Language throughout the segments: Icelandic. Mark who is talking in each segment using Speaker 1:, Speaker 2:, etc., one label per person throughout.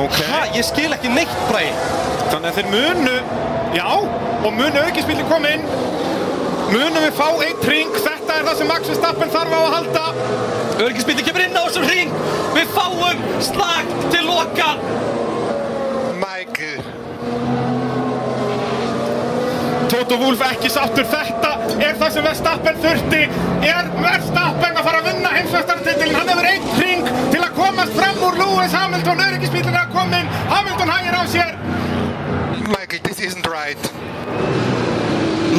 Speaker 1: Ok.
Speaker 2: Hvað? Ég skil ekki neitt bræði.
Speaker 1: Þannig að þeir munu, já, og munu aukispillin koma inn. Munum við fá einn ring, þetta er það sem Max Verstappen þarf á að halda.
Speaker 2: Örgisbytti kemur inn á þessum ring. Við fáum slag til loka.
Speaker 3: Michael
Speaker 1: Toto Wolff ekki sáttur, þetta er það sem Verstappen þurfti. Er Verstappen að fara að vinna heimsvestartitilin? Hann hefur einn ring til að komast fram úr Lewis Hamilton, aukispillin er að koma inn. Hamilton hægir á sér.
Speaker 3: Michael this isn't right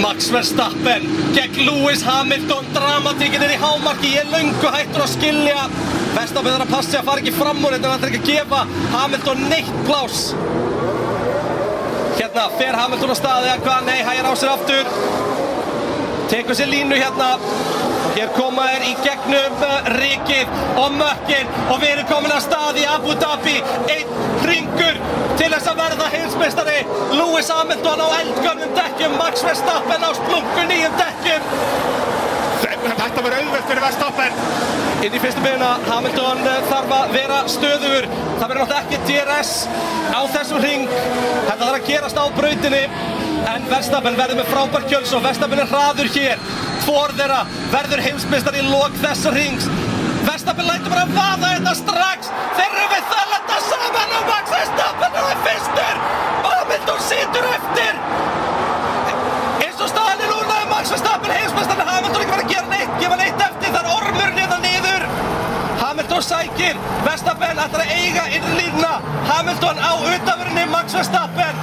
Speaker 2: Max Verstappen gegn Lewis Hamilton dramatíkin er í hámarki, ég er löngu hættur að skilja Verstappen þarf að passa sig að fara ekki fram úr þetta hann þarf ekki að gefa Hamilton neitt plás hérna fer Hamilton á staði eða hvað, nei, hægir á sér aftur tekur sér línu hérna hér koma þér í gegnum eh, rikið og mökkin og við erum komin að staði í Abu Dhabi einn ringur til þess að verða heimsmeistari Lewis Hamilton á eldgömmum dekkjum Max Verstappen á splungu nýjum dekkjum
Speaker 1: Þetta var auðvelt fyrir Verstappen.
Speaker 2: inn í fyrstu beina, Hamilton eh, þarf að vera stöður það verður náttúrulega ekki DRS á þessum ring þetta þarf að gerast á brautinni en Verstappen verður með frábær kjöls og Verstappen er hraður hér tvoð þeirra verður heimsmeistar í lok þessa rings Verstappen lætur bara að vaða þetta strax þeir eru við það að landa saman og Max Verstappen er það fyrstur Hamilton situr eftir eins og staðan er núna er Max Verstappen heimsmestan Hamilton ekki verið að gera neitt, gefa neitt eftir það er ormur neða niður Hamilton sækir, Verstappen ætlar að eiga innri línuna, Hamilton á utanverðinni Max Verstappen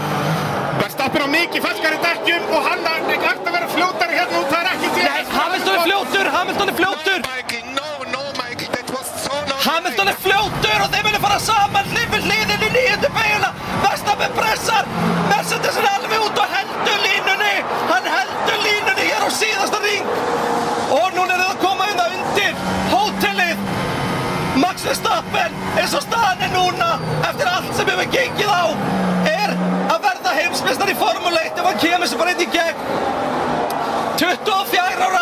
Speaker 1: Verstappen á mikið ferskari dekkjum og hann er ekki hægt að vera fljótari hérna út, það er ekki til
Speaker 2: Nei, Hamilton er fljótur, Hamilton er fljótur
Speaker 3: Michael no no Michael that was so not
Speaker 2: Hamilton er fljótur og þeir munu fara saman lifið liðin í nýjöndu beina Verstappen pressar Mercedes er alveg út og heldur línunni hann heldur línunni hér á síðasta ring og núna er það að koma um það undir hótelið Max Verstappen eins og staðan er núna eftir allt sem hefur gengið á er að verða heimsmeistar í Formule 1 ef hann kemur sér bara inn í gegn 24 ára,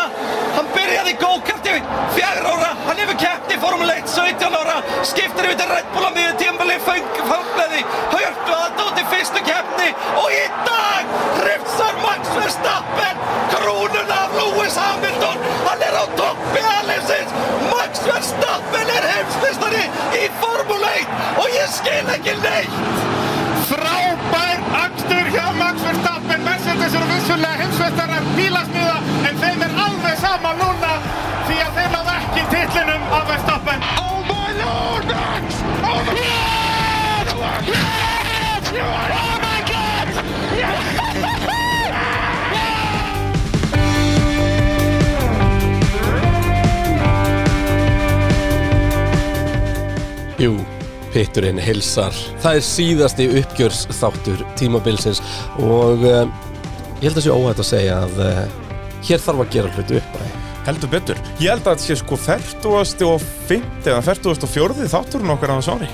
Speaker 2: hann byrjaði í go-karti 4 ára, hann hefur keppt í Formule 1 17 ára, skiptir yfir til Red Bull á miður tímbali, fanglaði hörtu aðdótt í fyrstu keppni og í dag hrifsar Max Verstappen krúnun af Lewis Hamilton hann er á toppi aðlefsins Max Verstappen er heimsmistari í Formule 1 og ég skil ekki neitt
Speaker 1: Frábær akstur hjá Max Verstappen, Mercedes eru vissulega heimsveistarar bílasmiða en þeim er alveg sama núna því að þeim náðu ekki titlinum af Verstappen.
Speaker 3: Oh my lord Max Oh my yes! Yes! You are oh my god
Speaker 4: Jú, pitturinn hilsar. Það er síðasti uppgjörsþáttur tímabilsins og uh, ég held að sé óhætt að segja að uh, hér þarf að gera hluti upp
Speaker 5: Heldur betur. Ég held að þetta sé sko 40. og 50. eða 40. og 4. þátturinn okkar á þessu ári.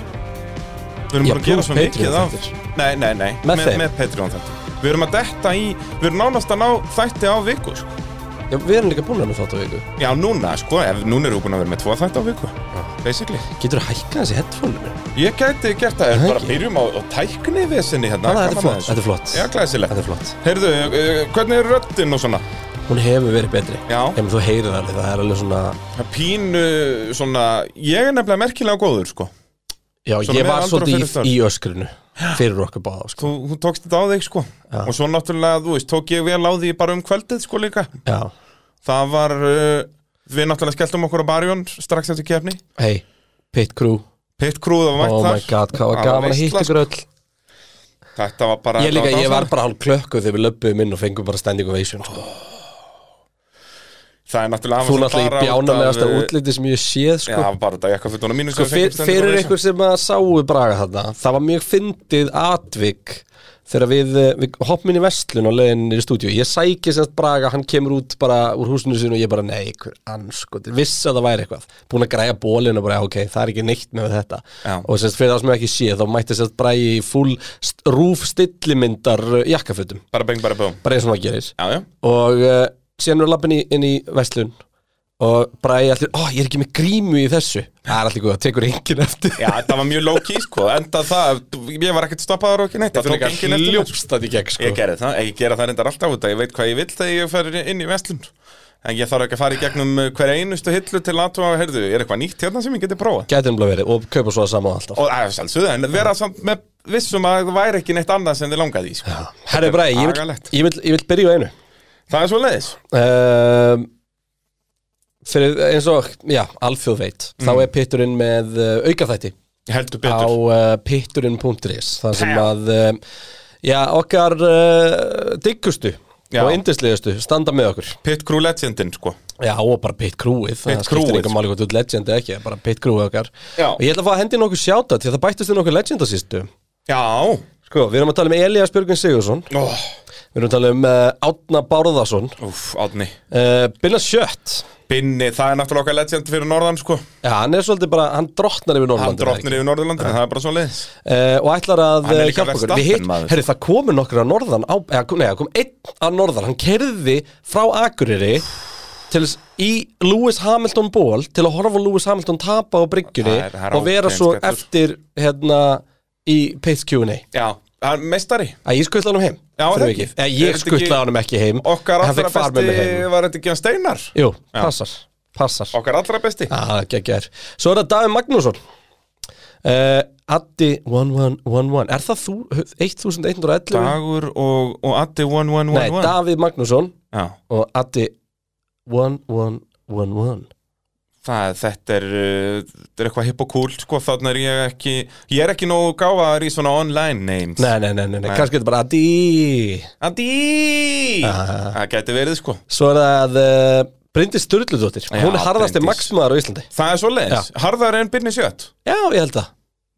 Speaker 5: Við erum
Speaker 4: Já,
Speaker 5: bara að gera
Speaker 4: plús
Speaker 5: svo mikið af...
Speaker 4: Patreon-þættir.
Speaker 5: Nei, nei, nei.
Speaker 4: Með þeim.
Speaker 5: Með Patreon þetta. Við erum að detta í... Við erum nánast að ná þætti á viku, sko.
Speaker 4: Já, við erum líka búin að með þátt á viku.
Speaker 5: Já, núna, sko. Ef, núna erum við búin að vera með tvo þætti á viku. Basically.
Speaker 4: Getur þú hækkað þessi headphone-inu?
Speaker 5: Ég gæti gert það.
Speaker 4: Það
Speaker 5: Bara
Speaker 4: ekki.
Speaker 5: byrjum á, á tækni hérna.
Speaker 4: Þetta er
Speaker 5: gaman að
Speaker 4: flott,
Speaker 5: þessu.
Speaker 4: þetta er flott.
Speaker 5: Já, glæsilegt.
Speaker 4: Þetta er flott.
Speaker 5: Heyrðu, eh, hvernig er röddinn og svona?
Speaker 4: Hún hefur verið betri.
Speaker 5: Já.
Speaker 4: En þú heyrir það alveg, það er alveg svona...
Speaker 5: Það Pínu, svona... Ég er nefnilega merkilega góður, sko.
Speaker 4: Já,
Speaker 5: Svona
Speaker 4: ég
Speaker 5: meðal
Speaker 4: var
Speaker 5: aldra og
Speaker 4: svolítið
Speaker 5: fyrir
Speaker 4: í, í öskrinu fyrir okkur báða, sko.
Speaker 5: þú, þú tókst þetta á þig sko og svo náttúrulega, þú veist, tók ég vel á því bara um kvöldið sko líka
Speaker 4: Já,
Speaker 5: það var, uh, við náttúrulega skelltum okkur á barjón strax eftir kefni
Speaker 4: hei, pit crew,
Speaker 5: pitt krúð og mætt
Speaker 4: oh my
Speaker 5: þar
Speaker 4: god, hvað var
Speaker 5: Það var
Speaker 4: gaman að
Speaker 5: veisla,
Speaker 4: hitta ykkur öll.
Speaker 5: sko. þetta var bara
Speaker 4: Ég líka, ég
Speaker 5: þetta
Speaker 4: var
Speaker 5: dásamlegt.
Speaker 4: bara hálf klökkuð þegar við löpum inn og fengum bara standing ovation, sko.
Speaker 5: það er náttúrulega
Speaker 4: Þú náttúrulega í bjánalegasta
Speaker 5: útlýtt
Speaker 4: útliti sem ég hef séð
Speaker 5: já,
Speaker 4: sko.
Speaker 5: bara þetta jakkafuttunum mínu
Speaker 4: sko
Speaker 5: sem við
Speaker 4: fyr,
Speaker 5: fengum stendur
Speaker 4: Fyrir
Speaker 5: ovation.
Speaker 4: ykkur sem að sáu Braga þarna Það var mjög fyndið atvik Þegar við, eh, við hoppum inn í vestlun og leiðin í stúdíu Ég sæki semst Braga, hann kemur út bara úr húsinu sinu og ég bara Nei, hver anskotir, viss að það væri eitthvað Búin að græja bólinu og bara, ok, það er ekki neitt með þetta
Speaker 5: Já.
Speaker 4: Og semst fyrir það sem ég ekki sé Þá mætti semst Bragi í full st- rúf stillimyndar eh, jakkafutum
Speaker 5: bara beng, bara bú
Speaker 4: Bara eins og eh, maður gerir
Speaker 5: já, já,
Speaker 4: og uh, síðan við lappin í, inn í Vestlun og Bragi allir, ó, ég er ekki með grímu í þessu það er allir góð, það tekur enginn eftir
Speaker 5: Já, þetta var mjög low key sko, enda það, ég var ekkert stoppaður og ekki neitt, það tók enginn eftir mér, sko.
Speaker 4: ljópst þetta í gegn
Speaker 5: Ég
Speaker 4: sko.
Speaker 5: gerði það, ég gera það reyndar alltaf út að ég veit hvað ég vil þegar ég fer inn í vestlun En ég þarf ekki að fara í gegnum eh, hverja einustu hillu til að og heyrðu, er eitthvað nýtt hérna sem ég geti prófað
Speaker 4: gæti umlega verið og kaupa svo það saman alltaf
Speaker 5: Og það er sjálfsögðu, en vera samt með vissum að það væri ekki neitt annað sem þið langaði í sko.
Speaker 4: Herri Bragi, ég vil,
Speaker 5: Agalegt.
Speaker 4: ég vil, ég vil byrja á einu
Speaker 5: Það er svo leiðis
Speaker 4: um, fyrir eins og já, alþjóð veit,
Speaker 5: Mm.
Speaker 4: þá er pitturinn með uh, aukaþætti
Speaker 5: Heldur
Speaker 4: á
Speaker 5: betur
Speaker 4: uh, pitturinn.is þar sem að um, já, okkar uh, diggustu
Speaker 5: Já.
Speaker 4: og indislegustu standa með okkur
Speaker 5: Pit Crew Legendin, sko
Speaker 4: já, og bara pit crewið það
Speaker 5: Pit
Speaker 4: skiptir
Speaker 5: crewið.
Speaker 4: ekki máli hvort þú ert legend eða ekki bara pit crewið okkar
Speaker 5: Já.
Speaker 4: og ég ætla að fá að hendi nokkuð sjáta til að það bættist þið nokkuð legend á sístu
Speaker 5: Já Ó,
Speaker 4: sko, við erum að tala um Elias Björgun Sigursson við erum að tala um uh, Átna Bárðarsson
Speaker 5: Úf, átni
Speaker 4: uh, Billa Sjött
Speaker 5: Binni, það er náttúrulega okkar legend fyrir norðan, sko
Speaker 4: Já, hann er svolítið bara, hann drottnar yfir
Speaker 5: Hann
Speaker 4: Norrlandin
Speaker 5: drottnir yfir Norðurlandin, það er bara svo leiðis
Speaker 4: uh, og ætlar að
Speaker 5: Hann er
Speaker 4: eh,
Speaker 5: líka
Speaker 4: hjálpa okkur Við
Speaker 5: Verstappen,
Speaker 4: hitt,
Speaker 5: maður.
Speaker 4: herri það komu nokkur að norðan á, eða, kom- nei, það kom einn að norðan hann kerði frá Akureyri til þess í Lewis Hamilton ból til að horfa á Lewis Hamilton tapa á bryggjunni
Speaker 5: Það er- það er
Speaker 4: og vera
Speaker 5: ákveðin
Speaker 4: svo
Speaker 5: skellur.
Speaker 4: eftir hérna í Pace Q&A
Speaker 5: Já, hann er meistari
Speaker 4: að ég skutla honum heim
Speaker 5: Já,
Speaker 4: fyrir
Speaker 5: það
Speaker 4: vikið.
Speaker 5: ekki.
Speaker 4: Eða,
Speaker 5: Er
Speaker 4: ég
Speaker 5: þetta ekki-
Speaker 4: skutla honum ekki heim
Speaker 5: Okkar
Speaker 4: en hann
Speaker 5: allra
Speaker 4: fekk far með mig
Speaker 5: besti
Speaker 4: heim
Speaker 5: var þetta ekki hann Steinar
Speaker 4: jú, passar, passar
Speaker 5: Okkar allra besti
Speaker 4: Ah, geggjær. Svo er það Davíð Magnússon uh, Addi 1111 Er það þú, 1111?
Speaker 5: Dagur og, og Addi 1111
Speaker 4: Nei, Davíð Magnússon
Speaker 5: Já,
Speaker 4: og Addi 1111
Speaker 5: það, þetta er, uh, þetta er eitthvað hipp og cool sko, þannig er ég ekki ég er ekki nógu gáfaður í svona online names
Speaker 4: Nei, nei, nei, nei, nei. kannski er þetta bara Addi
Speaker 5: Addi
Speaker 4: Ah.
Speaker 5: Það gæti verið sko
Speaker 4: Svo er það uh, Bryndis Sturludóttir
Speaker 5: Já,
Speaker 4: Hún er harðasti
Speaker 5: Bryndís.
Speaker 4: maksmaður á Íslandi
Speaker 5: Það er svo leiðis, harðar en byrni sjött
Speaker 4: Já, ég held það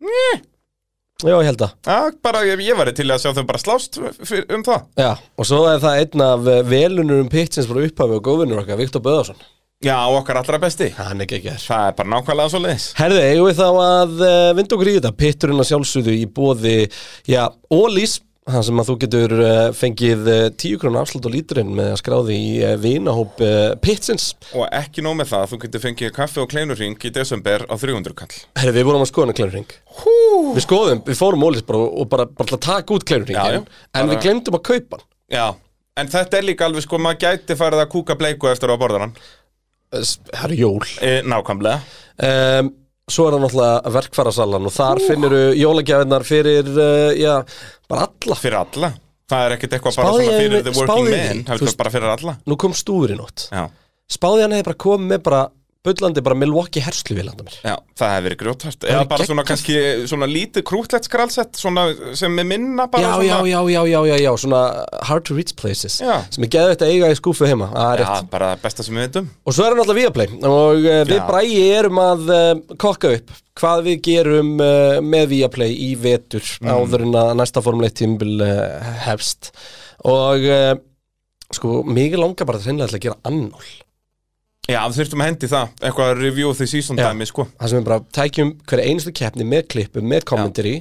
Speaker 4: Já, ég held það
Speaker 5: Já, bara, ég, ég væri til að sjá þau bara slást fyr, um það
Speaker 4: Já, og svo er það einn af eh, velunurum pittsins frá upphafi og góðvinnur okkar, Viktor Böðarsson
Speaker 5: Já, okkar allra besti
Speaker 4: Hann er geggjær
Speaker 5: Það er bara nákvæmlega svo leiðis
Speaker 4: Herði, eigum við þá að uh, vinda okkur í þetta Pitturinn að sjálfsögðu í bóði Já, Ólís Það sem að þú getur uh, fengið uh, 10 krónu afslut á líturinn með að skráði í uh, vinahóp uh, Pitsins
Speaker 5: Og ekki nóg með það, þú getur fengið kaffi og kleinurring í desember á 300 kall
Speaker 4: Herði, við vorum að skoða hana kleinurring Við skoðum, við fórum Ólís bara og og bara, bara til að taka út
Speaker 5: Já, já.
Speaker 4: kleinurringin En
Speaker 5: Bara-
Speaker 4: við glemdum að kaupa hann
Speaker 5: Já, en þetta er líka alveg sko, maður gæti farið að kúka bleiku eftir að borða hann
Speaker 4: Eh, s- Það er jól
Speaker 5: e, Nákvæmlega
Speaker 4: um, Svo er það náttúrulega verkfærasalan og þar uh. finnir jólagjafinnar fyrir, uh, já, bara alla
Speaker 5: Fyrir alla Það er ekkert eitthvað bara
Speaker 4: Spáði
Speaker 5: svona
Speaker 4: ég-
Speaker 5: fyrir the working
Speaker 4: spáði ég-
Speaker 5: man
Speaker 4: þú
Speaker 5: Það
Speaker 4: veist-
Speaker 5: er bara fyrir alla
Speaker 4: Nú kom stúfur í nótt
Speaker 5: Já,
Speaker 4: spáði hann hefði bara komið með bara bullandi bara Milwaukee herslu við landa mér
Speaker 5: já það hefur verið grjótart Eða
Speaker 4: er
Speaker 5: bara svona
Speaker 4: geggjað.
Speaker 5: kannski svona lítið krútlegt skrálsett Svona sem er minna bara
Speaker 4: já,
Speaker 5: svona
Speaker 4: já, já, já, já, já, já, svona hard to reach places
Speaker 5: Já.
Speaker 4: sem er geðið þetta eiga í skúfu heima það er rétt.
Speaker 5: bara það besta sem við veitum
Speaker 4: og svo erum alltaf Viaplay og uh, við
Speaker 5: Já.
Speaker 4: bræði erum að uh, kokka upp hvað við gerum uh, með Viaplay í vetur
Speaker 5: Mm.
Speaker 4: áður en að næsta formuleitt tímbil uh, hefst og uh, sko, mikið langar bara hreinlega til að gera annál
Speaker 5: Já, við þurftum að hendi það Eitthvað að review því season
Speaker 4: Já.
Speaker 5: dæmi sko
Speaker 4: það sem við bara tækjum hverja einustu keppni með klippum, með kommentari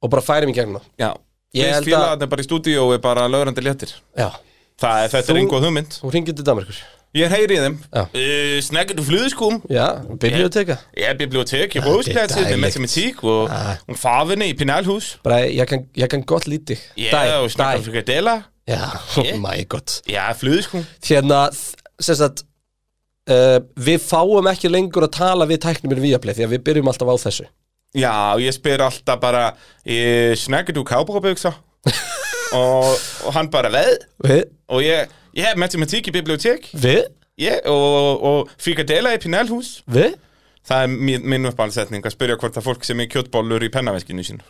Speaker 4: og bara færum í gegnum það.
Speaker 5: Já
Speaker 4: Ég
Speaker 5: Ég
Speaker 4: held að-
Speaker 5: held að bara í stúdíói bara lögrandi léttir
Speaker 4: Já,
Speaker 5: Það er þetta
Speaker 4: Þú-
Speaker 5: er einhvað hugmynd
Speaker 4: þú ringir til Danmarkur
Speaker 5: Ég heyri í þeim
Speaker 4: Já.
Speaker 5: uh, Sneggjur flöðskum
Speaker 4: Já, biblioteka
Speaker 5: sko. Ég er bibliotek,
Speaker 4: er
Speaker 5: ég
Speaker 4: Ah.
Speaker 5: hóðsplæsir Með
Speaker 4: dæligt.
Speaker 5: matematík og, og fafinni í Pinalhús
Speaker 4: Bara, ég kan, ég kan gott lítið
Speaker 5: Ég
Speaker 4: Dæ,
Speaker 5: og snakkar
Speaker 4: dæ.
Speaker 5: fyrir dela
Speaker 4: Já, my god
Speaker 5: Já, sko. flöðskum
Speaker 4: Hérna, þ- sem sagt uh, Við fáum ekki lengur að tala við tæknum í Viaplay Því að við byrjum alltaf á þessu
Speaker 5: Já, ég spyr alltaf bara "Eh, Snakkar þú kábróbuksa? og, og hann bara veð
Speaker 4: Við?
Speaker 5: Og ég, ég er matematík í bibliotek
Speaker 4: Við?
Speaker 5: ég, og, og frikadela í Pinalhús
Speaker 4: Við?
Speaker 5: Það er mín, mín uppáhaldsetning að spyrja hvort að fólk sem er kjötbólur í pennaveskinu sínu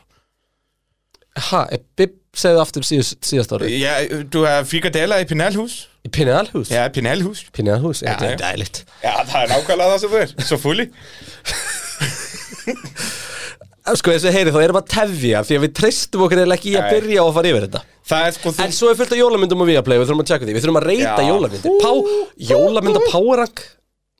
Speaker 4: Ha, eh, Bib segði aftur síðast, síðast árið
Speaker 5: Já, þú er frikadela í Pinalhús
Speaker 4: Í Pinnealhús
Speaker 5: Já, Pinalhús
Speaker 4: Pinnealhús, þetta
Speaker 5: já.
Speaker 4: er dælitt
Speaker 5: Já, það er nákvæmlega það sem þú er Svo fúli
Speaker 4: Sko, þessi heyri þá erum við að tefja Því að við treystum okkur eða ekki í að
Speaker 5: Nei.
Speaker 4: byrja og að fara yfir þetta
Speaker 5: Það er sko þú
Speaker 4: En svo er fullt af jólamyndum á Viaplay, við þurfum að tjekka því Við þurfum að reyta
Speaker 5: Já.
Speaker 4: jólamyndir Pá, jólamynda powerrank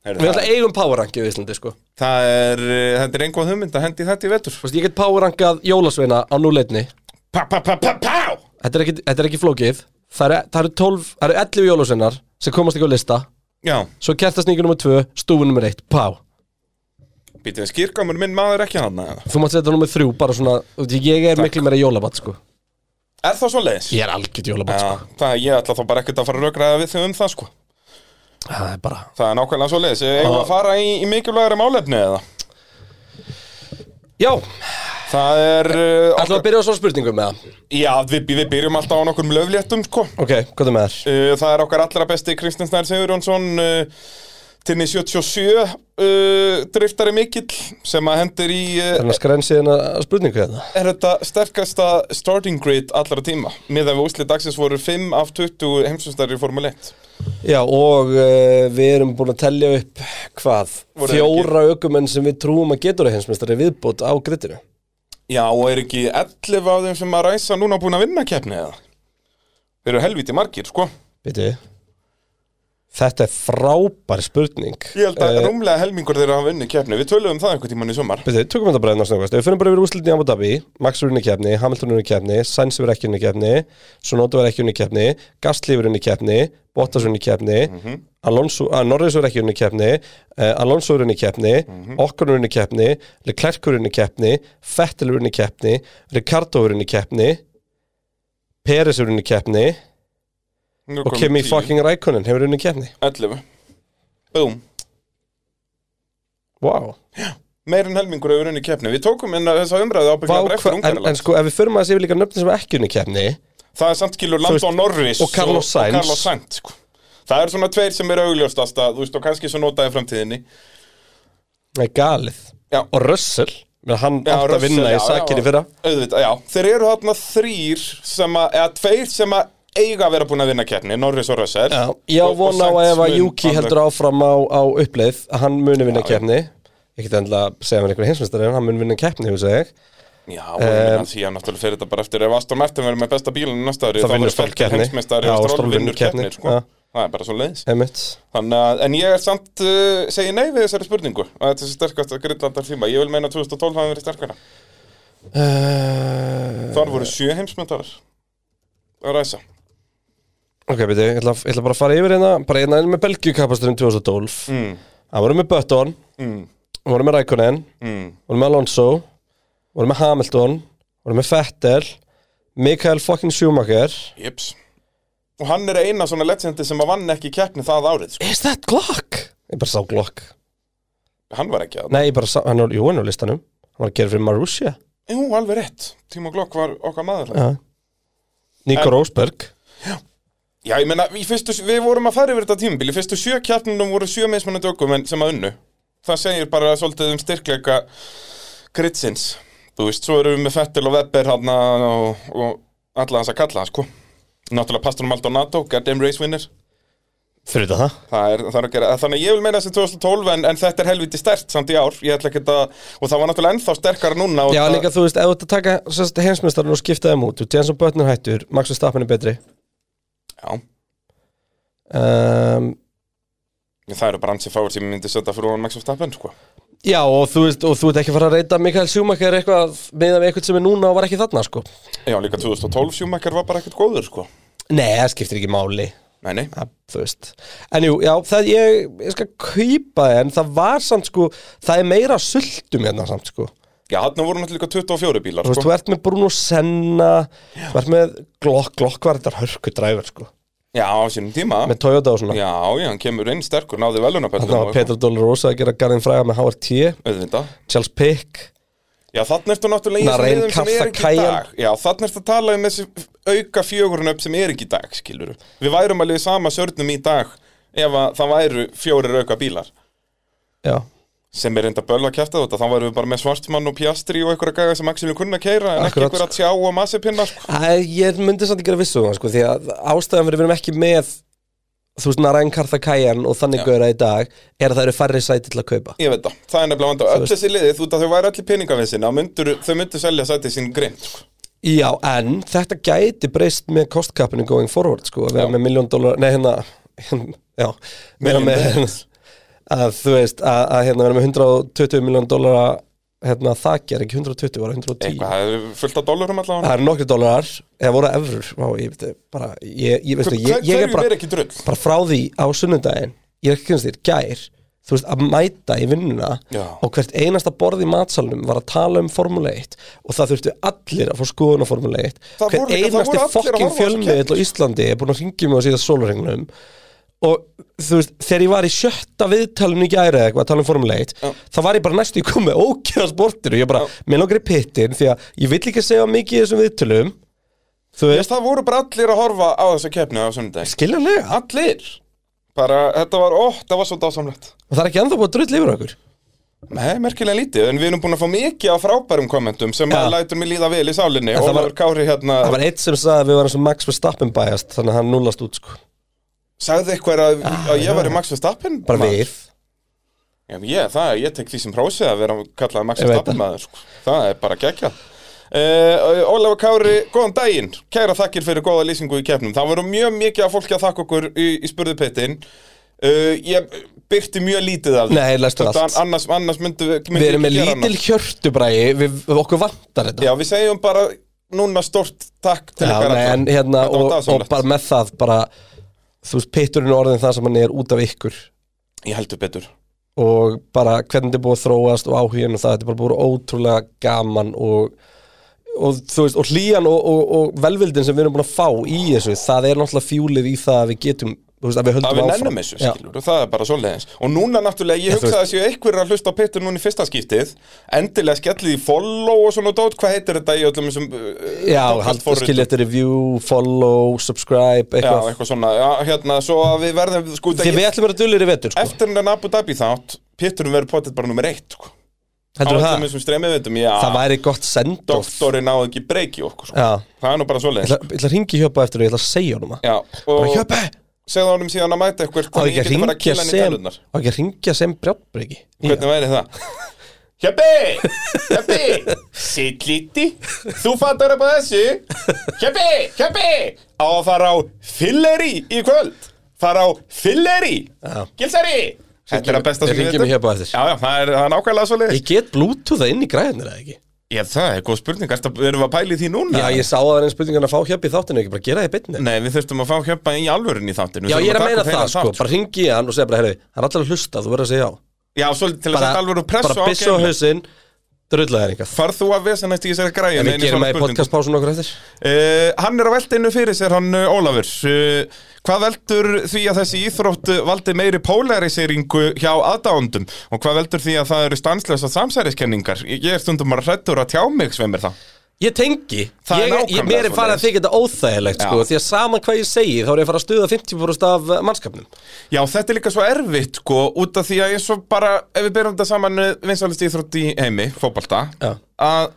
Speaker 5: Heyrðu,
Speaker 4: Við
Speaker 5: það,
Speaker 4: alltaf eigum powerrank í Íslandi, sko
Speaker 5: það er, eh, þetta er einhvað hugmynd að hendi þetta í vetur
Speaker 4: Þú veist, ég get powerrankað jólasveina á núleitni
Speaker 5: Pá, pá, pá, pá, pá
Speaker 4: Þetta er ekki, þetta er ekki flókið Það eru- það eru 12, það eru 11 jólasveinar sem komast ekki á lista
Speaker 5: Já,
Speaker 4: Svo kertasningu nummer 2, stúfu nummer 1, pá
Speaker 5: býtum við skýrkamur minn maður ekki hann
Speaker 4: Þú mátt setja nummer 3, bara svona þú veit, Ég er miklu meira jólabat sko
Speaker 5: Er það svo leiðis?
Speaker 4: Ég er algjört jólabat sko
Speaker 5: Já, það, ég ætla þá bara ekkert að fara að rökraða við þau um það sko
Speaker 4: Það er bara
Speaker 5: Það er nákvæmlega svo leiðis Eða að fara í, í mikilvægari málefni eða
Speaker 4: Já,
Speaker 5: Það er uh,
Speaker 4: ætlum við að byrja á svona spurningum með það
Speaker 5: Já, við, við byrjum alltaf á nokkur löfléttum sko
Speaker 4: Ok, hvað er með þér?
Speaker 5: Uh, það er okkar allra besti Kristján Snær Sigurjónsson uh, Tinni 77 uh, driftari mikill sem að hendur í uh,
Speaker 4: Þannig að skrensi hérna spurningu hérna
Speaker 5: er þetta sterkasta starting grid allra tíma miðan við úslið dagsins voru 5 af 20 heimsumstæri í Formule 1
Speaker 4: Já, og uh, við erum búin að tellja upp hvað?
Speaker 5: Voru
Speaker 4: Fjóra aukumenn sem við trúum að getur að heimsmeistari viðbútt á grittinu
Speaker 5: Já, og er ekki 11 af þeim sem að ræsa núna búin að vinna keppni eða? Þeir eru helviti margir, sko
Speaker 4: Veitu Þetta er frábær spurning
Speaker 5: Ég held
Speaker 4: Eh,
Speaker 5: að rúmlega helmingur þeirra hafa vunni keppni Við tölum um það einhvern tímann í sumar
Speaker 4: Byrðu, tökum þetta bara einn og snöggvast Við finnum bara yfir úrslitin í Abu Dhabi Max er unni keppni, Hamilton er unni keppni Sainz er ekki unni keppni Sonoda er ekki unni keppni Gasly er unni keppni Bottas er unni keppni
Speaker 5: Mhm.
Speaker 4: Alonso, að, Norris er ekki unni keppni uh, Alonso er unni keppni mm
Speaker 5: Mhm.
Speaker 4: Okkon er unni keppni Leclerc er unni keppni Vettel er unni keppni Ricardo er unni keppni Peres er unni keppni
Speaker 5: Nú
Speaker 4: Og
Speaker 5: komum
Speaker 4: Kimi
Speaker 5: 10,
Speaker 4: fucking Raikkonen hefur unni keppni
Speaker 5: 11 Búm
Speaker 4: Wow
Speaker 5: Meir en helmingur hefur unni keppni Við tókum inn að þessa umræðu ábyggja
Speaker 4: Vá,
Speaker 5: bara eftir
Speaker 4: hva, en, en
Speaker 5: ungarland
Speaker 4: sko, ef við förum að séu líka nöfnum sem er ekki unni keppni
Speaker 5: Það er samt skilur
Speaker 4: veist,
Speaker 5: Lando Norris
Speaker 4: og Carlos Sainz.
Speaker 5: og Carlos Sainz sko. Það eru svona tveir sem eru augljóstast að, Þú veist, og kannski svo notaði framtíðinni
Speaker 4: Það er galið
Speaker 5: Já.
Speaker 4: Og Russell menn Hann
Speaker 5: Já,
Speaker 4: átt að
Speaker 5: Russell,
Speaker 4: vinna
Speaker 5: já,
Speaker 4: í sakir
Speaker 5: já,
Speaker 4: í fyrra
Speaker 5: auðvitað, já, þeir eru þarna þrýr sem að, eða tveir sem að eiga að vera búin að vinna keppni, Norris og Russell
Speaker 4: já, Ég
Speaker 5: Og-
Speaker 4: vona á
Speaker 5: og
Speaker 4: að ef
Speaker 5: Sainz
Speaker 4: að
Speaker 5: mun
Speaker 4: Juki
Speaker 5: alveg-
Speaker 4: heldur áfram á, á uppleið að Hann muni vinna
Speaker 5: Já, já.
Speaker 4: keppni Ég geti endla að segja mér einhver hinsmestari En hann muni vinna keppni, þú segi
Speaker 5: Já, og ég
Speaker 4: Eh,
Speaker 5: meina því að náttúrulega fyrir þetta bara eftir ef Aston Martin verður með besta bílun næsta ári
Speaker 4: Þá
Speaker 5: þá
Speaker 4: vinnur
Speaker 5: verður
Speaker 4: Stroll
Speaker 5: Vettel
Speaker 4: keppni.
Speaker 5: heimsmeistari
Speaker 4: Já,
Speaker 5: og
Speaker 4: Stroll
Speaker 5: Stroll
Speaker 4: vinnur
Speaker 5: vinnur keppni,
Speaker 4: keppni,
Speaker 5: sko
Speaker 4: já.
Speaker 5: Það er bara svo leiðis
Speaker 4: Einmitt
Speaker 5: Þannig að, en ég er samt uh, segi nei við þessari spurningu að þetta er sterkast að grillandar tíma Ég vil meina að 2012 hafi verið sterkara
Speaker 4: uh,
Speaker 5: Þar voru sjö heimsmyndarar að ræsa
Speaker 4: Ok, beti, ég ætla, ég ætla bara að fara yfir hérna Bara hérna inn með Belgjukapasturinn 2012
Speaker 5: mm,
Speaker 4: Hann voru með Button
Speaker 5: mm,
Speaker 4: Hann voru með Raikkonen
Speaker 5: mm.
Speaker 4: voru með Alonso voru með Hamilton voru með Vettel Mikael fucking Schumacher
Speaker 5: Jips Og hann er eina svona legendi sem að vann ekki keppni það árið sko.
Speaker 4: Is that Glock? Ég bara sá Glock
Speaker 5: Hann var ekki að
Speaker 4: Nei, ég bara sá, hann var, jú, hann var á listanum Hann var að gera fyrir Marussia
Speaker 5: Jú, alveg rétt, Tímo Glock var okkar maður
Speaker 4: ja. Nico
Speaker 5: En-
Speaker 4: Rosberg
Speaker 5: Já, ég meina, í fyrstu, við vorum að fara yfir þetta tímabili Fyrstu sjö kjarnunum voru sjö mismunandi okkur sem að unnu Það segir bara svolítið um styrkleika Kritsins Þú veist, svo erum við með Fettil og Webber hana, og, og alla hans að kalla sko. Náttúrulega Pastunum Maldonado, Goddamn Race Winner
Speaker 4: Fyrir þetta það
Speaker 5: Það er, það er að gera, þannig að ég vil meina þessi 2012 en, en þetta er helviti stert samt í ár Ég ætla ekki að, og það var náttúrulega ennþá sterkara núna og
Speaker 4: Já,
Speaker 5: það-
Speaker 4: líka þú veist, ef þú ert að taka sérst, heimsmyndstarinn og skipta þeim út Jenson Böttner hættur, Max Verstappen er betri
Speaker 5: Já,
Speaker 4: um,
Speaker 5: það eru bara ansi fáir sem ég myndi setja fyrir ofan Max Verstappen, sko
Speaker 4: Já, og þú veist, og þú ert ekki að fara að reyta Mikael Schumacher eitthvað meðan við eitthvað sem er núna og var ekki þarna, sko
Speaker 5: Já, líka 2012 sjúmakar var bara ekkert góður, sko
Speaker 4: Nei, það skiptir ekki máli
Speaker 5: Nei, nei
Speaker 4: að, þú veist en jú, já, það ég, ég skal kaupa það en það var samt sko það er meira sultum hérna samt sko þú
Speaker 5: Já, þarna voru náttúrulega líka 24 bílar
Speaker 4: veist,
Speaker 5: sko.
Speaker 4: þú ert með Bruno Senna þú ert með Glock, Glock var þetta hörkudræfur sko,
Speaker 5: Já, á sínum tíma
Speaker 4: með Toyota og svona
Speaker 5: Já, já, hann kemur inn sterkur, náði velunapöldum
Speaker 4: þannig var Petra Dolorosa að gera Garðin Fræga með HRT
Speaker 5: Auðvitað
Speaker 4: Charles Pick,
Speaker 5: Já, þarna ertu náttúrulega í
Speaker 4: Nareen
Speaker 5: þessum liðum sem er ekki í
Speaker 4: Kaffa-Kajan.
Speaker 5: dag Já, þarna ertu að tala um þessi auka fjögurinn upp sem er ekki í dag, skilur Við værum alveg í sama sörnum í dag ef að það væru fjórir auka bílar
Speaker 4: já
Speaker 5: sem er enda böl að kæfta þetta, þá værum við bara með svartmann og pjastri og einhverja gæga sem Axelin kunna að keira en ekki
Speaker 4: Akkurat,
Speaker 5: einhverja tjá og massipinna sko.
Speaker 4: Æ, ég myndi samt ekki að vissu það sko því að ástæðan fyrir við erum ekki með þú veist, Narain Karthakajan og þannig
Speaker 5: Já.
Speaker 4: gauðra í dag er að það eru færri sæti til að kaupa
Speaker 5: Ég veit það, það er nefnilega vanda öll þessi liðið út að þau væri allir peningavinsin myndur, þau myndu selja sætið sín grind sko.
Speaker 4: Já, en þetta gæti breyst með kostkappinu going forward, sko, að vera
Speaker 5: Já.
Speaker 4: með miljón dólar, nei hérna, já, vera
Speaker 5: Million
Speaker 4: með,
Speaker 5: dollars.
Speaker 4: að þú veist, að, að hérna vera með 120 miljón dólar hérna þakki er ekki 120, var það 110.
Speaker 5: Eitthvað, það er fullt af dólarum allavega
Speaker 4: Það eru nokkri dólarar, eða voru evrur, vá, ég veit, bara, ég, ég veistu,
Speaker 5: Hver-
Speaker 4: ég, ég er
Speaker 5: Hverju er
Speaker 4: bara,
Speaker 5: ekki drull?
Speaker 4: bara frá því á sunnudaginn ég er ekki kynast þér, gær þú veist, að mæta í vinnuna
Speaker 5: Já.
Speaker 4: og hvert einasta borð í matsalunum var að tala um Formule 1 og það þurftu allir að fá skoðun á Formule 1
Speaker 5: Það voru
Speaker 4: hver
Speaker 5: líka- það voru allir
Speaker 4: einasti
Speaker 5: að
Speaker 4: fokkin
Speaker 5: horfa á þessa
Speaker 4: fjölmiðill á Íslandi er búin að ringi mig á síðast sólurringnum og þú veist, þegar ég var í sjötta viðtalinu í gæri eða eitthvað að tala um Formule 1
Speaker 5: Já.
Speaker 4: þá var ég bara næstu í komið ókjöða sportinu ég bara, mér langar í pittin því að ég vill ekki segja mikið í þessum viðtölum þú
Speaker 5: Þess,
Speaker 4: veist,
Speaker 5: það voru bara allir að horfa á þessa keppni á sunnudag
Speaker 4: skiljanlega
Speaker 5: Allir Bara, þetta var, ó, það var svo dásamlegt
Speaker 4: og það er ekki ennþá búið að drull yfir okkur
Speaker 5: Nei, merkilega lítið, en við erum búin að fá mikið af frábærum kommentum sem
Speaker 4: Já.
Speaker 5: að lætur mér líða vel í sálinni
Speaker 4: En það var-
Speaker 5: Ólafur Kári hérna
Speaker 4: Það var eitt sem sagði að við varum sem Max Verstappen bæjast Þannig að hann núlast út sko
Speaker 5: sagði eitthvað að, að ég væri Max Verstappen
Speaker 4: Bara
Speaker 5: maður.
Speaker 4: við
Speaker 5: Já, ég, það, ég tek því sem prósið að vera kallaði Max
Speaker 4: Ég veit
Speaker 5: Verstappen maður sko. Það er bara gegja uh, Ólafur Kári, góðan daginn Kæra þakkir fyrir góða lýsingu í keppnum Það voru mjög mikið af fólki að þakka okkur í, í spurðupeitin uh, Ég byrti mjög lítið af því.
Speaker 4: Nei, lestur
Speaker 5: Þetta
Speaker 4: allt.
Speaker 5: Annars, annars myndu, myndu
Speaker 4: Við erum með lítil hjörtubræði Við við- okkur vantar þetta
Speaker 5: Já, við segjum bara núna stort takk til
Speaker 4: Já,
Speaker 5: ykkar
Speaker 4: nei,
Speaker 5: allra.
Speaker 4: en hérna
Speaker 5: Þetta var
Speaker 4: og, og
Speaker 5: dásamlegt.
Speaker 4: bara með það bara, Þú veist, pitturinn er orðin það sem hann er út af ykkur
Speaker 5: Ég heldur betur
Speaker 4: Og bara hvernig þetta er búið að þróast Og áhugin og það, þetta er bara búið ótrúlega gaman Og, og þú veist Og hlýjan og, og, og velvildin sem við erum búin að fá Í þessu, það er náttúrulega fjúlið Í það að við getum, þú veist, að við höldum
Speaker 5: að við
Speaker 4: áfram
Speaker 5: nennum þessu,
Speaker 4: Já.
Speaker 5: skilur, og það er bara svoleiðins og núna náttúrulega, ég
Speaker 4: þú
Speaker 5: hugsa að séu einhverjir að hlusta á Petur núna í fyrsta skiptið endilega skellið í follow og svona dót hvað heitir þetta í öllum þessum uh,
Speaker 4: Já,
Speaker 5: podcast
Speaker 4: hald,
Speaker 5: forritum?
Speaker 4: skilja eftir review, follow, subscribe
Speaker 5: Já,
Speaker 4: eitthvað,
Speaker 5: eitthvað svona, já, hérna, svo að við verðum sko,
Speaker 4: Því við ætlum að vera dullir í vetur sko.
Speaker 5: eftir en Abu Dhabi þátt Peturum verður potið bara nummer eitt sko. á
Speaker 4: Heldur það?
Speaker 5: öllum þessum streymið veitum, já,
Speaker 4: Það væri gott send off
Speaker 5: doktorinn náðu ekki breyki okkur, sko.
Speaker 4: Já,
Speaker 5: það er nú bara
Speaker 4: ég ætla,
Speaker 5: svoleiðins
Speaker 4: ég ætla að ringi hjöpa eftir og ég ætla að segja honum það
Speaker 5: Já,
Speaker 4: Bara
Speaker 5: og
Speaker 4: hjöpa,
Speaker 5: segðu honum síðan að mæta eitthvað
Speaker 4: á ekki að ringja sem Á ekki að ringja sem brjáttbreyki
Speaker 5: Hvernig væri það? Hjappi! Hjappi! Sitt liti Þú fattar upp á þessu Hjappi! Hjappi! Á að fara á filleri í kvöld Fara á filleri
Speaker 4: Já.
Speaker 5: Gilsari Þetta er að besta
Speaker 4: Ég
Speaker 5: sem um.
Speaker 4: hringi
Speaker 5: við
Speaker 4: mig
Speaker 5: veitum
Speaker 4: hjöpa eftir
Speaker 5: Já, já, það er, það er nákvæmlega svo leið
Speaker 4: Ég get bluetooth það inn í græðinir eða ekki
Speaker 5: Já, það er góð spurning, Ertu að- erum við að pæli því núna?
Speaker 4: Já, ég sá að það er einn spurningan að fá hjöpa í þáttinu ekki bara gera það í bitni
Speaker 5: Nei, við þurftum að fá hjöppa í alvörun í þáttin
Speaker 4: Já, ég er að meina það sko, bara ringi í hann og segja bara herri, hann er allir að hlusta, þú verður að segja já
Speaker 5: Já, svolítið til að setja
Speaker 4: Bara,
Speaker 5: alvöru press
Speaker 4: bara
Speaker 5: á
Speaker 4: byssu á
Speaker 5: gaming.
Speaker 4: hausinn, drulla þér eitthvað
Speaker 5: Farð þú að vesa næst í þessari græju
Speaker 4: En við gerum að í podcastpásun okkur eftir
Speaker 5: Uh, hann er að velta innu fyrir sér, hann uh, Ólafur. Uh, hvað veldur því að þessi íþrótt uh, valdi meiri polariseringu hjá aðdáundum? Og hvað veldur því að það eru stanslösa samsæriskenningar? Ég ég er stundum bara hrættur að tjá mig sveimir það.
Speaker 4: Ég tengi,
Speaker 5: Það er
Speaker 4: ég, ég,
Speaker 5: nákvæmlega
Speaker 4: mér er farið að
Speaker 5: svoleiðis.
Speaker 4: þykja þetta óþægilegt sko,
Speaker 5: Já.
Speaker 4: því að saman hvað ég segi þá er ég að fara að stuða 50% af eh, mannskapnum
Speaker 5: Já, þetta er líka svo erfitt, sko, út af því að eins og bara, ef við byrjum þetta saman vinsalist íþrótt í heimi, fótbalta,
Speaker 4: Já.
Speaker 5: að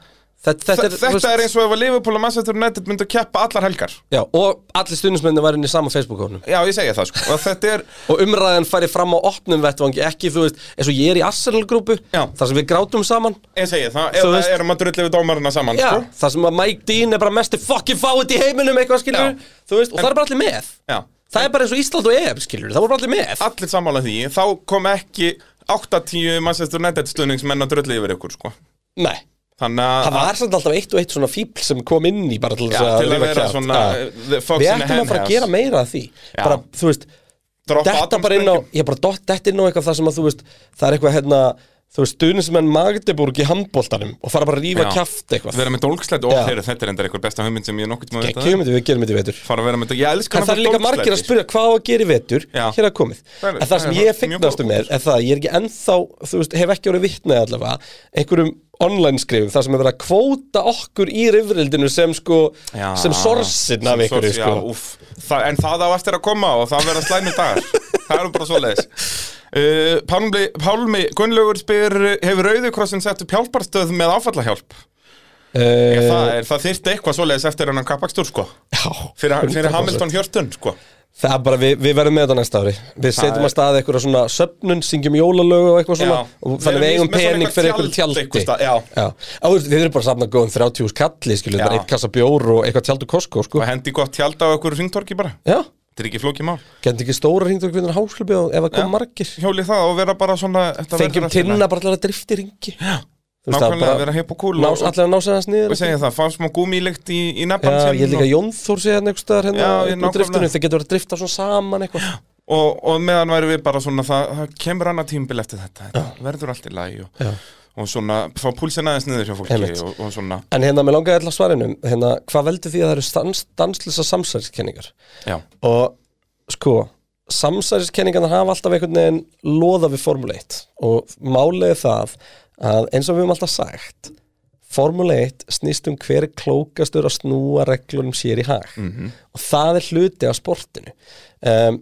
Speaker 4: Þetta,
Speaker 5: þetta
Speaker 4: þetta,
Speaker 5: er, þetta er eins og ef að Liverpool og Manchester United myndu að keppa allar helgar.
Speaker 4: Já, og allir stundismennir var inn í sama Facebook-hófnum
Speaker 5: Já, ég segja það, sko. Og þetta er...
Speaker 4: og umræðan færi fram á opnum vettvangi ekki, þú veist, eins og ég er í Arsenal-grúpu
Speaker 5: Já.
Speaker 4: þar sem við grátum saman
Speaker 5: Ég segi það,
Speaker 4: Þú
Speaker 5: eða
Speaker 4: veist-
Speaker 5: erum að drulli við dómarina saman,
Speaker 4: Já,
Speaker 5: sko.
Speaker 4: þar sem að Mike Dean er bara mesti fucking fáið í heiminum eitthvað skilur,
Speaker 5: Já.
Speaker 4: þú veist, og það er bara allir með
Speaker 5: Já.
Speaker 4: Það er bara eins og Ísland og EF skilur, það voru bara allir með
Speaker 5: allir sammála því, þá kom ekki 80 Manchester United stuðningsmenn að drulli yfir ykkur, sko.
Speaker 4: Nei,
Speaker 5: Þannig
Speaker 4: það
Speaker 5: að,
Speaker 4: var samt alltaf eitt og eitt svona fíbl sem kom inn í bara til
Speaker 5: já,
Speaker 4: þess að
Speaker 5: til að
Speaker 4: rífa
Speaker 5: vera
Speaker 4: kjaft.
Speaker 5: svona
Speaker 4: Já.
Speaker 5: uh, the fox
Speaker 4: Við
Speaker 5: in the
Speaker 4: ætlum að fara að gera meira af því
Speaker 5: Já.
Speaker 4: bara, þú veist,
Speaker 5: Droppa
Speaker 4: detta bara inn á
Speaker 5: atomsprengjum.
Speaker 4: ég bara dott detta inn á eitthvað það sem að þú veist það er eitthvað hérna, þú veist, stuðnismenn Magdeburg í handbóltanum og fara bara að rífa
Speaker 5: Já.
Speaker 4: kjaft eitthvað
Speaker 5: vera með dólkslætt og
Speaker 4: Já.
Speaker 5: þeirra, þetta er endar einhver besta hugmynd sem ég nokkuð tíma veit
Speaker 4: ekki um þetta, við gerum þetta í vetur
Speaker 5: fara að vera með þetta, ég elskar
Speaker 4: en það er líka margir að spyrja hvað á að gera í vetur
Speaker 5: Já.
Speaker 4: hér að komið,
Speaker 5: Það er-
Speaker 4: en það sem
Speaker 5: það er
Speaker 4: ég
Speaker 5: mjög
Speaker 4: fyrnastu
Speaker 5: góð
Speaker 4: með er það að ég er ekki ennþá, þú veist, hef ekki orðið vitnaði allavega einhverjum online skrifum þar sem er verið að kvóta okkur í rifrildinu sem sko, sem sorsin af einhverju sko,
Speaker 5: já, úff. Þa, en það á eftir að koma og það verða slæmi dagar það eru bara svoleiðis uh, Pálmi, Pálmi Gunnlaugur spyr hefur Rauðukrossin sett upp hjálparstöð með áfallahjálp
Speaker 4: Eh,
Speaker 5: Ef það, er, það þyrfti eitthvað svoleiðis eftir hennan kappakstur sko
Speaker 4: já,
Speaker 5: fyrir,
Speaker 4: 100%.
Speaker 5: fyrir Hamilton Hjörtun sko.
Speaker 4: Það er bara, við, við verðum með þetta næsta ári Við setjum
Speaker 5: er-
Speaker 4: að staða eitthvað svona söpnun, syngjum jólalögu og eitthvað svona
Speaker 5: Já.
Speaker 4: og Þannig við
Speaker 5: Við
Speaker 4: eigum
Speaker 5: erum með svona
Speaker 4: pening
Speaker 5: eitthvað
Speaker 4: fyrir eitthvað
Speaker 5: tjald
Speaker 4: tjaldi
Speaker 5: einhvers staðar, já.
Speaker 4: já. Á, þú veist, Við erum bara að safna góðum 30 hús kalli skilur,
Speaker 5: Já.
Speaker 4: bara eitt kassa bjór og eitthvað tjaldu kosko sko.
Speaker 5: og hendi gott tjald á einhverju ringtorki bara
Speaker 4: Já,
Speaker 5: þetta er ekki flókið mál
Speaker 4: getur ekki stóra hringdók við háslubi og ef það
Speaker 5: Já.
Speaker 4: kom margir
Speaker 5: hjóli það og vera bara svona þetta verður
Speaker 4: Fengjum
Speaker 5: allt í lagi.
Speaker 4: tinna bara allar að drifti ringi Já,
Speaker 5: nákvæmlega vera hepp og kúl og-
Speaker 4: Allir að nása hans niður
Speaker 5: og segja það, fá smá gúmílegt í, í
Speaker 4: Já,
Speaker 5: nefnans
Speaker 4: ég er líka Jónþór séðan einhverstaðar hérna
Speaker 5: Já, ég
Speaker 4: upp á
Speaker 5: nákvæmlega.
Speaker 4: driftinu, þeir getur verið að drifta svona saman eitthvað
Speaker 5: og, og meðan væri við bara svona það, það kemur annað tímbil eftir þetta, þetta verður allt í lagi og, og svona fá púlsinn aðeins niður hjá fólki
Speaker 4: Einmitt.
Speaker 5: og, og svona
Speaker 4: En hérna, mér langaði alltaf svarinum hérna, Hvað veldur því að það eru stans, danslisa samsæriskenningar?
Speaker 5: já,
Speaker 4: Og sko, samsæriskenningarnar hafa alltaf einhvern veginn loða við Formule 1 Og málið er það að eins og við höfum alltaf sagt Formule 1 snýst um hver er klókastur að snúa reglunum sér í hag
Speaker 5: Mhm.
Speaker 4: Og það er hluti af sportinu um,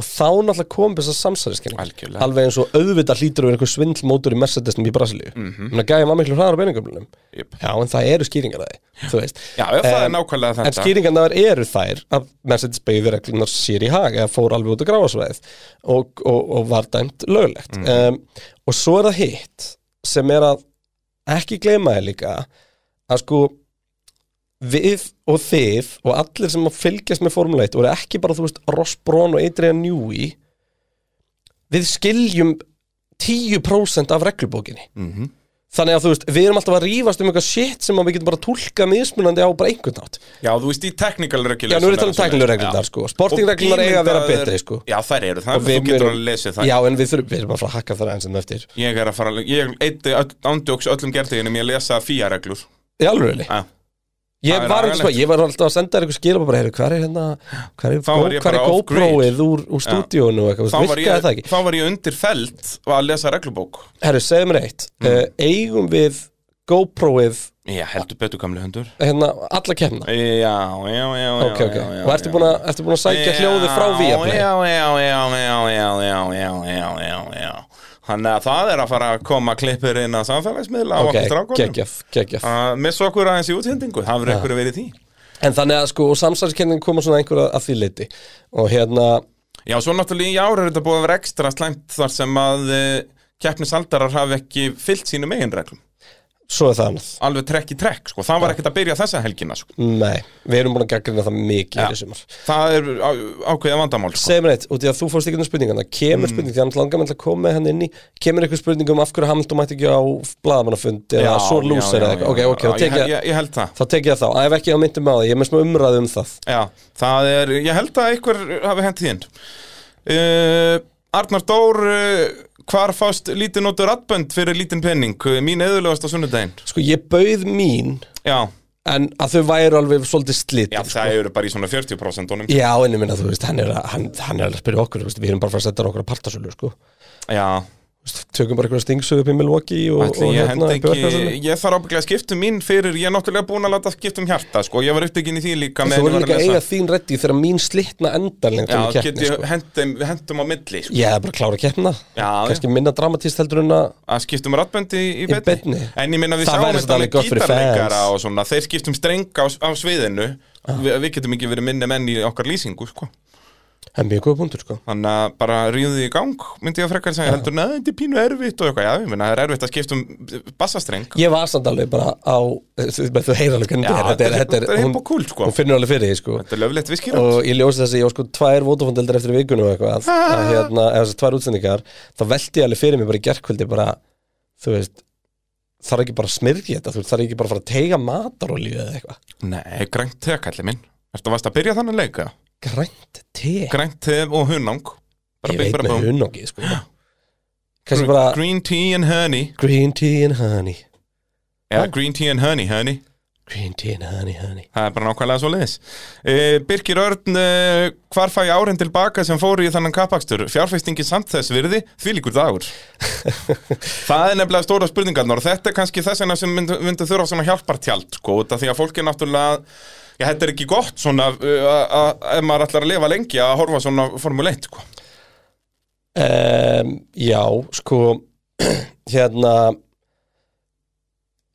Speaker 4: Og þá náttúrulega kom þessar samsæriskenningar
Speaker 5: Algjörlega.
Speaker 4: Alveg eins og auðvitað hlýtur við einhver svindlmótur í Mercedesnum í Brasilíu mm -hmm. Gæði maður miklu hraðar á beiningamlunum
Speaker 5: Mhm. Jep.
Speaker 4: Já, en það eru skýringar að því, þú veist
Speaker 5: já ef það er
Speaker 4: Em,
Speaker 5: nákvæmlega
Speaker 4: En
Speaker 5: þetta
Speaker 4: skýringarnar eru þær að Mercedes beigði reglunar sér í hag eða fór alveg út á gráasvæðið og, og, og var dæmt löglegt um, og svo er það hitt sem er að ekki gleyma þér líka að sko við og þið og allir sem að fylgjast með Formule 1 og eru ekki bara þú veist Ross Brown og Adrian Newey við skiljum 10% af reglubókinni Þannig að þú veist, við erum alltaf að rífast um eitthvað shit sem að við getum bara tólka mismunandi á bara einhvern nátt
Speaker 5: já, þú veist í technical
Speaker 4: Já,
Speaker 5: regulation
Speaker 4: nú er ég að tala um tæknilegreglunar sko Sportingreglunar eiga að vera betri sko
Speaker 5: já, þær eru
Speaker 4: Og
Speaker 5: það,
Speaker 4: við
Speaker 5: þú getur
Speaker 4: erum-
Speaker 5: alveg lesið það
Speaker 4: Já, en við þurfum, við erum að fara að hakka það eins og eftir
Speaker 5: Ég er að fara, ég eitthi ándjóks öllum gerteginum ég að lesa Ah, FIA-reglur
Speaker 4: Í alveg really
Speaker 5: Já.
Speaker 4: Ég
Speaker 5: Það er
Speaker 4: var ekki sko,
Speaker 5: agalegt.
Speaker 4: ég var alltaf að senda þér eitthvað skilabá bara, heyrðu, hver er hérna Hver er,
Speaker 5: Þá
Speaker 4: Go-
Speaker 5: var ég
Speaker 4: hvar er
Speaker 5: bara off-grid.
Speaker 4: GoPro-ið úr, úr
Speaker 5: Já.
Speaker 4: stúdíónu og eitthvað, þú
Speaker 5: þá
Speaker 4: veist,
Speaker 5: var,
Speaker 4: virkaði
Speaker 5: ég,
Speaker 4: það ekki
Speaker 5: þá var ég undir felt og að lesa reglubók
Speaker 4: Herru, segðu mér eitt,
Speaker 5: Mm.
Speaker 4: uh, eigum við GoPro-ið
Speaker 5: Já, heldur betur gamli hundur
Speaker 4: hérna alla kemna
Speaker 5: Já, já, já, já
Speaker 4: Ok, ok,
Speaker 5: já, já,
Speaker 4: og ertu búin að, ertu búin að sækja hljóði frá Viaplay
Speaker 5: Já, já, já, já, já, já, já, já, já, já Þannig að það er að fara að koma klippur inn á samfélagsmiðla
Speaker 4: Ok,
Speaker 5: á okkur strákunum Ah.
Speaker 4: geggjaf, geggjaf
Speaker 5: að missa okkur aðeins í útsendingu, það verður einhverju verið í því
Speaker 4: En þannig að sko, og samsæðiskenning koma svona einhverja að því leiti Og hérna,
Speaker 5: Já, svo náttúrulega í ár er þetta búið að vera ekstra slæmt þar sem að e, keppnisaldarar hafi ekki fyllt sínum eigin reglum
Speaker 4: svo er það annað
Speaker 5: alveg trekk í trekk, sko, það var ekkert að byrja þessa helgina, sko,
Speaker 4: Nei, við erum búin að gaggrina það mikið hér í sumar
Speaker 5: það er á- ákveðið vandamál, sko,
Speaker 4: Segðu mér eitt, út í að þú fórst ekki um spurningana Kemur mm. spurning, þannig langar með að koma með hann inn í Kemur eitthvað spurning um af hverju Hamilton mætti ekki á blaðamannafund eða svo lúsir eða eitthvað Ok, ok,
Speaker 5: já,
Speaker 4: þá tek
Speaker 5: ég,
Speaker 4: ég-
Speaker 5: ég, ég held það
Speaker 4: þá tek ég það þá Æf ekki á myndum á það, ég er með smá umræðu um það
Speaker 5: Já, það er, ég held að einhver hafi hent því inn uh, Arnar Dór uh, hvar fást lítið notur atbönd fyrir lítinn penning, Uh, mín eðurlegast á sunnudaginn
Speaker 4: Sko, ég bauð mín
Speaker 5: Já, sko-
Speaker 4: En að þau væru alveg svolítið slitt
Speaker 5: já það eru bara í svona 40% honum
Speaker 4: Já, en ég minna, þú veist, hann er að, hann, hann er að spyrja okkur, þú veist, við erum bara að fara að setja okkur að partasölu, sko
Speaker 5: Já, hérna,
Speaker 4: Þú veist, Tökum bara eitthvað stingsög upp í Milwaukee og,
Speaker 5: Ætli,
Speaker 4: og hérna,
Speaker 5: ég hend
Speaker 4: upp í
Speaker 5: ekki,
Speaker 4: verkfærsölu.
Speaker 5: ég þarf ábygglega að skipta um mín fyrir, ég er náttúrulega búin að láta skipta um hjarta, sko, ég var upptekinn í því líka
Speaker 4: Þú
Speaker 5: meðan
Speaker 4: verður líka
Speaker 5: ég var
Speaker 4: að
Speaker 5: lesa.
Speaker 4: eiga þín reddi þegar mín slitna endarlega
Speaker 5: Já,
Speaker 4: kemur keppni,
Speaker 5: get ég
Speaker 4: sko.
Speaker 5: hendum, hendum á milli, sko,
Speaker 4: Ég hef bara klára að keppna
Speaker 5: já.
Speaker 4: Kannski minna dramatist heldur en að
Speaker 5: að skiptum rættböndi í, í beinni.
Speaker 4: beinni.
Speaker 5: En ég minna við
Speaker 4: Það væri
Speaker 5: sáum
Speaker 4: samt
Speaker 5: þetta
Speaker 4: alveg
Speaker 5: með
Speaker 4: gott fyrir
Speaker 5: gítarleikara
Speaker 4: fans. Ah.
Speaker 5: og svona, þeir skiptum streng á, á sviðinu, Vi, við getum ekki verið minni menn í okkar lýsingu, sko.
Speaker 4: Það er mjög góð punktur sko
Speaker 5: Þannig að bara ríðið í gang, myndi ég að frekar segja, heldur, neða, þetta er pínu erfitt og eitthvað, já, ég minna, það er erfitt að skiptum bassastreng.
Speaker 4: Ég var samt alveg bara á Þú þú heyrir alveg hvernig
Speaker 5: Já,
Speaker 4: þetta er Þetta er,
Speaker 5: þetta er
Speaker 4: hún-
Speaker 5: hipp og kúl, sko.
Speaker 4: Hún finnur alveg fyrir því sko
Speaker 5: Þetta er löflegt viskir.
Speaker 4: Og ég ljósi þessi, ég var sko tvær vótafondeldir eftir vikunum og eitthvað að, að hérna, eða þessi tvær útsendingar Þá velti ég alveg fyrir mér bara í gerkvöldi bara Þú veist Þarf ekki bara að smyrja þetta, þú veist, þarf ekki bara að fara að teiga matarolíu eða eitthvað
Speaker 5: Nei, grænt te, kalli minn. Ertu vast að byrja þannig leika?
Speaker 4: Grænt te,
Speaker 5: Grænt te og hunang. Bara
Speaker 4: ég
Speaker 5: bing,
Speaker 4: veit
Speaker 5: bara
Speaker 4: með
Speaker 5: búm.
Speaker 4: hunóki sko Kansi bara
Speaker 5: Green tea and honey.
Speaker 4: green tea and honey Ah.
Speaker 5: Eða green tea and honey, honey.
Speaker 4: Green tea and honey, honey
Speaker 5: Það er bara nákvæmlega svo leiðis. Birgir Örn, uh, hvar fæ ég árin tilbaka sem fóru í þannan kappakstur? Fjárfæstingi samt þess virði, því líkur dagur. það er nefnilega stóra spurningarnar og þetta er kannski þess vegna sem myndu, myndu þurfa svona hjálpartjald, sko, út af því að fólk er náttúrulega, já, þetta er ekki gott svona, uh, að- að- ef maður ætlar að lifa lengi að horfa svona formuleitt, sko.
Speaker 4: Um, já, sko hérna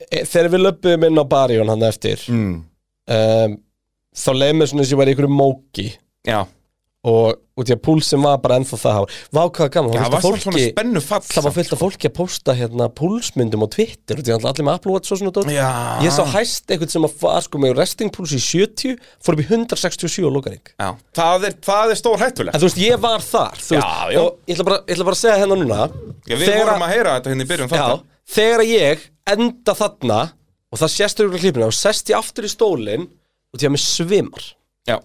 Speaker 4: e, þegar við löpum inn á barjón hann eftir
Speaker 5: Mm.
Speaker 4: um, þá leið mér svona eins og ég var í einhverju móki
Speaker 5: Já,
Speaker 4: og út í að púlsin var bara ennþá það hár. Vá hvað gaman,
Speaker 5: Já,
Speaker 4: það
Speaker 5: það
Speaker 4: var
Speaker 5: var
Speaker 4: fullt af
Speaker 5: svona sko.
Speaker 4: fólki
Speaker 5: spennu fall
Speaker 4: það var fullt af fólki að pósta hérna púlsmyndum á Twitter út í að allir með Apple Watch og svona dót
Speaker 5: Já.
Speaker 4: ég sá hæst eitthvað sem að var sko með resting púls í 70 fór upp í 167 og lókaring
Speaker 5: Já, það er, það er stór hættulegt
Speaker 4: En þú veist, ég var þar þú
Speaker 5: Já,
Speaker 4: veist,
Speaker 5: já.
Speaker 4: Og ég ætla, bara, ég ætla bara að segja hérna núna
Speaker 5: Já, við vorum að heyra þetta hérna í byrjun
Speaker 4: Já,
Speaker 5: þetta
Speaker 4: þegar ég enda þarna og það sést auðvitað klippina og sest ég aftur í stólinn og því að mér svimar
Speaker 5: Já,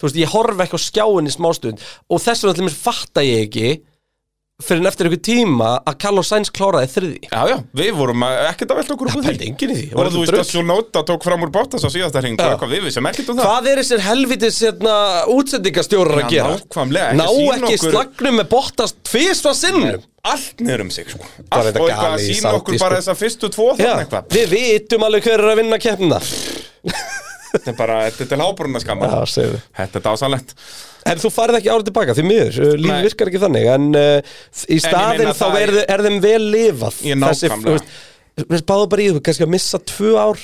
Speaker 4: þú veist, ég horf ekki á skjáinni smástund og þess vegna allir mér fatta ég ekki fyrir en eftir einhver tíma að Carlos Sainz kláraði þriði
Speaker 5: Já, já, við vorum að- ekkert að velta okkur upp úr
Speaker 4: Það er enginn í því það var
Speaker 5: Og þú
Speaker 4: eitthvað
Speaker 5: veist að
Speaker 4: drugl.
Speaker 5: Sjónóta tók fram úr Bottas á síðasta hring og
Speaker 4: Já.
Speaker 5: eitthvað við vissum ekkert um það
Speaker 4: Hvað er þessir helvitis hérna, útsendingastjórar
Speaker 5: Já,
Speaker 4: að gera?
Speaker 5: nákvæmlega, ekki
Speaker 4: Ná
Speaker 5: að sýna
Speaker 4: ekki
Speaker 5: okkur-
Speaker 4: slagnum með Bottas tvisva sinnum
Speaker 5: Allt niður um sig, sko
Speaker 4: Bara
Speaker 5: Allt
Speaker 4: þetta
Speaker 5: og eitthvað
Speaker 4: gali
Speaker 5: að
Speaker 4: í
Speaker 5: sína okkur
Speaker 4: Saudi,
Speaker 5: bara
Speaker 4: sko.
Speaker 5: þessa fyrstu tvo
Speaker 4: Já,
Speaker 5: þannig hérna eitthvað
Speaker 4: við vitum alveg hver er að vinna keppnina Já,
Speaker 5: Þetta er bara, þetta er til hábrúna skamma
Speaker 4: segðu
Speaker 5: Þetta er dásalett
Speaker 4: En þú farið ekki árið tilbaka, því miður, uh, lífið
Speaker 5: Nei.
Speaker 4: virkar ekki þannig En uh, í staðinn
Speaker 5: meina
Speaker 4: þá
Speaker 5: það
Speaker 4: er,
Speaker 5: er-
Speaker 4: er þeim vel lifað
Speaker 5: Ég nákvæmlega.
Speaker 4: þú veist, þú veist, Báðu bara í þú, kannski að missa tvö ár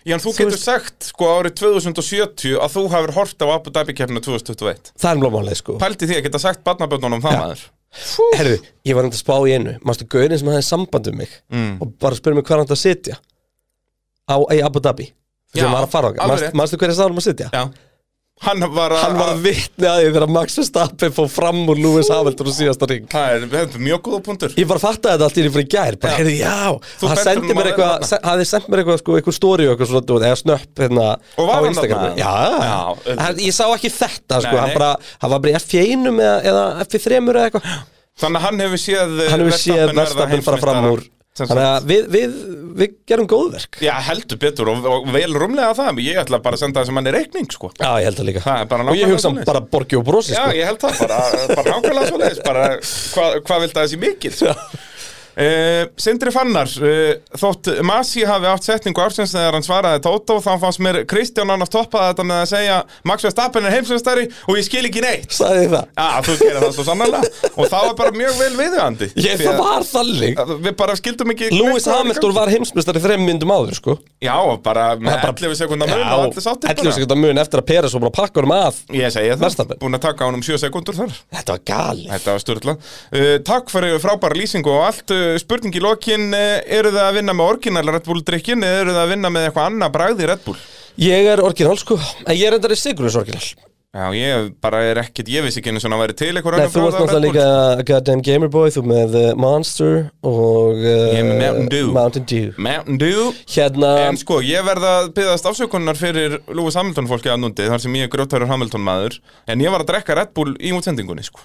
Speaker 5: Já, en þú getur
Speaker 4: veist-
Speaker 5: sagt, sko, árið 2070 að þú hafur hort á Abu Dhabi keppinu 2021
Speaker 4: Það er mlómálið sko
Speaker 5: Pældi því að geta sagt barnaböndunum það maður
Speaker 4: Herðu, ég var um að spá í einu Mástu gauðin sem hafði samband um mig mm. Og bara spyrir mig hver hann átti að sitja Á, í Abu Dhabi
Speaker 5: Já,
Speaker 4: Sem var að fara
Speaker 5: alveg
Speaker 4: okkar,
Speaker 5: rétt.
Speaker 4: mástu hver er sáðum að sitja?
Speaker 5: Já Hann var að
Speaker 4: Hann var
Speaker 5: að-
Speaker 4: vitni að því þegar Max Verstappen fór fram úr Lewis Hamilton og síðasta ring
Speaker 5: Það er, þetta er mjög góða punktur
Speaker 4: Ég bara fattaði þetta allt í því fyrir í gær bara,
Speaker 5: Já.
Speaker 4: heyrðu, já,
Speaker 5: Þú
Speaker 4: hann
Speaker 5: bentir
Speaker 4: sendi
Speaker 5: honum
Speaker 4: mér
Speaker 5: á hérna.
Speaker 4: eitthvað
Speaker 5: þetta.
Speaker 4: se- hann hafði sendt mér eitthvað, sko, eitthvað story og eitthvað svona, dót, eða snöpp hérna
Speaker 5: Og var
Speaker 4: á
Speaker 5: hann
Speaker 4: Instagram
Speaker 5: þarna?
Speaker 4: Já,
Speaker 5: Já, auðvitað.
Speaker 4: hann, ég sá ekki þetta, sko,
Speaker 5: Nei,
Speaker 4: hann
Speaker 5: nei.
Speaker 4: bara hann var bara í F1-um eða, eða F3 eða eitthvað,
Speaker 5: Þannig að hann hefur séð
Speaker 4: hann hefur séð
Speaker 5: Eh, Verstappen verða
Speaker 4: verðstafinn fara fram
Speaker 5: heimsmeistara.
Speaker 4: úr
Speaker 5: Sem
Speaker 4: þannig
Speaker 5: sagt.
Speaker 4: að við, við, við gerum góðverk Já,
Speaker 5: Já, heldur betur og, og vel rúmlega það Ég ætla bara að senda það sem hann er reikning, sko
Speaker 4: ég held það líka
Speaker 5: Það er bara
Speaker 4: og ég
Speaker 5: nákvæmlega
Speaker 4: hugsa hann
Speaker 5: svoleiðis.
Speaker 4: bara borgi og brosi,
Speaker 5: Já,
Speaker 4: sko
Speaker 5: ég held það, bara, bara nákvæmlega svoleiðis bara hvað hva vilt að þessi mikið uh, Sindri Fannar uh, þótt Masi hafi átt setningu ársins þegar hann svaraði Tótó þá fannst mér Kristján annars toppaði þetta með að segja Max Verstappen er heimsveistari og ég skil ekki neitt
Speaker 4: sagði ég það
Speaker 5: Já, þú gerir það svo sannarlega og það var bara mjög vel viðjöndi
Speaker 4: Ég, það var þannig
Speaker 5: Við bara skildum ekki
Speaker 4: Lewis
Speaker 5: hvað í
Speaker 4: Hamilton
Speaker 5: gangi.
Speaker 4: var heimsmyndstari þrem myndum áður, sko
Speaker 5: Já, bara með
Speaker 4: Það bara-
Speaker 5: 11 sekundar mun
Speaker 4: Já,
Speaker 5: og allir sáttir
Speaker 4: 11 sekundar mun eftir að Peres og bara pakka honum að
Speaker 5: Ég segi það,
Speaker 4: Verstappen.
Speaker 5: búin að taka honum 7 sekundur þar
Speaker 4: Þetta var galið
Speaker 5: Þetta var störtla uh, Takk fyrir frábæra lýsingu og allt uh, Spurning í lokin, uh, eru það að vinna með orginal Red Bull drikkin eða eru það að vinna með eitthvað annað bragð í Red Bull?
Speaker 4: Ég er orginál sko, en ég er endari Sigurðs orginál
Speaker 5: Já, ég bara er ekkit, ég vissi ekki einu svona væri til eitthvað
Speaker 4: Nei, þú ert náttúrulega líka goddamn gamer boy, þú með uh, Monster og uh,
Speaker 5: Ég er með Mountain Dew.
Speaker 4: Mountain Dew.
Speaker 5: Mountain Dew
Speaker 4: Hérna,
Speaker 5: En sko, ég verð að byggðast afsökunar fyrir Lewis Hamilton fólki að núndi þar sem ég er grjóttarur Hamilton maður en ég var að drekka Red Bull í útsendingunni sko.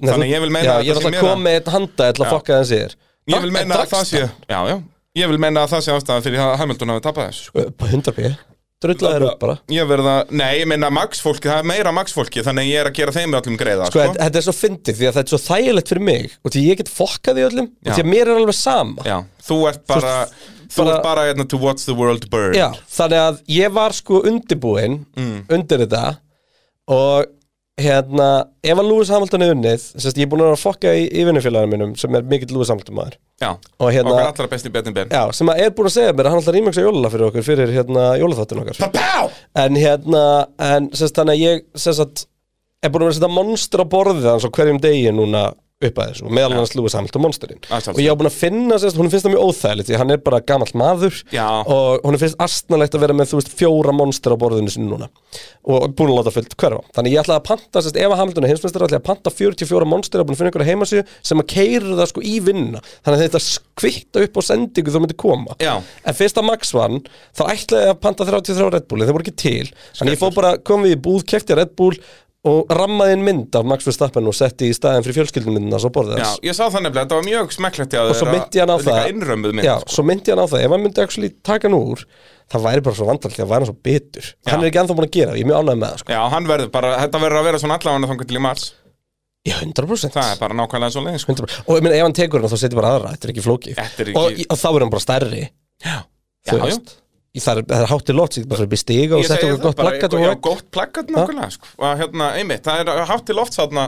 Speaker 4: nei,
Speaker 5: þannig ég vil meina
Speaker 4: já,
Speaker 5: að
Speaker 4: Ég
Speaker 5: það
Speaker 4: er alltaf
Speaker 5: sé
Speaker 4: að
Speaker 5: meira-
Speaker 4: koma með einn handa til að fokka þessi þér
Speaker 5: Ég vil meina að
Speaker 4: sko.
Speaker 5: það sé Já, já, ég vil meina að það sé ástæðan fyrir að Hamilton hafi tapað þessu sko.
Speaker 4: Hundar pí, drullar þér upp bara
Speaker 5: Ég verða, nei, ég meina Max fólki, það er meira Max fólki Þannig að ég er að gera þeim öllum greiða
Speaker 4: Sko, þetta þetta er svo fyndið því að þetta er svo þægilegt fyrir mig og því ég get fokkað í öllum og
Speaker 5: Já.
Speaker 4: því að mér er alveg sama
Speaker 5: Já, þú ert bara Þú
Speaker 4: bara-
Speaker 5: ert bara hérna to watch the world burn
Speaker 4: Já, þannig að ég var sko undirbúinn
Speaker 5: Mm.
Speaker 4: undir þetta og hérna, ef að Lewis Hamilton er unnið, sérst, ég er búinn að vera að fokka í, í vinnufélaginu mínum sem er mikill Lewis Hamilton maður
Speaker 5: já.
Speaker 4: Og hérna-
Speaker 5: Okkar allra besti betin ben
Speaker 4: Já, sem að er búinn að segja mér að hann alltaf rýmjöks að jólala fyrir okkur fyrir hérna jólaþáttin okkar
Speaker 5: Pá!
Speaker 4: En hérna, en sérst, þannig að ég sérst að er búinn að vera að setja monster á borðið hans á hverjum degi núna upp að þessu, og meðal hans Lewis Hamilton monsterinn
Speaker 5: Að sjálfsögðu.
Speaker 4: og ég á búin að finna, sérst, hún finnst það mjög óþægilegt því hann er bara gamall maður
Speaker 5: Já.
Speaker 4: og hún finnst astnalegt að vera með, þú veist, fjóra monster á borðinu sinni núna og búin að láta fullt hverfa þannig ég ætlaði að panta, sérst, ef að Hamilton er heimsmestari ætlaði að panta 44 monster og búin að finna einhverja heimasíðu sem að keira það sko í vinna þannig að þetta skvitta upp á sendingu þú myndi koma
Speaker 5: Já.
Speaker 4: en fyrst að Max vann þá ætlaði ég að panta 33 Red Bulli, þeir voru ekki til þannig ég fór bara, kom við í búð, kefti Red Bull og rammaði inn mynd af Max Verstappen og setti í staðin fyrir fjölskyldumyndina svo borðið
Speaker 5: Já,
Speaker 4: hans
Speaker 5: ég sá það nefnilega, þetta var mjög smekklegt Og
Speaker 4: og svo myndi hann á það
Speaker 5: innrömmuð mynd sko.
Speaker 4: já, svo myndi hann á það, ef hann myndi actually taka hann úr það væri bara svo vandrætt því að væri hann svo bitur hann er ekki anþá búin að gera, það, ég er mjög ánægð með það sko.
Speaker 5: Já, hann verður bara, þetta verður að vera svona allavega þangar til í mars
Speaker 4: já, 100%,
Speaker 5: Það er bara nákvæmlega svo leiðin sko.
Speaker 4: 100%. og ég meina, ef hann tekur hann þá setjum bara aðra, þetta er ekki flókið
Speaker 5: Þetta er
Speaker 4: og,
Speaker 5: ekki,
Speaker 4: og þá er hann bara stærri
Speaker 5: já,
Speaker 4: þú
Speaker 5: já.
Speaker 4: veist, það er, það er hátti lót það er bara upp í stiga og
Speaker 5: Ég
Speaker 4: setja
Speaker 5: segi
Speaker 4: okkur
Speaker 5: það
Speaker 4: gott
Speaker 5: bara,
Speaker 4: plakkat og
Speaker 5: já,
Speaker 4: vegg.
Speaker 5: gott plakkat nákvæmlega sko. og hérna, einmitt, það er hátt til oft þarna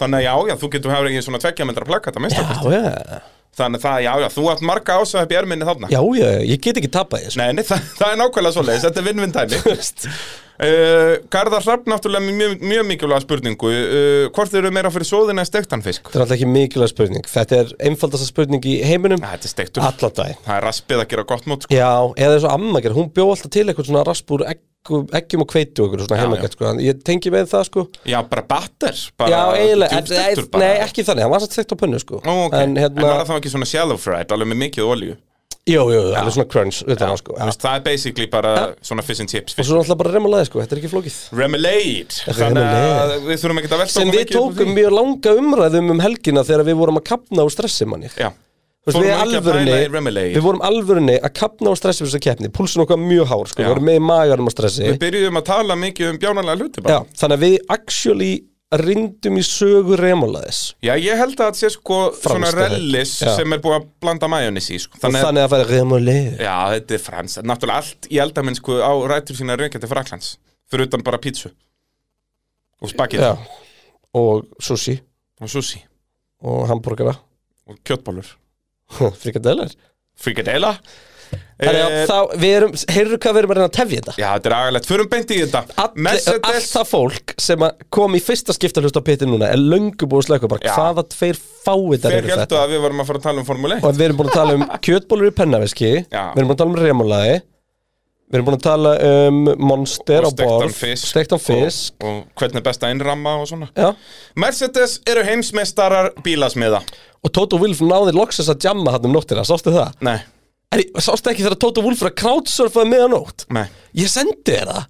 Speaker 5: þannig að já, já, þú getur hefur ekki svona tveggja meldra plakkat að minnsta kosti.
Speaker 4: já, já,
Speaker 5: þannig að það, já, já, þú átt marga ásað upp í erminni þarna
Speaker 4: já, já, ég get ekki tapað því sko.
Speaker 5: nei, nei, það, það er nákvæmlega svo leiðis, þetta er vinn-vinn dæmi
Speaker 4: Þú veist.
Speaker 5: uh, Garðar Hrapp náttúrulega með mjög, mjög mikilvæga spurningu uh, hvort eru meira fyrir sóðina en stektan fisk?
Speaker 4: þetta er alltaf ekki mikilvæg spurning þetta er einfaldasta spurning í heiminum
Speaker 5: Æ, þetta er stektur,
Speaker 4: allan dag
Speaker 5: það er raspið að gera gott mót sko.
Speaker 4: Já, eða eins og amma gerir, hún bjó alltaf til eitthvað svona rasp úr eggu- eggjum og kveitu og eitthvað svona
Speaker 5: Já,
Speaker 4: heimagætt, sko, en ég tengi með það, sko
Speaker 5: já, bara batter bara
Speaker 4: Já, eiginlega, en,
Speaker 5: djúpsteiktur
Speaker 4: nei, nei, ekki þannig, hann var satt steikt á pönnu, sko
Speaker 5: Ó, ok.
Speaker 4: En
Speaker 5: En var
Speaker 4: hérna,
Speaker 5: það þá ekki svona shallow fried, alveg með mikið olíu?
Speaker 4: Jú, jú, það er svona crunch utan á sko
Speaker 5: Þú
Speaker 4: Já.
Speaker 5: veist, það er basically bara svona fish and chips
Speaker 4: Og svo er alltaf bara remulaði sko, þetta er ekki flókið
Speaker 5: Remelade Þannig að
Speaker 4: Remoulade.
Speaker 5: við þurfum ekki að velta
Speaker 4: Sem
Speaker 5: okkur
Speaker 4: við
Speaker 5: mikið upp úr
Speaker 4: tókum
Speaker 5: því.
Speaker 4: mjög langa umræðum um helgina þegar við vorum að kapna á stressi manni Þú
Speaker 5: Já
Speaker 4: veist,
Speaker 5: Fórum
Speaker 4: við,
Speaker 5: ekki að
Speaker 4: alvörunni,
Speaker 5: pæla í remoulade.
Speaker 4: við vorum alvörunni að kapna á stressi fyrir þessa keppni, púlsun okkar mjög hár sko,
Speaker 5: Já.
Speaker 4: við vorum með í maganum á stressi
Speaker 5: Við byrjuðum að tala mikið um bjánarlega hluti bara
Speaker 4: Já, þannig að við actually rindum í sögu remulaðis
Speaker 5: Já, ég held að það sé sko svona
Speaker 4: Franskt, er það?
Speaker 5: rellis
Speaker 4: Já.
Speaker 5: sem er búið að blanda majónis í sko.
Speaker 4: og
Speaker 5: Þannig að,
Speaker 4: þannig að færa remulaði
Speaker 5: já, þetta er frans Náttúrulega allt í eldamennsku á rætur sína raukjandi fraklands Fyrir utan bara pítsu Og spagetti
Speaker 4: Já, og sushi
Speaker 5: og sushi
Speaker 4: og hambúrgara
Speaker 5: og kjötbólur
Speaker 4: frikadelar
Speaker 5: Frikadela
Speaker 4: Þannig að
Speaker 5: Eh,
Speaker 4: þá, við erum, heyrðu hvað við erum að reyna að tefja þetta
Speaker 5: Já, þetta er agalegt, förum beint í þetta
Speaker 4: Alli,
Speaker 5: Mercedes-
Speaker 4: Allt það fólk sem að kom í fyrsta skipta hlust á pittin núna er löngu búið að slökka bara
Speaker 5: Já.
Speaker 4: hvaða tveir fáiðar
Speaker 5: Þeir
Speaker 4: eru
Speaker 5: heldur
Speaker 4: þetta
Speaker 5: að við varum að fara að tala um Formule 1
Speaker 4: og við erum búin að tala um kjötbólur í pennaveski við
Speaker 5: Já.
Speaker 4: erum búin að tala um remulagi við erum búin að tala um monster á
Speaker 5: Og steiktan
Speaker 4: borð
Speaker 5: fisk.
Speaker 4: steiktan fisk
Speaker 5: og, og hvernig er best að innramma og svona
Speaker 4: Já.
Speaker 5: Mercedes eru heimsmeistarar bílasmiða
Speaker 4: og Toto Wolff náði loksins að jamma hann um nóttina, sástu það?
Speaker 5: Nei,
Speaker 4: Er, sástu ekki þegar Toto Wolff er að crowdsurfaði meðanótt?
Speaker 5: nei
Speaker 4: Ég sendi þér það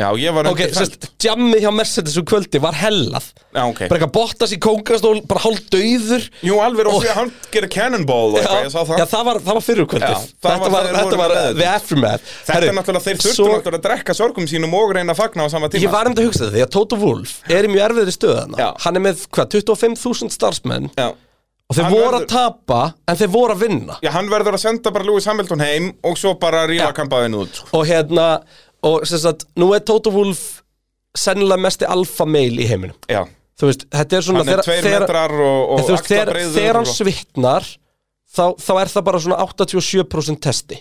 Speaker 5: Já, ég var
Speaker 4: Ok,
Speaker 5: undir
Speaker 4: sérst, jammið hjá Mercedes um kvöldi var hellað
Speaker 5: Já, ok.
Speaker 4: Bara eitthvað bóttast í kóngastól, bara hálf dauður
Speaker 5: Jú, alveg, og
Speaker 4: Og-
Speaker 5: fyrir hann gerir cannonball og
Speaker 4: Já,
Speaker 5: eitthvað, ég sá það.
Speaker 4: já, það var, það var fyrir um kvöldið
Speaker 5: Já, það
Speaker 4: Þetta
Speaker 5: var
Speaker 4: var,
Speaker 5: þegar
Speaker 4: þetta
Speaker 5: voru
Speaker 4: var
Speaker 5: með þetta.
Speaker 4: the aftermath
Speaker 5: Þetta er náttúrulega, þeir þurftu náttúrulega að drekka sorgum sínum og reyna að fagna á sama tíma.
Speaker 4: Ég var um að hugsa þetta, því að Toto Wolff er í mjög erfiðri stöðana
Speaker 5: Já.
Speaker 4: Hann er með, hvað, 25.000 starfsmenn
Speaker 5: Já.
Speaker 4: Og þeir
Speaker 5: Hann
Speaker 4: voru
Speaker 5: verður-
Speaker 4: að tapa, en þeir voru að vinna
Speaker 5: Já, hann verður að senda bara Lewis Hamilton heim og svo bara ríla
Speaker 4: Já.
Speaker 5: kampaðin út. sko.
Speaker 4: Og hérna, og sem sagt, nú er Toto Wolff sennilega mesti alfa meil í heiminum
Speaker 5: Já.
Speaker 4: Þú veist, þetta er svona
Speaker 5: Hann er tveir metrar
Speaker 4: En
Speaker 5: og, og
Speaker 4: þú veist, þegar, þegar hann
Speaker 5: og...
Speaker 4: svitnar þá, þá er það bara svona 87% testi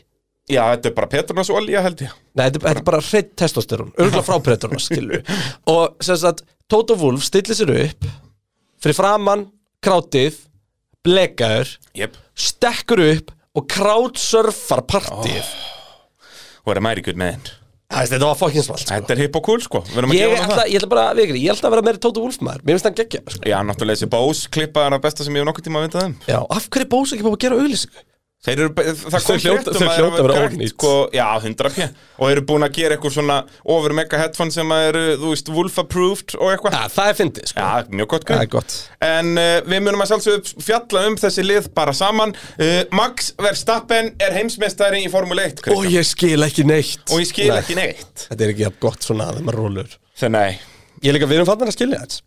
Speaker 5: Já, þetta er bara Petronas olja held ég.
Speaker 4: Nei, þetta, þetta er bara hreitt testosterón örgulega frábreyturna, skilu og sem sagt, Toto Wolf stillir sér upp fyrir framann krátið, blekaður
Speaker 5: Jep.
Speaker 4: stekkur upp og crowdsurfar partíð
Speaker 5: Og er að mæri gutt með henn.
Speaker 4: oh. þetta var fokkinsvalt sko.
Speaker 5: Þetta er hipp og cool, sko. Við erum að
Speaker 4: ég,
Speaker 5: gefa hann
Speaker 4: ætla,
Speaker 5: það.
Speaker 4: ég ætla bara að vikri, ég ætla að vera meiri Toto Wolf maður mér finnst hann geggja sko.
Speaker 5: Já, náttúrulega þessi bós klippaðar að besta sem ég hef nokkuð tíma að vita þeim.
Speaker 4: Já, af hverju bósa ekki búið að gera auglýsingu?
Speaker 5: Þeir eru, be- það kom
Speaker 4: Þau hljóta-
Speaker 5: frétt um
Speaker 4: þau
Speaker 5: að
Speaker 4: hljóta að vera
Speaker 5: grænt,
Speaker 4: ónýt.
Speaker 5: sko, Já, 100 pjö Og eru búin að gera eitthvað svona over mega headphone sem að eru, þú veist, wolf approved og eitthvað
Speaker 4: Ja, það er fyndið, sko
Speaker 5: Já, mjög gott
Speaker 4: Það
Speaker 5: grín
Speaker 4: er gott
Speaker 5: En uh, við munum að sjálfsögðu fjalla um þessi lið bara saman uh, Max Verstappen er heimsmeistari í Formule 1
Speaker 4: Og ég skil ekki neitt
Speaker 5: og ég skil
Speaker 4: Nei.
Speaker 5: ekki neitt
Speaker 4: Þetta er ekki jafn gott svona að maður rólur
Speaker 5: Þegar nei,
Speaker 4: Ég er líka við erum fannir að skilja þetta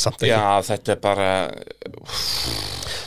Speaker 4: Samt ekki
Speaker 5: já þetta er bara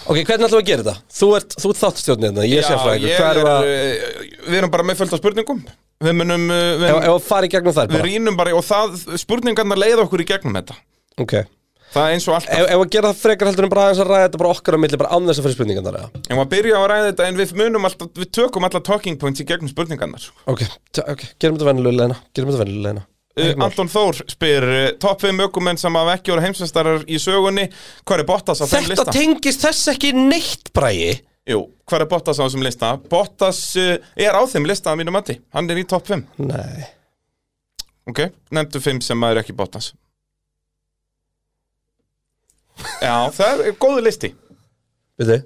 Speaker 4: Ok, hvernig ætlum við að gera þetta? Þú ert, þú ert þáttstjórnir þetta, ég
Speaker 5: Já,
Speaker 4: sé fræður
Speaker 5: ég
Speaker 4: Hver
Speaker 5: er,
Speaker 4: er að,
Speaker 5: uh, Við erum bara með fullt af spurningum Við munum, uh, við,
Speaker 4: ef ef að fara í gegnum þær
Speaker 5: við
Speaker 4: bara
Speaker 5: rínum bara og það, spurningarnar leiða okkur í gegnum þetta
Speaker 4: Ok, ef,
Speaker 5: Það er eins og alltaf
Speaker 4: ef að gera það frekar heldur en bara aðeins að ræða þetta bara okkar á milli bara án þess að fyrir spurningan þar eða?
Speaker 5: En maður byrja á að ræða þetta en við munum alltaf, við tökum alltaf talking points í gegnum spurningarnar.
Speaker 4: Ok, t- ok, gerum þetta venjulega leina Gerum þetta venjulega leina
Speaker 5: Uh, Anton Þór spyr, uh, top 5 ökumenn sem hafa ekki voru heimsvestarar í sögunni, hvað er Bottas á þeim
Speaker 4: Þetta
Speaker 5: lista?
Speaker 4: tengist þess ekki neitt bræði
Speaker 5: Jú, hvað er Bottas á þessum lista? Bottas uh, er á þeim lista að mínu mati, hann er í top 5.
Speaker 4: Nei
Speaker 5: Ok, nefndu 5 sem maður ekki Bottas. Já, það er góðu listi.
Speaker 4: Við þau?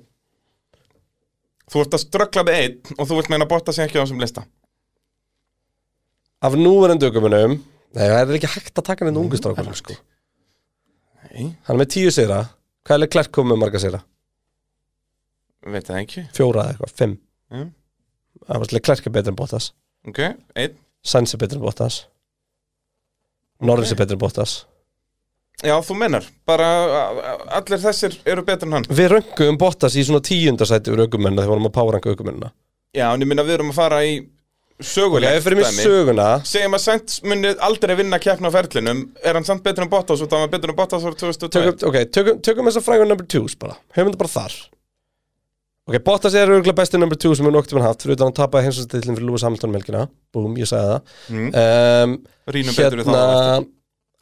Speaker 5: Þú ert að ströggla með einn og þú vilt meina Bottas er ekki á þessum lista.
Speaker 4: Af núverandi aukumunum Nei, það er ekki hægt að taka henni ungu strákunum sko
Speaker 5: Nei,
Speaker 4: Hann er með tíu sigra Hvað er Leclerc komið með marga sigra?
Speaker 5: veit það ekki.
Speaker 4: Fjóra eða eitthvað, fimm
Speaker 5: Já.
Speaker 4: Það var Leclerc er betur en Bottas
Speaker 5: Ok, einn.
Speaker 4: Sainz er betur en Bottas Norris er betur en Bottas
Speaker 5: Já, þú mennar, bara a- a- allir þessir eru betur en hann
Speaker 4: Við röngum Bottas í svona tíundasæti úr aukumennina þegar við vorum að páranga aukumennina
Speaker 5: Já, en ég minna við erum að fara í
Speaker 4: Já,
Speaker 5: sögulegt
Speaker 4: ef við fyrir mér
Speaker 5: dæmi.
Speaker 4: söguna
Speaker 5: Segjum að Sainz muni aldrei vinna keppna á ferlinum Er hann samt betur en Bottas og það var betur en Bottas ára 2002
Speaker 4: tökum, Ok, tökum, tökum þess að frægur number 2s bara Höfum þetta bara þar Ok, Bottas er örgulega besti number 2 sem við nokktum hann haft fyrir utan að hann tapaði hinsumstillin fyrir Lewis Hamilton melkina Búm, ég sagði það mm.
Speaker 5: Rýnum betur í
Speaker 4: Hérna
Speaker 5: það á eftir.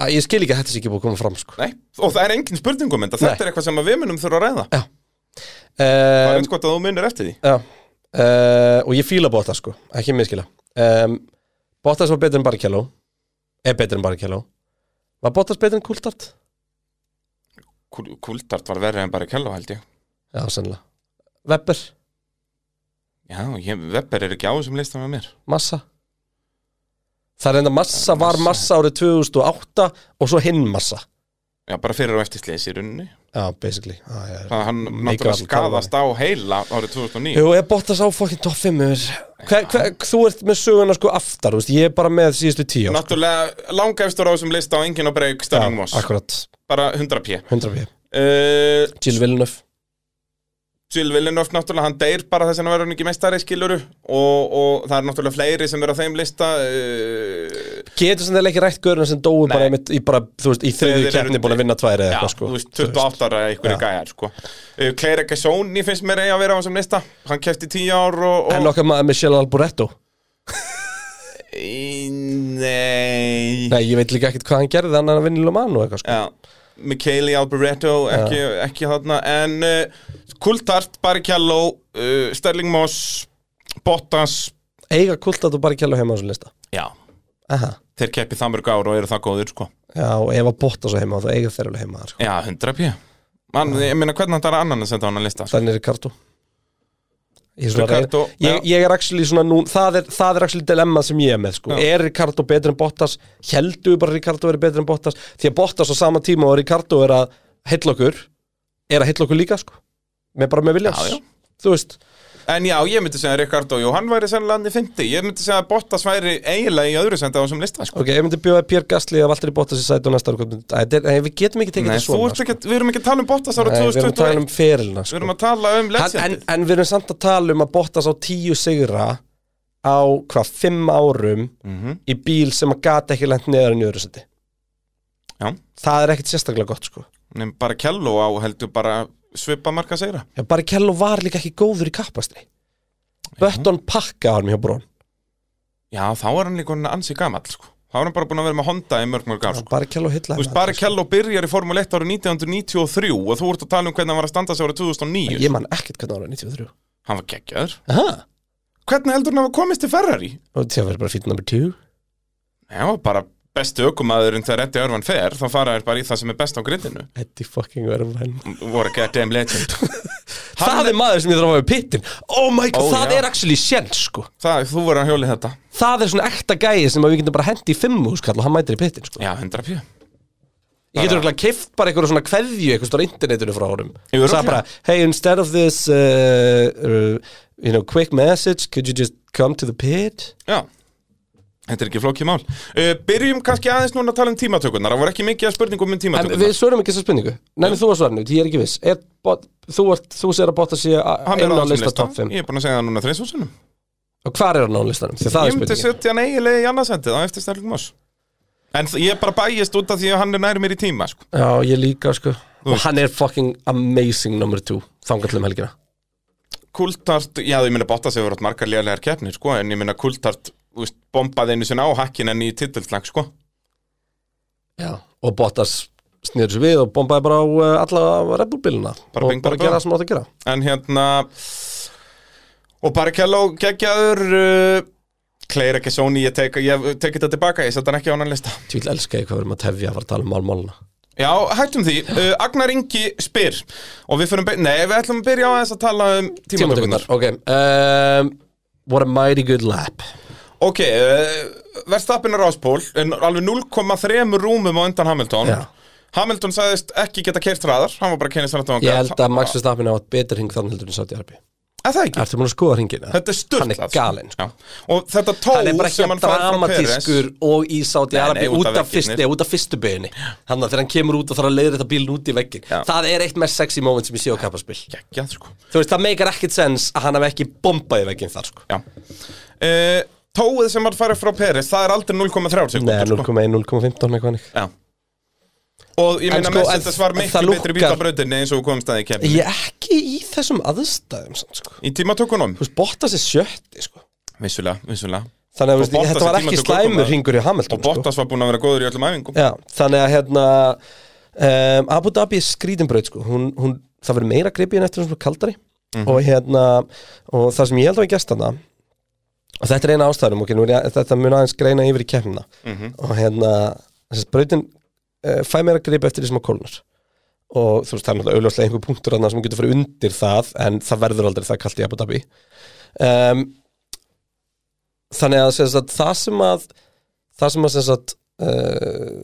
Speaker 4: að, Ég skil ekki að þetta sé ekki búið að koma fram sko.
Speaker 5: Nei, og það er engin spurningum mynda Þetta
Speaker 4: Nei.
Speaker 5: er eitthvað sem að við munum þurfa að ræða Það er
Speaker 4: um,
Speaker 5: eins gott að þú munir eftir því
Speaker 4: Já, uh, og ég fíla Bottas sko, ekki miskila um, Bottas var betur en Barrichello er betur en Barrichello Var Bottas betur en Kultart?
Speaker 5: Kúl- Kúldart var verri en bara Kello held ég
Speaker 4: Já, sennilega Webber,
Speaker 5: Já, ég, Webber er ekki á þessum listan með mér
Speaker 4: Massa Það er enda massa, var massa árið 2008 og svo hinn massa
Speaker 5: Já, bara fyrir og eftir slis í runni
Speaker 4: Já, basically ah, já, já.
Speaker 5: Það hann náttúrulega
Speaker 4: allan
Speaker 5: skadast á heila árið 2009
Speaker 4: Jú, ég bóttast á fokkin topp 5 yfir hver, hver, Þú ert með söguna sko aftar, þú veist, ég er bara með síðustu tíu ár, sko.
Speaker 5: Náttúrulega langæfstur á þessum lista á enginn á breyk Sterling Moss,
Speaker 4: Akkurat,
Speaker 5: bara 100 p
Speaker 4: 100 við
Speaker 5: uh,
Speaker 4: Jill Villeneuve
Speaker 5: Jill Villeneuve náttúrulega, hann deyr bara þess að verður hann ekki meistari skiluru og, og það er náttúrulega fleiri sem eru á þeim lista uh,
Speaker 4: Getur sem þeir ekki rætt göruna sem dóu bara,
Speaker 5: Nei.
Speaker 4: einmitt, í bara, þú veist, í þriðju
Speaker 5: Þeir eru
Speaker 4: keppni búin að vinna tværi eða
Speaker 5: Já,
Speaker 4: eitthvað, sko
Speaker 5: þú veist, 28 ára eða einhverju
Speaker 4: Já.
Speaker 5: gæjar sko. uh, Claire Gassoni finnst mér eiga að vera á þessum lista Hann kefti 10 ár Mm. og,
Speaker 4: En
Speaker 5: og...
Speaker 4: okkar maður Michelle Alboreto
Speaker 5: Í, Nei,
Speaker 4: Nei, ég veit líka ekkert hvað hann gerði, hann er að vinna í Loman og eitthvað, sko
Speaker 5: Já, Michele Alboreto ekki, ekki þarna En uh, Kultart, Barrichello uh, Sterling Moss Bottas
Speaker 4: Eiga kultat og bara kjælu heima á þessum lista
Speaker 5: Já,
Speaker 4: Aha.
Speaker 5: þeir keppi það mörg ár og eru það góðir sko.
Speaker 4: Já, og ef að bóttast á heima þá eiga þeir alveg heima þar, sko.
Speaker 5: Já, 100 pjö Man, ég meina hvernig þetta er annan að senda á hann að lista sko?
Speaker 4: Þannig er Ricardo Ég er, svona að
Speaker 5: Ricardo,
Speaker 4: reyna- ég, ég er actually svona nú, það er, það er actually dilemma sem ég er með sko.
Speaker 5: Já.
Speaker 4: Er Ricardo betri en Bottas? Heldur við bara að Ricardo verið betri en Bottas? Því að Bottas á sama tíma og Ricardo er að heilla okkur Er að heilla okkur líka sko með Bara með Viljans
Speaker 5: Já, já.
Speaker 4: Þú veist,
Speaker 5: En já, ég myndi segja Ricardo, jú, hann væri sennilega hann í fyndi Ég myndi segja að Bottas væri eiginlega í öðru senda á þessum lista sko.
Speaker 4: ok, ég myndi bjóða Pér Gastli að Valtteri Bottas í sæti og næsta ári, hvað myndi- Æ, þetta er- Nei, Við getum ekki tekið
Speaker 5: Nei,
Speaker 4: þetta
Speaker 5: þú
Speaker 4: svona sko.
Speaker 5: ert ekki, við erum ekki að tala um Bottas
Speaker 4: Nei,
Speaker 5: ára
Speaker 4: Við erum að tala
Speaker 5: 2021
Speaker 4: um ferilna
Speaker 5: Við
Speaker 4: sko.
Speaker 5: erum að tala um
Speaker 4: hann, en,
Speaker 5: legendið
Speaker 4: en við erum samt að tala um að Bottas á tíu sigra á hvað, fimm árum
Speaker 5: Mhm.
Speaker 4: í bíl sem að gata ekki lent neðar en jöður seti.
Speaker 5: Já,
Speaker 4: Það er ekkit sérstaklega gott sko.
Speaker 5: nefn bara Kello á heldur bara svipa marka segra
Speaker 4: Já, bara Kello var líka ekki góður í kappastri. Bötton pakka hann hjá Brón.
Speaker 5: Já, þá er hann líka hann ansi gamall sko. Þá er hann bara búin að vera með Honda í mörg mörg ár
Speaker 4: Já,
Speaker 5: sko.
Speaker 4: bara Kello hitla
Speaker 5: Þú veist, bara Kello byrjar í Formule 1 árið 1993 og þú ert að tala um hvernig hann var að standa sig árið 2009
Speaker 4: Ég man ekkit hvernig ára 93.
Speaker 5: Hann var geggjaður
Speaker 4: Aha.
Speaker 5: Hvernig heldur hann að komist til Ferrari?
Speaker 4: Og það verður bara fýtt nummer 2.
Speaker 5: Já, bara bestu ökumæðurinn þegar Eddi Örvan fer þá fara þér bara í það sem er best á grittinu
Speaker 4: Eddie fucking Irvine.
Speaker 5: voru ekki að damn legend
Speaker 4: Það er maður sem ég þarf að hafa í pittin. Oh my god,
Speaker 5: Ó,
Speaker 4: það
Speaker 5: já.
Speaker 4: er actually sjens sko.
Speaker 5: það, Þú voru að hjóli þetta
Speaker 4: Það er svona ekta gæi sem að við getum bara hendi í fimmu skall og hann mætir í pittin sko.
Speaker 5: Já, 100 pjö
Speaker 4: Ég getur okkur að keift bara einhverju svona kveðju einhvers stór internetinu frá honum
Speaker 5: Jú,
Speaker 4: Sá
Speaker 5: örugglega.
Speaker 4: bara, hey, instead of this uh, uh, you know, quick message could you just come to the pit?
Speaker 5: Já Þetta er ekki flókið mál uh, Byrjum kannski aðeins núna að tala um tímatökurnar Það voru ekki mikið að spurningum um
Speaker 4: En við
Speaker 5: tímatökurnar
Speaker 4: svörum ekki þessa spurningu Nei, þú var svarnið, ég er ekki viss er, bot, þú, ert, þú sér að botta sig
Speaker 5: Hann er
Speaker 4: einu á
Speaker 5: á þessum
Speaker 4: lista
Speaker 5: lista
Speaker 4: top 5
Speaker 5: Ég er búin að segja það núna þreisúsunum
Speaker 4: Og hvar er hann á listanum? Því það
Speaker 5: Ég
Speaker 4: er
Speaker 5: myndi
Speaker 4: spurningin
Speaker 5: setja hann eiginlega í annarsendið á eftir Sterling Moss En þ- ég er bara bæjist út af því að hann er nær mér í tíma sko.
Speaker 4: Já, ég líka, sko Og
Speaker 5: veist.
Speaker 4: hann er fucking amazing number 2 Þangallum um helgina
Speaker 5: Kultart, já ég myndi botta sig verið átt margar lélegar keppnir sko, En ég myndi Kultart þú veist, bombaði einu sinna á hakkin en í titilslag sko.
Speaker 4: Já, og Bottas snýður svo við og bombaði bara á uh, alla Red Bull bíluna
Speaker 5: Bara
Speaker 4: og
Speaker 5: bing, bara
Speaker 4: bara gera
Speaker 5: bang.
Speaker 4: það sem átt að gera
Speaker 5: En hérna Og Barrichello geggjaður uh, Kleir ekki Sony Ég tek- ég tekið þetta tilbaka, ég setja hann ekki á annan lista
Speaker 4: Ég vil elska ég hvað við erum að tefja að fara að tala um málmáluna
Speaker 5: Já, hættum því. Uh, Agnar Ingi spyr og við fyrir, nei, við ætlum að byrja á aðeins að tala um
Speaker 4: Tímatökurnar,
Speaker 5: tímatökunar.
Speaker 4: ok um, What a mighty good lap
Speaker 5: Ok, uh, Verstappen er áspól, en alveg 0,3 rúmum á undan Hamilton.
Speaker 4: Já.
Speaker 5: Hamilton sagðist ekki geta keirt ræðar, hann var bara að kynast ræðar
Speaker 4: Ég held að Max Verstappen á átt betur hring þannig heldur en sátt í Arbi
Speaker 5: Er það ekki?
Speaker 4: Ertu múin að skoða hringin?
Speaker 5: Þetta er sturt.
Speaker 4: Hann er galinn sko.
Speaker 5: Og þetta tó
Speaker 4: Hann er bara ekki
Speaker 5: sem hann
Speaker 4: að
Speaker 5: fær frá Peres.
Speaker 4: dramatískur og í sátt í
Speaker 5: Nei, nei,
Speaker 4: Arbi
Speaker 5: út
Speaker 4: út
Speaker 5: af
Speaker 4: af
Speaker 5: vegginir.
Speaker 4: fyrst- nei, út af fyrstu beginni Þannig að þegar hann kemur út og þarf að leiðra þetta bílun út í veggin
Speaker 5: Já.
Speaker 4: Það er eitt mest sexy moment sem ég sé á kappaspil
Speaker 5: Geggjað, sko.
Speaker 4: Þú veist, það meikar ekkit sens að hann hef ekki bombað í veggin þar sko.
Speaker 5: Já. Uh, tóið sem hann fær frá Peres, það er aldrei 0,3
Speaker 4: Nei,
Speaker 5: sekundur, sko.
Speaker 4: 0,1, 0,15 eitthvað hannig
Speaker 5: Já. Og ég
Speaker 4: En
Speaker 5: meina
Speaker 4: sko,
Speaker 5: sko,
Speaker 4: en-
Speaker 5: mest þetta svar
Speaker 4: en
Speaker 5: miklu
Speaker 4: það
Speaker 5: betri
Speaker 4: lúkkar-
Speaker 5: bílabrautinni eins og við komum staði í kemni.
Speaker 4: Ég er ekki í þessum aðstæðum samt, sko.
Speaker 5: Í tímatökunum?
Speaker 4: Þú veist, Bottas er sjötti sko.
Speaker 5: Vissulega, vissulega
Speaker 4: Þannig að
Speaker 5: Og
Speaker 4: veist,
Speaker 5: Bottas
Speaker 4: þetta var
Speaker 5: er
Speaker 4: ekki
Speaker 5: tímatökum
Speaker 4: slæmur
Speaker 5: maður.
Speaker 4: ringur í Hamilton
Speaker 5: Og Bottas var búinn að vera góður í öllum æfingum
Speaker 4: sko. Já, Þannig að hérna um, Abu Dhabi er skrítinbraut sko. hún, hún, Það verður meira gripi en eftir svona kaldari og, hérna, og það sem ég held að við gæst þarna og þetta er eina ástæðum okay, nú er ég, þetta mun aðeins greina yfir í keppnina og hérna þessi brautin uh, fæ meira gripi eftir því sem að kólnar og þú veist það er náttúrulega auðljóslega einhver punktur annað sem getur fyrir undir það en það verður aldrei það kalt í Abu Dhabi um, þannig að, sem sagt, það sem að það sem að sem sagt, uh,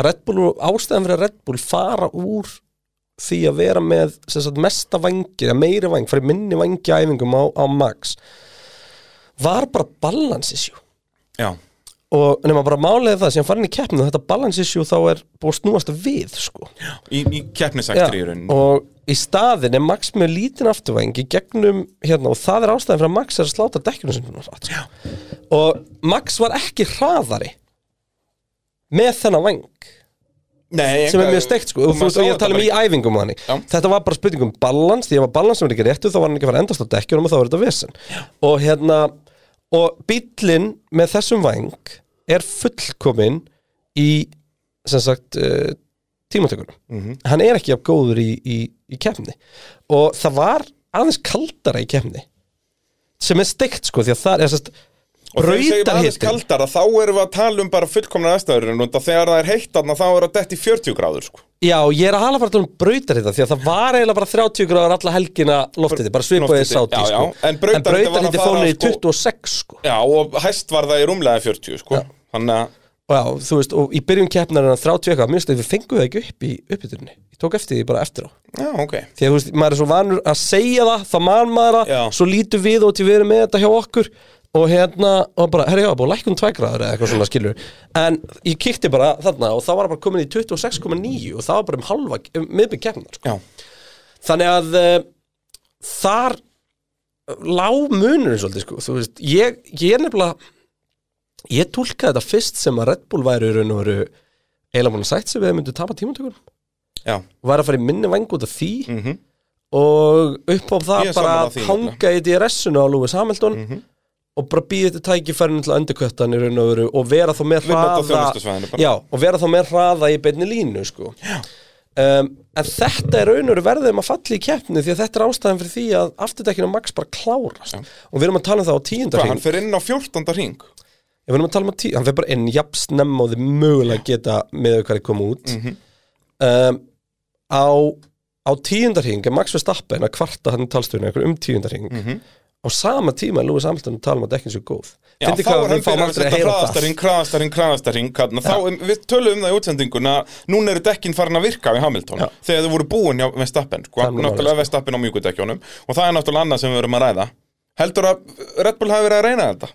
Speaker 4: Red Bull og ástæðan fyrir að Red Bull fara úr því að vera með sem sagt, mesta vangi eða meiri vang, fyrir minni vangi æfingum á, á Max var bara balance issue
Speaker 5: Já,
Speaker 4: og nema bara máliði það sem farin í keppnum þetta balance issue þá er búið að snúast við sko.
Speaker 5: í, í keppnisaktri í rauninni
Speaker 4: og í staðin er Max með lítinn afturvæng í gegnum hérna og það er ástæðan fyrir að Max er að sláta dekkjunum sinni rætt, sko. og Max var ekki hraðari með þennan væng
Speaker 5: Nei,
Speaker 4: sem er
Speaker 5: enga-
Speaker 4: mjög steikt sko og, þú
Speaker 5: maður
Speaker 4: veist,
Speaker 5: sá
Speaker 4: og ég
Speaker 5: þetta
Speaker 4: tala um
Speaker 5: bara
Speaker 4: í æfingum og þannig
Speaker 5: Já.
Speaker 4: þetta var bara spurning um balans því ef að balans var ekki réttu þá var hann ekki að fara að endast á dekkjunum og þá var þetta vesen og hérna og bíllinn með þessum væng er fullkomin í sem sagt uh, tímatökunum
Speaker 5: Mhm.
Speaker 4: hann er ekki að góður í, í, í keppni og það var aðeins kaldara í keppni sem er steikt sko því að það er sérst
Speaker 5: Og þegar ég segi bara aðeins
Speaker 4: brautarhitin
Speaker 5: kaldara, þá erum við að tala um bara fullkomna aðstæður en þegar það er heitt þarna, þá er það dett í 40 gráður sko.
Speaker 4: Já, ég er að hala bara að tala um brautarhita því að það var eiginlega bara 30 gráður alla helgina loftið, bara svipaðið
Speaker 5: Loftið,
Speaker 4: sáti
Speaker 5: já,
Speaker 4: sko.
Speaker 5: já, en brautarhiti var að
Speaker 4: brautarhiti
Speaker 5: fara,
Speaker 4: fór niður í
Speaker 5: sko.
Speaker 4: 26 sko.
Speaker 5: Já, og hæst var það í rúmlega 40 sko. Þannig að,
Speaker 4: og já, þú veist, og í byrjun keppnarinn 30 eitthvað, minnst að við fengum það ekki upp í uppbytunni ég tók eftir því bara eftir á
Speaker 5: já, ok
Speaker 4: því að þú veist, maður er svo vanur að segja það þá man maður
Speaker 5: Já.
Speaker 4: það, svo lítur við og til við erum með þetta hjá okkur og hérna, og bara, herri já, búið lækkun tvægraður eða eitthvað svona skilur, en ég kikti bara þarna og þá var það bara komin í 26,9 og það var bara um halva, um miðbygg keppnar sko.
Speaker 5: Já,
Speaker 4: þannig að uh, þar lág munurinn svolítið sko, þú veist, ég, ég er nefnilega ég tólkaði þetta fyrst sem að Red Bull væri í raun og veru eiginlega múin að sætt sem við myndum tapa tímatökunum
Speaker 5: já,
Speaker 4: var að fara í minni vang út af því og upp á það
Speaker 5: Mhm. Ég er
Speaker 4: bara
Speaker 5: sammála
Speaker 4: að
Speaker 5: því, Mhm.
Speaker 4: hanga í DRS-unu á Lewis Hamilton og bara býði þetta tækifærinu til að undirkvöttan í raun og veru og vera þá með
Speaker 5: Vinna þetta á
Speaker 4: hraða
Speaker 5: þjónustusvæðinu bara.
Speaker 4: já, og vera þá með hraða í beinni línu sko. um, en þetta er raun og veru verðið um að falla í keppni því að þetta er ástæðan fyrir því að afturdekkinu Max bara klárast og við erum að tala um það á
Speaker 5: hvað,
Speaker 4: tíundarhing
Speaker 5: hann fyrir inn á 14. ring
Speaker 4: Ég verðum að tala um að tí, hann fer bara inn jafn snemma og þið mögulega geta með þau hverju koma út
Speaker 5: Mhm.
Speaker 4: um, á, á tíundarhing er Max Verstappen að kvarta hann í talstöðinu einhver um tíundarhing
Speaker 5: Mhm.
Speaker 4: á sama tíma er Lewis Hamilton að tala um að dekkin séu góð
Speaker 5: Já,
Speaker 4: Fyndi
Speaker 5: þá
Speaker 4: hvað
Speaker 5: er hann
Speaker 4: við fáum
Speaker 5: fyrir að
Speaker 4: aldrei að
Speaker 5: setja
Speaker 4: heyra það
Speaker 5: hraðastarinn, hraðastarinn, hraðastarinn þarna. hérna. Þá, em, Við tölum um það í útsendinguna Núna eru dekkin farin að virka við Hamilton Þegar þau voru búin hjá Vestappen sko,
Speaker 4: Það er nú
Speaker 5: Náttúrulega Vestappen á mjúkudekkjónum Og það er náttúrulega annað sem við verum að ræða Heldur að Red Bull hafi verið að reyna þetta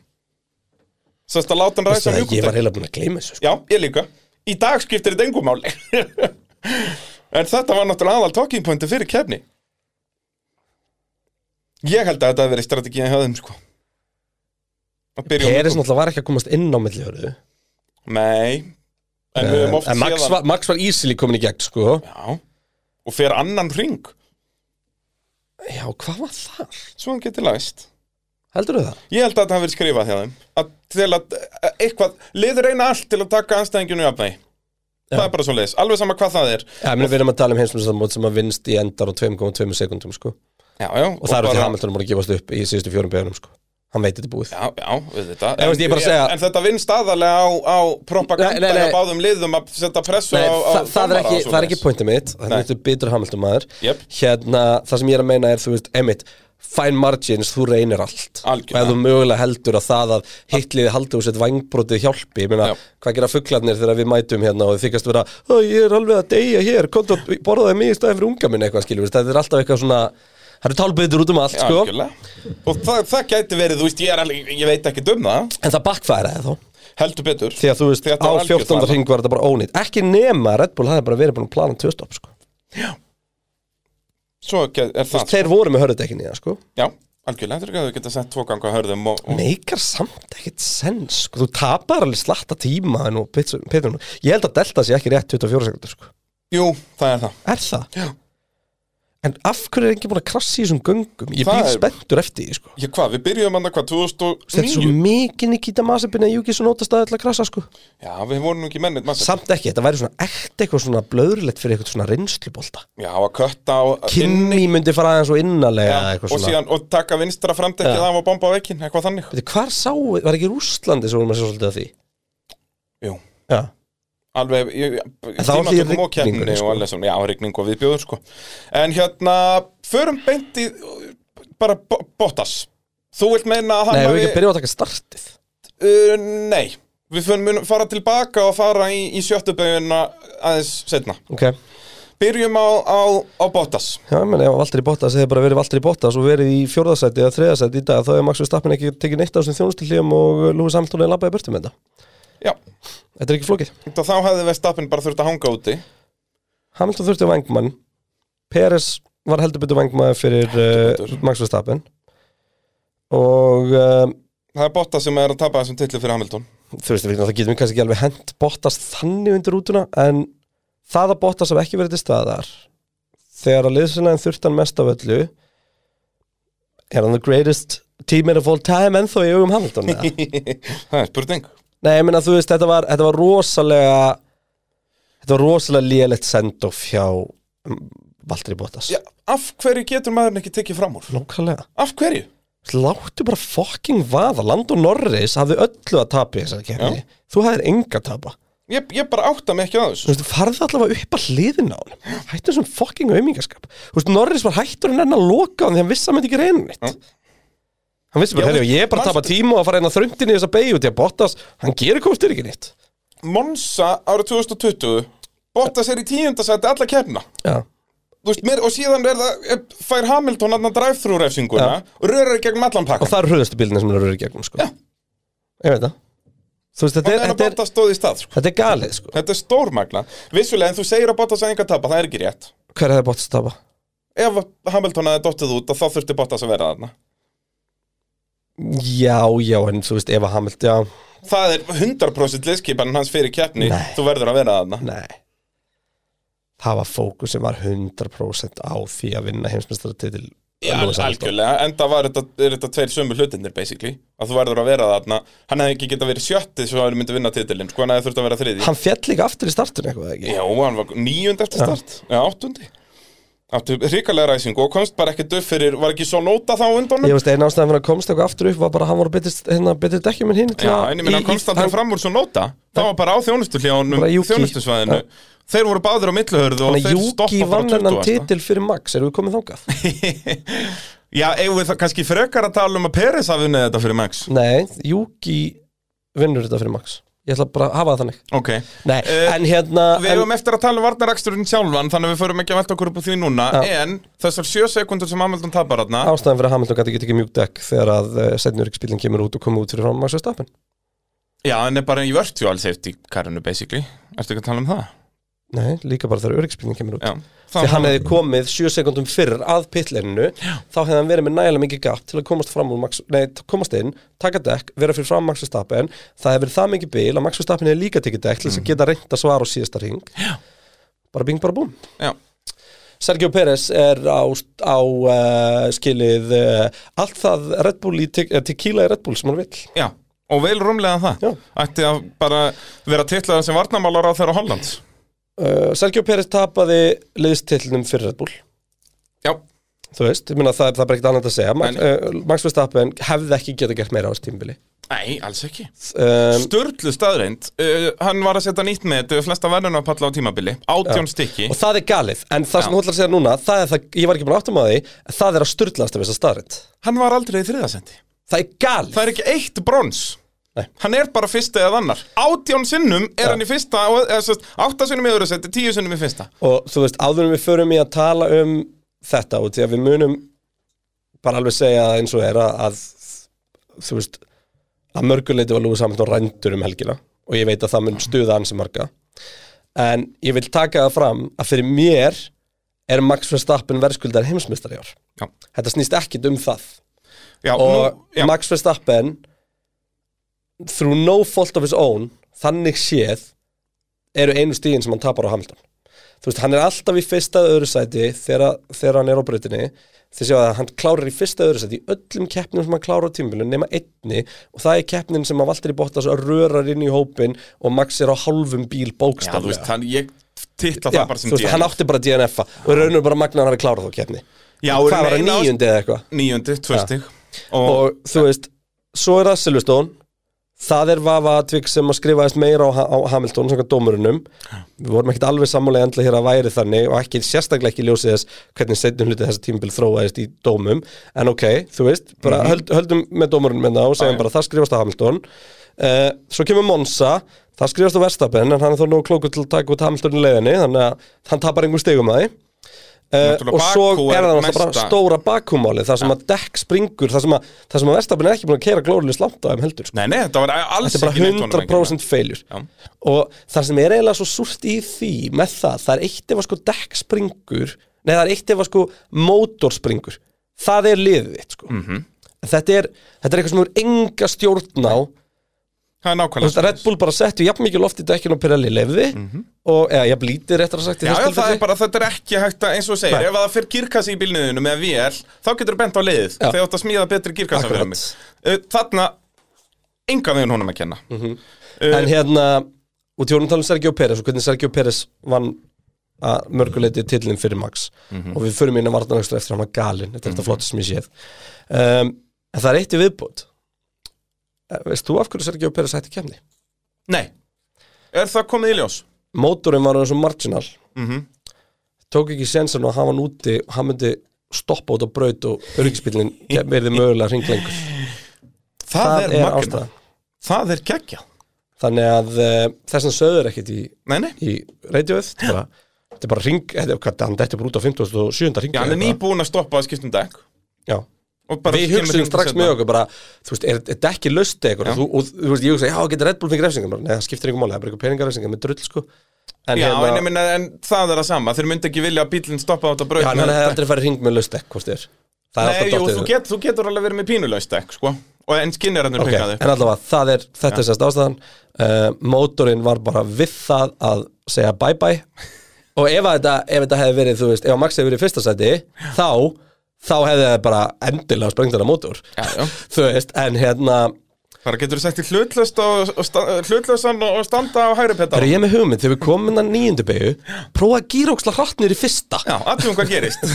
Speaker 5: Sest að láta hann
Speaker 4: Veistu
Speaker 5: ræsa
Speaker 4: það, Ég var
Speaker 5: mjúkudekkjónum
Speaker 4: heila búin að gleyma þessu sko.
Speaker 5: Já, ég líka Í dag skiptir þetta engum máli En þetta var náttúrulega aðal talking pointi fyrir kefni Ég held að þetta hafi verið strategíðan hjá þeim sko Að byrja á
Speaker 4: Peris
Speaker 5: mjúkum.
Speaker 4: náttúrulega var ekki að komast inn á milli hörðu Eh,
Speaker 5: Nei En við höfum oft
Speaker 4: En Max
Speaker 5: séð
Speaker 4: var, Max var easily komin í gegn sko
Speaker 5: hann Já Og fer annan ring
Speaker 4: Já, hvað var það?
Speaker 5: Svo hann getur læst
Speaker 4: Heldur þau það?
Speaker 5: Ég held að þetta hafi verið skrifað hjá þeim að, Til að að eitthvað Liður reyna allt til að taka anstæðingjunu jafnæ Það er bara svo leis Alveg sama hvað það er
Speaker 4: Já, meni, við erum að tala um heimsmyndstamót sem að vinst í endar á 2,2 sekundum sko
Speaker 5: Já, já
Speaker 4: og það eru því
Speaker 5: bara-
Speaker 4: Hamilton er búin að gefast upp í síðustu fjórum beginum sko. hann veit þetta er búið
Speaker 5: Já, já, við þetta
Speaker 4: Ég veist, ég bara að segja-
Speaker 5: en þetta vinn staðarlega á, á
Speaker 4: Nei,
Speaker 5: propaganda
Speaker 4: nei, nei.
Speaker 5: á báðum liðum að setja pressu
Speaker 4: Nei,
Speaker 5: á, á
Speaker 4: þa það, er
Speaker 5: dómara
Speaker 4: ekki,
Speaker 5: og
Speaker 4: það er ekki
Speaker 5: svoleiðis.
Speaker 4: pointið mitt þannig
Speaker 5: Nei.
Speaker 4: að þetta er bitur Hamilton maður
Speaker 5: Jep.
Speaker 4: hérna, það sem ég er að meina er þú veist, Emmett, fine margins, þú reynir allt
Speaker 5: Algjörlega.
Speaker 4: og ef þú mögulega heldur að það að hitliði haldi úr sett vangbrótið hjálpi ég meina,
Speaker 5: Já.
Speaker 4: hvað gera fugglarnir þegar við mætum hérna og þið þykast vera, "Ó, ég er alveg að deyja hér komdu að borðaði mig í staðið fyrir unga minn eitthvað skilur, það er alltaf eitthvað svona það eru tálbyður út um allt,
Speaker 5: Já,
Speaker 4: sko
Speaker 5: algjörlega. Og það, það gæti verið, þú veist, ég, er, alveg- ég veit ekki um það
Speaker 4: en það bakfæraði þá
Speaker 5: Heldur betur
Speaker 4: því að þú veist,
Speaker 5: Því að
Speaker 4: á
Speaker 5: þetta var algjör
Speaker 4: 14.
Speaker 5: þvæla.
Speaker 4: ring var þetta bara ónýtt ekki nema að Red Bull hafði bara verið búin að plana tvöstopp sko.
Speaker 5: Svo gæ- er það
Speaker 4: þeir voru með hörðutekkin í það sko.
Speaker 5: Já, algjörlega, þetta er ekki að þau geta sett tvo ganga að hörðum og, og
Speaker 4: meikar samt ekkit sens sko. þú tapar alveg slatta tíma nú, Pits- Petrun. ég held að delta sé ekki rétt 24 sekundur sko.
Speaker 5: Jú, það er það
Speaker 4: er það? Já. en af hverju er ekki búin að krassi í þessum göngum ég
Speaker 5: Það
Speaker 4: býð
Speaker 5: er-
Speaker 4: spenntur eftir því sko.
Speaker 5: Ég hvað, við byrjuðum hann að hvað,
Speaker 4: þetta er
Speaker 5: 2009
Speaker 4: svo mikið Nikita Masabin að Júkis og nótast að krassa sko.
Speaker 5: Já, við vorum nú ekki mennit massa
Speaker 4: samt ekki, þetta væri svona ekt eitthvað svona blöðurlegt fyrir eitthvað svona reynslubólta
Speaker 5: Já, að kötta og
Speaker 4: Kimi myndi fara aðeins og innarlega
Speaker 5: Já,
Speaker 4: eitthvað
Speaker 5: og
Speaker 4: svona.
Speaker 5: síðan, og taka vinstra framdekkið af og bomba á vekkin, eitthvað þannig
Speaker 4: Veitir, hvar sáu, var ekki Rússlandi sem vorum að sjá svolítið að því?
Speaker 5: Jú
Speaker 4: Já.
Speaker 5: alveg ég-
Speaker 4: það var
Speaker 5: tímatökum
Speaker 4: því
Speaker 5: og keppninni
Speaker 4: rigningunni, sko.
Speaker 5: og alveg svona, já, rigning og viðbjóður sko. en hérna, förum beint í bara bo- Bottas Þú vilt meina að hann
Speaker 4: Nei, við ekki
Speaker 5: hafi-
Speaker 4: að byrja á að taka startið
Speaker 5: Uh, nei, við fun- munum fara tilbaka og fara í, í sjöttu beiguna aðeins setna.
Speaker 4: Ok,
Speaker 5: Byrjum á, á, á Bottas.
Speaker 4: já, menn ef Valtteri Bottas hefur bara verið Valtteri Bottas og verið í fjórðasæti eða þriðasæti í dag þá hefur Max Verstappen ekki tekið neitt af þessum þjónustillíum og Lúi Samtóni labbaði burtu með þetta
Speaker 5: Já,
Speaker 4: Þetta er ekki flókið
Speaker 5: þá þá hefði Vestapen bara þurft að hanga úti.
Speaker 4: Hamilton þurfti vangmann Peres var heldur betur vangmaður fyrir
Speaker 5: Heldur
Speaker 4: uh,
Speaker 5: betur.
Speaker 4: Max Verstappen og uh,
Speaker 5: Það er Bottas sem er að tapa þessum titli fyrir Hamilton.
Speaker 4: þú veist, við náttúrulega getum við kannski ekki alveg hent Bottas þannig undir rútuna en það að Bottas hafa ekki verið til staðar þegar að liðsynæðin þurfti hann mest af öllu er hann the greatest teammate of all time ennþá í augum Hamilton eða?
Speaker 5: það er spurning.
Speaker 4: Nei, ég meina þú veist, þetta var, þetta var rosalega þetta var rosalega lélegt sendoff hjá mm, Valtteri Bottas
Speaker 5: Já, af hverju getur maðurinn ekki tekið fram úr?
Speaker 4: Nókvælega
Speaker 5: Af hverju?
Speaker 4: Láttu bara fucking vaða Land og Norris hafði öllu að tapa í þessari kefni Þú hafðir enga að tapa
Speaker 5: Ég, ég bara átta mig ekki að
Speaker 4: Þú
Speaker 5: þessu.
Speaker 4: veist, farði allavega upp að hliðin á hann Hættu þessum fucking aumingaskap Þú veist, Norris var hættur en enn að loka hann því hann vissi að hann myndi ekki reyna nýtt Hann vissi bara,
Speaker 5: Já,
Speaker 4: herri, ég er bara að
Speaker 5: manstu-
Speaker 4: tapa tíma og að fara einn að þröndin í þessa beigju til að Bottas, hann gerir komstur ekki nýtt
Speaker 5: Monsa árið 2020, Bottas er í tíundasæti alla keppna.
Speaker 4: Já,
Speaker 5: Þú veist, mér, og síðan er það, fær Hamilton aðna drive-thru-refsinguna
Speaker 4: Já.
Speaker 5: og rörar í gegnum allan pakka.
Speaker 4: og það eru hröðustu bílinni sem eru í gegnum, sko
Speaker 5: Já.
Speaker 4: Ég veit það Þú veist,
Speaker 5: Og
Speaker 4: þetta er,
Speaker 5: meðan að
Speaker 4: þetta er,
Speaker 5: Bottas stóð í stað, sko.
Speaker 4: þetta er galið, sko
Speaker 5: Þetta er stórmagna Vissulega en þú segir að Bottas að enga tapa, það er ekki rétt
Speaker 4: Hver hefði Bottas að tapa?
Speaker 5: Ef Hamilton hefði dottið út að þá þurfti Bottas að vera þarna
Speaker 4: Já, já, en þú veist, Eva Hamilt, já
Speaker 5: Það er 100% liðskipan hans fyrir keppni
Speaker 4: Nei.
Speaker 5: Þú verður að vera þarna
Speaker 4: Nei Það var fókus sem var 100% á því að vinna heimsmeistaratitil
Speaker 5: Já,
Speaker 4: Lewis Hamilton.
Speaker 5: algjörlega, en það var þetta, er þetta tveir sömu hlutinir basically að þú verður að vera þarna Hann hefði ekki getað verið sjötti svo hann myndi vinna titilinn sko hann hefði þurft að vera þriði
Speaker 4: Hann fjall líka aftur í startinu eitthvað eða ekki
Speaker 5: Já, hann var níund eftir start Já, áttundi Áttu hrikalega ræsingu og komst bara ekki döf fyrir var ekki svo nota þá á undanum
Speaker 4: Ég veist eina ástæðan fyrir að komst eitthvað aftur upp var bara að hann var betið, hérna, betið dekkjum minn hinn til
Speaker 5: Já,
Speaker 4: að-
Speaker 5: en ég minna,
Speaker 4: í- í-
Speaker 5: komst aldrei fram úr svo nóta Það var bara á þjónustuhljónum,
Speaker 4: Bara Juki.
Speaker 5: þjónustusvæðinu
Speaker 4: Já.
Speaker 5: Þeir voru báður á milluhörðu og
Speaker 4: Þannig að
Speaker 5: þeir
Speaker 4: Júki
Speaker 5: stoppa
Speaker 4: vann hennan
Speaker 5: bara 20
Speaker 4: titil fyrir Max, erum við komið þangað?
Speaker 5: Já, eigum við það kannski frekar að tala um að Peres hafi unnið þetta fyrir Max
Speaker 4: Nei, Júki vinnur þetta fyrir Max Ég ætla bara að hafa það þannig
Speaker 5: Ok,
Speaker 4: Nei,
Speaker 5: Eh,
Speaker 4: en hérna
Speaker 5: við
Speaker 4: en,
Speaker 5: eigum eftir að tala um varnaraksturinn sjálfan Þannig að við förum ekki að velta okkur upp á því núna En þessar sjö sekundur sem Hamilton tapar þarna
Speaker 4: Ástæðan fyrir að Hamilton gæti ekki tekið mjúk dekk þegar að uh, setnjörikspílinn kemur út og komið út fyrir fram Max Verstappen
Speaker 5: Já, en er bara í virtual safety karinu basically Ertu ekki að tala um það?
Speaker 4: Nei, líka bara þegar örikspílinn kemur út
Speaker 5: Já,
Speaker 4: því hann hefði komið 7 sekundum fyrr að pitleininu, þá hefði hann verið með nægilega mikið gap til að komast fram úr Max, nei, t- komast inn, taka dekk, vera fyrir fram Max Verstappen, það hefði verið það mikið bil að Max Verstappen hefði líka tekið dekk til þess að geta reynt að svara á síðasta ring
Speaker 5: Mm. Já.
Speaker 4: bara bing bara búm
Speaker 5: Já,
Speaker 4: Sergio Pérez er á, á uh, skilið uh, allt það Red Bull í te eh, tequila í Red Bull sem hann vill
Speaker 5: já, og vel rúmlega það
Speaker 4: Já.
Speaker 5: Ætti að bara vera titlaðan sem varnamálar á þeirra Hollands
Speaker 4: uh, Sergio Pérez tapaði liðstillinum fyrir Red Bull
Speaker 5: Já,
Speaker 4: þú veist, ég meina það, það er bara ekkert annað að segja Max,
Speaker 5: En-
Speaker 4: uh, Max Verstappen hefði ekki geta gert meira á þessu tímbili
Speaker 5: Nei, alls ekki
Speaker 4: um,
Speaker 5: Sturlu staðreind, uh, hann var að setja nýtt með þetta flesta verðunarpalla á tímabili Átjón stykki
Speaker 4: og það er galið, en það sem
Speaker 5: Já.
Speaker 4: þú ætlar að segja núna það er það, ég var ekki búin að áttum að því en það er að sturlaðast af þessa starrend
Speaker 5: Hann var aldrei í þriðasendi
Speaker 4: það er galið,
Speaker 5: Það er ekki eitt brons
Speaker 4: Nei.
Speaker 5: Hann er bara fyrsta eða annar Átjón sinnum er hann í fyrsta og- eða, sérst, Átta sinnum í öðru seti, tíu sinnum í fyrsta
Speaker 4: og þú veist, áðurum við förum í að tala um þetta og því að við munum bara alveg segja það eins og er að, að þú veist, að mörguleiti var Lúi Samhjörn rændur um helgina og ég veit að það mun stuða ansi marga en ég vil taka það fram að fyrir mér er Max Verstappen verðskuldar heimsmyndstari ár
Speaker 5: Já,
Speaker 4: þetta snýst ekkit um það
Speaker 5: já,
Speaker 4: og
Speaker 5: nú, já.
Speaker 4: Max Verstappen through no fault of his own þannig séð eru einu stíðin sem hann tapar á Hamilton þú veist, hann er alltaf í fyrsta eða öðru sæti þegar, þegar hann er á brautinni þið séu að hann klárar í fyrsta eða öðru sæti í öllum keppnum sem hann klárar á tímbilun nema einni og það er keppnin sem að Valtteri Bottas rörar inn í hópin og Max er á hálfum bíl
Speaker 5: já,
Speaker 4: bókstaflega
Speaker 5: þú veist, hann, ég titla
Speaker 4: Já,
Speaker 5: það bara sem
Speaker 4: þú veist, hann átti bara DNF-a og raunur bara magnaðan að klára þá keppni
Speaker 5: Já,
Speaker 4: hvað
Speaker 5: erum
Speaker 4: var hann
Speaker 5: eina ást-
Speaker 4: níundi eða eitthvað
Speaker 5: Níundi, tvö
Speaker 4: Já.
Speaker 5: stig
Speaker 4: og þú veist, svo er það Silvestón það er vafa atvik sem að skrifaðist meira á, Ha- á Hamilton, svona dómurunum við vorum ekkit alveg sammálega endla hér að væri þannig og ekki sérstaklega ekki ljósið þess hvernig setjum hluti þessa tímabil þróaðist í dómum en ok, þú veist, bara
Speaker 5: Mhm.
Speaker 4: höld, höldum með dómurunum með það og segjum bara það skrifast á Hamilton uh, svo kemur Monsa það skrifast á Verstapen en hann er þó nóg klókur til að taka út Hamilton í leiðinni þannig að hann tapar einhver stigum að því Uh,
Speaker 5: Náttúrulega
Speaker 4: og svo
Speaker 5: Bakú
Speaker 4: er það
Speaker 5: er
Speaker 4: náttúrulega bara
Speaker 5: næsta.
Speaker 4: stóra bakumálið það sem að dekk springur það sem að, það sem að Verstapin er ekki búin að keira glórulega slátt á þeim heldur sko.
Speaker 5: Nei, nei, þetta var alls
Speaker 4: þetta er
Speaker 5: ekki neitt honum
Speaker 4: bara 100% failure
Speaker 5: Já.
Speaker 4: og það sem er eiginlega svo súrt í því með það, það er eitt ef að sko dekk springur nei það er eitt ef að sko mótor springur, það er liðið þitt sko
Speaker 5: Mhm.
Speaker 4: -hmm. þetta, er, þetta er eitthvað sem er enga stjórn á
Speaker 5: Það er
Speaker 4: Þú
Speaker 5: nákvæmlega
Speaker 4: veist, Red Bull bara settu jafn mikið loft í dekkin og Pirelli lefði og eða jafn lítið réttar að sagt í
Speaker 5: Mhm.
Speaker 4: þessu
Speaker 5: Já, já, það
Speaker 4: tilfelli.
Speaker 5: er bara, þetta er ekki hægt að, eins og þú segir,
Speaker 4: Nei.
Speaker 5: ef það fyrir girkassa í bílniðinu með VL, þá getur þú bent á leiðið,
Speaker 4: Já.
Speaker 5: þegar þú átt að smíða betri girkassa
Speaker 4: Akkurat.
Speaker 5: fyrir mig. Uh, Þarna, enga veginn honum að kenna.
Speaker 4: En hérna, út í honum talum Sergio Pérez og hvernig Sergio Pérez vann að mörguleiti titlinn fyrir Max
Speaker 5: Mhm.
Speaker 4: og við förum inn að vartanægstur eftir hann var galinn þetta er þetta flottist sem ég séð um, en það er eitt í viðbútt veist þú af hverju Sergio Pérez hætti kemni?
Speaker 5: Nei. Er það komið í ljós?
Speaker 4: Mótorinn var eins og marginal
Speaker 5: Mhm.
Speaker 4: tók ekki sensan og hafa hann úti og hann myndi stoppa út á braut og öryggisbílinn verði mögulega hringlengur
Speaker 5: Það, er, er
Speaker 4: ástæðan.
Speaker 5: Það er geggja.
Speaker 4: þannig að uh, þessan söður ekkit í
Speaker 5: Nei, nei.
Speaker 4: í radioið þetta er bara, þetta er bara ring, þetta er hvað, hann dætti bara út á 57. ring
Speaker 5: Já, hann er nýbúin að stoppa að skipta um dekk.
Speaker 4: Já,
Speaker 5: og bara
Speaker 4: við
Speaker 5: kemur
Speaker 4: hugsaðum
Speaker 5: hringur
Speaker 4: strax
Speaker 5: seinna.
Speaker 4: með okkur bara, þú veist, er þetta ekki löst eitthvað,
Speaker 5: Já.
Speaker 4: og, þú- og þú veist, ég hugsa, já, getur Red Bull fengið refsingar, Bara, nei, það skiptir einhver máli, það er bara einhver peningarefsingar með drull, sko en
Speaker 5: Já, en,
Speaker 4: hérna,
Speaker 5: ég minna, en það er það sama, þeir myndi ekki vilja að bílinn stoppa á þetta braut
Speaker 4: já, en hann hefði aldrei farið ring með löst eitthvað, þér það er
Speaker 5: Nei, jú,
Speaker 4: alltaf
Speaker 5: þú,
Speaker 4: dottið
Speaker 5: get, þú getur alveg verið með pínulegst dekk, sko og en skinnjarannir
Speaker 4: Ok,
Speaker 5: okay. pekkaði
Speaker 4: en allavega, það er, þetta er sérst ástæðan uh, mótorinn var bara við það að segja bye bye og ef, að þetta, ef þetta hefði verið, þú veist, ef að Max hefði verið í fyrsta seti, þá þá hefði það bara endilega sprengt þetta mótor
Speaker 5: Já, já.
Speaker 4: þú veist, en hérna
Speaker 5: Bara getur þú sagt í hlutlaust og, og sta, hlutlausan og og standa á hægri petta
Speaker 4: er ég með hugmynd, þegar við komum innan nýjundu begu prófa að gýra óksla hrattnir í fyrsta
Speaker 5: Já, aðtum hvað gerist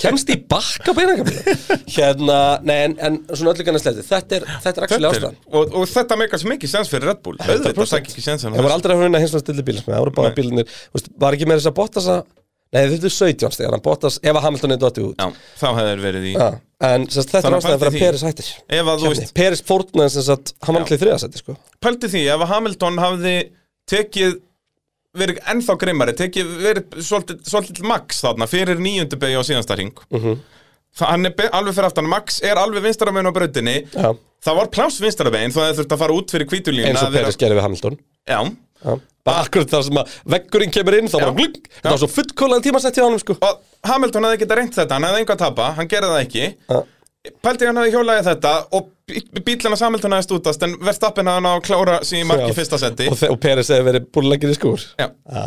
Speaker 4: kemst í bakka beinakabla hérna, nei, en, en svona öllu kannast leti þetta er, þetta er
Speaker 5: Þetta
Speaker 4: axli
Speaker 5: er-
Speaker 4: ástæðan
Speaker 5: og, og þetta meikar svo mikið sens fyrir Red Bull Auðvitað, það er ekki sens
Speaker 4: Það var aldrei að vinna hins vegar stilli bílis með, það voru bara bílinir, veist, var ekki með þess að Bottas að, nei þetta er 17 stegar, hann Bottas, ef að Hamilton er dottið út.
Speaker 5: Já, þá hefur verið í
Speaker 4: Já. En sérst, þetta
Speaker 5: Þannig
Speaker 4: er
Speaker 5: að
Speaker 4: ástæðan fyrir að
Speaker 5: pældi því.
Speaker 4: Peris hættir.
Speaker 5: Ef að þú
Speaker 4: Kefni.
Speaker 5: veist,
Speaker 4: Peris fórnaði sem sagt, hann var allir þriðasætti, sko.
Speaker 5: pældi því ef að Hamilton hafði tekið verið ennþá grimmari, tekið verið svolítið, svolítið max þarna fyrir nýjöndu beigja á síðansta ring
Speaker 4: Mhm.
Speaker 5: það, hann er be- alveg fyrir aftan, max er alveg vinstara megin á brautinni
Speaker 4: Já.
Speaker 5: það var pláss vinstara megin þó að það þurfti að fara út fyrir kvítulínu
Speaker 4: Eins og Peris gerði við Hamilton.
Speaker 5: já,
Speaker 4: Já. Bara akkurat þar sem að veggurinn kemur inn, þá bara glugg, þetta var svo fullkólaðan tímasætti á honum, sko.
Speaker 5: og Hamilton hafði geta reynt þetta, hann hafði engu að tapa hann gerði það ekki
Speaker 4: Já.
Speaker 5: pældi hann hafði hjólaði þetta og bí- bíllinn að Hamilton hafði stútast en verðstappin hafði hann á að klára síðan marki
Speaker 4: Já.
Speaker 5: í fyrsta seti
Speaker 4: Og, þe- og Peris hefði verið búin lengir í skúr.
Speaker 5: Já.
Speaker 4: Já.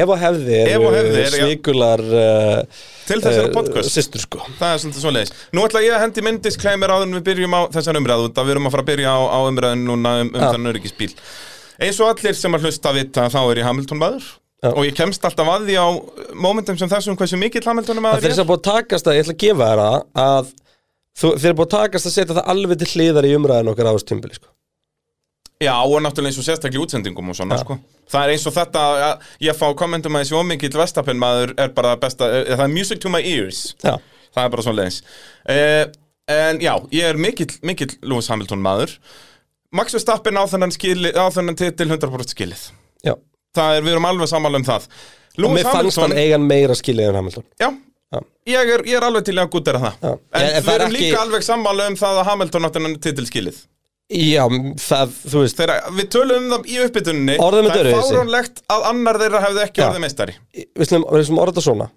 Speaker 4: Ef og hefði
Speaker 5: Ef og hefði
Speaker 4: er
Speaker 5: er, já.
Speaker 4: svikular uh,
Speaker 5: til þessara podcast
Speaker 4: sýstur sko
Speaker 5: Það er svolítið svoleiðis. Nú ætla ég að hendi minn disclaimer áður en við byrjum á þessar umræðu út að við erum að fara að byrja á, á umræðun núna um, um
Speaker 4: Já.
Speaker 5: þann öryggisbíl. Eins og allir sem að hlusta vita þá er ég Hamilton maður
Speaker 4: Já.
Speaker 5: og ég kemst alltaf að því á momentum sem þessum hversu mikill Hamilton
Speaker 4: Það
Speaker 5: maður
Speaker 4: þeir
Speaker 5: er.
Speaker 4: sem búið að takast að, ég ætla að gefa þér það að þú, þeir eru búið að takast að setja það alveg til hliðar í umræðin okkar ást tímbili sko.
Speaker 5: Já og náttúrulega eins og sérstaklega í útsendingum og svona sko. Það er eins og þetta að ég fá kommentum að þessi ómikill vestapen maður er bara besta, eh, það er music to my ears.
Speaker 4: Já,
Speaker 5: það er bara svona leiðis en já, ég er mikill, mikill Lewis Hamilton maður Max Verstappen á þennan, skili, á þennan titil 100% skilið
Speaker 4: já Og
Speaker 5: það er, við erum alveg sammála um það Lewis
Speaker 4: mér fannst hann eigan meira skilið en Hamilton
Speaker 5: já,
Speaker 4: Já.
Speaker 5: ég er, ég er alveg til í að gútera það
Speaker 4: Já.
Speaker 5: en
Speaker 4: En- en það
Speaker 5: við
Speaker 4: er
Speaker 5: erum
Speaker 4: ekki-
Speaker 5: líka alveg sammála um það að Hamilton á þennan titil skilið
Speaker 4: Já, það, þú veist
Speaker 5: Þegar við tölum um það í uppbytuninni
Speaker 4: Orðum við
Speaker 5: það er
Speaker 4: öðruvísi.
Speaker 5: fáránlegt að annar þeirra hefði ekki
Speaker 4: Já.
Speaker 5: orðið meistari
Speaker 4: Við slum, við slum orða svona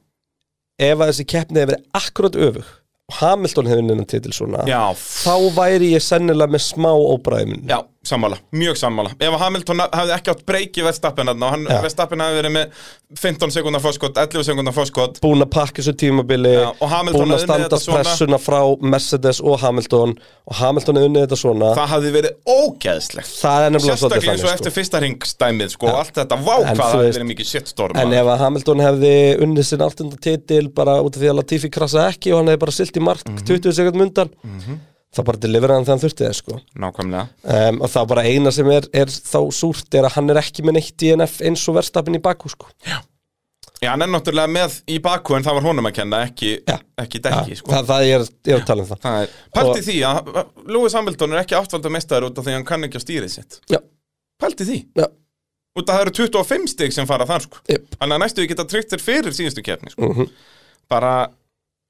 Speaker 4: Ef að þessi keppni hefur verið akkurat öfug og Hamilton hefur innan titil svona
Speaker 5: já,
Speaker 4: þá væri ég sennilega með smá óbræði minn
Speaker 5: Já, sammála, mjög sammála Ef að Hamilton hafði ekki átt breyki Verstappen þarna og hann,
Speaker 4: Já.
Speaker 5: Verstappen hafði verið með 15 sekundar fórskot, 11 sekundar fórskot
Speaker 4: búin að pakka þessu tímabili
Speaker 5: Já, og Hamilton
Speaker 4: búin að
Speaker 5: hafði unnið
Speaker 4: standast
Speaker 5: þetta svona.
Speaker 4: pressuna frá Mercedes og Hamilton og Hamilton hefur unnið þetta svona
Speaker 5: Það hafði verið ógeðslegt
Speaker 4: það er nefnilega svolítið
Speaker 5: Sérstaklega eins og
Speaker 4: þannig sko.
Speaker 5: eftir fyrsta ringstæmið sko, og allt þetta, vá
Speaker 4: En þú
Speaker 5: hvað það
Speaker 4: veist-
Speaker 5: hafði verið mikið shitstorm
Speaker 4: En
Speaker 5: maður.
Speaker 4: ef að Hamilton hefði unnið sinn
Speaker 5: Mhm.
Speaker 4: áttunda titil bara út af því að Latifi krasa ekki og hann hefði bara silt í mark 20 sekund mundan þá bara deliveraði hann þegar hann þurfti það sko
Speaker 5: Nákvæmlega
Speaker 4: um, og þá bara eina sem er, er þá súrt er að hann er ekki með neitt DNF eins og verðstapin í baku sko
Speaker 5: Já, hann er náttúrulega með í baku en það var honum að kenna, ekki,
Speaker 4: Já.
Speaker 5: ekki dekki sko.
Speaker 4: það, það ég er, ég er að tala um það
Speaker 5: Það er Pælti
Speaker 4: Og-
Speaker 5: því að Lewis Hamilton er ekki áttvalda mestaður út af því að hann kann ekki að stýrið sitt
Speaker 4: já,
Speaker 5: Pælti því
Speaker 4: já,
Speaker 5: Út af það eru 25 stig sem fara þar sko
Speaker 4: yep.
Speaker 5: Þannig að næstu við geta tryggt þér fyrir síðustu keppni sko.
Speaker 4: Mhm.
Speaker 5: Bara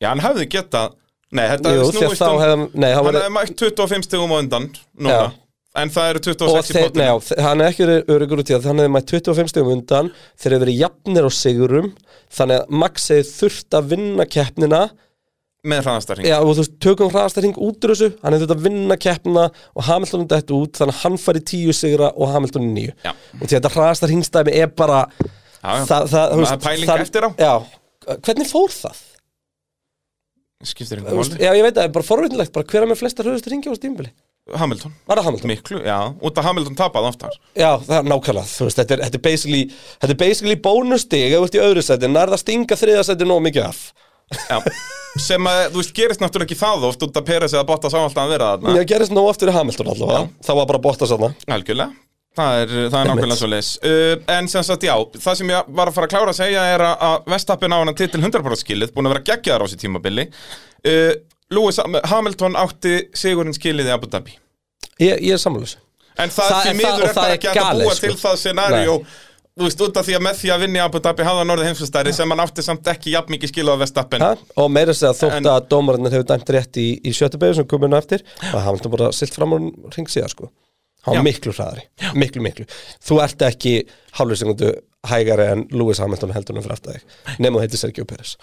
Speaker 5: Já, hann hafði getað Nei, þetta
Speaker 4: Jú,
Speaker 5: Jú,
Speaker 4: því að
Speaker 5: snúist
Speaker 4: þá
Speaker 5: um
Speaker 4: hefðan nei, þá
Speaker 5: Hann
Speaker 4: var,
Speaker 5: hefði mætt 25 stigum á undan Núna
Speaker 4: Já.
Speaker 5: En það eru
Speaker 4: og
Speaker 5: 26 í
Speaker 4: þeir,
Speaker 5: potinu
Speaker 4: nei, já, þe- hann er ekki verið örugur út í það þannig að maður 25 stegum undan þeir eru verið jafnir á sigurum þannig að Max hefði þurft að vinna keppnina
Speaker 5: Með hraðastarring
Speaker 4: já, og þú veist, tökum hraðastarhing út úr þessu hann hefði þurft að vinna keppnina og Hamilton er dætt út þannig að hann fari 10 sigra og Hamilton í 9
Speaker 5: Já.
Speaker 4: og því að þetta hraðastarhingstæmi er bara
Speaker 5: Já, já.
Speaker 4: það, það, þú
Speaker 5: Maður er pæling
Speaker 4: það-
Speaker 5: eftir á.
Speaker 4: já, hvernig fór það?
Speaker 5: Skiptir
Speaker 4: Þú
Speaker 5: einhver
Speaker 4: veist,
Speaker 5: máli
Speaker 4: já, ég veit að það er bara forvitnilegt bara hver er með flesta hraðastar hingi á stímbili
Speaker 5: Hamilton
Speaker 4: var það Hamilton?
Speaker 5: Miklu, já Út af Hamilton tapaði oftar
Speaker 4: Já, það er nákvæmlega, þú veist, þetta er, þetta er basically þetta er basically bónustig ef þú ert í öðru sæti, nærða stinga þriða sæti nóg mikið af
Speaker 5: Já, sem að, þú veist, gerist náttúrulega ekki það oft út að Peres eða Bottas á alltaf að vera þarna
Speaker 4: Ég gerist nóg aftur í Hamilton allavega, það var bara bóttast þarna
Speaker 5: Algjörlega, það er, það er nákvæmlega svo leis uh, En sem sagt, já, það sem ég var að fara að klára að segja er að, að Vestappin á hann titil 100% skilið, búin að vera geggjaðar á sér tímabili uh, Lewis Hamilton átti sigurinn skilið í Abu Dhabi
Speaker 4: Ég, ég er sammála þessu.
Speaker 5: En það,
Speaker 4: Það- en
Speaker 5: því
Speaker 4: það-
Speaker 5: miður
Speaker 4: og
Speaker 5: er
Speaker 4: það
Speaker 5: bara
Speaker 4: er
Speaker 5: ekki hægt að
Speaker 4: galið,
Speaker 5: búa
Speaker 4: sko.
Speaker 5: til það scenario Þú veist, út af því að með því að vinni Abu Dhabi hafða norðið heimsfustæri sem hann átti samt ekki jafn mikið skilið á Vestappin
Speaker 4: Ha? og meira að segja þótt
Speaker 5: En-
Speaker 4: að dómarinnir hefur dæmt rétt í, í sjöttu beigðu sem kominu eftir að Hamilton bara silt fram úr hring síðar sko hann
Speaker 5: Já.
Speaker 4: var miklu hraðari, miklu miklu þú ert ekki hálfur segundu hægari en Lewis Hamilton heldur hann fyrir aftur þig nema þú heitir Sergio Pérez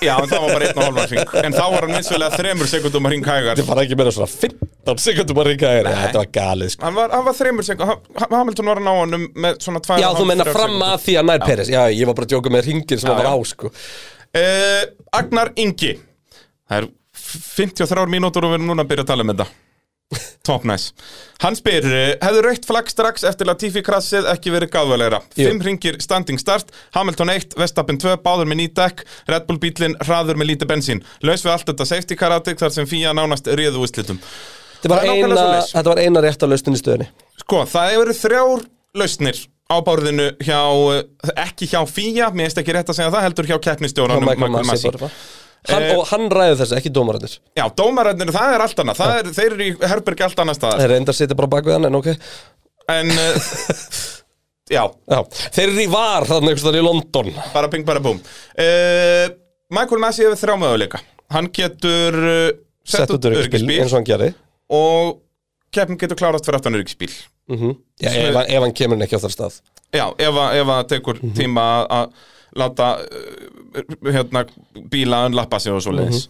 Speaker 5: Já, en það var bara einn og hálfan hring En þá var hann vissulega þremur sekundum hring hægar
Speaker 4: þetta var ekki meira svona 15 sekundum að ringa hægari þetta var galið sko
Speaker 5: Hann var, hann var þreymur sekund, Hamilton var að ná honum með svona tvær
Speaker 4: Já,
Speaker 5: og
Speaker 4: þú
Speaker 5: hálf,
Speaker 4: menna
Speaker 5: þrjár
Speaker 4: fram
Speaker 5: sekúndur.
Speaker 4: að því að nær Peres Já, ég var bara að djóka með ringin sem
Speaker 5: Já,
Speaker 4: var
Speaker 5: já.
Speaker 4: á, sko
Speaker 5: Eh, Agnar Ingi Það er 53 mínútur og við erum núna að byrja að tala um þetta Top nice Hann spyr, eh, hefði raukt flagg strax eftir Latifi krassið ekki verið gáðulegra
Speaker 4: Jú.
Speaker 5: Fimm hringir standing start, Hamilton 1, Vestapen 2, báður með nýdekk Red Bull bílinn, hraður með lítið bensín Laus við allt þetta safety karatik þar sem fíja nánast réðu úrslitum
Speaker 4: Þetta var,
Speaker 5: Það er nákvæmlega
Speaker 4: eina,
Speaker 5: svoleiðis.
Speaker 4: þetta var eina rétt á laustin í stöðunni
Speaker 5: Sko, það hefur verið þrjár lausnir á bárðinu hjá, eh, ekki hjá FIA, mér veist ekki rétt að segja það, heldur hjá
Speaker 4: Hjá
Speaker 5: keppnistjóranum
Speaker 4: Michael Masi bara. hann,
Speaker 5: Eh,
Speaker 4: Og hann ræður þessu, ekki dómarannir
Speaker 5: Já, dómararnir, það er allt annað, það er, þeir eru í herbergi allt annað staðar.
Speaker 4: Þeir reynda að sitja bara bak við hann, en ok Já,
Speaker 5: En, eh, já,
Speaker 4: þeir eru í var þarna einhvers þar í London
Speaker 5: bara ping, bara búm. Uh, Michael Massey hefur þrjá möguleika. Hann getur uh,
Speaker 4: Sett út öryggisbíl, eins og hann gerði
Speaker 5: og keppin getur klárast fyrir aftan öryggisbíl.
Speaker 4: Já, ef, hann- ef hann kemur henni ekki á þar stað
Speaker 5: Já, ef að ef að tekur
Speaker 4: Mhm.
Speaker 5: tíma að- að láta uh, hérna, bílaðan lappa sig og svo
Speaker 4: Mhm.
Speaker 5: leiðis.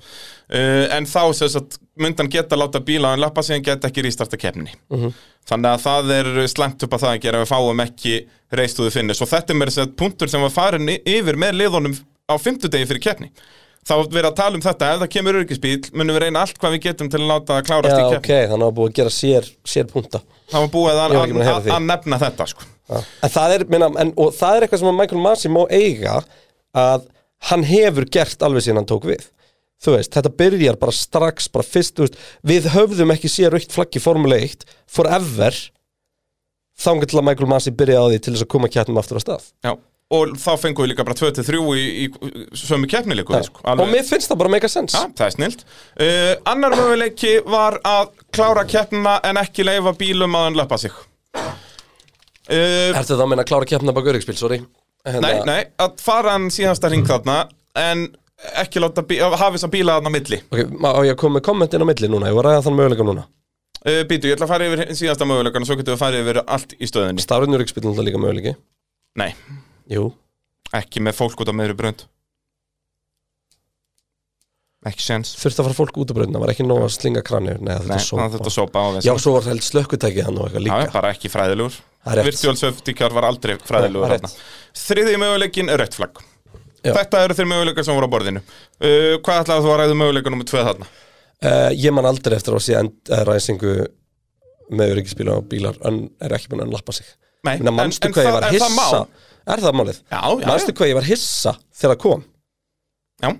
Speaker 5: uh, en þá sem sagt, myndan geta láta bílaðan lappa sig en geta ekki rístarta keppni.
Speaker 4: Mhm.
Speaker 5: Þannig að það er slæmt upp að það að gera við fáum ekki reistuðu finnis og þetta er mér sem sagt punktur sem var farin y- yfir með liðunum á fimmtudegi fyrir keppni. Þá var verið að tala um þetta, ef það kemur öryggisbíl, munum við reyna allt hvað við getum til að láta það klárast
Speaker 4: Já,
Speaker 5: í
Speaker 4: ok,
Speaker 5: keppni.
Speaker 4: þannig var búið að gera sér, sér punta
Speaker 5: Það var búið
Speaker 4: Ég
Speaker 5: að,
Speaker 4: var ekki
Speaker 5: að,
Speaker 4: búin að heyra
Speaker 5: að,
Speaker 4: því.
Speaker 5: að nefna þetta, sko.
Speaker 4: En það er, minna, en, og það er eitthvað sem að Michael Masi má eiga að hann hefur gert alveg síðan hann tók við þú veist, þetta byrjar bara strax bara fyrst, þú veist, við höfðum ekki séð raukt flagg í Formule 1 forever þangar til að Michael Masi byrjaði á því til þess að koma kjarnum aftur á stað
Speaker 5: Já, og þá fengum við líka bara 2-3 í, í sömu keppnileiku sko,
Speaker 4: og mér finnst það bara mega sens
Speaker 5: ja, Það er snilt uh, Annar möguleiki var að klára keppnina en ekki leifa bílum að hann löpa sig uh,
Speaker 4: Ertu það að minna að klára keppna bak öryggspil, sorry hérna,
Speaker 5: Nei, nei, að fara hann síðasta hring þarna en ekki láta bí- hafa þess að bíla þarna á milli
Speaker 4: Ok, má á ég að koma með kommentin á milli núna, ég var að ræða þann möguleika núna
Speaker 5: uh, Býtu, ég ætla að fara yfir hinn síðasta möguleikan og svo getum við að fara yfir allt í stöðinni
Speaker 4: Stafrinn öryggspil er náttúrulega líka möguleiki
Speaker 5: Nei,
Speaker 4: Jú,
Speaker 5: ekki með fólk út á meðri brönd Ekki sens
Speaker 4: þurfti að fara fólk út af bröðina, var ekki nóg að slinga kranu Nei, þetta
Speaker 5: Nei,
Speaker 4: er
Speaker 5: það þetta sopa á
Speaker 4: Já,
Speaker 5: þess
Speaker 4: svo var held slökkutækið hann og eitthvað
Speaker 5: Já,
Speaker 4: líka
Speaker 5: já, bara ekki fræðilugur
Speaker 4: Það er rétt.
Speaker 5: Virtual safety car var aldrei
Speaker 4: Það
Speaker 5: fræðilugur
Speaker 4: er
Speaker 5: þarna
Speaker 4: rétt.
Speaker 5: Þriðji möguleikin er rött flagg
Speaker 4: Já.
Speaker 5: Þetta eru þeir möguleikar sem voru á borðinu uh, Hvað ætlaði þú að ræða möguleika nummer 2 þarna?
Speaker 4: uh, Ég man aldrei eftir að sé end, uh, ræsingu með öryggisbíl og bílar en er ekki búin að lappa sig
Speaker 5: Nei,
Speaker 4: Minna,
Speaker 5: en-
Speaker 4: Manstu
Speaker 5: en
Speaker 4: hvað ég
Speaker 5: það-
Speaker 4: var
Speaker 5: en það
Speaker 4: hissa
Speaker 5: má.
Speaker 4: Er það málið?
Speaker 5: Já, já,
Speaker 4: Manstu
Speaker 5: já,
Speaker 4: hvað ég var hissa þegar það kom?
Speaker 5: já.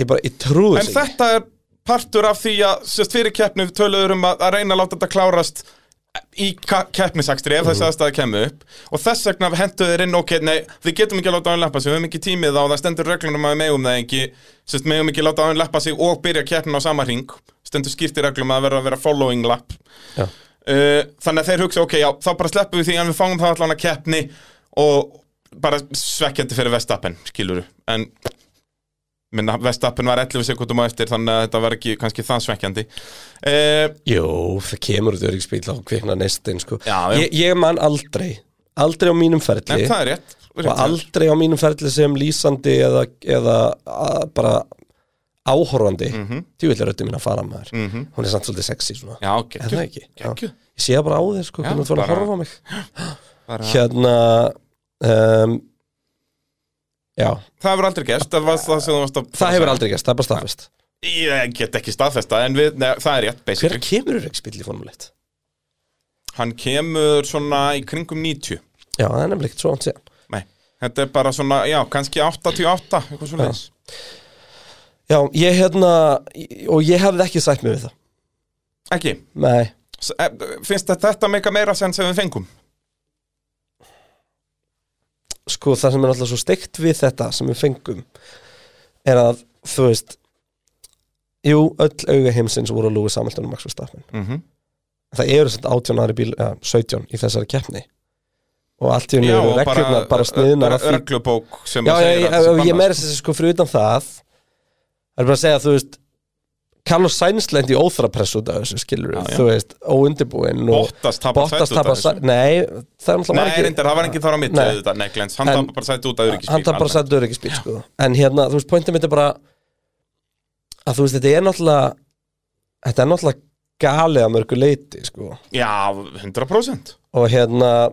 Speaker 4: Ég bara, ég trúi
Speaker 5: En
Speaker 4: sig ekki.
Speaker 5: þetta er partur af því að sérst, fyrir keppni við töluður um að, að reyna að láta þetta klárast í ka- keppnisakstri ef
Speaker 4: Mhm.
Speaker 5: þessi aðstæða kemur upp og þess vegna hentu þeir inn ok, nei, við getum ekki að láta hann lappa sig við höfum ekki tímið á það, stendur reglunum að við megum það ekki sérst, megum ekki að láta hann lappa sig og byrja keppnin á sama ring stendur skýrt í reglum að verða að vera following lap
Speaker 4: Já.
Speaker 5: uh, þannig að þeir hugsa, ok, já, þá bara sleppum við því en við fáum það allan að keppni og bara svekkjandi fyrir Vestappen, skiluru en minna, Vestappen var 11 sekundum á eftir þannig að þetta var ekki kannski það svekkjandi uh,
Speaker 4: Jú, það kemur út öryggsbíl á kvikna nestin sko.
Speaker 5: Já, já.
Speaker 4: Ég, ég man aldrei, aldrei á mínum ferli
Speaker 5: en það er rétt, rétt
Speaker 4: og aldrei á mínum ferli sem lýsandi eða, eða að, bara áhorfandi mm -hmm. tjúvillarötti mín að fara maður hún er samt svolítið sexy svona
Speaker 5: Mhm. Já,
Speaker 4: er það
Speaker 5: geggjum,
Speaker 4: ekki? Já.
Speaker 5: geggjum
Speaker 4: ég sé það bara á þér sko, hvernig þú var að
Speaker 5: bara-
Speaker 4: horfa á mig hérna um, já,
Speaker 5: Það hefur aldrei gerst, það var það sem þú varst að
Speaker 4: það hefur aldrei gerst, það er bara staðfest
Speaker 5: Ég get ekki staðfesta, en við, neð, það er rétt,
Speaker 4: hver
Speaker 5: basically
Speaker 4: kemur öryggsbíl í formuleitt?
Speaker 5: Hann kemur svona í kringum 90
Speaker 4: já, það er nefnilega ekkert svo hann séðan
Speaker 5: Nei, þetta er bara svona, já, kannski 88 Eitthvað svona leis
Speaker 4: já, ég hérna, og ég hefði ekki sætt mig við það
Speaker 5: Ekki,
Speaker 4: nei,
Speaker 5: S- e, finnst þetta þetta meika meira senn sem við fengum?
Speaker 4: sko það sem er alltaf svo steikt við þetta sem við fengum er að þú veist jú, öll auga heimsins voru að lúi samhæltunum Max Verstappen
Speaker 5: Mm -hmm.
Speaker 4: það eru samt 18 aðri bíl, ja, 17 í þessari keppni og allt í unni eru reglurnar bara, sniðnar að því
Speaker 5: Reglubók sem
Speaker 4: já,
Speaker 5: að
Speaker 4: já,
Speaker 5: segir
Speaker 4: ég,
Speaker 5: að þessi
Speaker 4: ég, ég
Speaker 5: bannað,
Speaker 4: meira þessi sko fyrir utan það það er bara að segja að þú veist Carlos Sainz lendi í óþrapress út af þessu skilur
Speaker 5: Já, já.
Speaker 4: þú veist, óundibúinn og
Speaker 5: Bottas tapar
Speaker 4: Bottas
Speaker 5: sæti út af
Speaker 4: tapar
Speaker 5: þessu.
Speaker 4: sæ- nei, það er náttúrulega
Speaker 5: Nei, reyndar, það var enginn þar á mitt
Speaker 4: Nei.
Speaker 5: auðvitað, Nei, Glens, hann
Speaker 4: En-
Speaker 5: tapar bara sætt út að öryggisbíl
Speaker 4: hann þarf bara að setja öryggisbíl sko. en hérna, þú veist, pointið mitt er bara að þú veist, þetta er náttúrulega þetta er náttúrulega galið að mörgu leiti sko.
Speaker 5: Já, 100%
Speaker 4: og hérna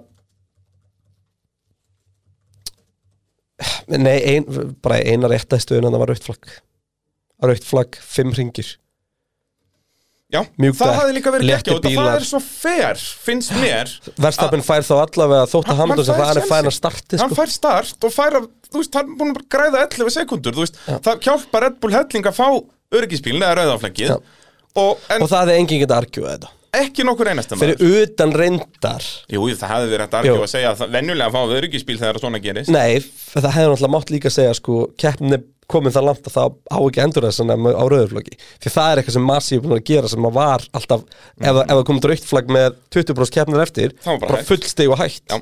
Speaker 4: nei, ein, bara eina rétta í stöðun en það var rautt flagg rautt flagg, fimm ringir
Speaker 5: Já,
Speaker 4: Mjúk
Speaker 5: það
Speaker 4: dekk,
Speaker 5: hafði líka verið
Speaker 4: léttir
Speaker 5: gekkja og það
Speaker 4: bílar. Ah,
Speaker 5: er svo fair, finnst mér
Speaker 4: verðstapin fær þá allavega þótt að
Speaker 5: Ah. Hann-
Speaker 4: Hamilton sem
Speaker 5: hann fær
Speaker 4: það er
Speaker 5: sénsinn.
Speaker 4: fæn að starti
Speaker 5: Hann
Speaker 4: sko.
Speaker 5: fær start og fær að, þú veist, hann er búin að bara græða 11 sekundur, þú veist, það hjálpar Red Bull Helling að fá öryggisbílinn eða rauðaflækið
Speaker 4: Já.
Speaker 5: og, en
Speaker 4: og það er enginn getað argjúið þetta
Speaker 5: ekki nokkur einastam
Speaker 4: fyrir utan reyndar
Speaker 5: Jú, það hefði verið þetta argjóð
Speaker 4: Jú.
Speaker 5: að segja að það- venjulega fá við öryggisbíl þegar svona gerist
Speaker 4: Nei, f- það hefði náttúrulega mátt líka segja sko, keppnin er komin það langt að það á ekki endur þess að nefna á rauðurflokki því það er eitthvað sem Masi er búin að gera sem að var alltaf, ef, það- ef það komið rauktflag með 20% keppnir eftir,
Speaker 5: Þá var bara hægt.
Speaker 4: fullsteg og hægt
Speaker 5: Já.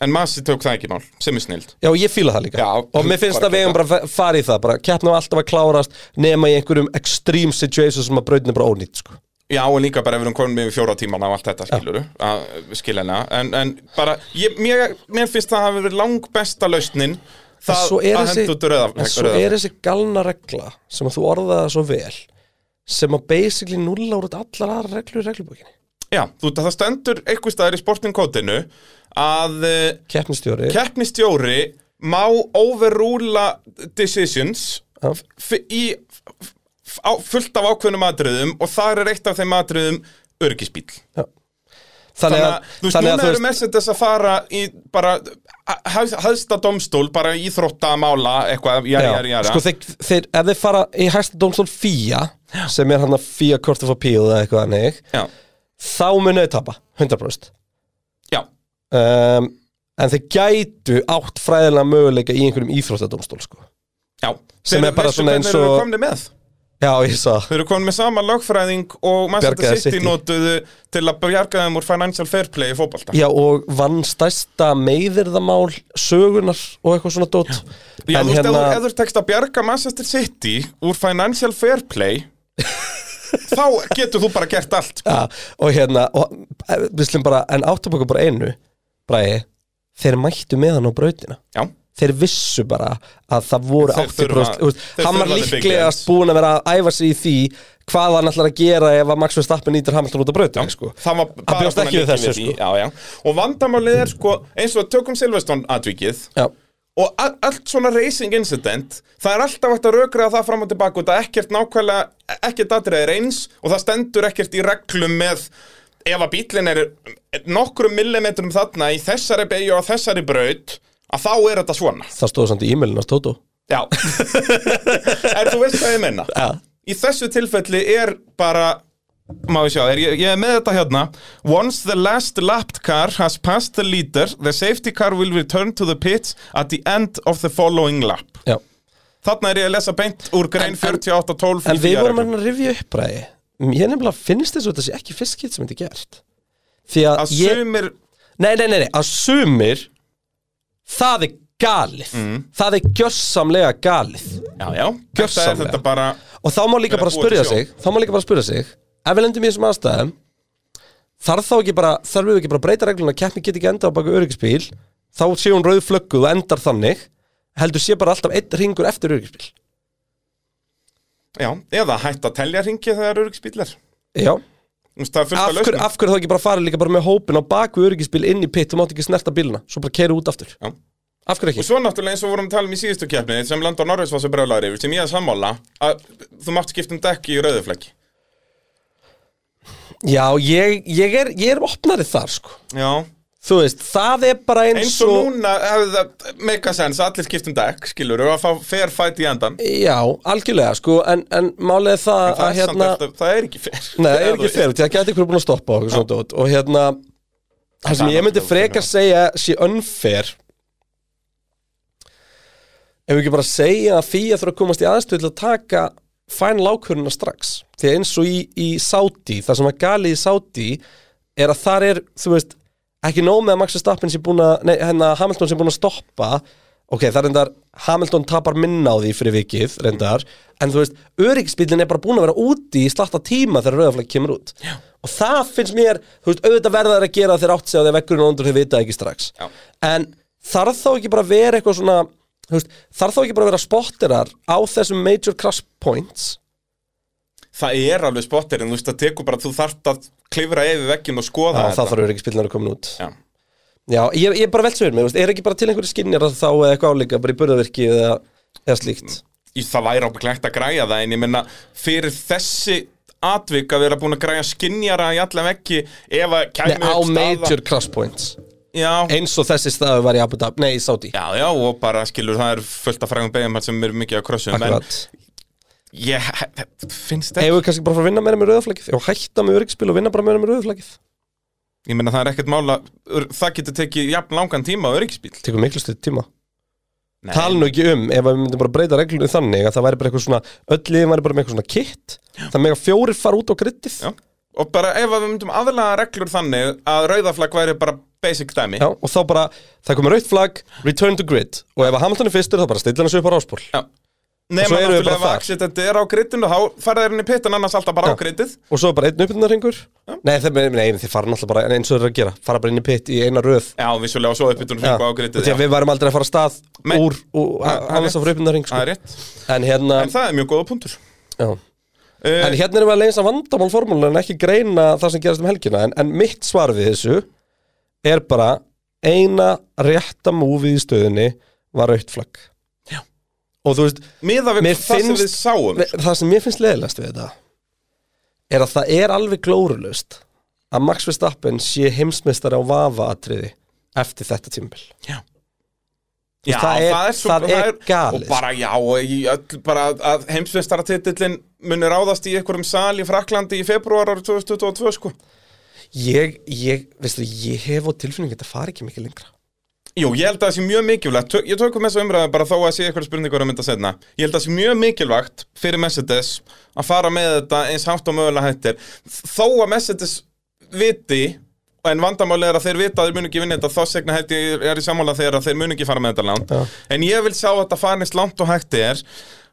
Speaker 5: En Masi tók það ekki mál, sem er snild
Speaker 4: Já, ég fíla það líka
Speaker 5: Já,
Speaker 4: og mér finnst
Speaker 5: bara
Speaker 4: að við eigum bara að fa- fara í það bara keppnum alltaf að klárast nema í einhverjum extreme situations sem að brautin er bara ónýtt sko.
Speaker 5: Já, og líka bara ef við erum komin með fjóra tíman á allt þetta skiluru, skilina en, en bara, ég, mér, mér finnst það hafi verið lang besta lausnin
Speaker 4: En
Speaker 5: það
Speaker 4: svo er
Speaker 5: að
Speaker 4: þessi-
Speaker 5: henda út rauða,
Speaker 4: en svo er þessi galna regla sem að þú orðaði það svo vel sem að basically nulla úr allar aðra reglur í reglubókinni
Speaker 5: Já, þú veit að það stendur einhver staðar í sportingkótinu að eh,
Speaker 4: keppnistjóri
Speaker 5: keppnistjóri má overrúla decisions
Speaker 4: Já.
Speaker 5: f- í f- f- á, fullt af ákveðnum atriðum og þar er eitt af þeim atriðum örgisbíl
Speaker 4: þannig
Speaker 5: þannig
Speaker 4: að,
Speaker 5: að, þú veist,
Speaker 4: þannig að
Speaker 5: núna
Speaker 4: þú
Speaker 5: eru Mercedes að fara í bara hæðsta domstól, bara íþrótta mála, eitthvað, jari,
Speaker 4: Já,
Speaker 5: jari, jari
Speaker 4: Sko þeir, þeir, ef þeir fara í hægsta dómstól FIA sem er hann að FIA Court of Appeal eða eitthvað hannig
Speaker 5: já,
Speaker 4: þá munu þeir tapa, 100%
Speaker 5: já,
Speaker 4: um, en þeir gætu átt fræðilega möguleika í einhverjum íþróttadómstól sko.
Speaker 5: já
Speaker 4: Sem
Speaker 5: Þeir-
Speaker 4: er bara
Speaker 5: veistu
Speaker 4: svona
Speaker 5: hvernig
Speaker 4: eins
Speaker 5: þeir eru
Speaker 4: og-
Speaker 5: komnir með?
Speaker 4: Já, ég sá
Speaker 5: Þau eru komin með sama lögfræðing og
Speaker 4: Bjargaði
Speaker 5: Mercedes City
Speaker 4: City.
Speaker 5: notuðu til að bjarga þeim úr financial fair play í fótbolta
Speaker 4: Já, og vann stærsta meiðirðamál sögunar og eitthvað svona dót
Speaker 5: Já,
Speaker 4: En
Speaker 5: þú veist,
Speaker 4: hérna,
Speaker 5: ef þú tekst að bjarga Manchester City úr Financial Fair Play þá getur þú bara gert allt
Speaker 4: ja, og hérna og, eh, við slum bara, en áttum okkur bara einu Bræði, þeir mættu með hann á brautina
Speaker 5: Já,
Speaker 4: þeir vissu bara að það voru
Speaker 5: Þeir
Speaker 4: 80
Speaker 5: þurfa-
Speaker 4: þú veist,
Speaker 5: þeir
Speaker 4: hann var
Speaker 5: þurfa the big
Speaker 4: líklegast
Speaker 5: guns.
Speaker 4: búin að vera að æfa sig í því hvað hann ætlar að gera ef að Max Verstappen nýtir Hamilton út af brautin sko.
Speaker 5: það var bara
Speaker 4: bjóst
Speaker 5: svona
Speaker 4: ekki við
Speaker 5: lengi
Speaker 4: þessu,
Speaker 5: því.
Speaker 4: sko.
Speaker 5: Já, já, og vandamálið er sko eins og tökum Silveston atvikið
Speaker 4: Já.
Speaker 5: og a- allt svona racing incident það er alltaf hægt að rökra það fram og tilbaka og það ekkert nákvæmlega, ekkert atrið er eins og það stendur ekkert í reglum með ef að bílinn er nokkrum millimetrum þarna í þessari beigju og þessari braut að þá er þetta svona
Speaker 4: það stóð samt í e-mailinu að Tóto
Speaker 5: Já En þú veist hvað ég menna
Speaker 4: Já.
Speaker 5: í þessu tilfelli er bara má við sjá, er, ég, ég er með þetta hérna Once the last lapped car has passed the leader, the safety car will return to the pits at the end of the following lap
Speaker 4: Já.
Speaker 5: Þarna er ég að lesa beint úr
Speaker 4: En-
Speaker 5: grein
Speaker 4: en-
Speaker 5: 48.12
Speaker 4: En við vorum að rifja upp bræði Mér nefnilega finnst þess að þetta sé ekki fiskit sem þetta er gert Því að,
Speaker 5: að
Speaker 4: ég
Speaker 5: sumir
Speaker 4: nei, nei, nei, nei, að sumir Það er galið Það er gjörsamlega galið
Speaker 5: Já, já, þetta er
Speaker 4: Gjörsamlega.
Speaker 5: þetta bara
Speaker 4: Og þá má líka
Speaker 5: Vera
Speaker 4: bara
Speaker 5: búið
Speaker 4: spyrja
Speaker 5: til sjó.
Speaker 4: sig Þá má líka bara spyrja sig Ef við lendum í þessum aðstæðum Þarf þá ekki bara, þarf við ekki bara að breyta regluna Keppni get ekki endað á baku öryggisbíl Þá sé hún rauð flögguð og endar þannig Heldur sé bara alltaf einn ringur eftir öryggisbíl
Speaker 5: Já, eða hætt að telja ringi þegar öryggsbílar
Speaker 4: Já,
Speaker 5: Það er
Speaker 4: af
Speaker 5: fullt að
Speaker 4: hverju
Speaker 5: lausnum
Speaker 4: af hverju þá ekki bara farið líka bara með hópin á baku öryggisbíl inn í pitt og mátt ekki snerta bíluna Svo bara keiri út aftur
Speaker 5: Já.
Speaker 4: Af hverju
Speaker 5: Og
Speaker 4: ekki?
Speaker 5: svo náttúrulega eins og vorum að tala um í síðustu keppni sem Landon Norris var svo brjólaður yfir sem ég er sammála að þú mátt skipta um dekki í rauðufleggi
Speaker 4: Já, ég, ég, er, ég er opnari þar sko
Speaker 5: Já
Speaker 4: Þú veist, það er bara eins,
Speaker 5: Eins og núna hefði það meika sens að allir skipta um dekk skilur og að fá fair fight í endan
Speaker 4: Já, algjörlega sko En, en málið er það,
Speaker 5: Það
Speaker 4: að
Speaker 5: er,
Speaker 4: hérna
Speaker 5: hérna... alltaf, það er ekki fair
Speaker 4: Nei, það
Speaker 5: Eða
Speaker 4: er
Speaker 5: þú
Speaker 4: ekki
Speaker 5: veist,
Speaker 4: fyrir, það gæti ykkur búin að stoppa og, svona, dót. og hérna það sem
Speaker 5: Það
Speaker 4: ég myndi
Speaker 5: náttúrulega
Speaker 4: frekar segja sé unfair ef við ekki bara segja að fíja þurfa að komast í aðstöð til að taka fæn lákurina strax því að eins og í, í Saudi það sem að gali í Saudi er að þar er, þú veist ekki nóg með að Max Verstappen sé búin að nei, hérna, Hamilton sé búin að stoppa ok, það er reyndar, Hamilton tapar minna á því fyrir vikið, reyndar en þú veist, öryggisbílinn er bara búin að vera úti í slatta tíma þegar rauðaflæk kemur út Já. og það finnst mér, þú veist, auðvitað verða þær að gera þeir átt sig á því að vekkurinn og undur þau vita ekki strax
Speaker 5: Já.
Speaker 4: en þarf þá ekki bara að vera eitthvað svona, þú veist, þarf þá ekki bara að vera spotterar á þessum major crash points
Speaker 5: Það er alveg spottir en þú veist það tekur bara þú þarft að klifra yfir veggin og skoða
Speaker 4: það, það
Speaker 5: þetta
Speaker 4: þarf öryggisbílinn að vera komin út
Speaker 5: Já.
Speaker 4: Já, ég, ég bara veltsauður mig, þú veist, er ekki bara til einhverju skinnjar þá eða eitthvað álíka, bara í burðavirki eða, eða slíkt
Speaker 5: Í- Það væri ábygglegt að græja það en ég minna fyrir þessi atvik að vera búin að græja skinjara í allan veggi ef að
Speaker 4: Nei,
Speaker 5: kæmi
Speaker 4: á
Speaker 5: upp staða-
Speaker 4: major crash points
Speaker 5: Já,
Speaker 4: eins og þessi staðu var í Abu Dhabi, nei, í Saudi
Speaker 5: Já, já, og bara skilur, það er fullt af frægum beigum sem er mikið að krossum
Speaker 4: Akkurat
Speaker 5: En ég þetta finnst ekki
Speaker 4: Hefur við kannski bara að fara að vinna meira með rauðaflækið og hætta með öryggspil og vinna bara meira með rauðaflækið
Speaker 5: Ég meina það er ekkert mála, það getur tekið jafn langan tíma á öryggisbíl
Speaker 4: Tekur miklu stuð tíma
Speaker 5: Nei.
Speaker 4: Tala nú ekki um ef að við myndum bara breyta reglunni þannig að það væri bara eitthvað svona öll liðin væri bara með eitthvað svona kit það mega fjórir fara út á grittið
Speaker 5: Já. Og bara ef að við myndum aðlaga reglur þannig að rauðaflag væri bara basic dæmi
Speaker 4: Já, og þá bara, það komur rauðt flagg return to grid og ef að Hamilton er fyrstur þá bara stilla hann svo upp á ráspól
Speaker 5: Já.
Speaker 4: Og svo erum
Speaker 5: Nema
Speaker 4: við bara
Speaker 5: náttúrulega ef
Speaker 4: þar.
Speaker 5: axið þetta er á grittinu, þá fara þeir inn í pittan annars alltaf bara á
Speaker 4: Já.
Speaker 5: grittið
Speaker 4: og svo bara einn uppbyrðinarringur Nei, þeir, nei, þið fara náttúrulega bara en eins og þeir eru að gera fara bara inn í pitt í eina röð
Speaker 5: Já, vissulega, og svo uppbytunum
Speaker 4: Já,
Speaker 5: fengu á
Speaker 4: og
Speaker 5: grittið
Speaker 4: því að
Speaker 5: já.
Speaker 4: við værum aldrei að fara af stað
Speaker 5: Nei.
Speaker 4: úr, úr
Speaker 5: Nei, það er
Speaker 4: hann þess að fara upp innan ring
Speaker 5: Það
Speaker 4: sko.
Speaker 5: er rétt
Speaker 4: en hérna
Speaker 5: En það er mjög góða punktur
Speaker 4: já.
Speaker 5: Eh,
Speaker 4: en hérna erum við að leysa vandamál formúlun en ekki greina það sem gerast um helgina en, en mitt svar við þessu er bara eina rétta múfið í stöðunni var rautt flagg
Speaker 5: Já.
Speaker 4: og þú veist
Speaker 5: Miðað við
Speaker 4: mér
Speaker 5: það sem
Speaker 4: finnst-
Speaker 5: við sáum
Speaker 4: Ve- það sem mér finnst leðilegast við þetta er að það er alveg glórulust að Max Verstappen sé heimsmeistari á vafaatriði eftir þetta tímbil
Speaker 5: Já,
Speaker 4: það er- það er galið, sko.
Speaker 5: Og bara já, og í öll, bara að- að heimsveistaratitillin muni ráðast í einhverjum sal í Fraklandi í februar árið 2022 sko
Speaker 4: ég, ég, veistu, ég hef á tilfinningu að þetta fari ekki mikið lengra
Speaker 5: Jú, ég held að það sé mjög mikilvægt Tö- Ég tökum þessu umræðu bara þó að sé eitthvað spurningur um þetta setna Ég held að það sé mjög mikilvægt fyrir Mercedes að fara með þetta eins hátt og mögulega hættir Þó að Mercedes viti en vandamáli er að þeir vita að þeir munu ekki vinna þetta þá segna held ég er í sammála þeir að þeir munu ekki fara með þetta langt En ég vil sjá að þetta farnist langt og hætti er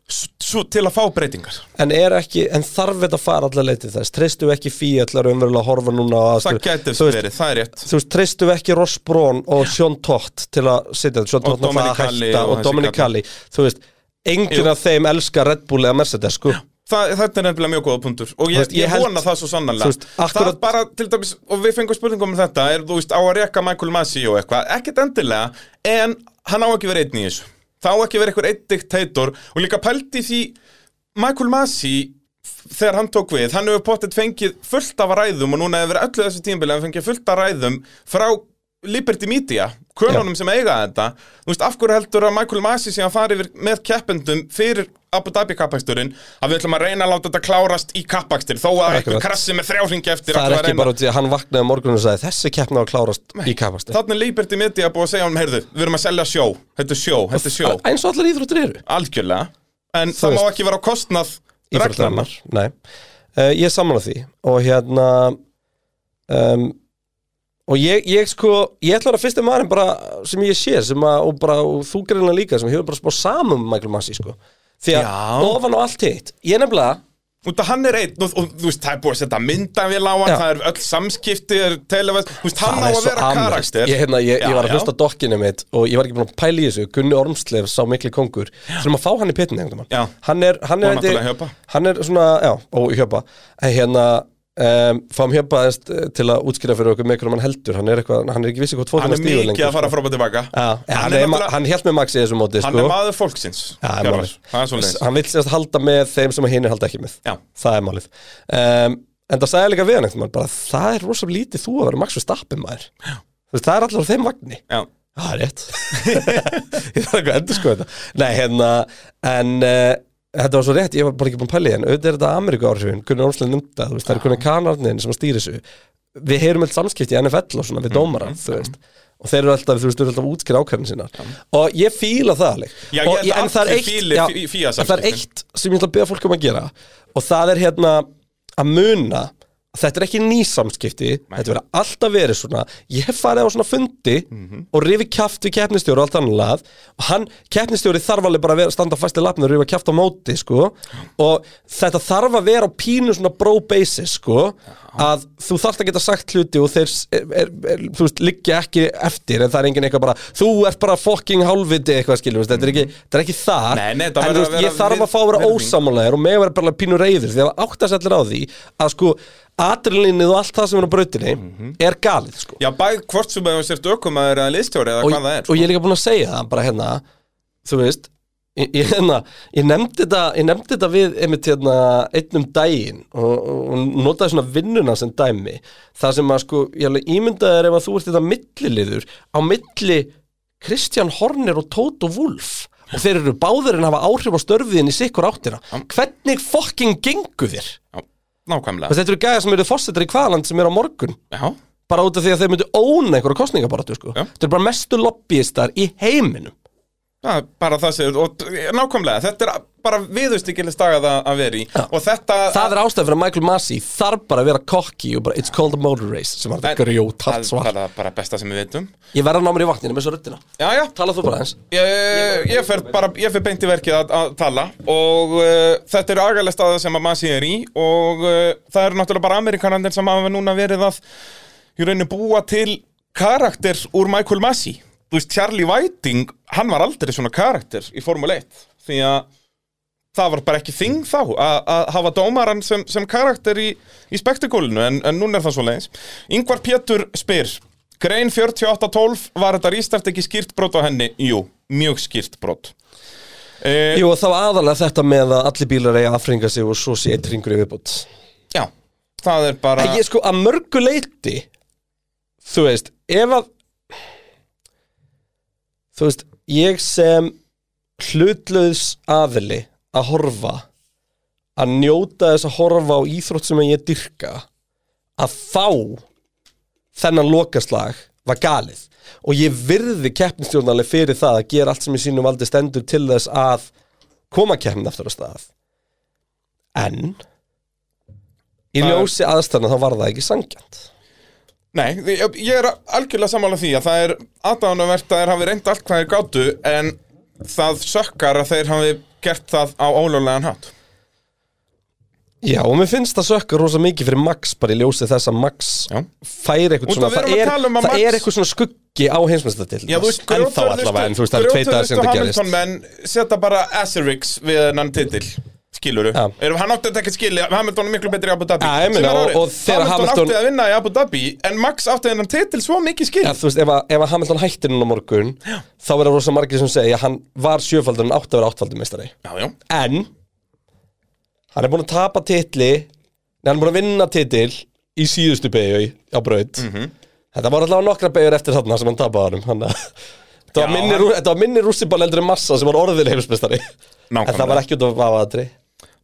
Speaker 5: s- svo til að fá breytingar
Speaker 4: en, er ekki, en þarf þetta að fara allar leitið þess treystu ekki fíallar umverulega að horfa núna á
Speaker 5: Það
Speaker 4: aðstöðu?
Speaker 5: getur
Speaker 4: þú veist,
Speaker 5: verið, það er rétt
Speaker 4: þú veist, treystu ekki Ross Brón og Sean Tott til að sitja þetta, Sean
Speaker 5: Og
Speaker 4: Tott náttúrulega að
Speaker 5: Dominic Calli
Speaker 4: hætta
Speaker 5: og
Speaker 4: og
Speaker 5: þessi
Speaker 4: Dominic Calli þú veist, enginn
Speaker 5: Jú.
Speaker 4: af þeim elskar Red Bull eða Mercedes, sko
Speaker 5: Það, þetta er nefnilega mjög góða punktur og
Speaker 4: Þú
Speaker 5: ég,
Speaker 4: veist,
Speaker 5: ég,
Speaker 4: ég held-
Speaker 5: vona það svo sannlega
Speaker 4: þú veist, akkurat-
Speaker 5: það bara til dæmis, og við fengum spurningum um þetta er þú veist á að reka Michael Massey og eitthvað ekkert endilega, en hann á ekki verið einn í þessu, það á ekki verið eitthvað einn diktator og líka pælti því Michael Massey þegar hann tók við, hann hefur pottet fengið fullt af ræðum og núna hefur öllu þessu tímabili hann fengið fullt af ræðum frá Liberty Media, kvönunum sem eiga þetta þú veist, af hverju heldur að Michael Massey sé að fara yfir með keppendum fyrir Abu Dhabi kappaksturinn að við ætlum að reyna að láta þetta klárast í kappakstur þó að einhver
Speaker 4: Akkurat.
Speaker 5: krassi með þrjáringi eftir
Speaker 4: Það er
Speaker 5: ætlum við að
Speaker 4: ekki
Speaker 5: reyna-
Speaker 4: bara út í að hann vaknaði morgun og sagði þessi keppna á að klárast í kapast
Speaker 5: Þarna er Liberty Media búið að segja honum, heyrðu, við erum að selja sjó Þetta er sjó, þetta er sjó,
Speaker 4: Eins og allar íþróttir eru
Speaker 5: algjörlega En það má
Speaker 4: veist.
Speaker 5: ekki vera á kostnað reglana
Speaker 4: Íþróttarinnar, Nei, uh, ég er sammála því og hérna um, og ég, ég sko ég ætla að vera fyrsti maðurinn bara sem ég sé sem að, og bara og þú greinlega líka sem hefur bara spáð saman um Michael Massey sko því að
Speaker 5: Já.
Speaker 4: ofan á allt hitt ég nefnilega
Speaker 5: Út að hann er einn og, og þú veist, það er búið að setja myndavél á hann
Speaker 4: Já.
Speaker 5: Það er öll samskipti, er telefæst Þú veist, hann á
Speaker 4: það er
Speaker 5: að
Speaker 4: svo
Speaker 5: vera
Speaker 4: amerískt.
Speaker 5: karakter
Speaker 4: ég, hérna, ég,
Speaker 5: Já,
Speaker 4: ég var að
Speaker 5: já.
Speaker 4: hlusta á dokkinu mitt og ég var ekki búin að pæla í þessu Gunni Ormsleif sá mikli kongur þurfum að fá hann í pittin einhvern
Speaker 5: Já.
Speaker 4: veginn. hann er, hann
Speaker 5: Og
Speaker 4: er,
Speaker 5: náttúrulega Hjöpa.
Speaker 4: hann er svona já, og hjöpa En hérna Um, fáum hjöpa aðeins eh, til að útskýra fyrir okkur með hvernig hann heldur, hann er, eitthvað, hann er ekki vissi hvort fótum
Speaker 5: Hann er mikið að fara fram og tilbaka
Speaker 4: sko. Já, já, hann,
Speaker 5: Hann er
Speaker 4: er,
Speaker 5: náttúrulega-
Speaker 4: hann held með Maxi í þessu móti
Speaker 5: Hann
Speaker 4: sko.
Speaker 5: er maður fólksins
Speaker 4: Já, það er
Speaker 5: Hjörvar.
Speaker 4: málið.
Speaker 5: Það er svoleiðis
Speaker 4: Hann vill sérst halda með þeim sem hinn halda ekki með
Speaker 5: Já.
Speaker 4: Það er málið um, En það sagði ég líka við hann eitthvað bara, Það er rosalega lítið þú að vera Max við stappin maður Þú veist, Það er allar á þeim vagni
Speaker 5: Já,
Speaker 4: Já, það er Ah, rétt Ég þarf ekki að endur sko þetta Nei, hérna, en uh, Þetta var svo rétt, ég var bara ekki búin að pæla í en Auðvitað er þetta Ameríku áhrifin, Gunnar Ómslega nefnda þú veist, Það er kunni kanarnin sem stýri þessu Við heyrum öll samskipti í NFL og svona
Speaker 5: Mm,
Speaker 4: Við dómara, þú veist Og þeir eru alltaf, þú veist, þeir eru alltaf að útskýra ákvæðin sínar Og ég fíla það alveg
Speaker 5: Já, ég
Speaker 4: Og
Speaker 5: held að
Speaker 4: en það er
Speaker 5: allir
Speaker 4: eitt-
Speaker 5: fíli-
Speaker 4: já,
Speaker 5: fí- fía
Speaker 4: en Það er
Speaker 5: samskiptin.
Speaker 4: eitt sem ég ætla að beða fólk um að gera Og það er hérna að muna að Þetta er ekki ný samskipti Þetta verður alltaf verið svona Ég hef farið á svona fundi og rifi kjaft við keppnistjóri og allt annað lað. og hann, keppnistjóri þarf alveg bara að vera, standa fast í lafnir og rifa kjaft á móti sko. og þetta þarf að vera á pínu svona bro basis sko, að þú þarft að geta sagt hluti og þeir s- er, er, er, þú veist, liggja ekki eftir en það er engin eitthvað bara, þú ert bara fucking hálfviti eitthvað skilur, veist, þetta er ekki, þetta er ekki þar
Speaker 5: Nei, nei,
Speaker 4: en
Speaker 5: þetta verður
Speaker 4: þú veist,
Speaker 5: að vera
Speaker 4: ég þarf að fá að vera
Speaker 5: virðing.
Speaker 4: ósam ósamálaðir og með að vera bara pínu reyður því að áttast allir á því að sko adrilinnið og allt það sem er á brautinni er galið sko
Speaker 5: Mhm. já bæ, hvort sem að þú sért ökumæður eða liðstjóri eða
Speaker 4: og,
Speaker 5: hvað það er sko.
Speaker 4: og ég er líka búin að segja það bara hérna þú veist ég, ég, hérna, ég nefndi þetta ég nefndi þetta við einmitt hérna einnum daginn og, og notaði svona vinnuna sem dæmi það sem að sko ég alveg ímyndaði er ef að þú ert þetta milliliður á milli Kristján Horner og Tóto Wolf og þeir eru báður en hafa áhrif á störfiðin í sikkur áttina hvernig fokking gengu þér?
Speaker 5: Já, Nákvæmlega
Speaker 4: Þess, þetta eru gæða sem eru fórsetar í hvaðaland sem eru á morgun
Speaker 5: Já,
Speaker 4: bara út af því að þeir myndu óna einhverju kostningabaratu sko.
Speaker 5: Já.
Speaker 4: þetta er bara mestu lobbyistar í heiminum
Speaker 5: það er bara það sem og, Nákvæmlega, þetta er bara viðustykileg stagað að að vera í Og þetta
Speaker 4: það er ástæðan fyrir að Michael Massey þarf bara að vera kokki og bara it's called a motor race sem var
Speaker 5: En-
Speaker 4: þetta grjótart
Speaker 5: Það er
Speaker 4: svar
Speaker 5: bara- bara besta sem við veitum
Speaker 4: ég verða að ná mér í vatninu með svo röddina
Speaker 5: Já, já,
Speaker 4: tala þú bara eins
Speaker 5: ég, ég fer bara, ég fer beint í verkið að, að tala og uh, þetta eru agalega staða sem að Masi er í og uh, það eru náttúrulega bara Amerikanandir sem hafa núna verið að í rauninu búa til karakter úr Michael Masi þú veist, Charlie Whiting, hann var aldrei svona karakter í Formule 1 því að það var bara ekki þing þá að að hafa dómaran sem, sem karakter í, í spektakólinu en, en núna er það svo leiðis Yngvar Pétur spyr Grein 4812 var þetta rístart ekki skýrt brot á henni? Jú, mjög skýrt brot e,
Speaker 4: Jú, og þá aðalega þetta með að allir bílar eiga að afringa sig og svo sé eitt ringur í viðbútt
Speaker 5: Já, það er bara
Speaker 4: ég sko að mörgu leiti þú veist, ef að þú veist, ég sem hlutlaus aðili að horfa að njóta þess að horfa á íþrótt sem ég dyrka að fá þennan lokaslag var galið og ég virði keppnistjórnarlega fyrir það að gera allt sem ég sínum valdi stendur til þess að koma keppn aftur á stað en í
Speaker 5: Það er-
Speaker 4: ljósi aðstæðna þá var það ekki sangjant
Speaker 5: Nei, því- ég ég er algjörlega sammála því að það er aðdánavert að þeir hafi reynd allt hvað þeir gátu en það sökkar að þeir hafi gert það á ólöglegan hátt
Speaker 4: Já, og mér finnst það sökka rosa mikið fyrir Max bara í ljósi þess að Max
Speaker 5: Já.
Speaker 4: fær eitthvað
Speaker 5: Út af
Speaker 4: svona,
Speaker 5: við
Speaker 4: það
Speaker 5: erum að
Speaker 4: er,
Speaker 5: tala um að
Speaker 4: það
Speaker 5: Max-
Speaker 4: er eitthvað svona skuggi á heimsmyndsdættil
Speaker 5: Já, þú veist,
Speaker 4: en þá allavega, en þú veist, það er tveitað sem þetta gerist
Speaker 5: Hamilton menn setja bara Asterix við hennan titill skiluru,
Speaker 4: Já.
Speaker 5: erum hann átti þetta ekki skilja Hamilton er miklu betri í Abu Dhabi
Speaker 4: Já, ég meina,
Speaker 5: sem er
Speaker 4: og-
Speaker 5: árið.
Speaker 4: og þegar
Speaker 5: Hamilton
Speaker 4: Hamilton-
Speaker 5: átti að vinna í Abu Dhabi en Max átti hennan titill svo mikið skil
Speaker 4: Já, þú veist, ef að, ef að Hamilton hættir núna á morgun þá verða rosa margir sem segja að hann var sjöfaldur en átti að vera áttfaldur meistari
Speaker 5: já, já,
Speaker 4: en hann er búin að tapa titli nei, hann er búin að vinna titil í E
Speaker 5: Mhm.
Speaker 4: síðustu beigju á braut þetta var allavega nokkra beigjur eftir þarna sem hann tapaði honum hann að Þetta var
Speaker 5: Já,
Speaker 4: minni,
Speaker 5: hann-
Speaker 4: hann... var minni rússiball heldur en massa sem var orðið heimsmeistari En
Speaker 5: Nákvæmlega.
Speaker 4: það var ekki út af vafaðatri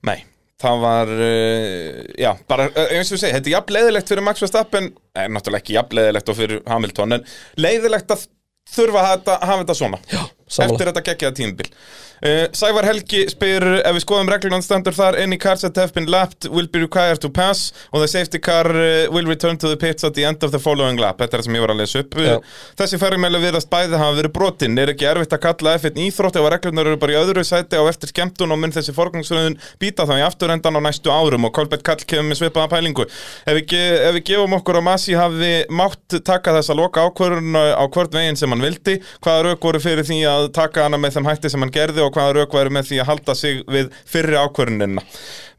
Speaker 5: Nei, það var uh, Já, bara uh, eins og við segja Þetta er jafn leiðilegt fyrir Max Verstappen eh, Náttúrulega ekki jafn leiðilegt og fyrir Hamilton En leiðilegt að þurfa að þetta, hafa þetta svona Já,
Speaker 4: sammála.
Speaker 5: Eftir þetta geggjaða tímabil uh, Sævar Helgi spyr Ef við skoðum reglunan standur þar Any cars that have been lapped will be required to pass Og the safety car uh, will return to the pits At the end of the following lap Þetta er það sem ég var að lesa upp Eh,
Speaker 4: Já.
Speaker 5: Þessi ferðumæli viðast bæði hafa verið brotin Er ekki erfitt að kalla F1 íþrótt ef að reglurnar eru bara í öðru sæti á eftir skemmtun og mun þessi forgangsröðun býta þá í afturrendan á næstu árum og Kolbett Kall kemur með svipaða pælingu Ef við, ge- ef við gefum okkur að Masi hafi mátt taka þessa loka ákvörun á hvort veginn sem hann vildi hvaða rauk voru fyrir því að taka hana með þeim hætti sem hann gerði og hvaða rauk væri með því að halda sig við fyrri ákvörunina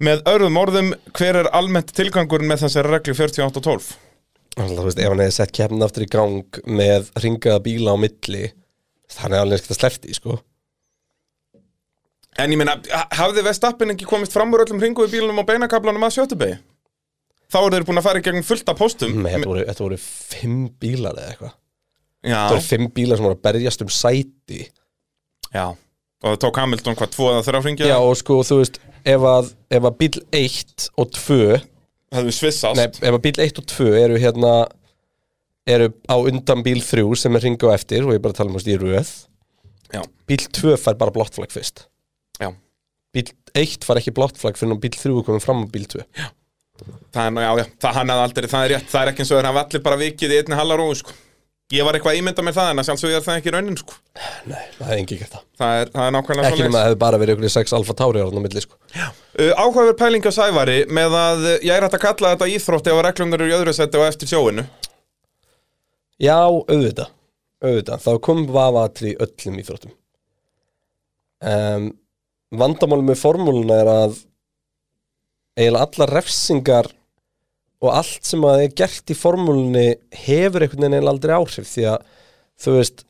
Speaker 5: Með örðum orðum, hver er almennt tilgangurinn með þessari reglu 48 og 12?
Speaker 4: Þannig að þú veist, ef hann hefði sett keppnin aftur í gang með ringaða bíla á milli þannig að hann hefði ekkert að sleppti, sko
Speaker 5: En ég meina, ha- hafði Vestappin ekki komist fram úr öllum ringu í bílunum og beinakablanum að sjötubegi? Þá eru þeir búin að fara í gegn fullt af póstum
Speaker 4: Nei, þetta voru, þetta voru fimm bílar eða eitthvað Það voru
Speaker 5: Já,
Speaker 4: fimm bílar sem voru að berjast um sæti
Speaker 5: já Og það tók Hamilton hvað, tvo eða þrjá ringi
Speaker 4: Já, og sko, þú veist, ef að, ef að bíl 1 og 2
Speaker 5: Hefðu svissast
Speaker 4: Nei, ef að bíl 1 og 2 eru hérna eru á undan bíl 3 sem er ringa á eftir og ég er bara að tala um þú veist, í röð
Speaker 5: Já.
Speaker 4: Bíl 2 fær bara blátt flagg fyrst
Speaker 5: Já.
Speaker 4: Bíl 1 fær ekki blátt flagg fyrir en bíl 3 komið fram á bíl 2
Speaker 5: Það er, nú- já, já, það hann hafði aldrei, það er rétt Það er ekki eins og þeir hafa allir bara vikið í einni hallaróðu, sko Ég var eitthvað að ímynda mér það, en að sjálfsögðu er það ekki raunin, sko
Speaker 4: Nei, það hefði engi gert það
Speaker 5: Það er, það er nákvæmlega
Speaker 4: Ekki nema að það hefði bara verið ykkur 6 alfa tári á milli sko
Speaker 5: Uh, áhugaverð pæling á Sævari með að uh, ég er hægt að kalla þetta íþrótti ef að reglunar eru í öðru seti og eftir sjóinu
Speaker 4: Já, auðvitað auðvitað, þá kom vafatri öllum íþróttum um, Vandamálum með formúluna er að eiginlega allar refsingar og allt sem að er gert í formúlunni hefur einhvern veginn eiginlega aldrei áhrif því að þú veist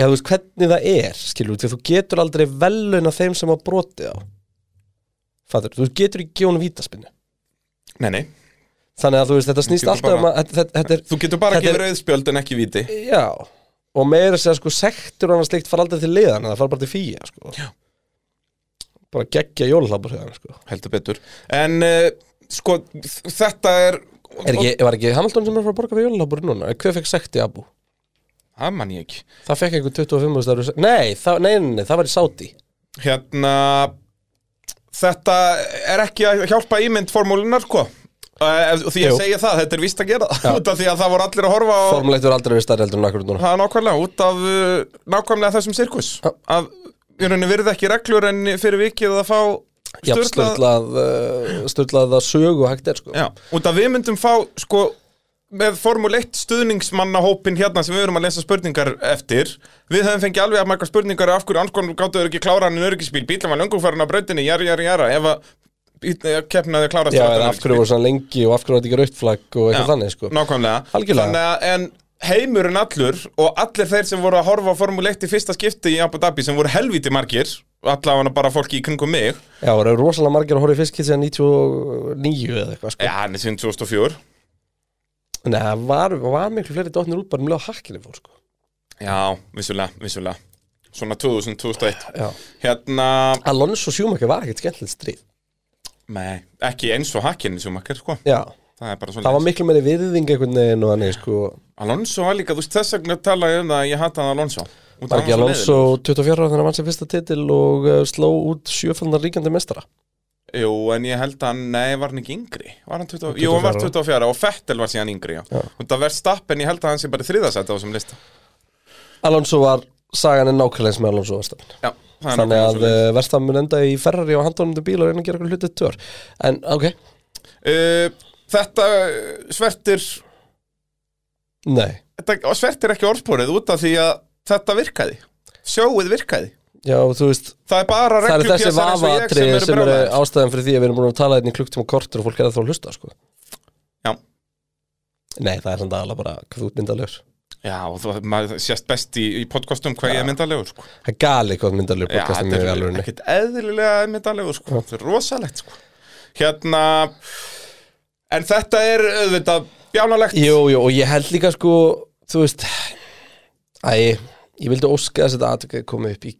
Speaker 4: Já, þú veist hvernig það er, skilur því að þú getur aldrei veluna þeim sem að brotið á Fattur, þú getur ekki gefa hún vítaspinnu
Speaker 5: Nei, nei,
Speaker 4: Þannig að þú veist, þetta snýst
Speaker 5: getur
Speaker 4: alltaf um
Speaker 5: bara-
Speaker 4: að þetta, þetta, þetta er
Speaker 5: þú getur bara
Speaker 4: Þetta
Speaker 5: ekki
Speaker 4: er-
Speaker 5: verið auðspjöld en ekki víti
Speaker 4: Já, og meira að segja sko sektur og annað slikt fara aldrei til liðan það fara bara til fíja sko Já. bara geggja jólahlapur hérna sko
Speaker 5: heldur betur en uh, sko þ- þetta er
Speaker 4: er ekki, var ekki Hamilton sem er að fara að borga fyrir jólahlapur núna hver fekk sekt í Abu?
Speaker 5: það man ég ekki
Speaker 4: Það fekk einhver 25 starf nei, það, nei, nei, nei, það var í Saudi
Speaker 5: hérna þetta er ekki að hjálpa ímynd formúlunar sko Eh, ef- því ég
Speaker 4: Jú.
Speaker 5: segja það, þetta er víst að gera það út af því að það voru allir að horfa á
Speaker 4: Formulegt verður aldrei verið starri heldur en akkur núna
Speaker 5: það er nákvæmlega út af uh, nákvæmlega þessum sirkus
Speaker 4: Já.
Speaker 5: að í rauninni virði ekki reglur en fyrir vikið að fá
Speaker 4: Já,
Speaker 5: sturlað-
Speaker 4: störlað störlað eh, að sögu hægt er sko
Speaker 5: Já, út að við myndum fá sko með Formule 1 stuðningsmannahópin hérna sem við erum að lesa spurningar eftir við höfum fengið alveg að mækka spurningar af hverju anskonu gáttu þau ekki klára hann í örgisbíl bílum var löngum farin á brautinni, jara, jara, jara ef að bíll- keppnaði að klára
Speaker 4: Já, eða af hverju voru svona lengi og af hverju var þetta ekki rautflag og eitthvað þannig sko
Speaker 5: Nákvæmlega
Speaker 4: Algjörlega.
Speaker 5: Þannig að en heimurinn allur og allir þeir sem voru að horfa á Formule 1 í fyrsta skipti í Abu Dhabi sem voru helviti margir allavega bara fólki í kringum mig
Speaker 4: Já, voru rosalega margir að horfa í fiskið síðan 99 eða eitthvað sko
Speaker 5: Já, hann er síðan 2004
Speaker 4: Nei, það var, var miklu fleiri dotnir út bara um leið að hakkinu fór sko.
Speaker 5: Já, vissulega, vissulega Svona 2000, 2001
Speaker 4: Já.
Speaker 5: Hérna,
Speaker 4: Alonso Schumacher var ekkert skemmtilegt stríð
Speaker 5: nei, ekki eins og hakkinni sem makkar, sko
Speaker 4: Já,
Speaker 5: Það er bara
Speaker 4: það var
Speaker 5: svona
Speaker 4: miklu meiri virðing einhvern veginn og þannig sko
Speaker 5: Alonso var líka, þú veist, þess vegna tala ég um það að ég hataði Alonso Út af
Speaker 4: Var ekki
Speaker 5: hann var
Speaker 4: Alonso
Speaker 5: svo
Speaker 4: 24 ára þannig að vann sér fyrsta titil og uh, sló út sjöfaldar ríkjandi mestara
Speaker 5: leiðilegur. Jú, en ég held að, nei, var hann ekki yngri Var hann 20, jú, hann var
Speaker 4: 24.
Speaker 5: 24 og Fettel var síðan yngri, já, já. Út af Verstappen, ég held að hann sé bara þriðasætt á þessum lista
Speaker 4: Alonso var, sagan er nákvæmlega eins með Alonso Verstappen
Speaker 5: Já, það er
Speaker 4: Þannig
Speaker 5: nákvæmlega
Speaker 4: að
Speaker 5: svoleiðis.
Speaker 4: uh, Verstappen mun enda í Ferrari og handónum til bíl og reyna að gera eitthvað hlutið tör En ok,
Speaker 5: uh, Þetta uh, svertir
Speaker 4: nei
Speaker 5: þetta, Svertir ekki orðspórið út af því að þetta virkaði Sjóið virkaði
Speaker 4: Já, þú veist,
Speaker 5: Það er bara
Speaker 4: það eru þessi
Speaker 5: reglupjasar eins og ég
Speaker 4: vafaatriði sem eru
Speaker 5: brjálæðir.
Speaker 4: ástæðan fyrir því að við erum búin að tala hérna í klukktíma og kortur og fólk er að þá að hlusta, sko
Speaker 5: Já,
Speaker 4: Nei, það er samt aðalega bara hvað þú ert myndalegur
Speaker 5: já og það, maður sést best í, í podcastum hvað ég er myndalegur sko.
Speaker 4: Það er gali hvað myndalegur
Speaker 5: Já,
Speaker 4: podcastum
Speaker 5: þetta
Speaker 4: er í
Speaker 5: er
Speaker 4: alvörunni
Speaker 5: ekkert eðlilega myndalegur sko. Þetta er rosalegt sko. Hérna En þetta er auðvitað bjánalegt
Speaker 4: Jú, jú, og ég held líka sko, þú veist Æ, Ég vildi óska þess að þetta atvik komið upp í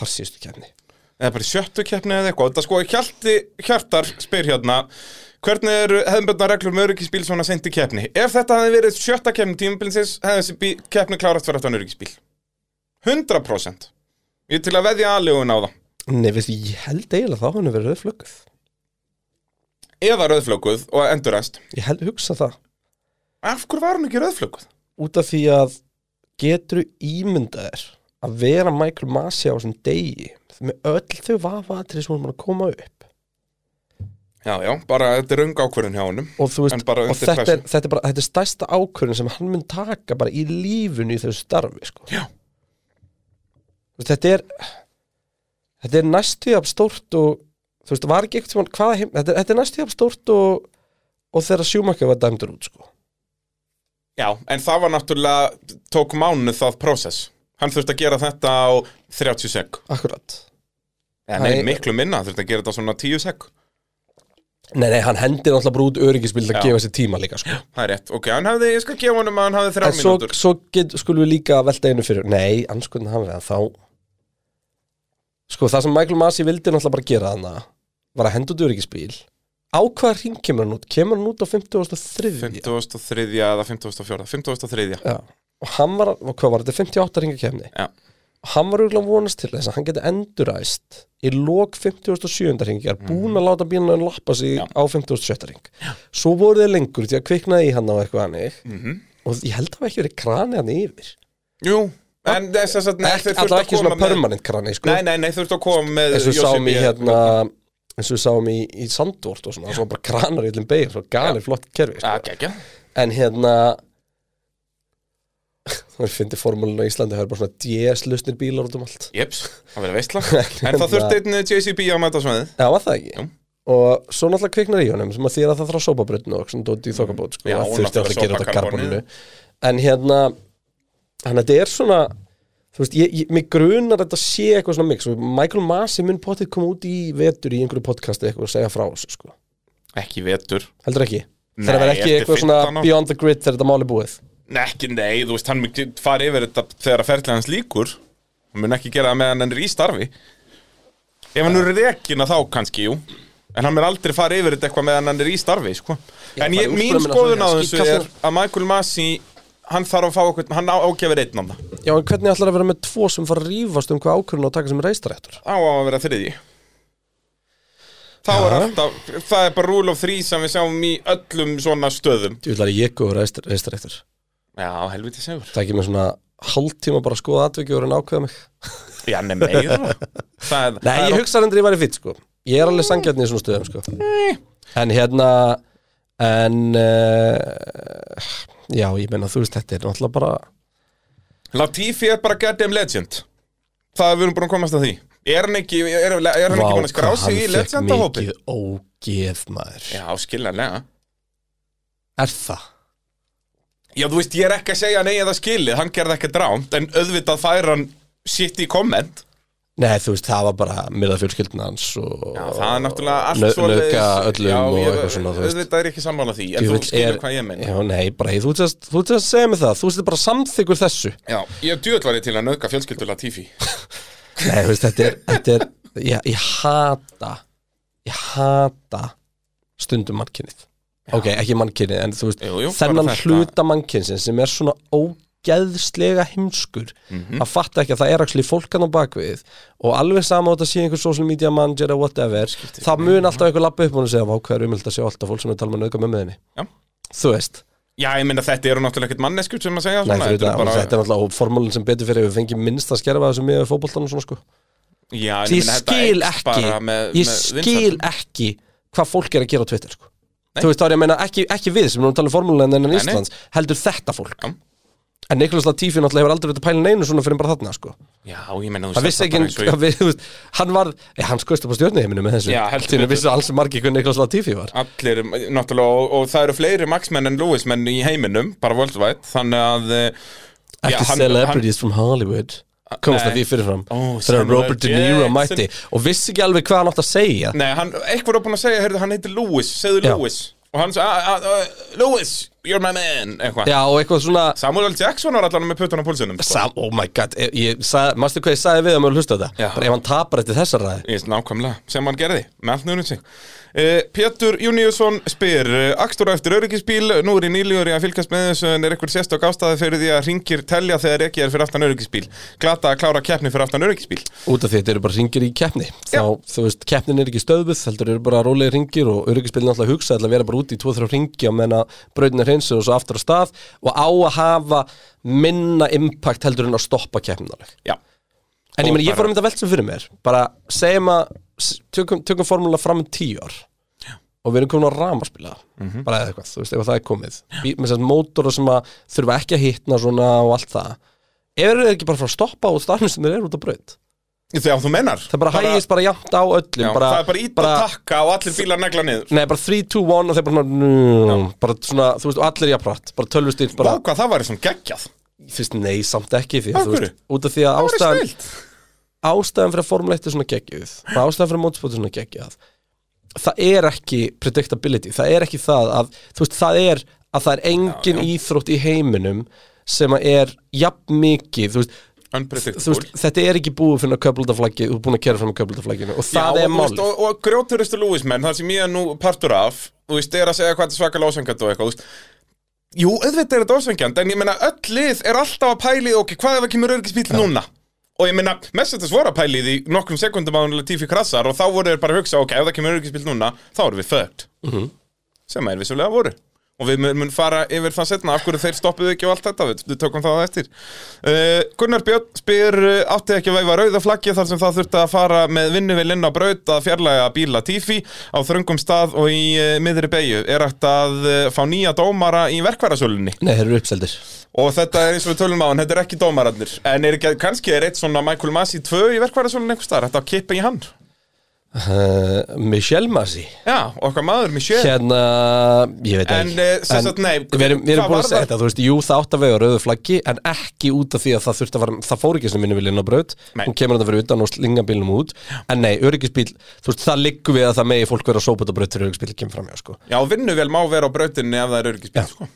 Speaker 4: þar síðustu kefni
Speaker 5: eða bara í sjöttu keppni eða eitthvað þetta sko hjalti hjartar spyr hérna hvernig eru hefðbjörna reglur með öryggisbíl svona sent í keppni ef þetta hefði verið sjötta keppni tímabilsins hefði þessi bí- keppni klárast fyrir aftan öryggisbíl 100% ég er til að veðja aðlegun á það
Speaker 4: Nei, veistu, ég held eiginlega þá hann er verið rauðflögguð
Speaker 5: eða rauðflökuð og endurrest
Speaker 4: Ég held hugsa það
Speaker 5: af hverju var hún ekki rauðflökuð?
Speaker 4: Út af því að getur ímyndaðir að vera Michael Masi á þessum degi með öll þau vafaðatri sem hún er búin að koma upp
Speaker 5: já já, bara þetta er röng ákvörðun hjá honum
Speaker 4: og, þú
Speaker 5: En
Speaker 4: veist,
Speaker 5: bara
Speaker 4: og
Speaker 5: undir
Speaker 4: þetta, er,
Speaker 5: pressu.
Speaker 4: þetta, er bara, þetta er stærsta ákvörðin sem hann mun taka bara í lífinu í þessu starfi sko.
Speaker 5: Já.
Speaker 4: Þú veist, þetta er þetta er næstu jafn stórt og þú veist, var ekki eitthvað hvaða heim, þetta, er- þetta er næstu jafn stórt og, og þegar sjúmakka var dæmdur út sko.
Speaker 5: já, en það var náttúrulega tók mánu það prósess hann þurfti að gera þetta á 30 sek
Speaker 4: akkurat
Speaker 5: eða nei,
Speaker 4: Nei.
Speaker 5: miklu minna, hann þurfti að gera þetta á svona 10 sek
Speaker 4: nei, nei, hann hendir náttúrulega bara út öryggisbild
Speaker 5: Já.
Speaker 4: að gefa sér tíma líka sko.
Speaker 5: Það er rétt, ok, hann hefði, ég skal gefa honum að hann hafði þrjá
Speaker 4: en svo,
Speaker 5: mínútur
Speaker 4: svo get, skulum við líka velta einu fyrir nei, anskotin hann við að þá sko, það sem Michael Masi vildi náttúrulega bara gera hana var að henda út öryggisbíl á hvaða hring kemur hann út? kemur hann út á 53
Speaker 5: 53. eða 54. 53.
Speaker 4: Já. og hann var, og hvað var þetta, 58 ringa kemni
Speaker 5: Já.
Speaker 4: og hann var auðvitað vonast til þess að hann geti enduræst í lok 57. ringjar
Speaker 5: Mhm.
Speaker 4: búin að láta bílunum lappa sig á 57. ring svo voru þeir lengur því að kviknaði í hann á eitthvað hannig
Speaker 5: Mhm.
Speaker 4: -hmm. og ég held að það hafi ekki verið krani hann yfir
Speaker 5: Jú, en þess að nei,
Speaker 4: ekki,
Speaker 5: þeir þurftu
Speaker 4: alltaf
Speaker 5: að
Speaker 4: ekki
Speaker 5: koma
Speaker 4: svona
Speaker 5: með
Speaker 4: permanent krani sko.
Speaker 5: Nei, nei, nei, þurftu að koma með
Speaker 4: eins og við sáum í
Speaker 5: Yosemite-
Speaker 4: hérna eins og við sáum í, í Sandvort og svona, það var bara kranar í öllum beigir, svo galið flott kerfi
Speaker 5: Já,
Speaker 4: sko.
Speaker 5: geggja
Speaker 4: en hérna það finnir formúlinu á Íslandi það er bara svona DS-lusnir bílar út um allt
Speaker 5: Jeps, það verið veistla En það þurfti einn JCB að mæta svona
Speaker 4: Já, var það ekki?
Speaker 5: Jú.
Speaker 4: Og svo náttúrulega kviknar í honum sem að því að það þarf að sópa brutinu og svona dóti í þokkabót sko,
Speaker 5: Mm. Já,
Speaker 4: að
Speaker 5: og
Speaker 4: þurfti alltaf að
Speaker 5: náttúrulega
Speaker 4: gera þetta
Speaker 5: sópa
Speaker 4: á karboninu En hérna, hann þetta er svona þú veist, ég, ég, mig grunar að þetta sé eitthvað svona mix og Michael Masi mun potið koma út í vetur í einhverju podcasti eitthvað og segja frá þessu sko
Speaker 5: Ekki vetur
Speaker 4: Heldur ekki?
Speaker 5: Nei,
Speaker 4: Þegar það verður ekki
Speaker 5: eftir
Speaker 4: eitthvað svona
Speaker 5: 15 ár.
Speaker 4: beyond the grid þegar þetta máli búið
Speaker 5: Nei, ekki, nei, þú veist, hann mun get- fara yfir þetta þegar að ferðlega hans líkur Hann mun ekki gera það meðan hann er í starfi Ef hann eru rekin að þá kannski, jú En hann mun aldrei fara yfir þetta eitthvað meðan hann er í starfi, sko
Speaker 4: bara
Speaker 5: En ég,
Speaker 4: úrskurðarmenn
Speaker 5: mín
Speaker 4: að
Speaker 5: skoðun á
Speaker 4: segja,
Speaker 5: þessu
Speaker 4: skýtkast
Speaker 5: er að Michael Masi Hann þarf að fá okkur, hann ágefir einn annað
Speaker 4: Já, en hvernig ætlar að vera með tvo sem fara að rífast um hvað ákvörðun á að taka sem reistaréttur?
Speaker 5: Á að vera þriðji Þá er alltaf, það er bara rule of three sem við sjáum í öllum svona stöðum
Speaker 4: Þú ætlar að ég góður reistaréttur
Speaker 5: Já, helviti segur
Speaker 4: Það ekki með svona hálftíma bara að skoða atvikið og reyna að ákveða mig
Speaker 5: Já, nei, meira það er,
Speaker 4: Nei,
Speaker 5: það
Speaker 4: ég
Speaker 5: er,
Speaker 4: hugsa hendur ég væri fýtt sko Ég er alveg sangjarni í svona stöðum sko En hérna En uh, Já, ég meina þú veist, þetta er náttúrulega bara
Speaker 5: Latifi er bara goddamn legend Það er við erum búin að komast að því Er hann ekki, er, er hann ekki búin að skrá sig í legendahópi?
Speaker 4: mikið ógeð maður
Speaker 5: Já, skiljanlega
Speaker 4: Er það?
Speaker 5: Já, þú veist, ég er ekki að segja nei eða skilið Hann gerði ekkert rámt, en auðvitað fær hann sitt í komment
Speaker 4: Nei, þú veist, það var bara myrða fjölskyldin hans og
Speaker 5: Já, það er náttúrulega allt
Speaker 4: nau-
Speaker 5: svoleiðis.
Speaker 4: nauðga öllum
Speaker 5: Já,
Speaker 4: og
Speaker 5: ég-
Speaker 4: eitthvað svona, þú veist.
Speaker 5: Auðvitað er ég ekki sammála því, en þú
Speaker 4: Djöfull
Speaker 5: skilur
Speaker 4: er-
Speaker 5: hvað ég meina
Speaker 4: Já, nei, bara, þú ert að- þú ert að segja mig það Þú veist, bara samþykkur þessu
Speaker 5: Já, ég djöðl var ég til að nöðka fjölskyldu Latifi
Speaker 4: Nei, þú veist, þetta er, þetta er ég, ég hata ég hata stundum mannkynnið ok, ekki mannkynnið, en þú veist
Speaker 5: Jú, jú, bara
Speaker 4: þennan
Speaker 5: þetta.
Speaker 4: hluta mannkynnsin sem er svona ógeðslega heimskur
Speaker 5: Mhm.
Speaker 4: að fatta ekki að það er aksli fólkan á bakvið og alveg sama átt að sé einhver social media manager eða whatever, það mun alltaf einhver lappa upp og hún og segja, vá, hvað er umhald að sjá alltaf fólk sem er að tala með nöðgum með meðinni
Speaker 5: Já.
Speaker 4: þú veist,
Speaker 5: Já, ég meina þetta eru náttúrulega ekkert manneskur sem að segja
Speaker 4: Nei,
Speaker 5: svona,
Speaker 4: fyrir þetta,
Speaker 5: eru
Speaker 4: bara... þetta er alltaf formúlin sem betur fyrir við fengið minnst að skerfa þessu miðað við fótboltan og svona sko
Speaker 5: Já, en
Speaker 4: ég
Speaker 5: meina, þetta
Speaker 4: skil
Speaker 5: eykst
Speaker 4: ekki
Speaker 5: bara með-
Speaker 4: ég
Speaker 5: með
Speaker 4: skil
Speaker 5: vinsældum.
Speaker 4: ekki hvað fólk er að gera á Twitter sko. þú veist þá er ég að meina ekki, ekki við sem erum að tala um formúlan en
Speaker 5: nei.
Speaker 4: Íslands heldur þetta fólk
Speaker 5: Já.
Speaker 4: en Niklas Latifi náttúrulega hefur aldrei verið að pæla neinu svona fyrir bara þarna sko.
Speaker 5: Já, ég meina þú
Speaker 4: hann vissi ekki
Speaker 5: ekki
Speaker 4: hann, við, þú veist, hann var, ég, hann skoist upp á stjórnihiminu með þessu
Speaker 5: Já, heldur
Speaker 4: Þínu
Speaker 5: betur.
Speaker 4: vissi alls margir hvernig Niklas Latifi var
Speaker 5: Allir, náttúrulega, og, og það eru fleiri Maxmenn en Lewismenn í heiminum, bara worldwide Þannig að eh, já,
Speaker 4: ekki
Speaker 5: hann-
Speaker 4: celebrities from Hollywood komast
Speaker 5: Nei.
Speaker 4: að því fyrirfram
Speaker 5: Ó,
Speaker 4: þegar
Speaker 5: Samuel
Speaker 4: Robert De Niro
Speaker 5: Jackson.
Speaker 4: mætti og vissi ekki alveg hvað hann átt að segja
Speaker 5: Nei, hann, eitthvað er búin að segja, heyrðu, hann heitir Lewis, segðu
Speaker 4: Já.
Speaker 5: Lewis Og hann sagði, "Ah, ah, ah, Lewis, you're my man, eitthvað
Speaker 4: Já, og eitthvað svona
Speaker 5: Samuel L. Jackson var allan með puttan á púlsunum sko.
Speaker 4: Sam, oh my god, ég, ég sagði, mástu hvað ég sagði við að maður hlusta á þetta
Speaker 5: Já.
Speaker 4: bara ef hann tapar eftir þessar ræði
Speaker 5: Ég veist nákvæmlega, sem hann gerði, með allt nöðnum sig. Uh, Pétur Júniusson spyr, uh, akstur á eftir öryggisbíl, nú er ég nýlegur í að fylgjast með þessu en er eitthvað sérstök ástæði fyrir því að ringir telja þegar ekki er fyrir aftan öryggisbíl. Glata að klára keppni fyrir aftan öryggisbíl.
Speaker 4: út af því þetta eru bara ringir í keppni þá, þú veist, keppnin er ekki stöðbuð heldur eru bara rólegir ringir og öryggisbyrðin alltaf hugsa ætla að vera bara úti í 2-3 ringi á menna brautin er hreinsu og svo aftur á stað og á að hafa minna impact heldur en að stoppa keppnin alveg
Speaker 5: Já,
Speaker 4: En ég
Speaker 5: Og
Speaker 4: meni, ég
Speaker 5: bara-
Speaker 4: fór að mynda veltum fyrir mér bara segjum að s- tökum, tökum formúla fram um tíu ár og við erum komin á ramaspila
Speaker 5: Mhm.
Speaker 4: bara eða eitthvað, þú veist, ef það er komið Bí, með þess að mótora sem að þurfa ekki að hitna svona og allt það ef þeir eru ekki bara frá að stoppa á starfum sem þeir eru út á braut
Speaker 5: þegar þú mennar.
Speaker 4: það bara hægist bara jafnt á öllum
Speaker 5: Já,
Speaker 4: bara,
Speaker 5: það er bara ít að takka og allir bílar negla niður.
Speaker 4: Nei, bara 3, 2, 1 og þeir bara, nú, bara svona, þú veist, og allir jafnrætt bara tölvustýrt,
Speaker 5: Vá,
Speaker 4: bara,
Speaker 5: hvað það var svona geggjað.
Speaker 4: fyrst nei, samt ekki því,
Speaker 5: Af
Speaker 4: að, þú
Speaker 5: hverju?
Speaker 4: veist, út af því að
Speaker 5: Það var
Speaker 4: ástæðan
Speaker 5: snilt.
Speaker 4: ástæðan fyrir að Formule 1 er svona geggjuð og ástæðan fyrir að motorsport er svona geggjuð það er ekki predictability það er ekki það að þú veist, það er að það er engin íþrótt í heiminum sem að er jafn mikið þú veist, þú
Speaker 5: Unpredictable.
Speaker 4: veist, þetta er ekki búið fyrir að köflutaflaggi þú er búin að kera fram að köflutaflagginu og það
Speaker 5: Já,
Speaker 4: er
Speaker 5: og, þú veist,
Speaker 4: mál
Speaker 5: og, og grjóturistu Lúismenn, þar sem ég er nú partur af þú veist, er að segja hvað þetta er svakalega ósengjant og eitthvað þú veist. Jú, auðvitað er þetta ósengjant en ég meina, öll lið er alltaf að pæli ok, hvað ef ekki mér örgisbíl núna og ég meina, Mercedes voru að pæli því nokkrum sekundum að hún Latifi krassar og þá voru þeir bara að hugsa ok, ef það ekki mér örgisbíl núna, þá erum við fucked sem er vissulega voru og við mun fara yfir það setna af hverju þeir stoppuðu ekki og allt þetta, við, við tökum það á eftir uh, Gunnar Björn spyr uh, átti ekki að veifa rauða flaggi þar sem það þurfti að fara með vinnuvelinn á braut að fjarlæga bíla Tífi á þröngum stað og í uh, miðri beigju er hægt að uh, fá nýja dómara í verkvarasölunni
Speaker 4: Nei, þeir eru uppseldir
Speaker 5: og þetta er eins og við tölum á hann, þetta er ekki dómararnir en er ekki, kannski er eitt svona Michael Masi 2 í verkvarasölunni einhvers staðar, þetta að kippa í hann
Speaker 4: uh, Michel Masi
Speaker 5: Já, okkar maður, Michel
Speaker 4: hérna, ég veit
Speaker 5: En,
Speaker 4: ekki
Speaker 5: eh, sem sagt, nei,
Speaker 4: við erum, við
Speaker 5: hvað
Speaker 4: erum búin
Speaker 5: var
Speaker 4: að segja
Speaker 5: það?
Speaker 4: þetta, þú veist, jú það átt að vega rauðu flaggi en ekki út af því að það þurfti að fara það fór ekki sem minni vilja inn á braut
Speaker 5: Nei.
Speaker 4: hún kemur þetta fyrir utan og slinga bílnum út en nei, öryggisbíl, þú veist, það liggur við að það megi fólk vera að sópa þetta braut þegar öryggisbíl kemur fram hjá, sko.
Speaker 5: Já, vinnuvél má vera á brautinni ef það er öryggisbíl, sko.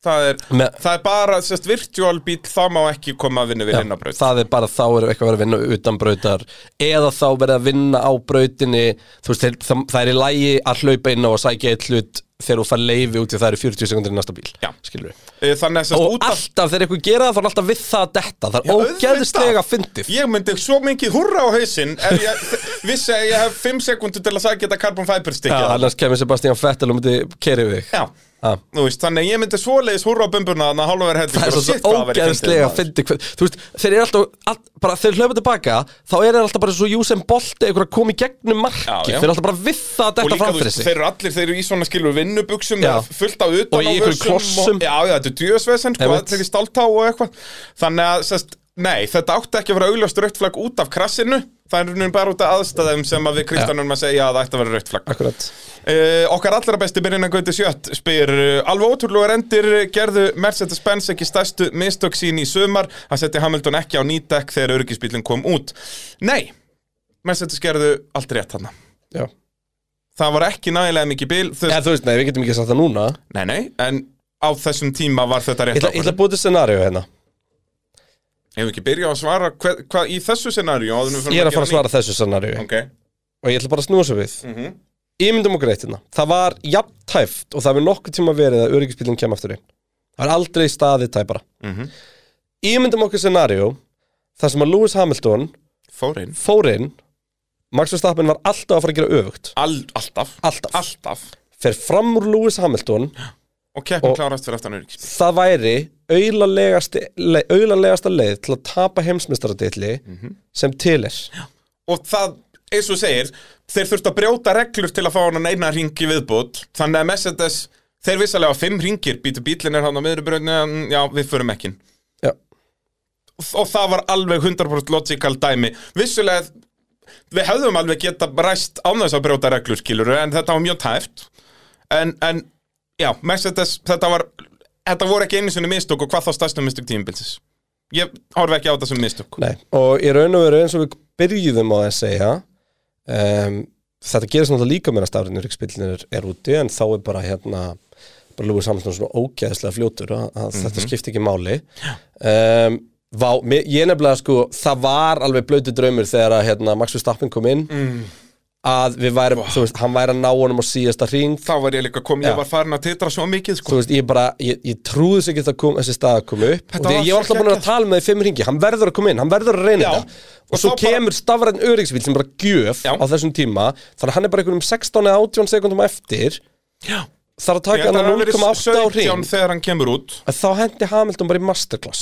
Speaker 5: Það er,
Speaker 4: Me-
Speaker 5: það er bara, sérst, virtual bíl, þá má ekki koma að vinnuvél inn á braut.
Speaker 4: það er bara þá er eitthvað verið að vinna utan brautar eða þá verið að vinna á brautinni þú veist, þeir- það, það er í lægi að hlaupa inn á og sækja eitt hlut þegar þú fær leifi út í það eru 40 sekundir í næsta bíl
Speaker 5: Já.
Speaker 4: skilur við
Speaker 5: Eh, Þannig að sérst,
Speaker 4: og
Speaker 5: út af...
Speaker 4: alltaf þegar eitthvað gera það þá er alltaf við það að detta það
Speaker 5: Já,
Speaker 4: er
Speaker 5: auðvitað.
Speaker 4: ógeðislega fyndið
Speaker 5: Ég myndi svo mikið hurra á hausinn ef ég vissi að ég hef 5 sekundur til að sækja þetta carbon fiber
Speaker 4: Já,
Speaker 5: stikkið.
Speaker 4: annars kemur Sebastian Vettel og myndi kerið við þig.
Speaker 5: Já,
Speaker 4: Já.
Speaker 5: þú veist, þannig að ég myndi svoleiðis hurra á bumbuna þannig að hálfa verið
Speaker 4: Það
Speaker 5: heldur
Speaker 4: er svo svo ógeðslega að fyndi hver, Þú veist, þeir eru alltaf all, bara, Þeir hlaupa tilbaka, þá er þeir alltaf bara svo Júsen Bolti, einhver að koma í gegnum marki
Speaker 5: Já, já.
Speaker 4: Þeir eru alltaf bara við það að
Speaker 5: Og
Speaker 4: detta
Speaker 5: líka,
Speaker 4: fram
Speaker 5: þú
Speaker 4: fyrir
Speaker 5: veist,
Speaker 4: sig
Speaker 5: þeir eru allir, þeir eru í svona skilur vinnubuxum
Speaker 4: Já.
Speaker 5: eða fullt af utan
Speaker 4: Og í einhverjum klossum.
Speaker 5: Já, já, þetta er djöðsvesen, sko,
Speaker 4: Einmitt.
Speaker 5: allir í stáltá og eitthvað Þannig að, sest, nei, þetta átti ekki að vera augljóst rauktflag út af krassinu Það er nú bara út af aðstæðum sem að við Kristjánum að segja að það ætti að vera rauktflag
Speaker 4: Akkurat
Speaker 5: uh, Okkar allra besti byrjina Gauti Sjött spyr uh, Alveg ótrúlega rendir gerðu Mercedes-Benz ekki stærstu mistök sín í sumar að setja Hamilton ekki á nýtekk þegar örgisbílinn kom út Nei, Mercedes gerðu allt rétt þarna
Speaker 4: Já.
Speaker 5: Það var ekki nægilega mikið bil þau
Speaker 4: Eða þú veist, nei, við getum ekki að sagt það núna
Speaker 5: Nei, nei, en á þessum tíma var þetta
Speaker 4: Ég
Speaker 5: rétt
Speaker 4: ætla- ég ætla
Speaker 5: ákvörðun
Speaker 4: að búið til scenaríu hérna
Speaker 5: Ef við ekki byrja að svara hvað hva, í þessu scenaríu áður en við förum
Speaker 4: Ég er að fara að
Speaker 5: gera
Speaker 4: svara þessu scenaríu
Speaker 5: nýtt.
Speaker 4: Og ég ætla bara að snúa svo við
Speaker 5: Mhm.
Speaker 4: Ímyndum okkur eitt hérna Það var jafntæft og það hefur nokkuð tíma verið að öryggisbílinn kem aftur inn Það er aldrei staðið tæpara
Speaker 5: Mhm.
Speaker 4: Ímyndum okkur scenaríu þar sem að Lewis Hamilton
Speaker 5: Ok, fór inn
Speaker 4: fór inn Max Verstappen var alltaf að fara að gera öfugt
Speaker 5: All, Alltaf
Speaker 4: Alltaf.
Speaker 5: Alltaf
Speaker 4: Fer fram úr Lewis Hamilton
Speaker 5: Og keppin
Speaker 4: Og-
Speaker 5: klárast fyrir aftan öryggis
Speaker 4: Það væri aulalegasta le, aulalegasta leið til að tapa heimsmyndstaradilli
Speaker 5: Mhm.
Speaker 4: sem til er
Speaker 5: Og það, eins og þú segir Þeir þurftu að brjóta reglur til að fá hann eina ring í viðbútt Þannig að Mercedes Þeir vissalega á fimm ringir Býtu bílinn er hann á miðurbröðinu Já, við förum ekki inn.
Speaker 4: Já,
Speaker 5: og það var alveg 100% logical dæmi vissulega við hefðum alveg geta ræst án þess að brjóta reglur skilur en þetta var mjög tæft en, en já, Mercedes þetta var, þetta voru ekki einu sinni mistök og hvað þá stærstum mistök tímabilsis ég horfi ekki á þetta sem mistök
Speaker 4: nei Og í raun og veru eins og við byrjuðum á að segja um, Þetta gerist náttúrulega líka meira stafrinur ykkur spillinir er úti en þá er bara hérna bara Lewis Hamilton svona ógeðslega fljótur að, að þetta skipti ekki máli um, vá, mér, ég nefnilega sko það var alveg blötu draumur þegar að hérna, Max Verstappen kom inn að við værum, þú veist, hann væri að ná honum á síðasta hring,
Speaker 5: Þá var ég líka kom,
Speaker 4: Já.
Speaker 5: ég var farin að titra svo mikið
Speaker 4: þú
Speaker 5: sko.
Speaker 4: veist, ég bara ég, ég trúði sig ekki að kom, þessi stað að koma upp
Speaker 5: Þetta
Speaker 4: og
Speaker 5: var
Speaker 4: þegar ég var
Speaker 5: svo
Speaker 4: alltaf búin að
Speaker 5: geggjað.
Speaker 4: tala með í fimm hringi, hann verður að koma inn, hann verður að reyna
Speaker 5: Já.
Speaker 4: þetta og,
Speaker 5: Og
Speaker 4: svo
Speaker 5: þá bara-
Speaker 4: kemur stafræn öryggsbíl sem bara gjöf
Speaker 5: Já.
Speaker 4: á þessum tíma þannig að hann er bara einhverjum 16 eða 18 sekundum eftir
Speaker 5: Já.
Speaker 4: þarf að
Speaker 5: Ég
Speaker 4: taka
Speaker 5: held
Speaker 4: hann
Speaker 5: að
Speaker 4: að
Speaker 5: hann hafi
Speaker 4: 0,8 á
Speaker 5: verið
Speaker 4: hring
Speaker 5: 17 þegar hann kemur út
Speaker 4: að þá hendi Hamilton bara í masterclass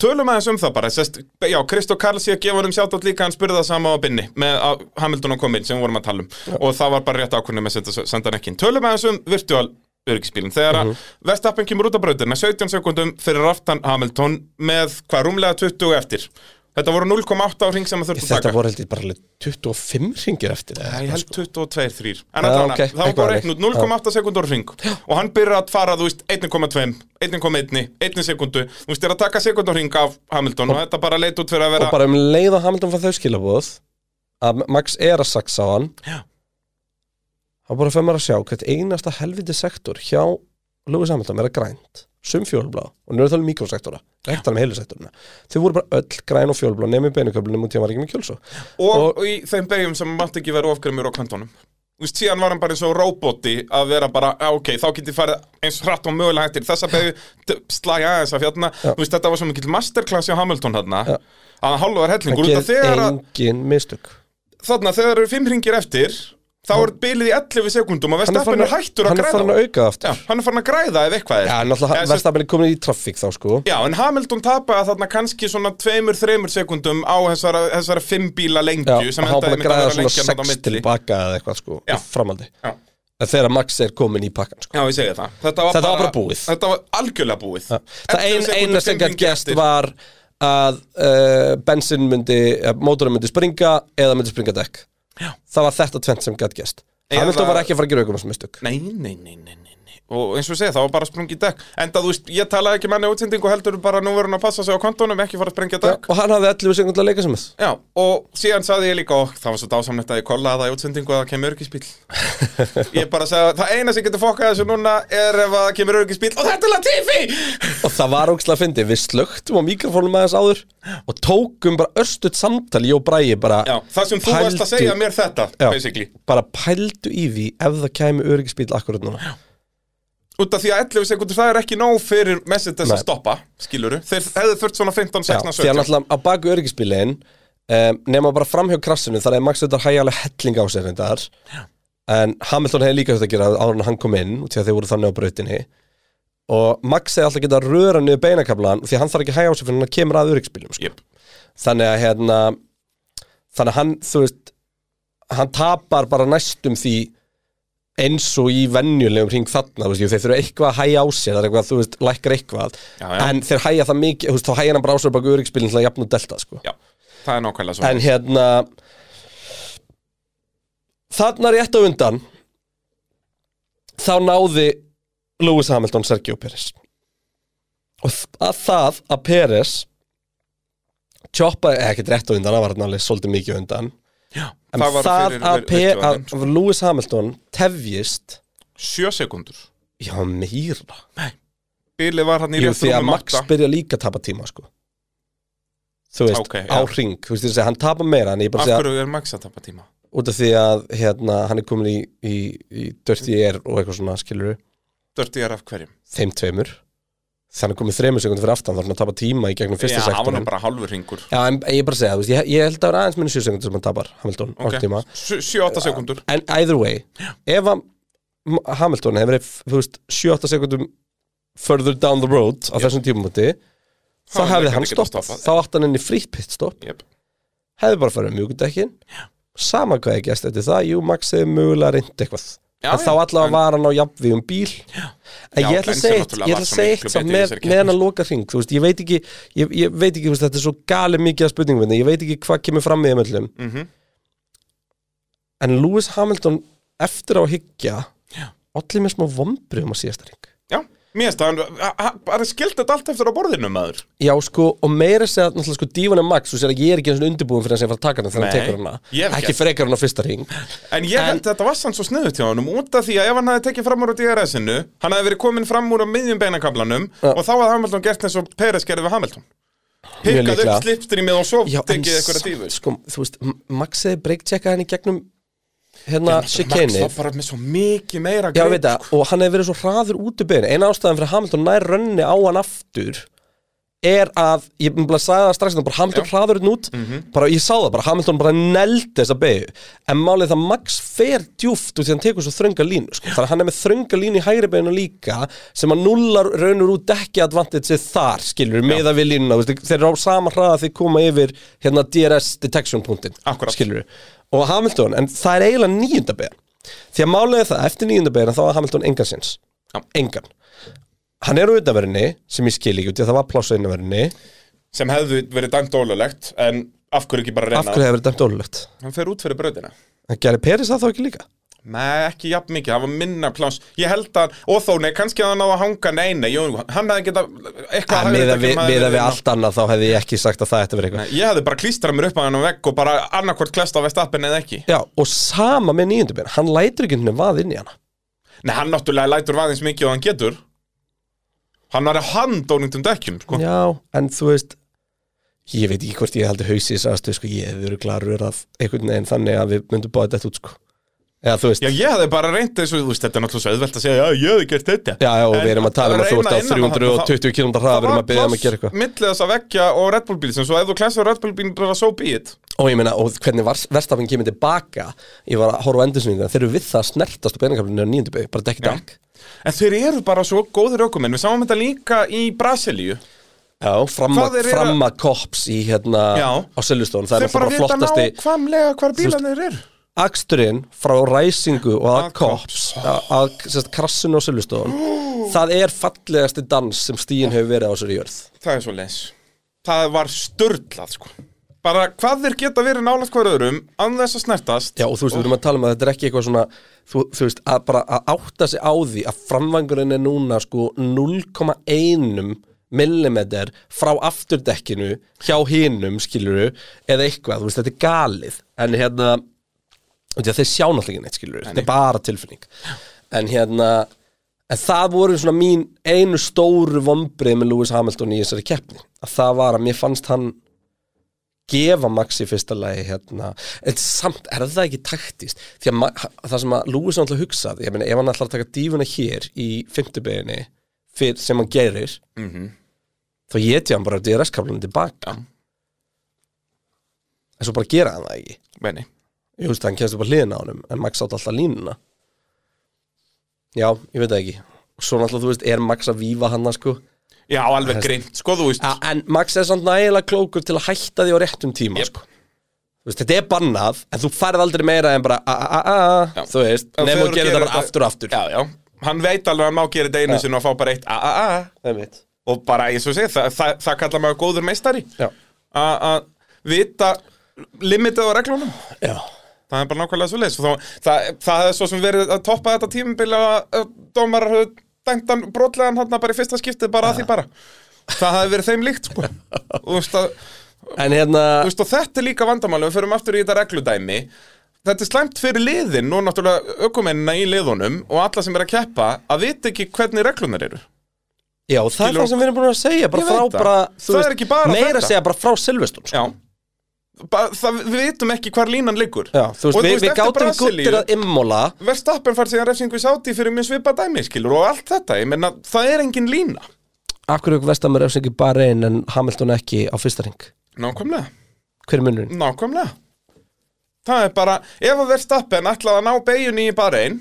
Speaker 5: Tölum aðeins um það bara sest, Já, Kristó Karls ég gefur um sjátt líka hann spurði það sama á binni með að Hamilton og komin sem við vorum að tala um og það var bara rétt ákvörnum að senda, senda hann ekki inn. Tölum aðeins um virtual öryggisbílinn þegar að Vestappen kemur út af brautina 17 sekundum fyrir aftan Hamilton með hvað rúmlega 20 eftir Þetta voru 0,8 á ring sem það þurfti að
Speaker 4: þetta
Speaker 5: taka
Speaker 4: voru held ég bara alveg 25 hringir eftir
Speaker 5: Já,
Speaker 4: það
Speaker 5: Ég held 22, 3 En
Speaker 4: sko. Já,
Speaker 5: allan,
Speaker 4: ok,
Speaker 5: það var
Speaker 4: eitthvað
Speaker 5: bara
Speaker 4: þannig.
Speaker 5: reiknud 0,8 sekundur ring Og hann byrjar að fara, þú veist, 1,2 1,1, 1 sekundu Þú veist, er að taka sekundur ring af Hamilton Og þetta bara leit út fyrir að vera
Speaker 4: og bara um leið að Hamilton fann þau skilabóð að Max er að saksa á hann
Speaker 5: Já.
Speaker 4: þá bara fyrir maður að sjá hvert einasta helviti sektor hjá Lewis Hamilton er að grænt sum fjólblá og nú er það alveg mikrosektora rektar með heilu sektorina þau voru bara öll græn og fjólblá nefnir beinuköflunum og tíma var ekki með kjölsó
Speaker 5: og,
Speaker 4: Og-
Speaker 5: í þeim beigum sem mátti ekki vera ofgrymur á kantónum Þú veist, síðan var hann bara eins og róbóti að vera bara, já, ok, þá geti farið eins hratt og mögulega hættir, þessa beigju t- slæja aðeins af fjallna, þú veist, þetta var svo mikill masterclass hjá Hamilton þarna, að hann hálfaðar
Speaker 4: það
Speaker 5: hellingur, út af
Speaker 4: gerði
Speaker 5: þegar að
Speaker 4: engin mistök
Speaker 5: þarna þegar eru fimm ringir eftir þá er bilið í 11 sekundum og Vestappen
Speaker 4: farinn
Speaker 5: er hættur að
Speaker 4: hann er
Speaker 5: græða
Speaker 4: farin að
Speaker 5: á.
Speaker 4: auka það
Speaker 5: Já,
Speaker 4: aftur
Speaker 5: hann er farin að græða ef eitthvað er
Speaker 4: Já, en
Speaker 5: Eða
Speaker 4: náttúrulega
Speaker 5: sem-
Speaker 4: verðstafin er komin í traffík þá sko
Speaker 5: Já, en Hamilton tapaði þarna kannski svona tveimur, þreimur sekundum á þessara, þessara fimm bíla
Speaker 4: Já,
Speaker 5: lengju sem
Speaker 4: hann var
Speaker 5: endaði
Speaker 4: búin að
Speaker 5: einmitt að
Speaker 4: græða
Speaker 5: vera
Speaker 4: svona
Speaker 5: lengjan þarna á
Speaker 4: 6
Speaker 5: milli.
Speaker 4: tilbaka eða eitthvað sko
Speaker 5: Já.
Speaker 4: í framhaldi
Speaker 5: Já.
Speaker 4: En þegar Max er komin í pakkan sko
Speaker 5: Já, ég segi það Þetta var,
Speaker 4: Þetta var bara búið.
Speaker 5: Þetta var algjörlega búið
Speaker 4: Það
Speaker 5: 11
Speaker 4: ein,
Speaker 5: sekúndur,
Speaker 4: eina sem
Speaker 5: fimm
Speaker 4: gætt
Speaker 5: hringir
Speaker 4: gæst
Speaker 5: eftir.
Speaker 4: var að uh, bensin myndi, uh, mótorin myndi springa eða myndi springa dekk Já. Það var þetta tvent sem gætt gæst
Speaker 5: Eða-
Speaker 4: Hamilton var ekki að fara að gera aukum sem mistök
Speaker 5: Nei, nei, nei, nei, nei, nei Og eins og ég segi, það var bara sprungið dekk Enda, þú veist, ég talaði ekki manni útsendingu heldur bara nú verður hann að passa sig á kontónum, ekki fara að sprengja dekk
Speaker 4: Og hann hafði 11 sekundar að leika sem þess
Speaker 5: Já, og síðan sagði ég líka og það var svo dásamlegt að ég kollaði það í útsendingu að það kemur örgisbíl Ég bara sagði það eina sem getur fokkað þessu núna er ef að það kemur örgisbíl og þetta er Latifi!
Speaker 4: Og það var ógstlega að fyndi, við slögtum á mikrofónum aðeins áður og tókum bara örstutt samtali og bræði bara
Speaker 5: Já, það sem þú varst að
Speaker 4: Pældu-
Speaker 5: segja mér þetta,
Speaker 4: Já.
Speaker 5: basically
Speaker 4: bara pældu í því ef það kæmi öryggisbíl akkurat núna Já.
Speaker 5: Út af því að 11 sekundur það er ekki nóg fyrir message þess
Speaker 4: Nei.
Speaker 5: að stoppa, skiluru Þeir hefðu þurft svona 15,
Speaker 4: Já,
Speaker 5: 16,
Speaker 4: því að
Speaker 5: 17
Speaker 4: náttúrulega á baku öryggisbílin um, nema bara framhjá krassinu þar er Max þetta hægja alveg helling á sér reyndar en Hamilton hefði líka þetta að gera áður en hann kom inn út í að þeir voru þannig á brautinni og Max hefði alltaf getað að röra niður beinakablan því að hann þarf ekki að hægja á sér fyrir hann kemur að öryggisbílum sko.
Speaker 5: Jep.
Speaker 4: þannig að hérna þannig að hann, þú veist hann tapar bara næstum því eins og í venjulegum hring þarna, þú veist, jú, þeir þurfa eitthvað að hæja á sér það er eitthvað, þú veist, lækkar eitthvað
Speaker 5: Já, já.
Speaker 4: en þeir hæja það mikið, þú veist, þá hæja hann bara á sér baka öryggspilin til að jafn og delta, sko
Speaker 5: Já, það er nákvæmlega svo
Speaker 4: en hérna þarna rétt á undan þá náði Lewis Hamilton Sergio Pérez og þ- að það að Pérez tjoppaði, eða ekkert rétt á undan það var hann alveg svolítið mikið á undan en
Speaker 5: það var
Speaker 4: það,
Speaker 5: fyrir
Speaker 4: að,
Speaker 5: vir-
Speaker 4: Pe-
Speaker 5: virtual
Speaker 4: að Lewis Hamilton tefjist
Speaker 5: 7 sekundur
Speaker 4: já meira
Speaker 5: Bílið var hann í um
Speaker 4: Jú,
Speaker 5: rétt
Speaker 4: því að
Speaker 5: rúmum
Speaker 4: Max
Speaker 5: 8
Speaker 4: byrja líka að tapa tíma sko. þú veist,
Speaker 5: Ok, já.
Speaker 4: á hring þú veist, ég segi, hann tapa meira en ég bara
Speaker 5: Af
Speaker 4: segja
Speaker 5: hverju er Max að tapa tíma?
Speaker 4: út af því að hérna, hann er komin í, í, í Dirty Air og eitthvað svona skilur
Speaker 5: Dörti er af hverjum
Speaker 4: þeim tveimur þannig hann er komin þreimur sekundum fyrir aftan þá er hann að tapa tíma í gegnum fyrsta
Speaker 5: Já, hann var nú
Speaker 4: sektorinn
Speaker 5: bara halvur ringur
Speaker 4: Já, en ég bara segja, þú veist, ég, ég held að það vera aðeins minni 7 sekundum sem hann tapar Hamilton á
Speaker 5: Ok,
Speaker 4: tíma
Speaker 5: 7-8 sekundur
Speaker 4: En either way, ef að M- Hamilton hefur verið, þú veist, 7-8 sekundum further down the road á þessum tímumúti, þá
Speaker 5: Hann
Speaker 4: hefði
Speaker 5: hefði
Speaker 4: hann
Speaker 5: getað
Speaker 4: stoppað.
Speaker 5: stoppað.
Speaker 4: Þá átt hann inn í frýtt pitstop,
Speaker 5: Jep.
Speaker 4: hefði bara farið mjögundekkin, sama hvað ég gæst eftir það, jú, Max hefði mögulega reynd eitthvað.
Speaker 5: Já,
Speaker 4: en þá
Speaker 5: já,
Speaker 4: allavega
Speaker 5: en-
Speaker 4: var hann á jafnvíum bíl en
Speaker 5: Já,
Speaker 4: ég ætla að
Speaker 5: Lenz
Speaker 4: segja eitt,
Speaker 5: náttúrulega
Speaker 4: ég
Speaker 5: var
Speaker 4: ætla að
Speaker 5: svo
Speaker 4: segja
Speaker 5: miklu
Speaker 4: eitt samt
Speaker 5: betri í
Speaker 4: með,
Speaker 5: þessari
Speaker 4: með
Speaker 5: keppni.
Speaker 4: hann að loka hring, þú veist, ég veit ekki ég, ég veit ekki, þú veist, þetta er svo gali mikið að spurningum hérna, ég veit ekki hvað kemur fram með þeim öllum
Speaker 5: Mhm.
Speaker 4: en Lewis Hamilton eftir á að hyggja olli mér smá vombriðum á síðasta hring
Speaker 5: Já, Mér finnst að hann- hann bara skildi þetta allt eftir á borðinu maður
Speaker 4: Já, sko, og meira segja náttúrulega sko dífuna Max og sér að ég er ekki eins og undirbúin fyrir hans að fara að taka hana þegar hann
Speaker 5: Nei,
Speaker 4: tekur hana
Speaker 5: ég hef
Speaker 4: ekki
Speaker 5: gert.
Speaker 4: frekar hann á fyrsta ring
Speaker 5: En ég held að þetta var sann svo sniðut hjá honum út af því að ef hann hefði tekið fram úr á DRS-inu hann hefði verið komin fram úr á miðjum beinakablanum
Speaker 4: Já.
Speaker 5: og þá hefði Hamilton gert eins og Peres gerði við Hamilton
Speaker 4: Mjög
Speaker 5: Pikkað
Speaker 4: líklega.
Speaker 5: upp slipstreamið og svo
Speaker 4: Já, en
Speaker 5: tekið eitthvað
Speaker 4: samt,
Speaker 5: tífus
Speaker 4: sko, þú veist, M- Max hefði breakchecka henni gegnum hérna
Speaker 5: Max
Speaker 4: chicane
Speaker 5: var bara með svo mikið meira
Speaker 4: Já,
Speaker 5: grip,
Speaker 4: ég veit það, og hann hefði verið svo hraður út í beinu eina ástæðan fyrir að Hamilton nær rönni á hann aftur er að, ég myndi bara að sagði það strax hérna, bara Hamilton hraður hérna út
Speaker 5: Mhm.
Speaker 4: bara, ég sá það bara, Hamilton bara neldi þessa beinu en málið það Max fer djúft út því hann tekur svo þrönga línu sko. þannig að hann er með þrönga línu í hægri beinu líka sem að nullar raunur út ekki advantage þar, skilur, meða við línuna þú veist, þeir eru á sama hraða þeir koma yfir hérna DRS detection punktin
Speaker 5: Akkúrat.
Speaker 4: skilur og Hamilton, en það er eiginlega níunda beðan því að málega það, eftir níunda beðan þá var Hamilton engan sinns,
Speaker 5: Já.
Speaker 4: engan hann er á utanverðinni, sem ég skil ekki út því að það var pláss á innanverðinni,
Speaker 5: sem hefði verið dæmt ólulegt en af hverju ekki bara
Speaker 4: af
Speaker 5: reyna
Speaker 4: hverju hefur þetta dæmt ólulegt
Speaker 5: hann fer út fyrir bröðina
Speaker 4: en Gary Peris það þá ekki líka
Speaker 5: Nei, ekki jafn mikið, það var minna pláns Ég held að, og þó, nei, kannski að hann á að hanga Nei, nei, jú, hann hefði geta Eitthvað
Speaker 4: að
Speaker 5: hefði
Speaker 4: miða
Speaker 5: þetta
Speaker 4: við,
Speaker 5: ekki- maður
Speaker 4: miða
Speaker 5: hefði
Speaker 4: við allt annað þá hefði ég ekki sagt að það ætti að vera eitthvað
Speaker 5: Nei, Ég hefði bara klístrað mér upp að hann á vegg og bara annarkvort klesta á vestappin eða ekki.
Speaker 4: já, og sama með níundu beðan, hann lætur ekki henni vað inn í hana
Speaker 5: Nei, hann náttúrulega lætur vaðins mikið og hann getur. Hann var að handóningtum dekkjum, sko.
Speaker 4: Já, en þú veist ég veit ekki hvort ég heldur hausið þess aðstöð sko, ég hefur glarur að einhvern veginn þannig að við myndum báða þetta út sko eða þú veist,
Speaker 5: Já, ég hefði bara reynt þessu, þú veist, þetta er náttúrulega svo auðvelt að segja, já, ég hefði gert þetta.
Speaker 4: já, já, og við
Speaker 5: En
Speaker 4: erum að tala um að þú
Speaker 5: reyna
Speaker 4: ert á
Speaker 5: innan á það,
Speaker 4: 320 km hraða, við erum að byggja um að gera eitthvað
Speaker 5: Millið þess að veggja og Red Bull bíl, sem svo ef þú klesar Red Bull bíl, bara so be it.
Speaker 4: og ég meina, og hvernig verstafinn kemur tilbaka ég var að horfa á endursnýðina, þeir eru við það að snertast á beinakaflinu á nýjöndu beig, bara dekk í dag
Speaker 5: En þeir eru bara svo góðir ökumenn, við sáum þetta líka í Brasilíu.
Speaker 4: Já, framma,
Speaker 5: Hvað þeir eru-
Speaker 4: framma kops í hérna
Speaker 5: Já.
Speaker 4: á Silvestón, það er
Speaker 5: Þeir bara
Speaker 4: bara
Speaker 5: vita
Speaker 4: flottasti
Speaker 5: nákvæmlega hvar bílanir eru.
Speaker 4: aksturinn frá ræsingu og að
Speaker 5: Að
Speaker 4: kops að að, sem sagt, krassinu á Silvestón það er fallegasti dans sem stíin hefur verið á sér í jörð
Speaker 5: það er svo leins það var störlað sko bara hvað þeir geta verið nálað hver öðrum án þess að snertast
Speaker 4: Já, og þú veist, við erum að tala um að þetta er ekki eitthvað svona þú, þú veist, að bara að átta sig á því að framvangurinn er núna sko 0,1 millimeter frá afturdekkinu hjá hinum, skiluru eða eitthvað, þú veist, þetta er galið en hérna, þú veist, þeir sjá náttúrulega ekki neitt, skiluru, þetta er bara tilfinning en hérna en það voru svona mín einu stóru vombrið með Lewis Hamilton í þessari keppni að það var að mér fannst hann gefa Max í fyrsta lagi hérna, en samt er það ekki taktist því að Ma- ha- það sem að Lewis náttúrulega hugsað, ég meina ef hann ætlar að taka dífuna hér í fimmtubeginni fyrr sem hann gerir þá geti hann bara DRS-kaflunum tilbaka
Speaker 5: Mhm. Já.
Speaker 4: en svo bara gera hann það ekki
Speaker 5: Meni.
Speaker 4: ég veist að hann kemst upp á hliðina á honum en Max átt alltaf línuna já, ég veit það ekki og svo náttúrulega þú veist, er Max að vífa hann sko?
Speaker 5: já alveg greint sko þú veist
Speaker 4: ja, en Max er samt nægilega klókur til að hætta því á réttum tíma
Speaker 5: Jep.
Speaker 4: sko. Þú veist, þetta er bannað en þú færð aldrei meira en bara "Ah, a a a
Speaker 5: Já.
Speaker 4: a þú veist,
Speaker 5: En
Speaker 4: nefnum
Speaker 5: þegar
Speaker 4: að
Speaker 5: þú
Speaker 4: gera
Speaker 5: gerir
Speaker 4: þetta bara
Speaker 5: þetta-
Speaker 4: aftur og aftur
Speaker 5: já já hann veit alveg að hann má gera þetta einu sinni og fá bara eitt a a a
Speaker 4: það er mitt
Speaker 5: og bara eins og segja það, það, það kallar maður góður meistari
Speaker 4: já.
Speaker 5: A- að vita limitið á reglunum
Speaker 4: Já.
Speaker 5: það er bara nákvæmlega svo leis það, það, það er svo sem verið að toppa þetta tímabili að að dómar höfðu dæmt hann brotlegan hann bara í fyrsta skiptið bara að því bara það hefði verið þeim líkt sko og þú veist að
Speaker 4: en hérna
Speaker 5: Þú veist, og þetta er líka vandamálið, við förum aftur í þetta regludæmi Þetta er slæmt fyrir liðin og náttúrulega ökumennina í liðunum og alla sem er að keppa að vita ekki hvernig reglunar eru
Speaker 4: já, það er
Speaker 5: skilur-
Speaker 4: það sem við erum búin að segja bara
Speaker 5: Ég
Speaker 4: frá
Speaker 5: veit það.
Speaker 4: bara, þú
Speaker 5: Það er ekki bara
Speaker 4: meira
Speaker 5: þetta.
Speaker 4: að segja bara frá sko. Silveston
Speaker 5: Já ba það, Við vitum ekki hvar línan liggur
Speaker 4: já, þú veist, við,
Speaker 5: Og
Speaker 4: við
Speaker 5: eftir
Speaker 4: gátum
Speaker 5: Brasilíu-
Speaker 4: guttir að immóla
Speaker 5: Verstappen fær síðan refsingu í sáti fyrir mjög svipa dæmi skilur og allt þetta, ég menna það er engin lína
Speaker 4: af hverju vestar með refsingi bara einn en Hamilton ekki á fyrsta ring
Speaker 5: Nákvæmlega,
Speaker 4: hver er munurinn?
Speaker 5: Mm, nákvæmlega Það er bara, ef að Verstappen ætlaði að ná beigjunni í bara einn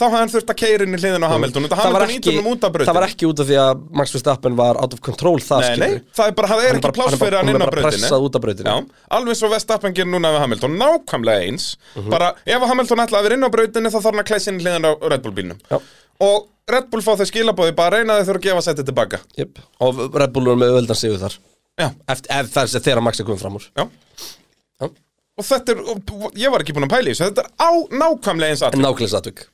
Speaker 5: þá hafði hann þurft að keira inn í hliðin á Hamilton og
Speaker 4: Mm. það var,
Speaker 5: Hamilton
Speaker 4: ekki,
Speaker 5: ítunum út af brautinni
Speaker 4: það var ekki út af því að Max Verstappen var out of control það
Speaker 5: Nei, nei,
Speaker 4: skilur
Speaker 5: það er bara, það er
Speaker 4: Hann bara-
Speaker 5: ekki
Speaker 4: hann
Speaker 5: pláss
Speaker 4: er bara-
Speaker 5: fyrir hann
Speaker 4: hann er
Speaker 5: inn á
Speaker 4: bara
Speaker 5: brautinni
Speaker 4: pressað út af brautinni.
Speaker 5: Já, alveg svo Vestappen gerir núna við Hamilton, nákvæmlega eins
Speaker 4: Mhm.
Speaker 5: Bara, ef að Hamilton ætlaði að vera inn á brautinni þá þarf hann að klæsa inn í hliðan á Red Bull bílnum
Speaker 4: Já.
Speaker 5: Og Red Bull fá þau skilabóði bara reyna þau þurfa að gefa sætti tilbaka
Speaker 4: Jep. og Red Bull var með öðvöldan sigur þar
Speaker 5: Já,
Speaker 4: eftir, ef það er þegar Max er komið fram úr
Speaker 5: já
Speaker 4: Já.
Speaker 5: Og og þetta er, og ég var ekki búin að pæla í þessu þetta er á nákvæmlega eins aðtrykk
Speaker 4: Nákvæmlega satvík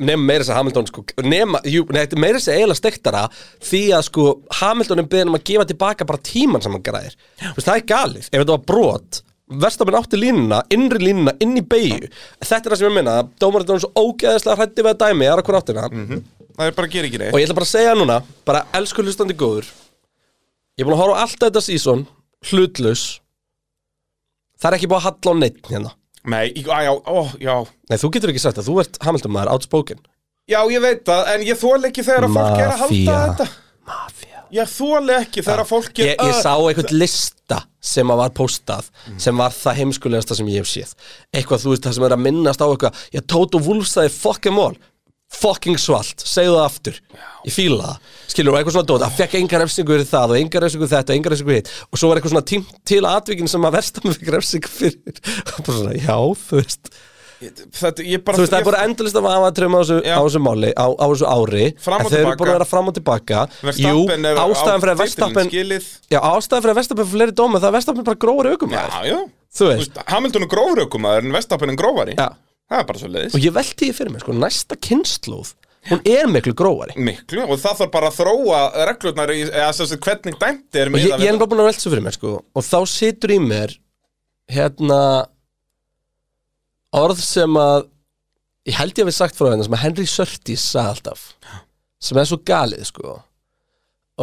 Speaker 4: Nefn meira þess að Hamilton sko nema, jú, nei, þetta er meira þess að eiginlega stektara Því að sko Hamilton er beðin um að gefa tilbaka bara tíman sem hann græðir Þú veist, Það er galið, ef þetta var brot Verstafinn átti línuna, innri línuna, inn í beigju Þetta er það sem ég minna Dómarinn er svo ógeðislega hrætti við að dæmi Það er okkur áttina
Speaker 5: það er bara að gera ekki
Speaker 4: Og
Speaker 5: neitt
Speaker 4: ég ætla bara að segja núna, bara elsku hlustandi góður Ég er búin að horfa á allt þetta season Hlutlaus Það er ekki búin að halla á neitt hérna
Speaker 5: Nei, í- á, já, ó, já
Speaker 4: Nei, þú getur ekki sagt það, þú ert Hamilton maður outspoken
Speaker 5: Já, ég veit það, en ég þóli ekki þegar að fólk er að halda
Speaker 4: Mafía.
Speaker 5: þetta
Speaker 4: Mafia
Speaker 5: Ég þóli ekki þegar að fólk er
Speaker 4: ég, ég sá eitthvað lista sem að var postað sem var það heimskulegasta sem ég hef séð eitthvað þú veist það sem er að minnast á eitthvað ég tótu vúlfstæði fucking mól fucking svalt, segðu það aftur ég fíla það, skilur og eitthvað svona dót það fekk enga refsingu fyrir það og enga refsingu fyrir þetta og enga refsingu fyrir hitt og svo var eitthvað svona tím til atvikin sem að versta með fekk refsingu fyrir og bara svona, já, þú veist
Speaker 5: Þetta, ég bara
Speaker 4: þú veist, það er
Speaker 5: ég-
Speaker 4: bara endalist af aðvatrjum á, þessu-
Speaker 5: Já.
Speaker 4: á þessu máli, á, á þessu ári
Speaker 5: Fram og
Speaker 4: en þeir eru
Speaker 5: tilbaka.
Speaker 4: búin að vera fram og tilbaka Jú,
Speaker 5: Verstappen er á
Speaker 4: ástæðan fyrir að
Speaker 5: titilinn
Speaker 4: Verstappen
Speaker 5: skilið.
Speaker 4: Já, ástæðan fyrir að Verstappen fyrir fleiri dóma það er Verstappen bara gróður aukumæður
Speaker 5: Já, já
Speaker 4: Þú veist.
Speaker 5: Hamilton er grófur ökumæður en Vestapen er grófari
Speaker 4: Já.
Speaker 5: Það er bara svo leiðis
Speaker 4: og ég velti því fyrir mér, sko, næsta kynnslóð hún er miklu gróðari
Speaker 5: Miklu, og það þarf bara að þróa reglurnar í, eða sem sagt hvernig dæmt er
Speaker 4: og ég,
Speaker 5: miðað
Speaker 4: ég
Speaker 5: við
Speaker 4: er bara búin að velta þessu fyrir mér, sko og þá situr í mér hérna orð sem að ég held ég að við sagt frá hérna sem að Henry Surtees sagði alltaf sem er svo galið, sko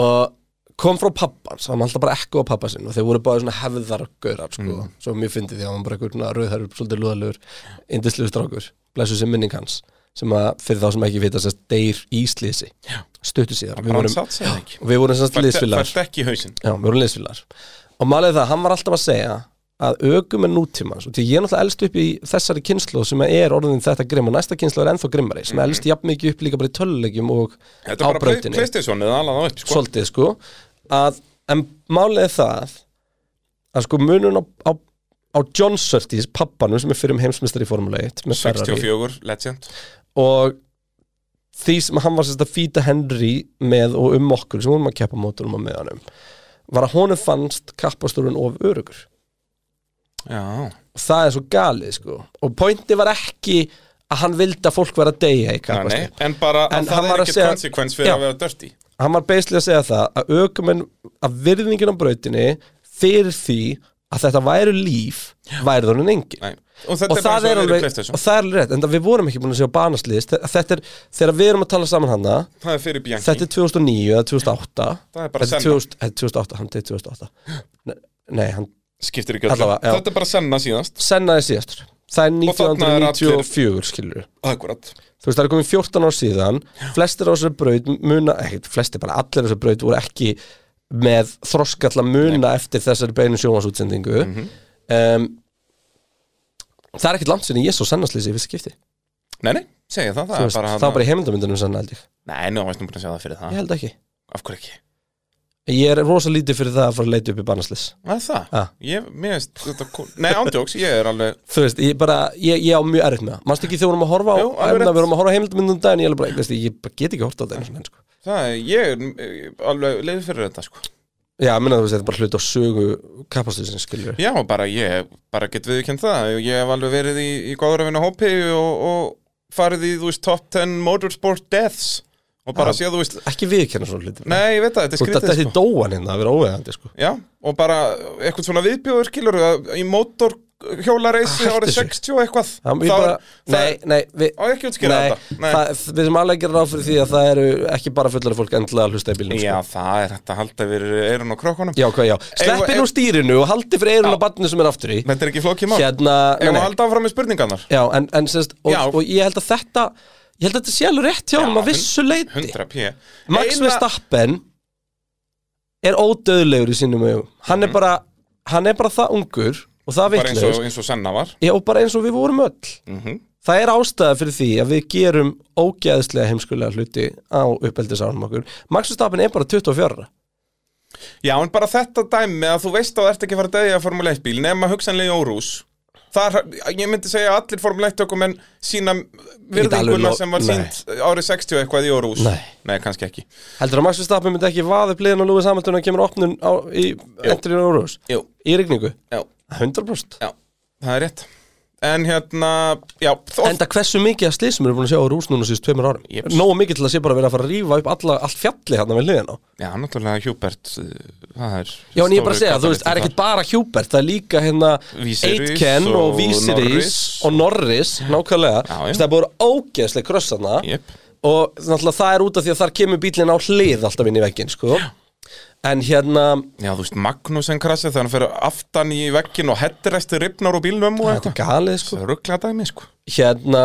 Speaker 4: og kom frá pappan sem hann alltaf bara ekko á pappa sinn og þeir voru bara svona hefðargaurar sko,
Speaker 5: Mm.
Speaker 4: svo mjög fyndið því að hann var bara einhver rauðhörur, svolítið lúðalur, indisluður strákur blessu sem minning hans sem að fyrir þá sem ekki vita sérst deyr í slísi stuttu síðar Við
Speaker 5: bara
Speaker 4: vorum-
Speaker 5: hann satt sig
Speaker 4: Já,
Speaker 5: ekki.
Speaker 4: og við vorum sérst liðsfélagar
Speaker 5: Fært ekki í hausinn
Speaker 4: Já, við vorum liðsfélagar og málið er það, hann var alltaf að segja að ögum er nútímans og því ég er náttúrulega elst upp í þessari kynslu sem er orðin þetta grimm og næsta kynslu er ennþá grimmari sem elst jafn mikið upp líka bara í tölulegjum og
Speaker 5: Mhm. Þetta
Speaker 4: á
Speaker 5: er bara
Speaker 4: brautinni
Speaker 5: Playstation eða alveg á upp sko.
Speaker 4: svolítið sko að, en málið er það að sko munun á, á, á John Surtees, pappanum sem er fyrir um heimsmyndstari í Formule 1 með Ferrari
Speaker 5: 64, legend
Speaker 4: og því sem hann var sérst að fýta Henry með og um okkur sem hún var að keppa móturum á meðanum var að honum fannst kappasturinn of örugur
Speaker 5: Já,
Speaker 4: og það er svo galið sko og pointi var ekki að hann vildi að fólk vera að deyja í
Speaker 5: Nei, nei,
Speaker 4: kappasturinn
Speaker 5: en bara
Speaker 4: En hann
Speaker 5: að það
Speaker 4: var
Speaker 5: er
Speaker 4: að
Speaker 5: ekkert
Speaker 4: segja-
Speaker 5: konsekvens fyrir
Speaker 4: Já.
Speaker 5: að vera dörti
Speaker 4: hann var beislega að segja það að aukumenn að virðingin á brautinni fyrir því að þetta væru líf væri þannig engin
Speaker 5: Nei. Og þetta er bara eins og að vera í PlayStation.
Speaker 4: og það er alveg rétt, en það við vorum ekki búin að sjá banaslist þetta er, þegar við erum að tala saman hana
Speaker 5: Það er fyrir Bianchi
Speaker 4: þetta er 2009 eða 2008
Speaker 5: Það er bara
Speaker 4: þetta
Speaker 5: Senna.
Speaker 4: 2000 eða 2008, hann til 2008 Ne- nei, hann
Speaker 5: Skiptir ekki öllu
Speaker 4: Allavega, já.
Speaker 5: Þetta er bara senna síðast
Speaker 4: sennaði síðastur það er
Speaker 5: Og þarna er allir-
Speaker 4: 1994 skilur
Speaker 5: Akkurat
Speaker 4: þú veist, það er komið 14 ár síðan flestir á þessari braut muna ekkert, flestir bara allir á þessari braut voru ekki með þroska til að muna eftir þessari beinu sjónvarsútsendingu
Speaker 5: Mhm.
Speaker 4: um, það er ekkert langt sinni ég svo sennaslýsi í fyrsta skipti
Speaker 5: Nei, nei, segja það
Speaker 4: Þú
Speaker 5: Það
Speaker 4: veist,
Speaker 5: er bara Ah.
Speaker 4: það var bara í heimildamundunum senna held ég
Speaker 5: Nei, nú varst nú búin að segja það fyrir
Speaker 4: ég
Speaker 5: það
Speaker 4: held ekki,
Speaker 5: Af hverju ekki?
Speaker 4: ég er rosa lítið fyrir það að fara að leita upp í bannaslýs
Speaker 5: Það er það
Speaker 4: Ah.
Speaker 5: Ég, mér veist þetta kú- Nei, ándjóks, ég er alveg
Speaker 4: þú veist, ég bara, ég, ég á mjög erfitt með það mannst ekki þegar við vorum að horfa á,
Speaker 5: Jú, alveg
Speaker 4: emna,
Speaker 5: rétt.
Speaker 4: við vorum að horfa á heimildamundunum daginn ég, alveg bara, ég, veist, ég bara get ekki hort á það einu sinni, sko.
Speaker 5: Það er, ég er eh, alveg leiður fyrir þetta, sko
Speaker 4: já, ég minna þú veist, þetta er bara hlut á sögu kapastusins, skilur
Speaker 5: Já, bara ég, bara get viðkjönd það Ég hef alveg verið í, í góður að vinna hópi og, og farið í, þú veist, top 10 motorsport deaths Og bara séð, þú veist
Speaker 4: ekki viðkjanna svona hluti
Speaker 5: Nei, ég veit það,
Speaker 4: Út
Speaker 5: þetta er
Speaker 4: að
Speaker 5: skrítið, sko.
Speaker 4: þetta er dóan hérna að vera óvegandi sko.
Speaker 5: Já, og bara eitthvað svona viðbjóður skilur í
Speaker 4: Ah,
Speaker 5: mótorhjólareysi
Speaker 4: Hættu
Speaker 5: árið
Speaker 4: þessu.
Speaker 5: 60 og eitthvað
Speaker 4: Það,
Speaker 5: Þá-
Speaker 4: bara,
Speaker 5: það-
Speaker 4: nei, nei, við,
Speaker 5: Á ekki að útskýra
Speaker 4: nei,
Speaker 5: þetta. Nei.
Speaker 4: Það, Við sem alveg gerum ráð fyrir því að það eru ekki bara fullari fólk endilega að hlusta í bílnum
Speaker 5: Já,
Speaker 4: sko.
Speaker 5: það er hægt að halda yfir eirun og krókunum
Speaker 4: já, hvað, já
Speaker 5: Eigum
Speaker 4: Sleppi
Speaker 5: við-
Speaker 4: nú stýrinu og haldi fyrir eirun á barninu sem er aftur í
Speaker 5: Þetta er ekki flókið mál
Speaker 4: Hérna, nei,
Speaker 5: Ef að
Speaker 4: nei
Speaker 5: halda áfram með spurningarnar
Speaker 4: Já, en, en sérst, og,
Speaker 5: Já.
Speaker 4: og ég held að þetta Ég held að þetta sé alveg rétt hjá um að vissu leiti
Speaker 5: 100 p
Speaker 4: Max Verstappen er ódöðlegur í sínum augum Hann er bara, hann er bara það ungur og það
Speaker 5: Mhm. Bara eins og, Mhm.
Speaker 4: vitlaus
Speaker 5: eins og Senna var
Speaker 4: Já, og bara eins og við vorum öll Það er ástæða fyrir því að við gerum ógeðslega heimskulega hluti á uppeldisárnum okkur Max Verstappen er bara 24
Speaker 5: Já, en bara þetta dæmi að þú veist að þú ert ekki að fara að dæja Formule 1 bíl nema hugsanlega í Órús Þar, ég myndi segja að allir Formule 1 okkur menn sína
Speaker 4: alveg
Speaker 5: virðinguna
Speaker 4: lo-
Speaker 5: sem var
Speaker 4: Nei.
Speaker 5: sínt árið 60 eitthvað í Órús
Speaker 4: Nei.
Speaker 5: Nei, kannski ekki
Speaker 4: Heldur að Max Verstappen myndi ekki vaða upp liðin á Lewis Hamilton að kemur opnun á, í endurinn á Rús
Speaker 5: Jú,
Speaker 4: Í rigningu
Speaker 5: já,
Speaker 4: 100%
Speaker 5: já það er rétt En hérna, já, oft
Speaker 4: Enda hversu mikið af slísum eru búin að sjá á rús núna síðust tveimur árum
Speaker 5: Jeps.
Speaker 4: Nóa mikið til að sé bara að vera að fara að rífa upp alla, allt fjalli hann við hliðina á
Speaker 5: Já, náttúrulega Hjúbert Það er
Speaker 4: Já, en ég er bara að
Speaker 5: stóru
Speaker 4: segja, þú veist,
Speaker 5: katalystur
Speaker 4: er ekkert bara Hjúbert Það er líka hérna
Speaker 5: Vísiris
Speaker 4: Eitken og,
Speaker 5: og
Speaker 4: Vísiris
Speaker 5: Norris.
Speaker 4: og Norris Nákvæmlega,
Speaker 5: Já, já.
Speaker 4: Þú veist, það er búin ógeðsleg kröss þarna
Speaker 5: Jep.
Speaker 4: Og náttúrulega það er út af því að þar kemur bílinn á hlið alltaf inn í vegginn, sko En hérna,
Speaker 5: Já, þú veist, Magnúsen krasið þegar hann fyrir aftan í veggin og hettiræsti ripnar úr bílnum og
Speaker 4: þetta
Speaker 5: eitthvað
Speaker 4: er galið, sko
Speaker 5: Það er ruggla dæmi, sko
Speaker 4: hérna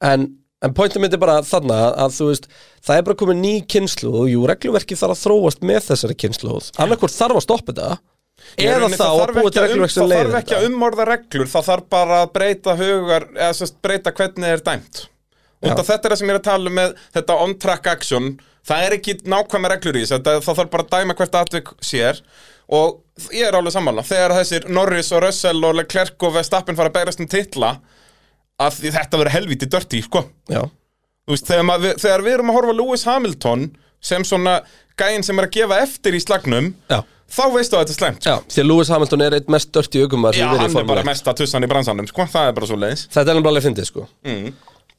Speaker 4: en, en pointum mitt er bara þarna að þú veist, það er bara komið ný kynsluð og jú, regluverki þarf að þróast með þessari kynsluð, annarkvort þarf að stoppa þetta
Speaker 5: Í
Speaker 4: eða
Speaker 5: rauninni,
Speaker 4: þá
Speaker 5: það
Speaker 4: að
Speaker 5: þarf
Speaker 4: búa
Speaker 5: ekki
Speaker 4: til
Speaker 5: að um-
Speaker 4: regluverk sem
Speaker 5: Það
Speaker 4: leiðir
Speaker 5: þarf ekki
Speaker 4: þetta
Speaker 5: að umorða reglur, það þarf bara að breyta hugar eða sérst breyta hvernig þeir er dæmt Út af þetta er það sem ég er að tala um með þetta on-track action Það er ekki nákvæma reglur í þessu, þetta- það þarf bara að dæma hvert atvik sér Og ég er alveg sammála, þegar þessir Norris og Russell og Leclerc og Verstappen fara að berast um titla að því þetta verður helviti dörti, sko
Speaker 4: Já,
Speaker 5: Þú veist, þegar, maður, þegar við erum að horfa á Lewis Hamilton sem svona gæinn sem er að gefa eftir í slagnum
Speaker 4: Já.
Speaker 5: þá veistu að þetta er slæmt sko.
Speaker 4: já, því að Lewis Hamilton er eitt mest dörti aukumar
Speaker 5: Já, hann er bara mesta tussan í bransanum sko, það er bara svo leiðis
Speaker 4: Þetta er alveg alveg fyndið sko
Speaker 5: Mm.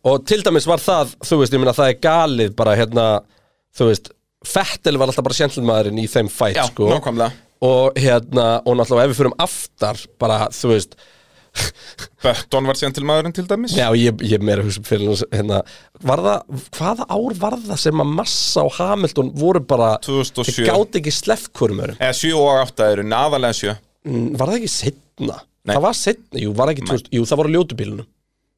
Speaker 4: Og til dæmis var það, þú veist, ég meina það er galið bara hérna, þú veist Fettel var alltaf bara sjentlumaðurinn í þeim fætt
Speaker 5: Já,
Speaker 4: sko
Speaker 5: nákvæmlega.
Speaker 4: Og hérna, og náttúrulega ef við fyrum aftar bara, þú veist,
Speaker 5: Bötton var síðan til maðurinn til dæmis
Speaker 4: Já, ég, ég meira hugsa um fyrir hans, hérna, var það, hvaða ár var það sem að Massa og Hamilton voru bara
Speaker 5: 2007.
Speaker 4: þeir gátu ekki sleppt hvorum örum
Speaker 5: eða 7 og 8 eru, aðalega 7
Speaker 4: Mm, var það ekki setna?
Speaker 5: Nei.
Speaker 4: það var setna, jú, var það ekki 2000, jú, það voru ljótubílunum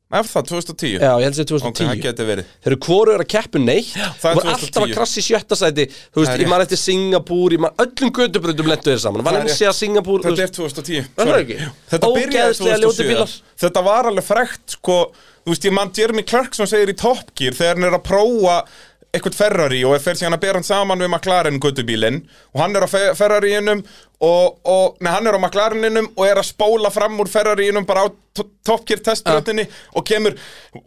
Speaker 5: ef það 2010
Speaker 4: já, ég held sér 2010
Speaker 5: ok, það geti verið
Speaker 4: þeir eru hvoru er að keppu neitt
Speaker 5: það er
Speaker 4: voru
Speaker 5: 2010.
Speaker 4: alltaf að krassi í sjötta sæti þú veist,
Speaker 5: Það er
Speaker 4: ég maður eftir Singapúr ég maður öllum gödubröndum lendu þeir saman var
Speaker 5: Það er
Speaker 4: nefnir að segja Singapúr þú
Speaker 5: Þetta
Speaker 4: veist,
Speaker 5: er 2010
Speaker 4: Er það
Speaker 5: sorry.
Speaker 4: ekki?
Speaker 5: Þetta byrjaði
Speaker 4: Ógeðslega ljótir
Speaker 5: 2007.
Speaker 4: bílar.
Speaker 5: Þetta var alveg frekt sko, Þú veist, ég mann Jeremy Clarkson segir í Top Gear þegar hann er að prófa eitthvað Ferrari og fer síðan að bera hann saman við McLaren guttubílinn og hann er á Fe- Ferrariinum og, og nei, hann er á McLareninum og er að spóla fram úr Ferrariinum bara á to- Top Gear testbrötinni
Speaker 4: Ah.
Speaker 5: og kemur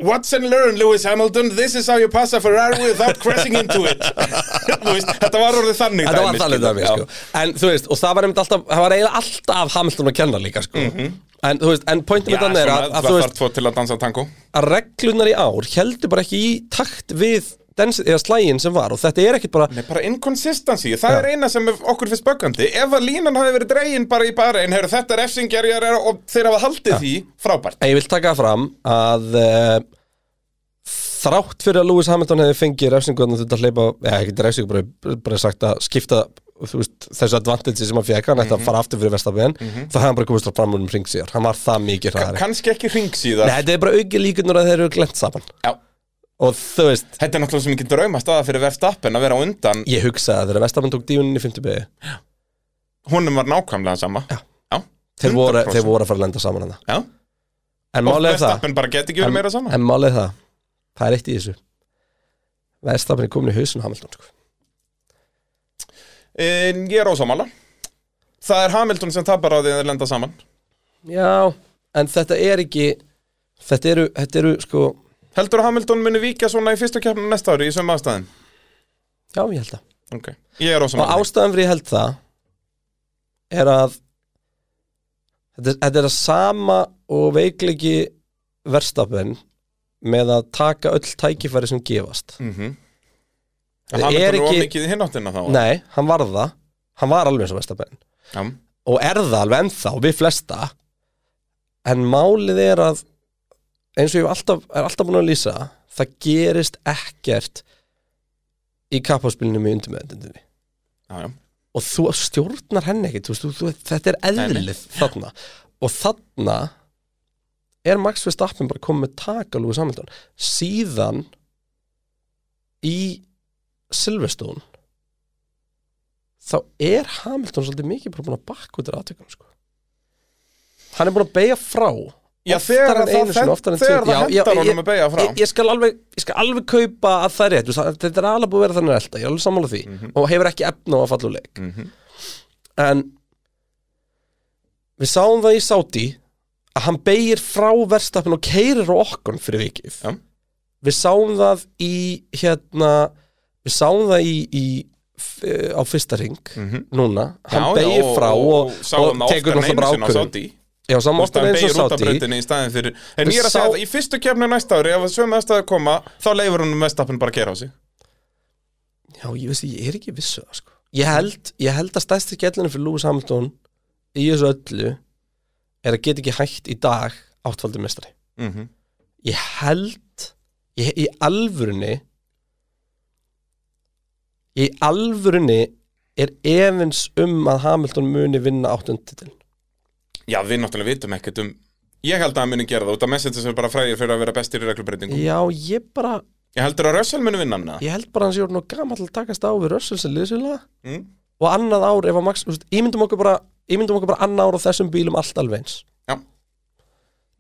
Speaker 5: What's and learn Lewis Hamilton this is how you pass a Ferrari without crashing into it Þú veist, þetta var orðið þannig
Speaker 4: þetta var þannig
Speaker 5: dæmi, skilur,
Speaker 4: dæmi,
Speaker 5: já.
Speaker 4: sko en þú veist, og það var nefnir alltaf það var eiginlega alltaf Hamilton að kenna líka, sko En, þú veist, en pointum
Speaker 5: Mhm. Já,
Speaker 4: þetta er að,
Speaker 5: svona,
Speaker 4: að,
Speaker 5: það
Speaker 4: þú
Speaker 5: þarf
Speaker 4: veist,
Speaker 5: tvo til að dansa tango
Speaker 4: að reglunar í ár heldur bara ekki í takt við dans, eða slægin sem var og þetta er ekkit bara
Speaker 5: Nei, bara inconsistency, það er eina sem okkur finnst böggandi Ef að línan hafi verið dregin bara í bara einn, heyrðu, þetta er efsingjarjar og þeir hafa haldið því, frábært
Speaker 4: en ég vil taka það fram að uh, þrátt fyrir að Lewis Hamilton hefði fengið refsingu þannig að þetta hleypa, eða ekki refsingu bara, bara sagt að skipta þú veist, þessu advantage sem hann fekk, hann ætti að fara aftur fyrir vestafinn, mm þá hefði hann bara komist á fram um hring síðar, hann var það mikið hraðari
Speaker 5: Kannski ekki hring síðar
Speaker 4: Nei, þetta er bara auki líkunar að þeir eru glent saman
Speaker 5: Já.
Speaker 4: og þú veist,
Speaker 5: Þetta er náttúrulega sem ekki drauma staða fyrir verðstappen að vera á undan
Speaker 4: ég hugsaði að þegar vestafinn tók dífunin í 50 byggi,
Speaker 5: Honum var nákvæmlega sama Já,
Speaker 4: þeir voru,
Speaker 5: 100%.
Speaker 4: þeir voru að fara að lenda saman hann
Speaker 5: Já.
Speaker 4: en
Speaker 5: Og
Speaker 4: málega það
Speaker 5: verðstappen bara geti ekki verið meira sama
Speaker 4: En málið er það, það er eitt í þessu Verðstafin er komin í hausinu Hamilton sko.
Speaker 5: en, Ég er ósámála Það er Hamilton sem tapar á því að þeir lenda saman
Speaker 4: Já, en þetta er ekki Þetta eru, þetta eru sko
Speaker 5: Heldur að Hamilton muni víkja svona í fyrstu keppnum næsta ári í sömu aðstæðin?
Speaker 4: Já, ég held það
Speaker 5: Okay. Ég er
Speaker 4: Og
Speaker 5: ósámála
Speaker 4: ástæðan fyrir ég held það Er að Þetta er, þetta er að sama og veiklegi verðstafin með að taka öll tækifæri sem gefast
Speaker 5: En
Speaker 4: Það er
Speaker 5: Hamilton var
Speaker 4: ekki-
Speaker 5: mikið í hináttina þá
Speaker 4: Nei, hann var það Hann var alveg eins og verðstafin
Speaker 5: Já.
Speaker 4: og er það alveg ennþá við flesta en málið er að eins og ég hef alltaf, er alltaf búin að lýsa það gerist ekkert í kapphásbílunum í undirmeðendinni
Speaker 5: Já, já.
Speaker 4: og þú stjórnar henni ekkert þú, veist, þú, þú, þetta er
Speaker 5: Nei,
Speaker 4: eðlið þarna og þarna er Max Verstappen bara komið með taka Lúi Samhildón síðan í Silverstone þá er Hamilton svolítið mikið bara búin að bakka út í aðtökum sko. hann er búin að beigja frá
Speaker 5: Já,
Speaker 4: oftar
Speaker 5: þegar
Speaker 4: en
Speaker 5: það
Speaker 4: einu sinni,
Speaker 5: hent-
Speaker 4: oftar en
Speaker 5: þegar
Speaker 4: tvisvar.
Speaker 5: það
Speaker 4: Já, já,
Speaker 5: hentar
Speaker 4: ég-
Speaker 5: honum að beygja frá.
Speaker 4: ég, ég, skal alveg, ég skal alveg kaupa að það er rétt þú veist, þetta er alveg búið að vera þannig elda, ég er alveg sammála því
Speaker 5: Mhm.
Speaker 4: og hefur ekki efna á að falla úr leik en við sáum það í Sáti að hann beigir frá verðstapin og keirir á okkon fyrir vikið
Speaker 5: Já.
Speaker 4: við sáum það í hérna við sáum það í, í f- eh, á fyrsta ring núna, hann
Speaker 5: Mhm. Já, já,
Speaker 4: beigir frá og,
Speaker 5: sáum það oftar en
Speaker 4: tekur
Speaker 5: einu
Speaker 4: náttúrulega bara
Speaker 5: sinni á
Speaker 4: ákvörðun
Speaker 5: Saudi.
Speaker 4: Já, saman oftar
Speaker 5: hann
Speaker 4: eins og
Speaker 5: beigir út af
Speaker 4: sátti
Speaker 5: brautinni í staðin fyrir En ég er að
Speaker 4: sá-
Speaker 5: segja þetta, í fyrstu kefni næsta ári Ef sömu aðstæður koma, þá leifur hún Vestappen bara að kera á sig
Speaker 4: Já, ég veist, ég er ekki vissu það, sko Ég held, ég held að stærsti skellinu fyrir Lewis Hamilton í þessu öllu er að geta ekki hægt í dag áttfaldur mestari
Speaker 5: Mhm.
Speaker 4: Ég held ég, í alvörunni í alvörunni er efins um að Hamilton muni vinna áttundtitil
Speaker 5: Já, við náttúrulega vitum ekkert um Ég held að hann muni gera það, út af messages er bara fræðir fyrir að vera bestir í reglubreitingum
Speaker 4: Já, ég bara
Speaker 5: Ég heldur að Russell muni vinna hann eða?
Speaker 4: ég held bara að hann sé orðin og gamall til að takast á við Russell sem liðsvila
Speaker 5: Mm.
Speaker 4: og annað ár ef að Max, þú veist, ímyndum okkur bara ímyndum okkur bara annað ár á þessum bílum allt alveg eins
Speaker 5: Já.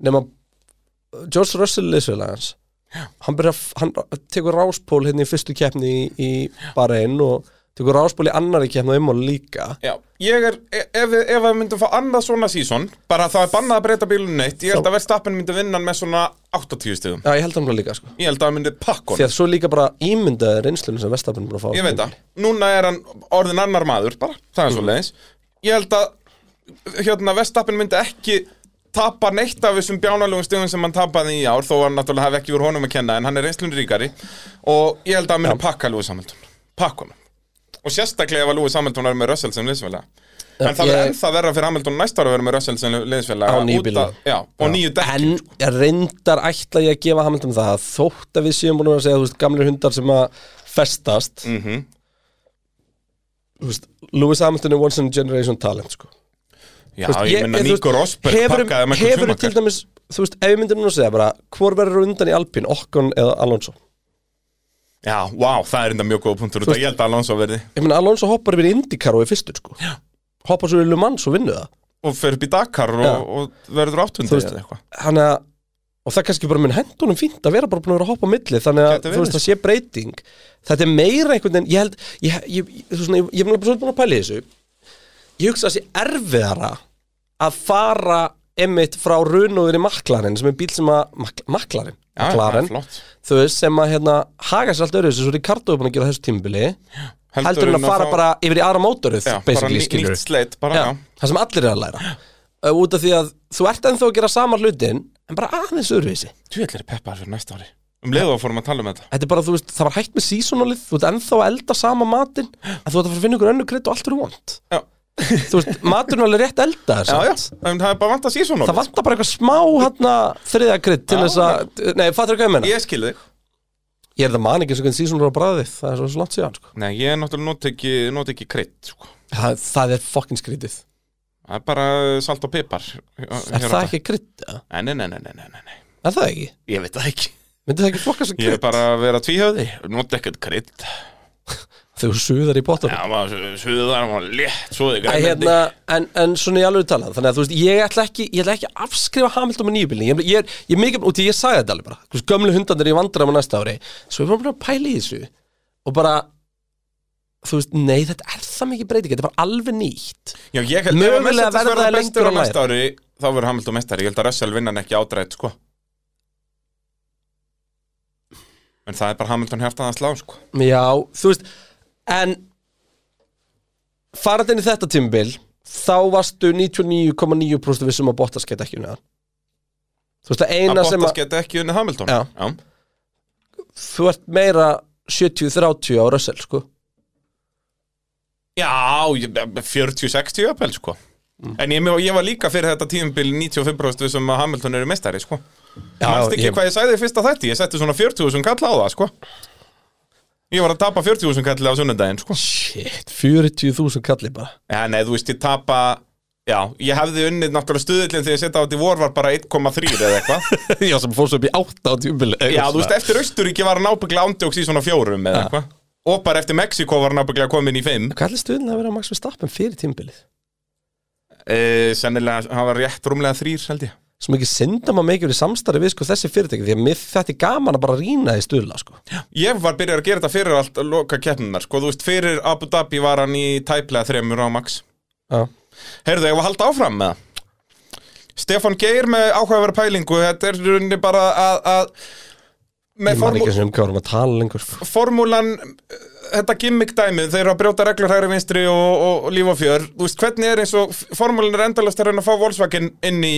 Speaker 4: nema uh, George Russell liðsvila hans hann, byrja, hann tekur ráspól hérna í fyrstu keppni í, í bara einn og tekur ráspól í annari keppni um og líka
Speaker 5: Já, ég er, e- ef, við- ef við myndum fá annað svona sísón Bara það er bannað að breyta bílunum neitt Ég held að Vestappen myndi vinna hann með svona 80 stigum
Speaker 4: Já, ég held hann bara líka, sko
Speaker 5: Ég held að hann myndi pakka
Speaker 4: Því
Speaker 5: hann
Speaker 4: að svo líka bara ímyndaði reynslunum sem Vestafinn búin að fá sko.
Speaker 5: Ég veit það, núna er hann orðin annar maður bara, það
Speaker 4: Mhm.
Speaker 5: er svo leiðis Ég held að hérna, Vestappen myndi ekki tapa neitt af þessum bjánalögum stegum sem hann tapaði í ár þó hann náttúrulega hafi ekki voru honum að kenna en hann er reynslun ríkari og ég held að hann myndi pakka Lúi Samhaldun pakka honum og sérstaklega ef að Lúi Samhaldun er með Russell sem liðsfélaga en það verður
Speaker 4: ég-
Speaker 5: ennþá verra fyrir Hamilton næsta ára að vera með Russell sem liðsfélaga
Speaker 4: Á nýju
Speaker 5: út
Speaker 4: bílum.
Speaker 5: af- Já, og nýju sko. dekki
Speaker 4: En ég reyndar ætla ég að gefa Hamilton það að þótt að við séum búin að vera að segja þú veist, gamlir hundar sem að festast mm
Speaker 5: Mhm.
Speaker 4: -hmm. veist, Lewis Hamilton er once in a generation talent sko.
Speaker 5: Já,
Speaker 4: Þú veist,
Speaker 5: ég minna
Speaker 4: þú veist,
Speaker 5: Nico Rosberg
Speaker 4: hefur-
Speaker 5: pakkaði Michael
Speaker 4: Hefur til
Speaker 5: Schumacher
Speaker 4: dæmis, þú veist, ef við myndum nú að segja bara Hvor verður undan í Alpine, Okkon eða Alonso
Speaker 5: Já, vá, það er enda mjög góða punktur út af ég held að Alonso verði
Speaker 4: Ég meina Alonso hoppar yfir IndyCar og er fyrstur sko. Hoppar svo í Le Mans og vinnur það
Speaker 5: og fer upp í Dakar
Speaker 4: Já.
Speaker 5: og, og verður áttundi
Speaker 4: Þú veist-
Speaker 5: eða eitthvað
Speaker 4: þannig að og það kannski bara mun hendunum fínt að vera bara búin að vera að hoppa á milli þannig að þú
Speaker 5: Gæti verið, sko.
Speaker 4: veist það sé breyting þetta er meira einhvern veginn ég held, ég, ég, ég, þú veist, svona, ég, ég er bara svolítið búin að pæla í þessu ég hugsa að sé erfiðara að fara emmitt frá runóður í maklarinn sem er bíl sem að mak, maklarinn,
Speaker 5: Já, það er
Speaker 4: maklarinn
Speaker 5: flott.
Speaker 4: þú veist, sem að hérna haga sér allt öðru þessu, svo Ricardo er búin að gera á þessu tímbili heldur en að fara
Speaker 5: fá-
Speaker 4: bara yfir í aðra mótoruð
Speaker 5: já, bara
Speaker 4: basically,
Speaker 5: ný,
Speaker 4: skilur
Speaker 5: nýtt sleitt bara, já.
Speaker 4: Já, það sem allir er að læra uh, út af því að þú ert ennþá að gera sama hlutin en bara aðeins öðruvísi
Speaker 5: Þú ætlir peppar fyrir næsta ári um leiðu að fórum að tala um þetta
Speaker 4: þetta er bara, þú veist, það var hægt með seasonalið þú ert ennþá að elda sama matinn en þú ert að fara að finna ykkur önnu krydd og allt eru vond
Speaker 5: Já,
Speaker 4: þú veist, maturinn er alveg rétt eldaður
Speaker 5: já, já.
Speaker 4: samt.
Speaker 5: En það er bara vant að sé svona
Speaker 4: það vantar bara eitthvað smá hana, þriða krydd til
Speaker 5: Já,
Speaker 4: þess að, nei, fattur hvað ég menna
Speaker 5: Ég skil þig
Speaker 4: ég er það man ekki eins og hvernig seasonal á bræðið það er svo- svo langt síðan, sko
Speaker 5: Nei, ég náttúrulega noti ekki, noti ekki krydd sko.
Speaker 4: það, það er fucking skrítið,
Speaker 5: Það er bara salt og pipar
Speaker 4: er það ekki krydd? eða?
Speaker 5: Nei, nei, nei, nei, nei, nei, nei
Speaker 4: er það ekki?
Speaker 5: Ég veit það ekki
Speaker 4: myndi það ekki flokka sem
Speaker 5: Ég er
Speaker 4: krydd?
Speaker 5: bara að vera tvíhöfði Noti ekkert krydd
Speaker 4: þegar þú suðar í bóttunum
Speaker 5: Já, maður suðar, maður létt Svoði
Speaker 4: Æ,
Speaker 5: grænmendi
Speaker 4: hérna, en, en svona í alveg talað þannig að þú veist, ég ætla ekki, ég ætla ekki að afskrifa Hamilton með nýjubilni, ég, ég, er- ég er mikið og því ég sagði þetta alveg bara, þú veist, gömlu hundandir í vandræðum á næsta ári, svo ég var bara að pæla í þessu og bara þú veist, nei, þetta er það mikið breyting þetta var alveg nýtt,
Speaker 5: Já, ég held
Speaker 4: Mögulega
Speaker 5: ef Mercedes
Speaker 4: verða
Speaker 5: verða
Speaker 4: þær lengur
Speaker 5: bestur á
Speaker 4: að
Speaker 5: næsta ári Þá verður Hamilton mestari Ég held að Russell vinna hann ekki ádrætt, sko En það er bara Hamilton hjartað að slá, sko
Speaker 4: já, þú veist en farandi inn í þetta tímabil þá varstu 99,9% vissum um að Bottas geta ekki unnið hann þú veist, það
Speaker 5: Að
Speaker 4: eina sem
Speaker 5: Bottas
Speaker 4: að
Speaker 5: geti ekki unni Hamilton
Speaker 4: Já.
Speaker 5: Já.
Speaker 4: þú ert meira 70-30 á Russell, sko
Speaker 5: Já, ég- 40-60 uppel, sko
Speaker 4: Mm.
Speaker 5: En ég, ég var líka fyrir þetta tíðumbil 95% við sem að Hamilton eru mestari, sko
Speaker 4: Já,
Speaker 5: Manst ekki
Speaker 4: ég-
Speaker 5: hvað ég sagði í fyrsta þætti Ég setti svona 40.000 kall á það, sko Ég var að tapa 40.000 kall á sunnudaginn, sko
Speaker 4: Shit, 40.000 kalli bara
Speaker 5: Já, nei, þú veist, ég tapa Já, ég hefði unnið náttúrulega stuðullin þegar ég setja á þetta í vor var bara 1,3 eða eitthvað
Speaker 4: Já, sem fór svo upp í 8 á tjúmbili
Speaker 5: Já, þú veist, eftir Austuríki var hann ábygglega ándjóks í svona fjórum eða eitthvað Og bara eftir Mexiko var hann ábygglega komin í 5
Speaker 4: Hvað er stuðin að vera að Max Verstappen fyrir tímbilið?
Speaker 5: e, Sennilega, hann var rétt rúmlega þrýr, held ég
Speaker 4: Svo mikið syndum að mikið verið samstarfi við sko þessi fyrirtæki Því að mér þetta er gaman að bara rýna í stuðla sko
Speaker 5: Ég var byrjað að gera þetta fyrir allt að loka keppnunar Sko, þú veist, fyrir Abu Dhabi var hann í tæplega þremur á Max
Speaker 4: Já,
Speaker 5: Heyrðu, ég var að halda áfram með það Stefan Geir með áhugaveru pælingu Þetta er í rauninni bara að, að
Speaker 4: ég
Speaker 5: með
Speaker 4: man um
Speaker 5: formú-
Speaker 4: sko. ekki sem hvað vorum að tala lengur
Speaker 5: formúlan þetta gimmick dæmið, þeir eru að brjóta reglur hægri vinstri og, og, og líf og fjör Þú veist, hvernig er eins og formúlin er endalast að reyna að fá Volkswagen inn í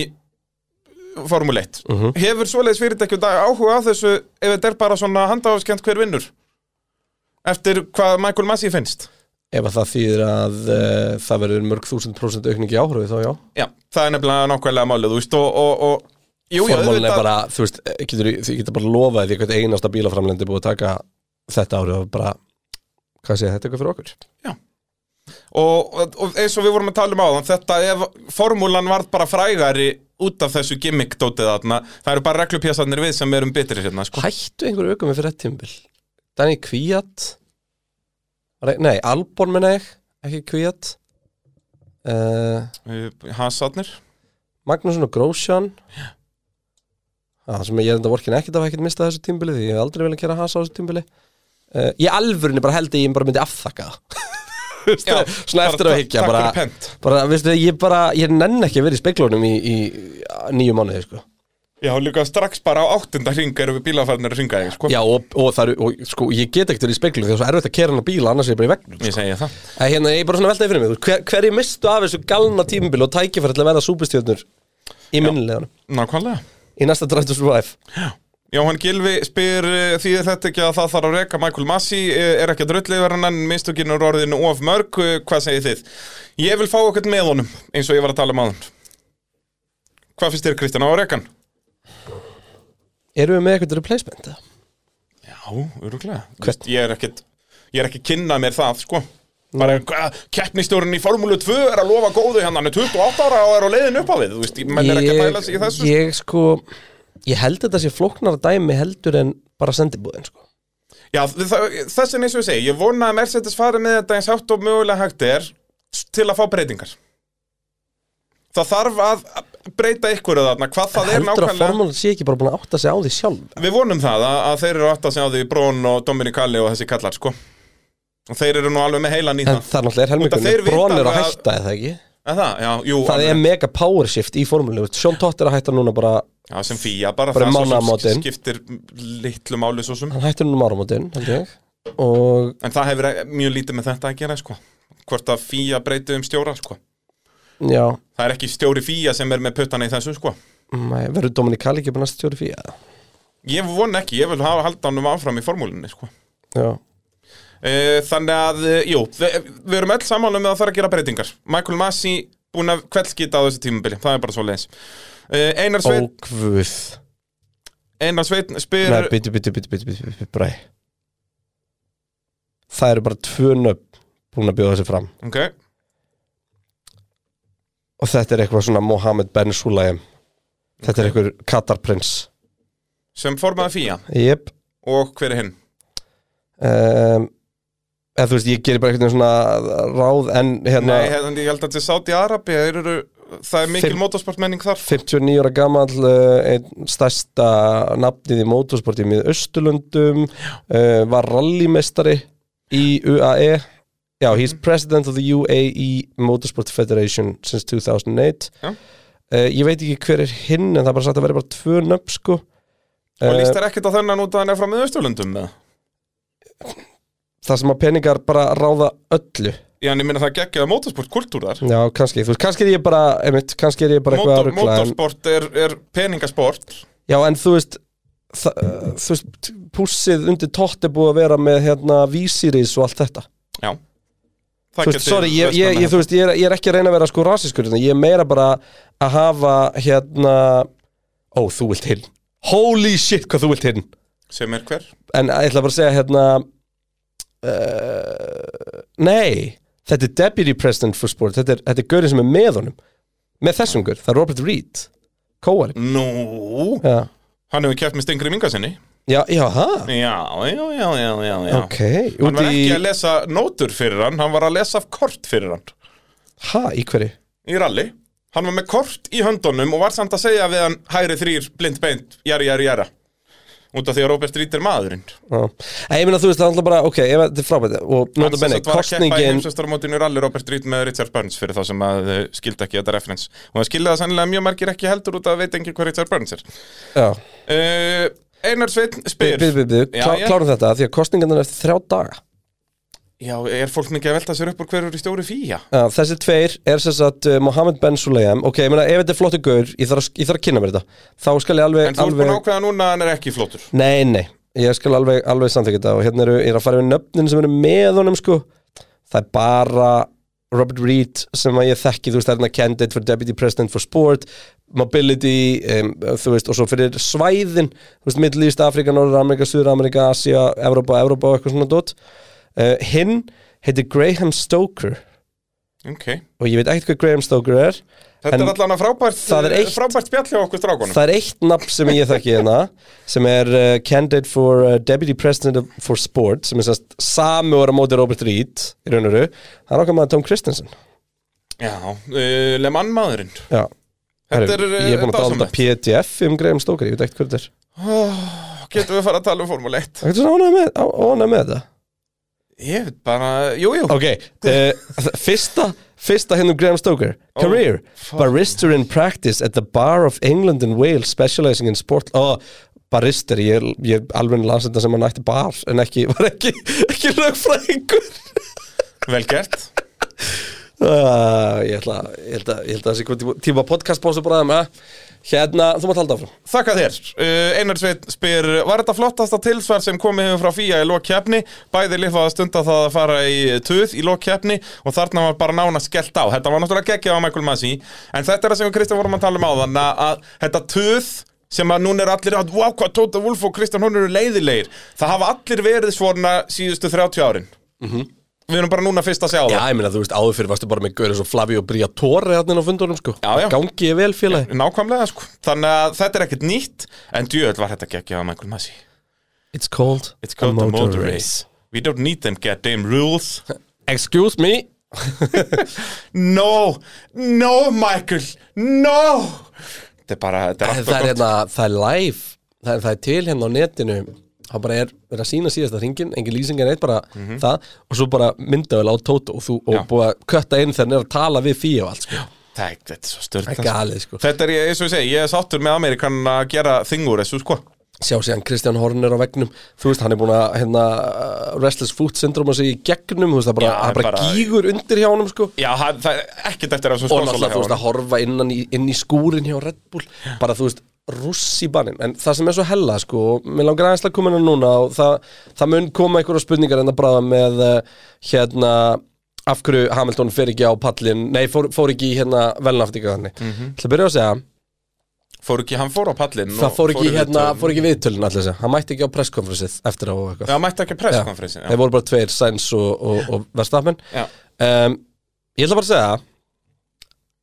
Speaker 5: Formúl 1
Speaker 4: Mhm.
Speaker 5: Hefur svoleiðis fyrirtækjum dag áhuga á þessu ef þetta er bara svona handahafskjönd hver vinnur eftir hvað Michael Massey finnst
Speaker 4: Ef að það þýðir að uh, það verður mörg þúsund prósent aukningi áhröðu þá já
Speaker 5: Já, það er nefnilega nákvæmlega málið, þú veist, og, og, og Jú, já,
Speaker 4: Formálin er
Speaker 5: auðvitað-
Speaker 4: bara, þú veist, eh, getur, þú getur bara lofað því eitthvað einasta bílaframlendi búið að taka þetta árið og bara hvað segja þetta er eitthvað fyrir okkur
Speaker 5: og, og- og eins og við vorum að tala um áðan þetta ef formúlan varð bara frægari út af þessu gimmick dótið þarna það eru bara reglupjasarnir við sem erum bitri hérna sko.
Speaker 4: Hættu einhverju aukum við fyrir þetta tímbil Danny Kvíat Nei, Albon menna ég ekki Kvíat uh,
Speaker 5: Eh, hasarnir
Speaker 4: Magnússon og Grósjan Það sem ég er enda vorkin ekkert af ekkert mista þessu tímbili því ég hef aldrei vel að gera hans á þessu tímbili uh, Ég alvörinu bara held að ég bara myndi afþakka það Veistu,
Speaker 5: Já,
Speaker 4: Svona eftir að higgja bara,
Speaker 5: takk fyrir pent
Speaker 4: bara, veistu, ég bara, ég nenn ekki að vera í speiklunum í, í nýju mánuði sko.
Speaker 5: já líka strax bara á áttunda hring erum við bílafarnir að ringa þig sko.
Speaker 4: Já, og, og, það eru, og sko, ég get ekkert verið í speiklunum því það er svo erfitt að kera hana bíla annars er ég bara í vegnum
Speaker 5: ég segi það
Speaker 4: En hérna, ég bara svona veltaði fyrir mig þú veist, hver, Hverju mistu af þessu galna tímbil og tækifæri til að verða súpistjörnur í minnileganum
Speaker 5: nákvæmlega
Speaker 4: í næsta Drive to Survive
Speaker 5: Jóhann Gilvi spyr eh, því þetta ekki að það þarf að reka Michael Massey, eh, er ekki að drulli yfir hann en mistökin eru orðinu of mörg, eh, hvað segir þið? Ég vil fá okkur með honum, eins og ég var að tala um aðan. Hvað finnst þér Kristján á að reka hann?
Speaker 4: Erum við með eitthvað replacement? eða?
Speaker 5: Já, öruglega. Hvern? Ég er ekkit, ég er ekki kynna mér það, sko. Bara, hvað, keppnistjórinn í Formúlu 2 er að lofa góðu hérna, hann er 28 ára og er á leiðin upp á við, þú veist, menn er ekki að pæla sig í þessu.
Speaker 4: ég sko ég held þetta sé flóknara dæmi heldur en bara sendibúðin sko
Speaker 5: Já, þessin eins og ég segi, ég vona að Mercedes fari með þetta eins hátt og mögulega hægt er til að fá breytingar. Það þarf að að breyta ykkur þarna, hvað það er
Speaker 4: heldur að
Speaker 5: nákvæmlega.
Speaker 4: formúlan sé ekki bara búin að átta sig á því sjálf
Speaker 5: Við vonum það að, að þeir eru átt að segja á því Brón og Dominic Kalli og þessi kallar, sko. Og þeir eru nú alveg með heilan í
Speaker 4: en
Speaker 5: það.
Speaker 4: það er náttúrulega er
Speaker 5: þeir
Speaker 4: helmingunum
Speaker 5: vita
Speaker 4: brónir að
Speaker 5: alveg að-
Speaker 4: hætta eða ekki
Speaker 5: En það, já, jú,
Speaker 4: það
Speaker 5: alveg.
Speaker 4: er mega power shift í formúlinu Sjón Tótt er að hætta núna bara
Speaker 5: Já, sem fýja bara,
Speaker 4: Bara
Speaker 5: það svo
Speaker 4: mánaðamótin.
Speaker 5: sem skiptir litlu máli svo sem.
Speaker 4: hann hættur núna um áramótin held ég og
Speaker 5: En það hefur e- mjög lítið með þetta að gera, sko. Hvort að fýja breytið um stjóra, sko.
Speaker 4: já
Speaker 5: Það er ekki stjóri fýja sem er með puttana í þessu, sko.
Speaker 4: nei, verður Dominik Kalli ekki bara næst stjóri fyrir
Speaker 5: Ég von ekki, ég vil hafa halda hann um áfram í formúlinni sko.
Speaker 4: já
Speaker 5: e, Þannig að, e, jú, við, við erum öll sammála með að það þarf að gera breytingar Michael Massey búin að kveldskita á þessu tímabili, það er bara svo leiðis e, Einar Sveit,
Speaker 4: ókvöð
Speaker 5: Einar Sveit spyr
Speaker 4: nei, bitu, bitu, bitu, bitu, bitu, bitu, bræ það eru bara tvö nöfn búin að bjóða þessi fram
Speaker 5: Ok,
Speaker 4: og þetta er eitthvað svona Mohamed Ben Sulayem þetta er eitthvað Katarprins
Speaker 5: sem formaði fíja
Speaker 4: Jep
Speaker 5: Og hver er hinn?
Speaker 4: um, eða þú veist, ég gerir bara eitthvað svona ráð en hérna
Speaker 5: Nei, hérna, ég held að þetta er Saudi Arabi þeir eru, Það er mikil
Speaker 4: Fimm-
Speaker 5: motorsportmenning þar
Speaker 4: 59 ára gamall uh, einn stærsta nafnið í motorsporti með Östurlundum uh, var rallymestari í UAE já, he's
Speaker 5: Mhm.
Speaker 4: president of the UAE Motorsport Federation since 2008
Speaker 5: Já.
Speaker 4: Uh, ég veit ekki hver er hinn en það er bara sagt að vera bara tvö nöfn sko
Speaker 5: Og
Speaker 4: Eh,
Speaker 5: líst þær ekkert á þennan út að hann er frá með Östurlundum með
Speaker 4: það sem að peningar bara ráða öllu
Speaker 5: Já, en ég minna það geggjaði motorsportkultúr þar
Speaker 4: Já, kannski, þú veist, kannski er ég bara, einmitt, kannski er ég bara eitthvað að
Speaker 5: Motor,
Speaker 4: ruggla en,
Speaker 5: Motorsport er, er peningasport
Speaker 4: Já, en þú veist, það, uh, þú veist, pússið undir tótt er búið að vera með hérna vísiris og allt þetta
Speaker 5: Já Það
Speaker 4: Þú veist,
Speaker 5: geti
Speaker 4: sorry, ég,
Speaker 5: verslað
Speaker 4: ég,
Speaker 5: með
Speaker 4: ég, þú veist, ég, er, ég er ekki að reyna að vera sko rasiskur hérna, Ég er meira bara að hafa hérna, ó, þú vilt hinn Holy shit, hvað þú vilt hinn
Speaker 5: sem er hver
Speaker 4: En ég ætla bara að segja hérna uh, Nei, þetta er deputy president for sport Þetta er, þetta er gaurið sem er með honum Með þessum gaur, það er Robert Reed Kóari
Speaker 5: Nú,
Speaker 4: Já,
Speaker 5: hann hefur kæft með Stengri Mingasinni
Speaker 4: já, já það
Speaker 5: Já, já, já, já, já, já.
Speaker 4: Ok,
Speaker 5: Hann
Speaker 4: út
Speaker 5: var
Speaker 4: í,
Speaker 5: ekki að lesa nótur fyrir hann, hann var að lesa af kort fyrir hann
Speaker 4: ha, í hverju?
Speaker 5: Í rally Hann var með kort í höndunum og var samt að segja við hann Hæri þrýr, blind beint, jæri, jæri, jæra Út af því að Robert Rít er maðurinn
Speaker 4: Já. Nei, Ég meina þú veist, það er alltaf bara, ok, ef þetta er frábætt Og nota benni,
Speaker 5: í
Speaker 4: kostningin
Speaker 5: heimsvestaramótinu rally Robert Rít með Richard Burns fyrir þá sem að eh, skildi ekki þetta referens Og það skildi það sennilega mjög margir ekki heldur út af að veit engin hvað Richard Burns er
Speaker 4: Já,
Speaker 5: uh, Einar Sveinn spyr
Speaker 4: byrðu, byrðu,
Speaker 5: Já, já.
Speaker 4: klárum þetta Því að kostningan er eftir þrjá daga
Speaker 5: Já, er fólk mikið að velta sér upp úr hverjur í stjóri fíja?
Speaker 4: Já, þessi tveir er sem sagt uh, Mohamed Ben Suleim Ok, ég meina ef þetta er flottu gaur Ég þarf, að- ég þarf að kynna mér þetta Þá skal ég alveg,
Speaker 5: En þú ert búin að
Speaker 4: alveg
Speaker 5: ákveða núna að hann er ekki flottur
Speaker 4: Nei, nei, ég skal alveg, alveg samþykja þetta Og hérna eru, ég er að fara við nöfnin sem eru með honum sko. Það er bara Robert Reed sem að ég þekki Þú veist, það er hérna candidate for deputy president for sport Mobility um, Þú veist, og svo fyrir svæðin Þú veist, Middle East, Afrika, Norður Amerika, Suður Amerika Asia, Evrópa, Evrópa og eitthvað svona dot uh, Hinn heitir Graham Stoker
Speaker 5: Ok,
Speaker 4: og ég veit ekkert hvað Graham Stoker er
Speaker 5: þetta
Speaker 4: En
Speaker 5: er allan að frábært,
Speaker 4: það er eitt-
Speaker 5: frábært spjall hjá okkur strákunum
Speaker 4: það er eitt nafn sem ég þekki hérna sem er uh, candidate for uh, deputy president of, for sport sem er sérst samu ára móti Robert Reed í raun og raunuru, það er okkar maður Tom Christensen
Speaker 5: Já, uh, Lemann maðurinn
Speaker 4: já Herru,
Speaker 5: Þetta er, uh,
Speaker 4: ég er búin að dálita
Speaker 5: dásamlegt.
Speaker 4: PDF um Graham Stoker, ég veit ekkert hvað þetta er
Speaker 5: Getum við að fara að tala um Formule 1?
Speaker 4: Það er svona ánægð með, á- ánægð með þetta
Speaker 5: Ég veit bara, jú, jú
Speaker 4: Ok, uh, fyrsta, fyrsta hinn um Graham Stoker Career, barrister in practice at the bar of England and Wales specializing in sport oh, Barrister, ég, ég alveg las þetta sem hann ætti bar en ekki, var ekki, ekki lögfræðingur
Speaker 5: Vel gert
Speaker 4: uh, Ég ætla að- ég held að ég held að þessi tíma, tíma podcastbósu bara um að Hérna, þú mátt halda áfram
Speaker 5: Þakka þér. Uh, Einar Sveit spyr, var þetta flottasta tilsvar sem komið hefur frá FIA í lókjefni? Bæði lifað að stunda það að fara í töð í lókjefni og þarna var bara nána skellt á. Þetta var náttúrulega geggjað á Michael Masi, en þetta er það sem við Kristján vorum að tala um áðan, að, að þetta töð sem að núna er allir að, wow, hvað Tóta Wolf og Kristján hún eru leiðilegir. Það hafa allir verið svona síðustu 30 árin. Við erum bara núna fyrst að sjá
Speaker 4: Já,
Speaker 5: það.
Speaker 4: ég meina, þú veist, áður fyrir varstu bara með Gauri og Flavi og Bría Tóri hérna á fundunum, sko
Speaker 5: Já, já.
Speaker 4: Gangi ég vel, félagi
Speaker 5: Nákvæmlega, sko. Þannig að þetta er ekkert nýtt, en djöðl var þetta geggjað á Michael Masi.
Speaker 4: It's called,
Speaker 5: It's called a motor race. We don't need them goddamn rules.
Speaker 4: Excuse me
Speaker 5: No, no Michael, no! Þetta er bara, þetta er
Speaker 4: En
Speaker 5: alltaf
Speaker 4: það er,
Speaker 5: gott.
Speaker 4: hérna, það er live það er, það er til hérna á netinu það bara er verið að sína síðasta hringin engin lýsing en eitt bara það og svo bara myndavel á Tóto og, þú,
Speaker 5: Mhm. Já.
Speaker 4: og búið að kötta inn þegar hann er að tala við fíu og allt sko.
Speaker 5: Það er- Þetta er svo stört.
Speaker 4: galið sko
Speaker 5: Þetta er, ég- eins og ég segi, ég er sáttur með Amerikan að gera þingur þessu, sko.
Speaker 4: sjá síðan Kristján Horner á vegnum þú veist hann er búin að hérna, uh, restless foot syndrome að segja í gegnum þú veist það bara,
Speaker 5: Já,
Speaker 4: það bara,
Speaker 5: bara-
Speaker 4: gígur undir hjá honum sko
Speaker 5: Já, það, það er ekkert eftir þessum
Speaker 4: og náttúrulega þú veist að
Speaker 5: sponsor.
Speaker 4: horfa innan í, inn í skúrin hjá Red Bull bara þú veist russ í banninn en það sem er svo hella sko og mér langar aðeinslega að koma inn á núna og það, það mun koma einhverja spurningar en að bráða með uh, hérna af hverju Hamilton fer ekki á pallin nei fór, fór ekki í hérna velnaftinga þannig mm
Speaker 5: Mhm.
Speaker 4: -hmm. Það byrja að segja,
Speaker 5: Fór ekki, hann fór á pallin.
Speaker 4: það fór ekki hérna, fór ekki viðtölin allir þessi, hann mætti ekki á presskonferensið eftir á og eitthvað
Speaker 5: Já, mætti ekki presskonferensin.
Speaker 4: þeir voru bara tveir, Sainz og, og, og Verstappen
Speaker 5: Já.
Speaker 4: um, Ég ætla bara að segja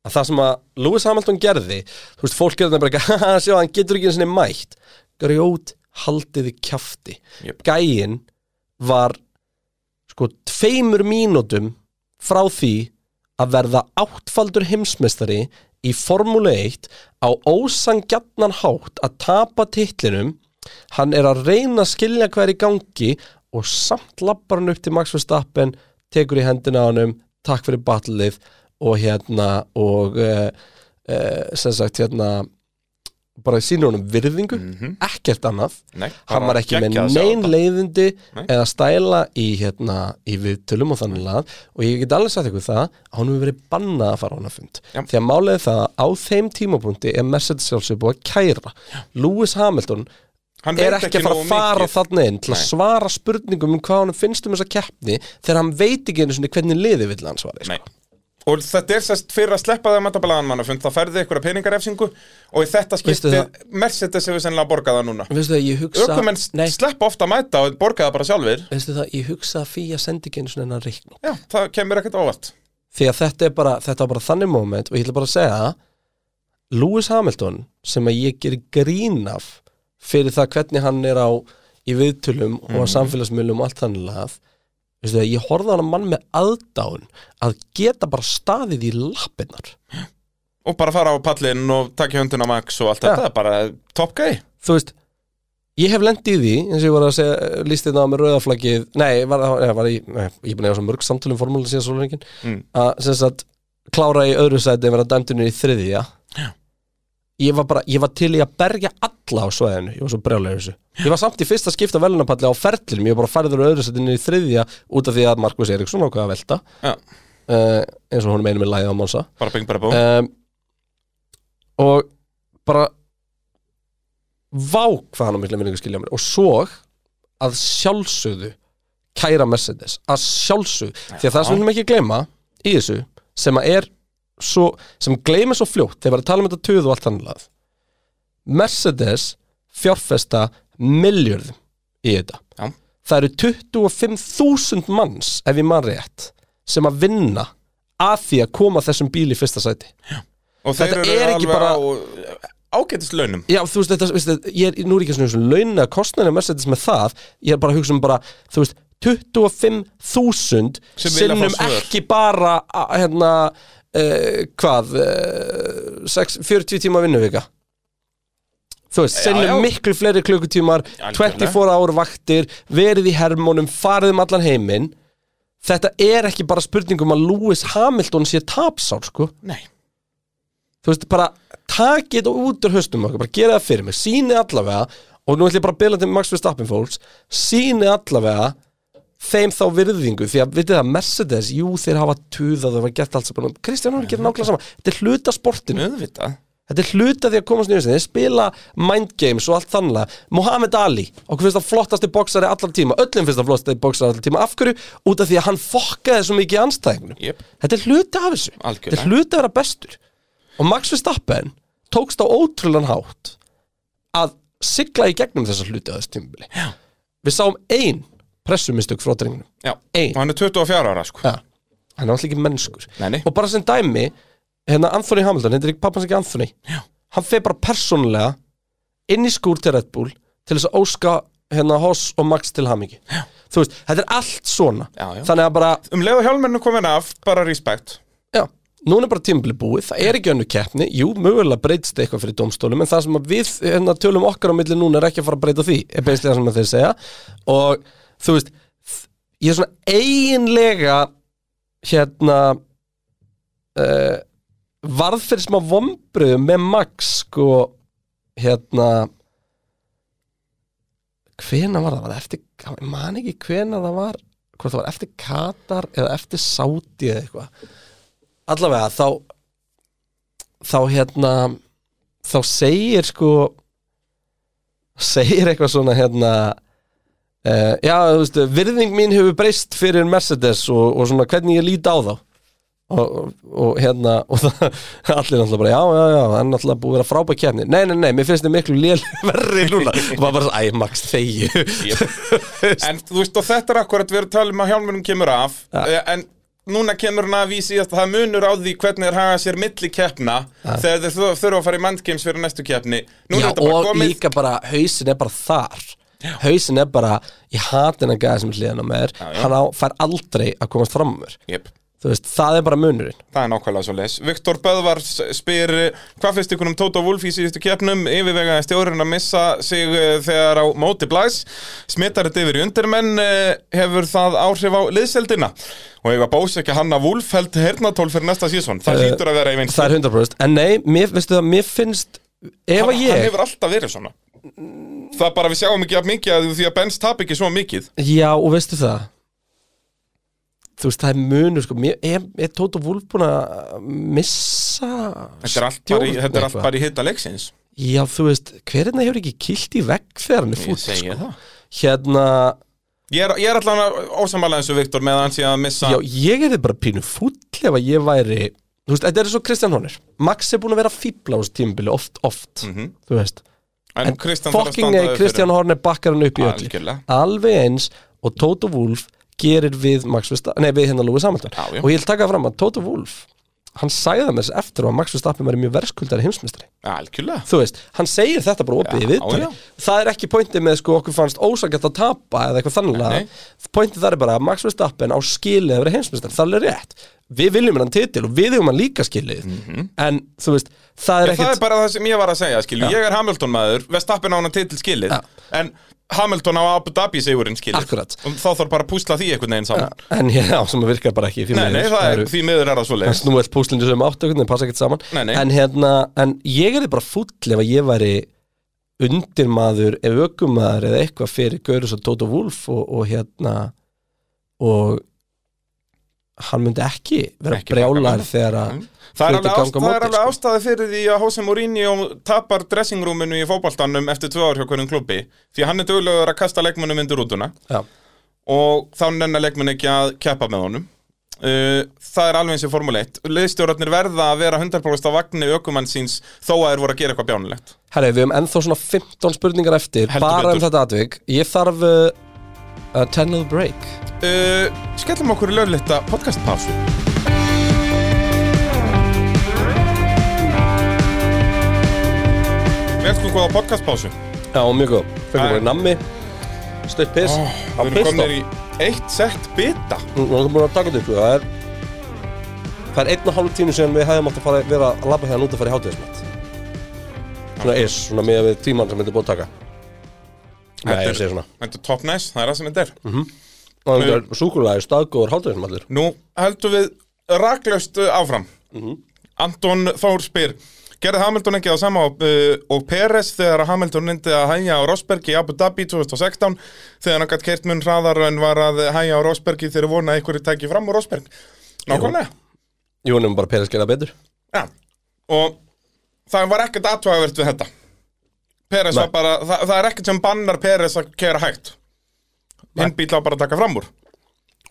Speaker 4: að það sem að Lewis Hamilton gerði þú veist, fólk gerði bara ekki að sjá, hann getur ekki einu sinni mætt Grjót haldiði kjafti
Speaker 5: Jöp.
Speaker 4: Gæin var sko tveimur mínútum frá því að verða áttfaldur heimsmeistari í Formule 1 á ósangjarnan hátt að tapa titlinum hann er að reyna að skilja hvað er í gangi og samt lappar hann upp til Max Verstappen tekur í hendina á hann takk fyrir battlið og hérna og uh, uh, sem sagt hérna bara sínur honum virðingu ekkert annað
Speaker 5: Mhm. Nei,
Speaker 4: hann
Speaker 5: bara
Speaker 4: var ekki með
Speaker 5: geggjað að sjá
Speaker 4: nein
Speaker 5: þetta.
Speaker 4: leiðindi
Speaker 5: Nei.
Speaker 4: eða stæla í, hérna, í viðtölum og þannig lað og ég get alveg sagt ykkur það að hún hefur verið bannað að fara á hana fund
Speaker 5: Já.
Speaker 4: því að málega það að á þeim tímapunkti er Mercedes sjálfsög búið að kæra Lewis Hamilton
Speaker 5: Hann
Speaker 4: er
Speaker 5: veit
Speaker 4: ekki að fara
Speaker 5: nógu
Speaker 4: að fara
Speaker 5: mikið.
Speaker 4: þarna inn til að
Speaker 5: Nei.
Speaker 4: svara spurningum um hvað hann finnst um þessa keppni þegar hann veit ekki einu sinni hvernig liði vill hann svari sko.
Speaker 5: Nei. Og þetta er sérst fyrir að sleppa það með tablaðan mannafund, það færði ykkur að peningarefsingu og í þetta
Speaker 4: Veistu
Speaker 5: skiptið,
Speaker 4: það-
Speaker 5: Mercedes hefur sennilega borgað það núna.
Speaker 4: veistu það, ég hugsa
Speaker 5: Ökumenn
Speaker 4: nei,
Speaker 5: sleppa ofta að mæta og borga það bara sjálfur.
Speaker 4: veistu það, ég hugsa að fýja sendi ekki einu sinni hennar reiknum
Speaker 5: Já, það kemur ekkert óvart.
Speaker 4: því að þetta er bara, þetta er bara þannig moment og ég ætla bara að segja Lewis Hamilton sem að ég gerir grín af fyrir það hvernig hann er á í viðtölum og á samfélagsmiðlum og allt þannig lagað Veistu það, ég horfði á hann mann með aðdáun að geta bara staðið í lappinnar
Speaker 5: Og bara fara á pallinn og taka höndina Max og allt
Speaker 4: Já.
Speaker 5: þetta, bara top guy.
Speaker 4: þú veist, ég hef lendið í því eins og ég var að segja, listið það með rauðaflaggið nei, var, ég var í nei, ég er búin að hafa svo mörg um samtölum formúla síðan svo lengin
Speaker 5: Mm.
Speaker 4: að sem sagt, klára í öðru sæti en vera dæmdunir í þriðja ég var bara, ég var til í að berja alla á svæðinu, ég var svo brjálega þessu ég var samt í fyrsta skipta velunapalli á ferlinum ég var bara færður á öðru setinu í þriðja út af því að Markus Eriksson ákveða að velta
Speaker 5: Já,
Speaker 4: uh, eins og hún meinum með læðið á Monsa
Speaker 5: bara bing bara bó
Speaker 4: um, og bara vá hvað hann á mikla minningu skilja mér og svo að sjálfsögðu kæra Mercedes að sjálfsögðu, því að það sem við viljum ekki gleyma í þessu, sem að er svo, sem gleyma svo fljótt þegar við tala um þetta töðu og allt annað Mercedes fjárfesta miljörð í þetta
Speaker 5: Já.
Speaker 4: það eru 25.000 manns ef ég man rétt sem að vinna að því að koma þessum bíl í fyrsta sæti
Speaker 5: Og þeir
Speaker 4: þetta
Speaker 5: eru
Speaker 4: er ekki
Speaker 5: alveg
Speaker 4: bara-
Speaker 5: á ágætist launum
Speaker 4: Já, þú veist, þetta, veist, þetta- ég er nú er ég ekki svona svona launa kostnæðin að Mercedes með það ég er bara að hugsa um bara, þú veist 25.000
Speaker 5: Sem vilja fá
Speaker 4: sinnum
Speaker 5: svör.
Speaker 4: ekki bara a- hérna, uh, hvað uh, 6, 40 tíma vinnuvika þú veist, sinnum
Speaker 5: já.
Speaker 4: miklu fleiri klukkutímar
Speaker 5: Algjörlega.
Speaker 4: 24 ára vaktir, verið í hermónum farið um allan heiminn þetta er ekki bara spurning um að Lewis Hamilton sé tapsár, sko
Speaker 5: Nei
Speaker 4: þú veist, bara takið þetta út úr höstum okkur, bara gera það fyrir mig, síni allavega og nú ætlum ég bara að bila til Max Verstappen fólks síni allavega þeim þá virðingu, því að vitið það Mercedes, jú, þeir hafa tuðað og hafa gett allt saman, Kristján Hóri gerir nákvæmlega sama þetta er hluta sportinu,
Speaker 5: Auðvitað
Speaker 4: þetta er hluta því að komast nýjum þeir spila mind games og allt þannlega Mohamed Ali, okkur finnst það flottasti boksari allar tíma, öllum finnst það flottasti boksari allar tíma, af hverju? Út af því að hann fokkaði svo mikið anstæðingunum
Speaker 5: Jep.
Speaker 4: Þetta er hluti af þessu
Speaker 5: Algjörlega.
Speaker 4: Þetta er hluti að vera bestur Og Max Verstappen tókst á ótrúlan hátt að sigla í gegnum þessa hluti á þessu tímabili Já. Við sáum ein pressumistök frá drenginum
Speaker 5: Já,
Speaker 4: Ein.
Speaker 5: og hann er 24 ára sko
Speaker 4: Já. Hann er alltaf ekki mennskur
Speaker 5: Nei, nei.
Speaker 4: Og bara sem dæmi hérna Anthony Hamilton, þetta er ekki pappans ekki Anthony Já. Hann fer bara persónulega inn í skúr til Red Bull til þess að óska hérna Hoss og Max til hamingi Já. Þú veist, þetta er allt svona
Speaker 5: Já, já.
Speaker 4: Þannig að bara
Speaker 5: Um leið og hjálmennu komin af, bara respect
Speaker 4: Já, núna er bara tímabili búið, það er ekki önnu keppni, jú, mögulega breytist eitthvað fyrir dómstólum, en það sem að við hérna, tölum okkar á milli núna er ekki að fara að breyta því, er beinslega sem að þeir segja, og þú veist, þ- ég er svona eiginlega, hérna, uh, varð fyrir smá vombriðum með Max, sko, hérna, hvena var það, var það eftir, ég man ekki hvena það var, hvort það var eftir Katar eða eftir Sáti eða eitthvað allavega þá þá hérna þá segir sko segir eitthvað svona hérna uh, já, þú veist, virðing mín hefur breyst fyrir Mercedes og, og svona hvernig ég líti á þá og, og, og hérna og það, allir náttúrulega bara, já, já, já hann er náttúrulega búið að vera frábæk kefni, nei, nei, nei, mér finnst þið miklu lél verri núna, og maður bara, æ, Max, þegi
Speaker 5: En þú veist, og þetta er akkurat, við erum að tala um að hjálmunum kemur af ja. En núna kemur hann af í síðast að það munur á því hvernig þeir haga sér milli keppna Þegar þeir þur- þurfa að fara í mandgames fyrir næstu keppni Núna
Speaker 4: Já,
Speaker 5: er þetta bara
Speaker 4: og
Speaker 5: komið
Speaker 4: líka bara, hausin er bara þar hausin er bara, ég hati hennar gæði sem er hliðan á mér,
Speaker 5: já.
Speaker 4: hann á, fær aldrei að komast fram úr
Speaker 5: Jep.
Speaker 4: þú veist, það er bara munurinn
Speaker 5: Það er nákvæmlega svo leis. Viktor Böðvars spyr eh, hvað finnst ykkur um Tóta Wolf í síðustu keppnum yfirvegaði stjórinn að missa sig eh, þegar á móti blæs smittar þetta yfir í undirmenn eh, hefur það áhrif á liðseldina og ef að bós ekki hann að Wolf held hernatól fyrir næsta sísón, það hlýtur að vera í vinst
Speaker 4: Eh, það er 100% en nei, mér, veistu það, mér finnst ef að
Speaker 5: Hann
Speaker 4: ég,
Speaker 5: hefur alltaf verið svona Það er bara að við sjáum ekki að mikið að því að Benz tap ekki svo mikið
Speaker 4: já og veistu það þú veist, það er munur sko, mér, er, er Tóta Wolf búin að missa
Speaker 5: Þetta er allt bara í, þetta er allt
Speaker 4: eitthvað?
Speaker 5: bara í hitta leiksins
Speaker 4: já, þú veist, hverina hefur ekki kilt í vegg þegar hann er fútt,
Speaker 5: segi
Speaker 4: sko
Speaker 5: það.
Speaker 4: hérna,
Speaker 5: Ég er, ég er allan ósamalega eins og Viktor með að hann sé að missa
Speaker 4: Já, ég er bara pínu fúll ef að ég væri Þú veist, þetta er svo Kristján Hónir Max er búin að vera fíbla á þessu tímabili oft, oft Þú veist
Speaker 5: Mhm. en, Kristján þarf að
Speaker 4: Fokking
Speaker 5: standa
Speaker 4: eða
Speaker 5: við fyrir.
Speaker 4: eh, Kristján Horner bakkar hann upp í öllu
Speaker 5: Algjörlega.
Speaker 4: Alveg eins og Toto Wolf gerir við Max Verstappen Nei, við hérna Lúi Samhaldun
Speaker 5: Já, já.
Speaker 4: Og ég vil taka fram að Toto Wolf Hann sagði það með þess eftir á að Max Verstappen væri mjög verskuldari heimsmyndstari
Speaker 5: Algjörlega
Speaker 4: Þú veist, hann segir þetta bara opið í
Speaker 5: Já,
Speaker 4: viðtölu
Speaker 5: já.
Speaker 4: Það er ekki pointið með sko okkur fannst ósakett að tapa eða eitthvað
Speaker 5: Nei, nei.
Speaker 4: þannig Pointið þar er bara að Max Verstappen á skilið að vera heimsmyndstari, það er alveg rétt Við viljum hann titil og við eigum hann líka skilið En þú veist, það er
Speaker 5: Mhm. Það er
Speaker 4: ekkert
Speaker 5: bara það sem ég var að segja, skilju Ég er Hamilton maður, Vestappen á hann til skilið En Hamilton á Abu Dhabi sigurinn skilur
Speaker 4: Akkurat.
Speaker 5: og þá þarf bara að púsla því einhvern veginn saman
Speaker 4: En já, sem að virkar bara ekki því
Speaker 5: Nei,
Speaker 4: miður.
Speaker 5: nei, það er,
Speaker 4: eru-
Speaker 5: því miður er það svo
Speaker 4: en snúið púslindi sem áttu einhvern veginn, passa ekkert saman
Speaker 5: Nei, nei.
Speaker 4: En, hérna, en ég er bara fúll ef að ég væri undirmaður ef ökumaður eða eitthvað fyrir Gaurus og Toto Wolf og, og hérna og hann myndi ekki vera
Speaker 5: Ekki baka
Speaker 4: brjálar
Speaker 5: mann.
Speaker 4: þegar að
Speaker 5: Það er
Speaker 4: hlutir
Speaker 5: alveg, ást,
Speaker 4: ganga á
Speaker 5: það er
Speaker 4: móti, sko.
Speaker 5: alveg ástæði fyrir því að Jose Mourinho tapar dressingrúminu í fótboltanum eftir tvö ár hjá hverjum klubbi því að hann er duglegur að kasta leikmunum undir rútuna
Speaker 4: já,
Speaker 5: og þá nennar leikmun ekki að keppa með honum uh, Það er alveg eins og Formule 1 Leðstjórarnir verða að vera 100% á vagni aukumann síns þó að þeir voru að gera eitthvað bjánulegt
Speaker 4: herri, við höfum ennþá svona 15 spurningar eftir
Speaker 5: Heldur
Speaker 4: bara um
Speaker 5: betur.
Speaker 4: þetta atvik ég þarf uh, a 10 little break
Speaker 5: uh, Skellum okkur í lögletta podcastpásu Við elskum góða podcastpásu
Speaker 4: já, mjög góð, fengum
Speaker 5: Æ.
Speaker 4: bara nammi stutt piss
Speaker 5: oh,
Speaker 4: á
Speaker 5: Við erum
Speaker 4: piss
Speaker 5: komin í eitt sett bita
Speaker 4: Nú nú erum við búin að taka þetta upp, sko. það er Það er einn og hálf tími síðan við hefðum átt að fara, vera að labba hérna út að fara í hátíðismat Svona is, svona með við tíman sem þetta er búið að taka Nei, ég segi svona
Speaker 5: Þetta er top nice, það er það sem þetta er
Speaker 4: Og það er súkulæði staðgóður hátíðismatur
Speaker 5: Nú heldum við raklaust uh, áfram
Speaker 4: Mhm.
Speaker 5: Anton Þór spyr Gerði Hamilton ekki það sama og, uh, og Peres þegar Hamilton reyndi að hægja á Rosberg í Abu Dhabi 2016 þegar hann gætt keirt mun hraðar en var að hægja á Rosberg þegar vona að einhverju tæki fram úr Rosberg Nákvæmlega
Speaker 4: Jú, nefnum bara Peres gera betur
Speaker 5: Já, og það var ekkert aðtugavert við þetta Peres
Speaker 4: Nei.
Speaker 5: var bara, það, það er ekkert sem bannar Peres að kera hægt Hinn bíl á bara að taka fram úr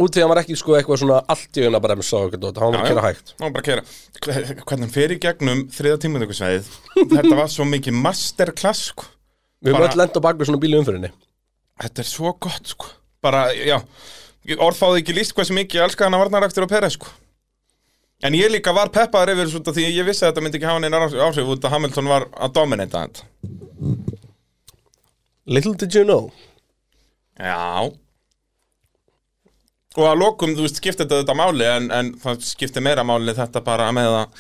Speaker 4: Út því að hann var ekki sko eitthvað svona allt í unna bremsa og eitthvað dót, hann var
Speaker 5: Já,
Speaker 4: að
Speaker 5: já.
Speaker 4: gera hægt
Speaker 5: Ná, bara kera Hver- Hvernig hann fer í gegnum þriða tímatökusvæðið Þetta var svo mikið masterclass sko.
Speaker 4: Við höfum
Speaker 5: Bara-
Speaker 4: öll lenda á bakvið svona bíli umfyrinni
Speaker 5: Þetta er svo gott sko. Bara, já ég Orðfáði ekki líst hversu mikið ég elska hann að varnaraktur og pera sko. En ég líka var peppaður yfir þessu út af því ég vissi að þetta myndi ekki hafa neina áhrif- áhrif út að Hamilton var að dominata þetta
Speaker 4: Little did you know
Speaker 5: Já Og að lokum, þú veist, skipti þetta þetta máli en, en það skipti meira máli þetta bara með að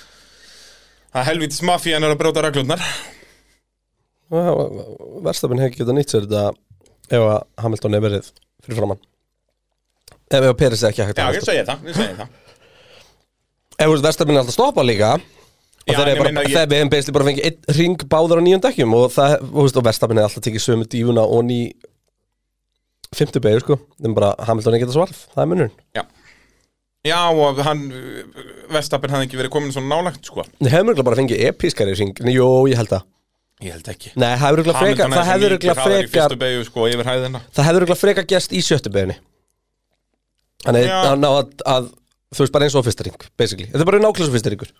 Speaker 5: að helvítis mafían er að bróta reglurnar
Speaker 4: Ah, Verstafinn hefði getað nýtt sér þetta ef að Hamilton er verið fyrir framann Ef, ef að Peres er ekki hægt
Speaker 5: Já,
Speaker 4: að
Speaker 5: ég
Speaker 4: halda.
Speaker 5: segi það, ég segi það
Speaker 4: Ef þú veist, Verstappen er alltaf að stoppa líka og
Speaker 5: Já,
Speaker 4: þeir
Speaker 5: en ég
Speaker 4: eru bara,
Speaker 5: meina, ég-
Speaker 4: þeir hefum beisli bara fengið einn ring báður á nýjum dekkjum og það, þú veist, og Verstappen er alltaf tekið sömu dífuna og ný fymtu beigir, sko, þeim bara Hamilton er ekki það svarf, það er munurinn.
Speaker 5: Já Já, og hann, Vestapin hafði ekki verið komin svona nálægt, sko
Speaker 4: Þeir hefur mjögulega bara fengið episkari ring, Nei, jú, ég held það
Speaker 5: Ég held ekki
Speaker 4: Nei, það hefur mjögulega frekar, það hefur mjögulega
Speaker 5: Það í
Speaker 4: frekar
Speaker 5: fyrstu beigju, sko, yfir hæðina
Speaker 4: það hefur mjögulega frekar gest í sjöttu beiginni Þannig
Speaker 5: Já.
Speaker 4: að hann á að, að þú veist, bara eins og á fyrsta ring, basically Þetta er bara nákvæmlega svo fyrsta ringur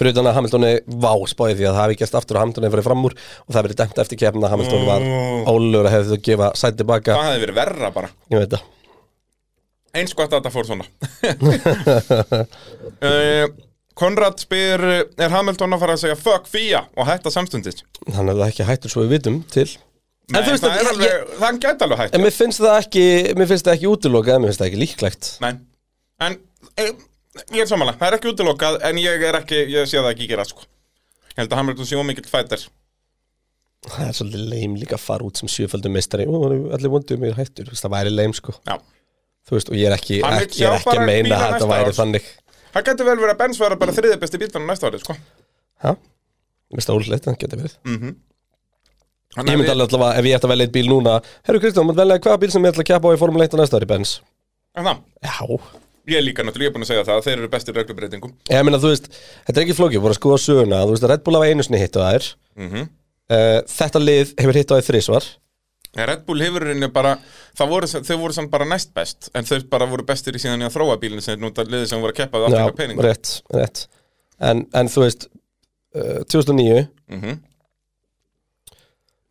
Speaker 4: Fyrir utan að Hamilton er vá spáði því að það hafi gæst aftur og Hamilton er farið fram úr og það verið dæmt eftir kefna að Hamilton var
Speaker 5: Mm.
Speaker 4: ólugur að hefði þú gefa sæti tilbaka
Speaker 5: Það hefði verið verra bara
Speaker 4: Ég veit það
Speaker 5: Eins gott að þetta fór svona Eh, Konrad spyr Er Hamilton að fara að segja fuck fía og hætta samstundis?
Speaker 4: Hann er það ekki hættur svo við vitum til
Speaker 5: Nei,
Speaker 4: þú veist
Speaker 5: það
Speaker 4: að-
Speaker 5: er
Speaker 4: ég-
Speaker 5: alveg, það gæti alveg hægt
Speaker 4: En mér finnst það ekki, mér finnst það ekki útilokað en mér finnst það ekki líklegt
Speaker 5: Nei, en e, ég er samanlega, það er ekki útilokað en ég er ekki, ég sé það ekki gera sko Ég held að Hamilton sé ómikill fætir
Speaker 4: Það er svolítið leim líka að fara út sem sjöföldum meistari Ó, það er allir vondum mér hættur, þú veist, það væri leim sko
Speaker 5: Já,
Speaker 4: Þú veist, og ég er ekki,
Speaker 5: Hann vill
Speaker 4: ekki, ég er
Speaker 5: sjá
Speaker 4: ekki
Speaker 5: bara
Speaker 4: að meina
Speaker 5: bíla
Speaker 4: að
Speaker 5: næsta
Speaker 4: þetta væri
Speaker 5: árs.
Speaker 4: þannig
Speaker 5: það gæti vel verið að Benz vera bara þriðið besti bílunum næsta árið sko
Speaker 4: Hæ? Mér finnst það úrleitt, það getur verið
Speaker 5: Mm, Hann
Speaker 4: Ég myndi alveg alltaf að ef ég ætti að velja eitt bíl núna Herru Kristján, maður velja hvaða bíl sem ég ætla að keppa á í Formule 1 á næsta ári, Benz
Speaker 5: En það,
Speaker 4: Já,
Speaker 5: ég er líka náttúrulega, ég er búin að segja það, þeir eru bestir í reglubreitingum
Speaker 4: Ég meina, þú veist, þetta er ekki flókið, voru að skoða söguna Þú veist, Red Bull hafa einu sinni hitt á þær
Speaker 5: Mhm.
Speaker 4: uh, Þetta lið hefur hitt á þær þrísvar
Speaker 5: En Red Bull hefur henni bara, það voru, þau voru samt bara næst best En þau bara voru bestir í síðan í að þróa bílinu sem er nút að liði sem voru að keppa við allt
Speaker 4: Já,
Speaker 5: eitthvað pening
Speaker 4: rétt, rétt En, en þú veist, uh, 2009
Speaker 5: Mhm.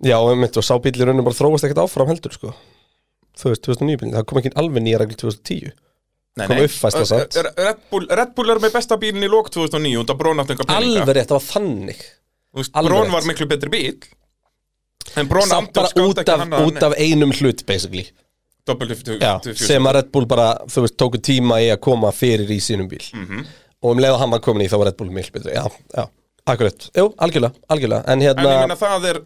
Speaker 4: Já, við myndum að sá bíl í rauninu bara þróast ekkert áfram heldur, sko Þú veist, 2009 bílinn, það kom ekki alveg nýja regl 2010
Speaker 5: Nei,
Speaker 4: kom
Speaker 5: nei.
Speaker 4: uppfærsla samt.
Speaker 5: Er- er- Red Bull, Red Bull er með besta bílinn í lók 2009 út að bróna allt eitthvað peninga
Speaker 4: Alveg rétt, það var þannig
Speaker 5: Þú veist,
Speaker 4: Alveg
Speaker 5: Brón
Speaker 4: rétt.
Speaker 5: var miklu betri bíl En Brón
Speaker 4: Samt bara út af, út af einum hlut, basically Já,
Speaker 5: Doppeltufjús
Speaker 4: sem að Red Bull bara, þú veist, tóku tíma í að koma fyrir í sínum bíl
Speaker 5: Mhm.
Speaker 4: og um leið að hann var komin í þá var Red Bull miklu betri já, já, akkurat, jú, algjörlega, algjörlega en
Speaker 5: En ég
Speaker 4: hérna,
Speaker 5: meina það
Speaker 4: það
Speaker 5: er
Speaker 4: er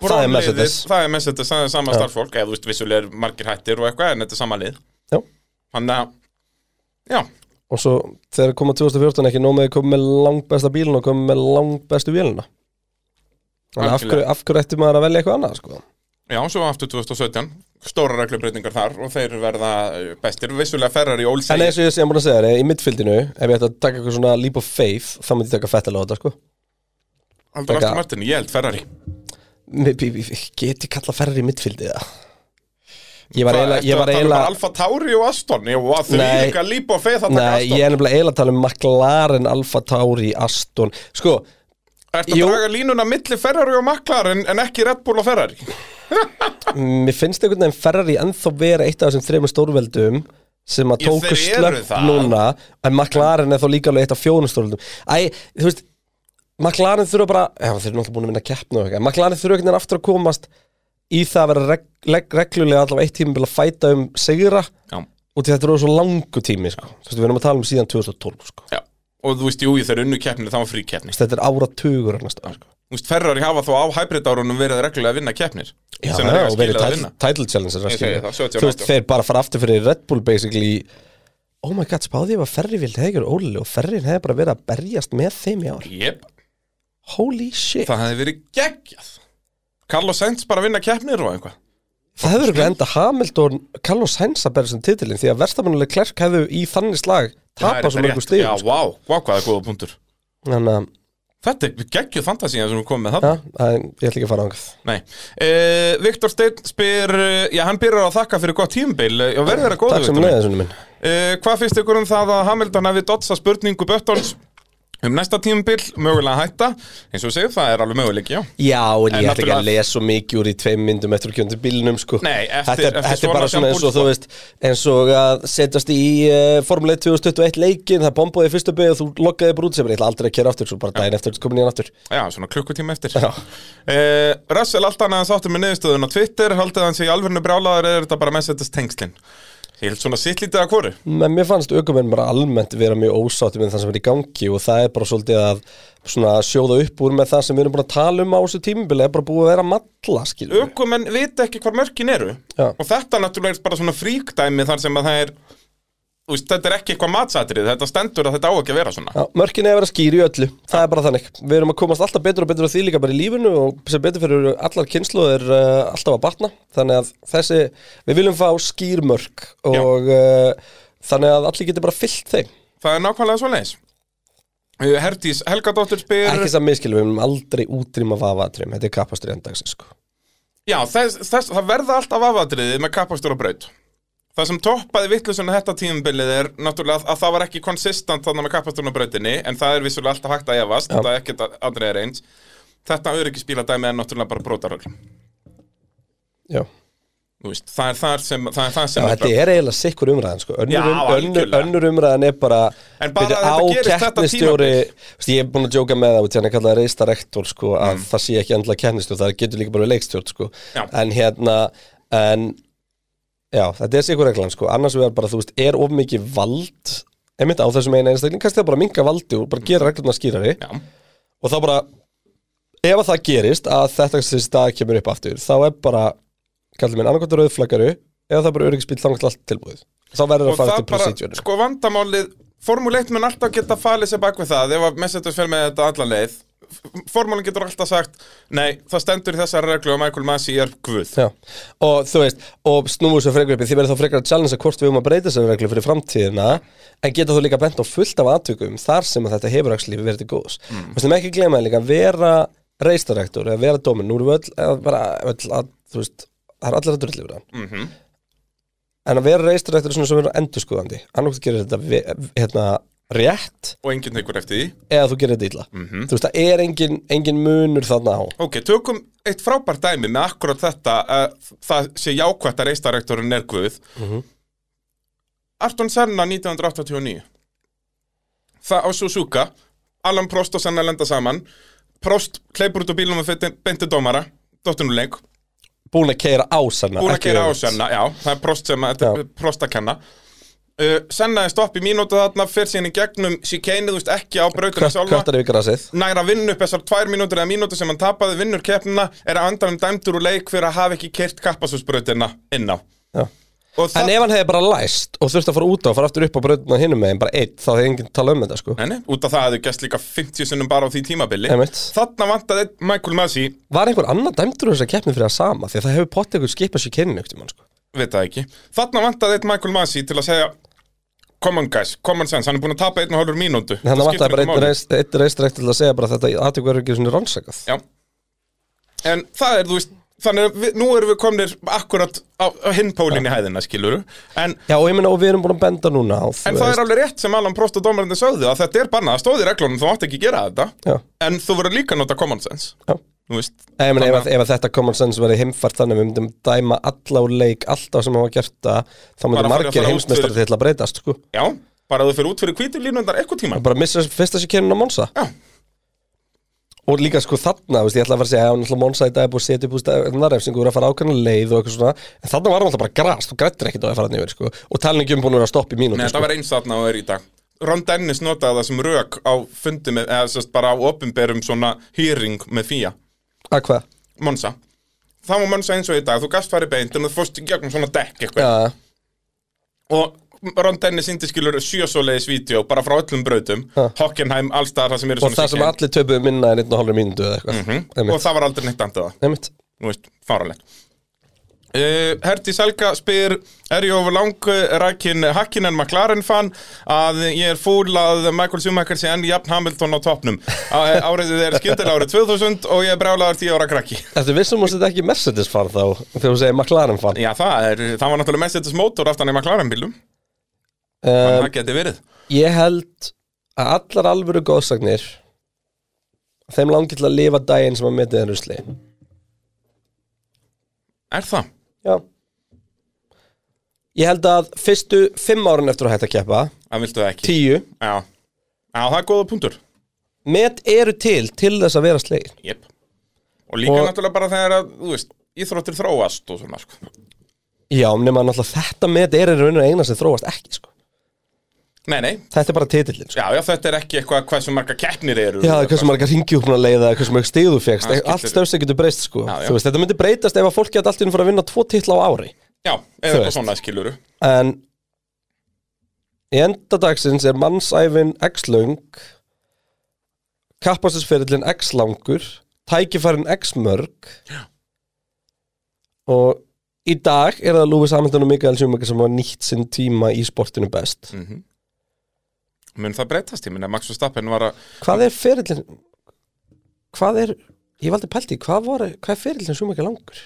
Speaker 5: Brown liðið,
Speaker 4: Mercedes
Speaker 5: Það er Mercedes, það er sama starffólk Eða þú veist, vissulega er margir hættir og eitthvað En þetta er sama lið
Speaker 4: Já.
Speaker 5: Þannig að, já,
Speaker 4: og svo þegar koma 2014 ekki nóg með að koma með langbesta bílun og koma með langbestu bíluna Þannig að af hverju,
Speaker 5: Algjörlega.
Speaker 4: af hverju ætti maður að velja eitthvað annað sko?
Speaker 5: já, svo aftur 2017 Stóra reglubreitingar þar og þeir verða eh, bestir Vissulega Ferrari og
Speaker 4: En
Speaker 5: Olsey
Speaker 4: eins og ég sem búin að segja þér, eh, í midfieldinu ef ég ætti að taka eitthvað svona leap of faith þá myndi ég taka fettilega á þetta sko
Speaker 5: Aldur
Speaker 4: Taka-
Speaker 5: Aston Martin, ég held Ferrari
Speaker 4: Mér- bí- bí- Get ég kalla ferri í midfieldið það? Ég var
Speaker 5: Hvað,
Speaker 4: eiginlega
Speaker 5: ertu
Speaker 4: ég
Speaker 5: að
Speaker 4: var
Speaker 5: tala um
Speaker 4: eiginlega-
Speaker 5: bara Alfa Tauri og Aston Já, og að því
Speaker 4: Nei.
Speaker 5: líka lípa og feið það taka
Speaker 4: Nei,
Speaker 5: Aston
Speaker 4: ég er nefnilega eiginlega að tala um McLaren, Alfa Tauri, Aston Sko,
Speaker 5: Ertu
Speaker 4: Jú.
Speaker 5: að draga línuna milli Ferrari og McLaren en ekki Red Bull og Ferrari?
Speaker 4: mér finnst einhvern veginn Ferrari ennþá vera eitt af þessum þreymur stórveldum sem að
Speaker 5: Ég,
Speaker 4: tóku
Speaker 5: þeir eru
Speaker 4: slöpp
Speaker 5: það.
Speaker 4: núna en McLaren er þó líka alveg eitt af fjórum stórveldum Æ, þú veist McLaren þurfa bara, já þeir eru náttúrulega búin að vinna keppna og eitthvað, McLaren þurfa einhvern veginn aftur að komast í það að vera reg, reg, reglulega allavega eitt tíma að fæta um sigra
Speaker 5: Já.
Speaker 4: og til þetta eru svo langu tími sko. þú veist, við erum að tala um síðan 2012 sko.
Speaker 5: Já. Og þú veist, jú, þeir unnu keppnir, það var frí keppni.
Speaker 4: Þú veist, þetta er áratugur annars staðar, sko.
Speaker 5: Þú veist, Ferrari hafa þó á hybrid-árunum verið reglulega að vinna keppnir.
Speaker 4: Já,
Speaker 5: sem þeir eiga
Speaker 4: og verið
Speaker 5: skilið að
Speaker 4: title,
Speaker 5: vinna.
Speaker 4: title challenges
Speaker 5: Ég segi það, 70 og
Speaker 4: Þú veist,
Speaker 5: 90.
Speaker 4: þeir bara fara aftur fyrir Red Bull basically Oh my god, spáði ég var ferri vild hefði gjörð ólega og ferrin hefði bara verið að berjast með þeim í ár
Speaker 5: Jep,
Speaker 4: Holy shit
Speaker 5: það hefði verið geggjað. Carlos Sainz bara að vinna keppnir og eitthvað.
Speaker 4: Það hefur ekki enda Hamilton, Carlos Sainz að berja sem titilin því að verstamannuleg klerk hefðu í þannig slag
Speaker 5: Það er
Speaker 4: tapað svo
Speaker 5: rétt.
Speaker 4: mörgum sko. stíl
Speaker 5: Já, vá, vá, hvað er góða punktur.
Speaker 4: Þannig að,
Speaker 5: Þetta er geggjuð fantasíðan sem við komum með þarna.
Speaker 4: ja, að, ég ætla ekki að fara ángað
Speaker 5: Nei. Uh, Viktor Steinn spyr, eh, já, hann byrjar að þakka fyrir gott tímbil og verður að um góða
Speaker 4: Takk sem leiðið, sunni minn
Speaker 5: Uh, hvað finnst ykkur um það að Hamilton hefði dotsa spurningu Böttons um næsta tímubil, mögulega að hætta eins og segir, það er alveg möguleik, já
Speaker 4: Já, en ég ætla ekki
Speaker 5: En
Speaker 4: að
Speaker 5: náttúrulega-
Speaker 4: lesa svo mikið úr í tveim myndum eftir að kjönda bílnum sko.
Speaker 5: Nei, eftir-
Speaker 4: þetta, er- þetta
Speaker 5: eftir
Speaker 4: er
Speaker 5: svona sko.
Speaker 4: bara svona eins og
Speaker 5: sjálfbúl,
Speaker 4: þú veist eins og að setjast í uh, Formule 2021 leikin, það bombaði í fyrstu beig og þú loggaði bara út sem er, ég ætla aldrei að kera aftur svo bara daginn eftir komin í hann aftur
Speaker 5: Já, svona klukkutíma eftir
Speaker 4: Já.
Speaker 5: uh, Russell, allt annað hans áttur með niðurstöðun á Twitter haldið hans í alvörinu brjálaðar eða er þetta bara mennsettist tengslin Ég held svona sittlítið að hvori
Speaker 4: Men mér fannst aukumenn bara almennt vera mjög ósátti með það sem er í gangi og það er bara svolítið að svona, sjóða upp úr með það sem við erum búin að tala um á þessu tímabili, er bara búið að vera að matla skilur við.
Speaker 5: Ökumenn vita ekki hvar mörkin eru
Speaker 4: Já.
Speaker 5: og þetta náttúrulega er bara svona fríkdæmi þar sem að það er þú veist, þetta er ekki eitthvað matsatrið, þetta stendur að þetta á ekki að vera svona
Speaker 4: Já, mörkin er að vera skýr í öllu, það er bara þannig Við erum að komast alltaf betur og betur á því líka bara í lífinu og sem betur fyrir allar kynslu er uh, alltaf að batna Þannig að þessi, við viljum fá skýr mörk og uh, þannig að allir getur bara fyllt þeim
Speaker 5: Það er nákvæmlega svo leis Herdís Helgadóttir spyr
Speaker 4: Ekki saman miskilum, við viljum aldrei útrýma vafaðatrým, þetta er kapastur endags sko.
Speaker 5: Já, þess, þess, það verða alltaf afadriðið með kappastur og braut Það sem toppaði vittlusuna þetta tímabilið er náttúrulega að, að það var ekki konsistant þannig með kappasturinn og brautinni en það er vissulega alltaf hægt að efast þetta er ekkert að andrið er eins Þetta öryggisbíladæmi er náttúrulega bara brotarögl
Speaker 4: Já,
Speaker 5: veist, það er það sem, það er það
Speaker 4: Já
Speaker 5: sem
Speaker 4: þetta er eiginlega sikkur umræðan sko. önnur,
Speaker 5: Já,
Speaker 4: um, önnur,
Speaker 5: algjörlega.
Speaker 4: önnur umræðan er bara
Speaker 5: En bara
Speaker 4: byrju,
Speaker 5: að þetta
Speaker 4: á
Speaker 5: gerist þetta
Speaker 4: keppnisstjóri veist, Ég er búin að djóka með það og þannig að kalla það reista rektor sko, að það sé ekki endla keppnistjór það getur líka bara verið leikstjórn sko.
Speaker 5: Mm. Já.
Speaker 4: en hérna en, já, þetta er sikkur reglan sko. annars vegar bara, þú veist, er of mikið vald einmitt á þessum eina einstakling kannski það bara minga valdi og bara gera reglurnar skýrari
Speaker 5: Já,
Speaker 4: og þá bara ef að það gerist að þetta sem stað kemur upp aftur þá er bara, kallum minn annarkvæmt rauðflaggari eða það er bara öryggisbíl þangt allt tilbúið þá verður
Speaker 5: og
Speaker 4: að fara
Speaker 5: það
Speaker 4: til
Speaker 5: bara,
Speaker 4: procedure
Speaker 5: sko vandamálið Formule 1 mun alltaf geta falið sér bak við það ef að Messetus fer með þetta allan leið Formúlin getur alltaf sagt Nei, það stendur í þessari reglu og Michael Masi er guð
Speaker 4: Já. og þú veist, og snúið svo frekar upp í því verður þá frekar að challenge hvort við um að breyta sér reglu fyrir framtíðina, en geta þú líka bent á fullt af aðtökum þar sem að þetta hefur actually verið til góðs. Mm. Þú veist, ekki gleyma því líka að vera reistarektor eða vera dómin, nú erum við öll, eða bara öll að, þú veist, það er allir að drullið við hann
Speaker 5: Mhm.
Speaker 4: en að vera reistarektor er svona sem vera endurskoðandi annars gerir þetta ve- hérna, rétt
Speaker 5: og enginn tekur eftir því
Speaker 4: eða þú gerir þetta illa -hmm. þú veist, það er engin, engin munur þarna á
Speaker 5: Ok, tökum eitt frábært dæmi með akkurat þetta að það sé jákvætt að reistarektorinn er guð Arton Senna 1989 Það á Suzuka Alan Prost og Senna lenda saman Prost kleipur út á bílum og beinti dómara Dóttinu leik
Speaker 4: búin að keira á sanna
Speaker 5: Búin að gera á Senna, já, það er Prost sem að, þetta er Prost að kenna uh, sennaði stopp í mínútu þarna fyrir síðan í gegnum síkeinu, þú veist, ekki á brautina sjálfa
Speaker 4: Köttar yfir grasið
Speaker 5: nær að vinna upp þessar tvær mínútur eða mínútur sem hann tapaði vinnur keppnina er að andanum dæmdur úr leik fyrir að hafa ekki kert kappasúsbrautina inn á
Speaker 4: Já.
Speaker 5: og það,
Speaker 4: En ef hann hefði bara læst og þurfti að fara út á og fara aftur upp á brönduna hinum megin, bara eitt, þá hefði enginn tala um þetta sko.
Speaker 5: nei, nei, út af það hefðu gæst líka 50 sunnum bara á því tímabili
Speaker 4: Einmitt.
Speaker 5: þarna vantaði einn Michael Massey
Speaker 4: Var einhver annar dæmdur um þess að keppni fyrir að sama því að það hefur pottið einhver skipað sér kynni ykti mann sko.
Speaker 5: veit það ekki, þarna vantaði einn Michael Massey til að segja common guys, common sense, hann er búin að tapa einn og hálfur mínútu
Speaker 4: En hann
Speaker 5: Það
Speaker 4: vantaði
Speaker 5: skiptir
Speaker 4: bara
Speaker 5: ekki
Speaker 4: einn
Speaker 5: máli.
Speaker 4: reist- einn reistrækt til að segja bara að þetta aðtöku er ekki svona rannsakað
Speaker 5: Já En það er, þú veist, þannig að við, nú erum við komnir akkurat á, á hinnpólinn í hæðina, skilur En,
Speaker 4: Já og ég meina og við erum búin að benda núna á þú
Speaker 5: en það er alveg rétt sem Alan Prost og dómarandi sögðu að þetta er bannað, það stóð í reglunum, þú átt ekki að gera þetta
Speaker 4: Já,
Speaker 5: En þú verður líka að nota common sense,
Speaker 4: já
Speaker 5: þú veist
Speaker 4: Nei, Ég meina ef, að- ef að þetta common sense verði heimfært þannig að við myndum dæma alla úr leik alltaf sem hafa gert það þá
Speaker 5: Bara
Speaker 4: myndum
Speaker 5: fyrir að
Speaker 4: margir
Speaker 5: fara út
Speaker 4: heimsmeistar
Speaker 5: fyrir-
Speaker 4: til að breytast sko.
Speaker 5: Já, bara þú fyrir út fyrir hvítu línundar eitthvað tíma
Speaker 4: bara missa fyrsta sér kynna Monsa
Speaker 5: Já.
Speaker 4: og líka sko þarna, þú veist, ég ætla að fara að segja að hann ætla Monsa í dag er búið að setja upp úr stafnarefsingu og er að fara ákveðna leið og eitthvað svona en þarna var hann alltaf bara gras, þú grættir ekkit á að fara hann yfir sko. og talin ekki um búin að vera að stoppa í
Speaker 5: Nei,
Speaker 4: mínútu
Speaker 5: þetta
Speaker 4: sko.
Speaker 5: var eins þarna og er í dag Ron Dennis notaði það sem rök á fundum með- eða sérst bara á opinberum svona hearing með fía
Speaker 4: að hvað?
Speaker 5: Monsa Þá var Monsa eins og í dag, þú gast farið beint en þú fórst í gegnum svona dekk eitthvað
Speaker 4: Já,
Speaker 5: og Ron Dennis indi skilur sjö svoleiðis vídeo bara frá öllum brautum
Speaker 4: Ha.
Speaker 5: Hockenheim, allstaðar það sem eru
Speaker 4: og það sem
Speaker 5: sýkjæn.
Speaker 4: allir töpuðu minna en einn og hálfur mínútu eða eitthvað
Speaker 5: Mhm. og það var aldrei neitt andið það
Speaker 4: Einmitt.
Speaker 5: þú veist, fáralegt Uh, Herti Selga spyr er ég ofur lang rækin Hakkinen McLaren fan að ég er fúl að Michael Schumacher sé enn jafn Hamilton á toppnum Á- áriðið er skyndilega árið 2000 og ég er brálaður 10 ára krakki
Speaker 4: Ertu vissum að þetta ekki Mercedes fan þá þegar þú segir McLaren fan
Speaker 5: Já það er, það var náttúrulega Mercedes motor aftan í McLaren bílum, um,
Speaker 4: um,
Speaker 5: það geti verið
Speaker 4: Ég held að allar alvöru góðsagnir þeim langi til að lifa daginn sem að metið er rusli
Speaker 5: Er það?
Speaker 4: Já Ég held að fyrstu fimm árin eftir að hætta að keppa
Speaker 5: Það viltu það ekki
Speaker 4: Tíu
Speaker 5: Já. Já, það er góða punktur
Speaker 4: Met eru til til þess að vera slegin
Speaker 5: Jep. Og líka
Speaker 4: Og-
Speaker 5: náttúrulega bara þegar að, þú veist, íþróttir þróast og svona, sko.
Speaker 4: Já, nema náttúrulega þetta met er í raun og eina sem þróast ekki sko.
Speaker 5: Nei, nei,
Speaker 4: Þetta er bara titillin sko.
Speaker 5: já, já, þetta er ekki eitthvað hversu marga keppnir eru.
Speaker 4: Já, hversu margar ringjúpna leiða, hversu margar stíðu fegst
Speaker 5: Það skiptir-
Speaker 4: Allt stöfst getur breyst sko.
Speaker 5: Já, já.
Speaker 4: Þú Veist, Þetta myndi breytast ef að fólk geta allt í enn fyrir að vinna tvo titla á ári
Speaker 5: Já,
Speaker 4: Þú
Speaker 5: eða
Speaker 4: veist.
Speaker 5: eitthvað svona skiluru.
Speaker 4: En í endadagsins er mannsæfin x-löng kappastinsferillin x-langur tækifærin x-mörg og í dag er það Lúfis Hamilton og Mikael Schumacher sem var nýtt sinn tíma í sportinu best
Speaker 5: Mm. Mun það breytast, ég minna, Max Verstappen var að,
Speaker 4: Hvað er ferillin hvað er, ég valdi pælti hvað, var, hvað er ferillin Schumacher langur?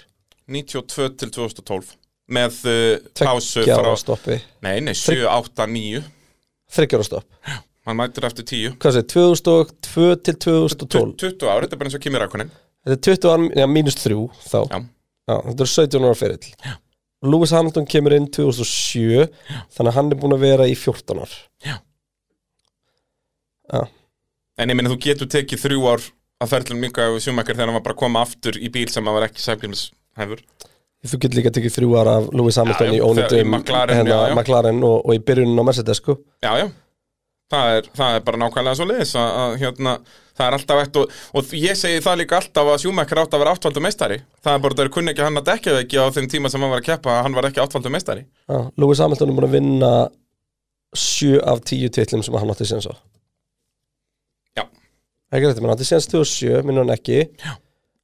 Speaker 5: 92 til 2012, með uh, pásu
Speaker 4: Tveggja
Speaker 5: frá,
Speaker 4: ára stoppi,
Speaker 5: nei, nei, 7, 8, 9,
Speaker 4: þryggjara stopp
Speaker 5: hann mætir eftir 10.
Speaker 4: Hvað sé, 2002 til 2012
Speaker 5: 20 ári, þetta er bara eins og Kimi Rækonin.
Speaker 4: Þetta er 20 ára, já, mínus 3 þá
Speaker 5: Já.
Speaker 4: Já, þetta er 17 ára ferill já. Lewis Hamilton kemur inn 2007 þannig að hann er búin að vera í 14 ár
Speaker 5: En ég minna, þú getur tekið þrjú ár að ferðlum minga og sjúmakar þegar hann var bara að koma aftur í bíl sem að var ekki sækjumis
Speaker 4: Þú getur líka tekið þrjú ára af Lewis Hamilton
Speaker 5: Já,
Speaker 4: í
Speaker 5: já, þegar- í
Speaker 4: ónýttum
Speaker 5: McLaren, já, já.
Speaker 4: McLaren og, og í byrjunin á Mercedes sko.
Speaker 5: Já, já Það er, það er bara nákvæmlega svo leiðis að, að hérna, það er alltaf eitt og, og ég segi það líka alltaf að Sjúmakar átt að vera áttvaldu meistari Það er bara það er kunni ekki hann að dekja það ekki á þeim tíma sem hann var að keppa að hann var ekki áttvaldu meistari
Speaker 4: já, Lewis Hamilton er búin að vinna 7 af 10 titlum sem hann átti séns á
Speaker 5: Já,
Speaker 4: ekki rétti, menn átti séns 2007, minnur hann ekki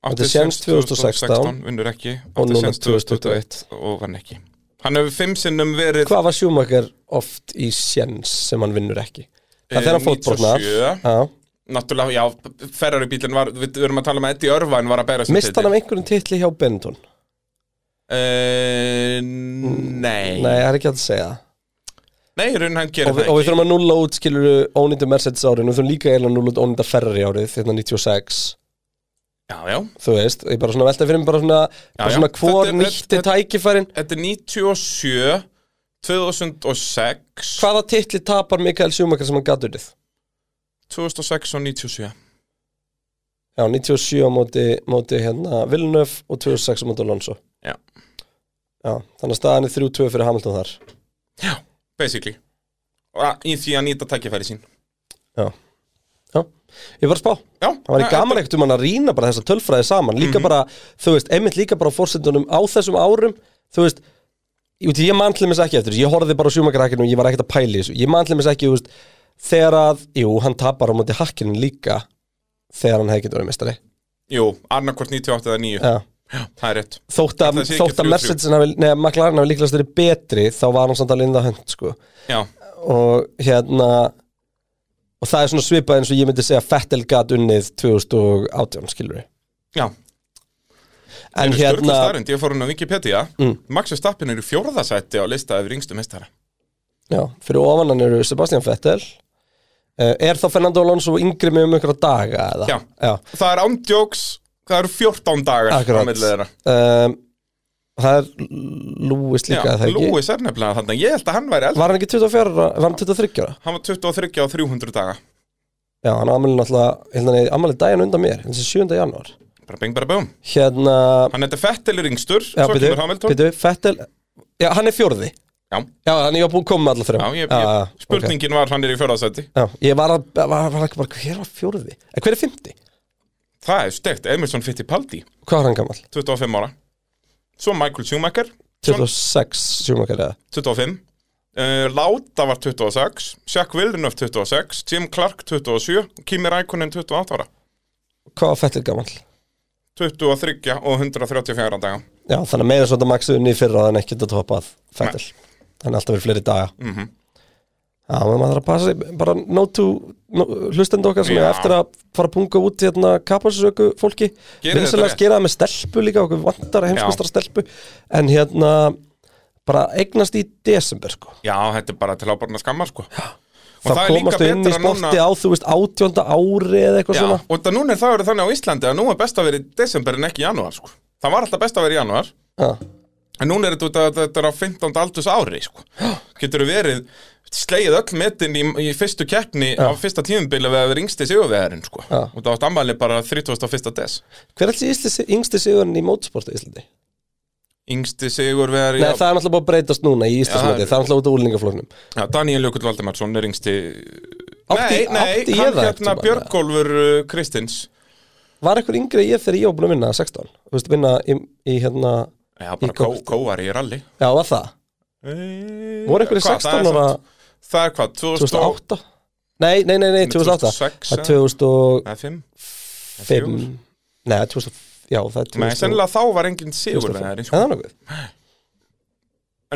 Speaker 4: Átti séns 2016,
Speaker 5: vinnur ekki
Speaker 4: og
Speaker 5: átti
Speaker 4: núna
Speaker 5: séns 2021 og vann ekki Hann hefur fimm sinnum verið
Speaker 4: hvað var Schumacher oft í séns sem hann vinnur ekki? Það er
Speaker 5: Eh,
Speaker 4: þegar hann fótbrotnar
Speaker 5: 97.
Speaker 4: Já.
Speaker 5: Náttúrulega, já, ferrari bílinn var, við við erum að tala um að Eddie Örvæn var að bæra sem
Speaker 4: mist hann af einhverjum titli hjá Benetton
Speaker 5: Eh, Nei,
Speaker 4: nei, það er ekki hægt að segja það
Speaker 5: nei, í raun hann gerir
Speaker 4: og, við-
Speaker 5: það
Speaker 4: og
Speaker 5: ekki
Speaker 4: við þurfum að nulla út skilur ónýnda Mercedes árið, við þurfum líka eiginlega að nulla út ónýnda Ferrari árið, þetta 96
Speaker 5: Já, já,
Speaker 4: þú veist, ég bara svona velta fyrir mig bara svona, bara
Speaker 5: já.
Speaker 4: svona hvor
Speaker 5: Þetta er-
Speaker 4: nýtti
Speaker 5: þetta-
Speaker 4: tækifærin,
Speaker 5: Þetta er 97 2006
Speaker 4: hvaða titli tapar Mikael Schumacher sem hann gatt urið
Speaker 5: 2006 og 97
Speaker 4: já, 97 á móti, móti hérna Villeneuve og 2006 á móti Alonso
Speaker 5: Já.
Speaker 4: já, þannig að staðan er 3-2 fyrir Hamilton þar
Speaker 5: Já. basically Og að- í því að nýta tækifæri sín
Speaker 4: Já. Já. Ég var að spá.
Speaker 5: Já,
Speaker 4: Það væri
Speaker 5: nei, Mhm.
Speaker 4: gaman ekkert um hann að rýna bara þessa tölfræði saman. Líka bara, þú veist, einmitt líka bara á fórsendunum á þessum árum, þú veist, ég, veit, ég man til þess ekki eftir þessu. Ég horfði bara á sjúmakrækinu og ég var ekkert að pæla í þessu. Ég man til þess ekki, þú veist, þegar að, jú, hann tapar á móti hakkinu líka þegar hann hefði getur verið mestari.
Speaker 5: Jú, annarkvort 98 eða 9
Speaker 4: Já.
Speaker 5: Það er rétt
Speaker 4: Þótt að,
Speaker 5: Ætli það sé ekki
Speaker 4: þótt að
Speaker 5: 3-3.
Speaker 4: Mercedes hafi, neða, McLaren hafi líklegast verið betri, þá var hann samt alveg in the hunt, sko.
Speaker 5: Já,
Speaker 4: og hérna og það er svona svipað eins og ég myndi segja Fettel gat unnið 2018 skilur við
Speaker 5: já
Speaker 4: en
Speaker 5: Störgla
Speaker 4: hérna,
Speaker 5: starrend, ég fór hún á Wikipedia mm. Maxi Stappin er í fjórðasætti á lista yfir yngstu mestara
Speaker 4: já, fyrir ofan hann eru Sebastian Fettel uh, er þá Fernando Alonso yngri með um einhverja daga eða?
Speaker 5: Já. Það er ándjóks, það eru 14 dagar á milli
Speaker 4: akkurat
Speaker 5: þeirra
Speaker 4: um, það er Lewis líka er
Speaker 5: Já,
Speaker 4: það ekki
Speaker 5: Lewis er nefnilega þannig Ég held að hann væri eldri
Speaker 4: var hann ekki 24, ára- var hann 23 ára?
Speaker 5: Hann var 23 á 300 daga
Speaker 4: já, hann ammali náttúrulega, hérna, ammali daginn undan mér þessi 7. janúar
Speaker 5: Bara bing, bara bum
Speaker 4: hérna,
Speaker 5: Hann heitir Fettel er yngstur
Speaker 4: já,
Speaker 5: Svo
Speaker 4: byrju,
Speaker 5: kemur Hamilton
Speaker 4: byrju, Fettel já, hann er fjórði
Speaker 5: Já,
Speaker 4: Já, þannig ég var búinn að koma með alla
Speaker 5: já,
Speaker 4: þrjá
Speaker 5: ég,
Speaker 4: Já,
Speaker 5: ég,
Speaker 4: já, Ah, ok.
Speaker 5: spurningin var hann er í fjórðasætti
Speaker 4: Já, ég var að, var, var ekki bara, hver var fjórði? En hver er fymti?
Speaker 5: Það er stegt, Emerson Fittipaldi
Speaker 4: Hvað var hann gammal?
Speaker 5: 25 ára Svo Michael Schumacher svo
Speaker 4: 26, sjúmakar eða
Speaker 5: 25 uh, Láta var 26 Jack Villeneuve 26 Jim Clark 27 Kimi Rækonen 28 ára
Speaker 4: Hvað var fettir gammal?
Speaker 5: 23 og 134 daga
Speaker 4: Já, þannig að meira svona maxið unni fyrra en ekkert að topa að fettir Þannig alltaf verið fleiri daga mm
Speaker 5: Mhm.
Speaker 4: -hmm. Já, menn maður þarf að passa sig bara no to, no, hlustandi okkar sem
Speaker 5: Já.
Speaker 4: er eftir að fara að punga út hérna kapasöku fólki
Speaker 5: Gerið þetta
Speaker 4: Vinsalega
Speaker 5: rétt.
Speaker 4: skera það með stelpu líka okkur vantar að heimskvistra stelpu en hérna bara eignast í desember sko
Speaker 5: Já, þetta er bara til áborna skammar sko Og
Speaker 4: þá komast þau inn í sporti á þú veist átjónda ári eða eitthvað
Speaker 5: Já,
Speaker 4: svona
Speaker 5: og það núna er það verið þannig á Íslandi að nú er best að vera í desember en ekki í janúar sko. Það var alltaf best að vera í janúar
Speaker 4: já.
Speaker 5: En núna er þetta, út að þetta er á 15. aldurs ári sko. Getur verið slegið öll metin í, í fyrstu keppni á fyrsta tímubili við að vera yngsti sigurvegarinn sko.
Speaker 4: Já.
Speaker 5: Og það átt ammæli bara 31. des
Speaker 4: hver er alls yngsti sigurinn í mótorsporti í Íslandi?
Speaker 5: Yngsti sigurvegari
Speaker 4: Nei,
Speaker 5: já,
Speaker 4: það er náttúrulega búið að breytast núna í Íslandsmóti
Speaker 5: Já,
Speaker 4: það er náttúrulega út á úlningaflóknum
Speaker 5: já, Daniel Jökull Valdemarsson er yngsti
Speaker 4: Átti-
Speaker 5: Nei, nei,
Speaker 4: átti ég það
Speaker 5: hann hérna
Speaker 4: einhvern tímann,
Speaker 5: Björgólfur uh, Kristins
Speaker 4: var eitthvað yngri en ég þegar ég var búin að vinna 16 þú veist, vinna í, í hérna
Speaker 5: Já,
Speaker 4: Í
Speaker 5: bara kó,
Speaker 4: kókti.
Speaker 5: kóari í Eh, rally
Speaker 4: já, var það voru einhverjir 16 ára
Speaker 5: Það er hvað, 2008
Speaker 4: 2008? Nei, nei, nei, nei 2008
Speaker 5: 2006
Speaker 4: það er 2005
Speaker 5: eða 5 fjögur.
Speaker 4: nei, 2000 já, það er 2000
Speaker 5: Nei, sennilega þá var enginn
Speaker 4: 2005.
Speaker 5: sigurvegari
Speaker 4: En
Speaker 5: sko.
Speaker 4: það er nokkuð.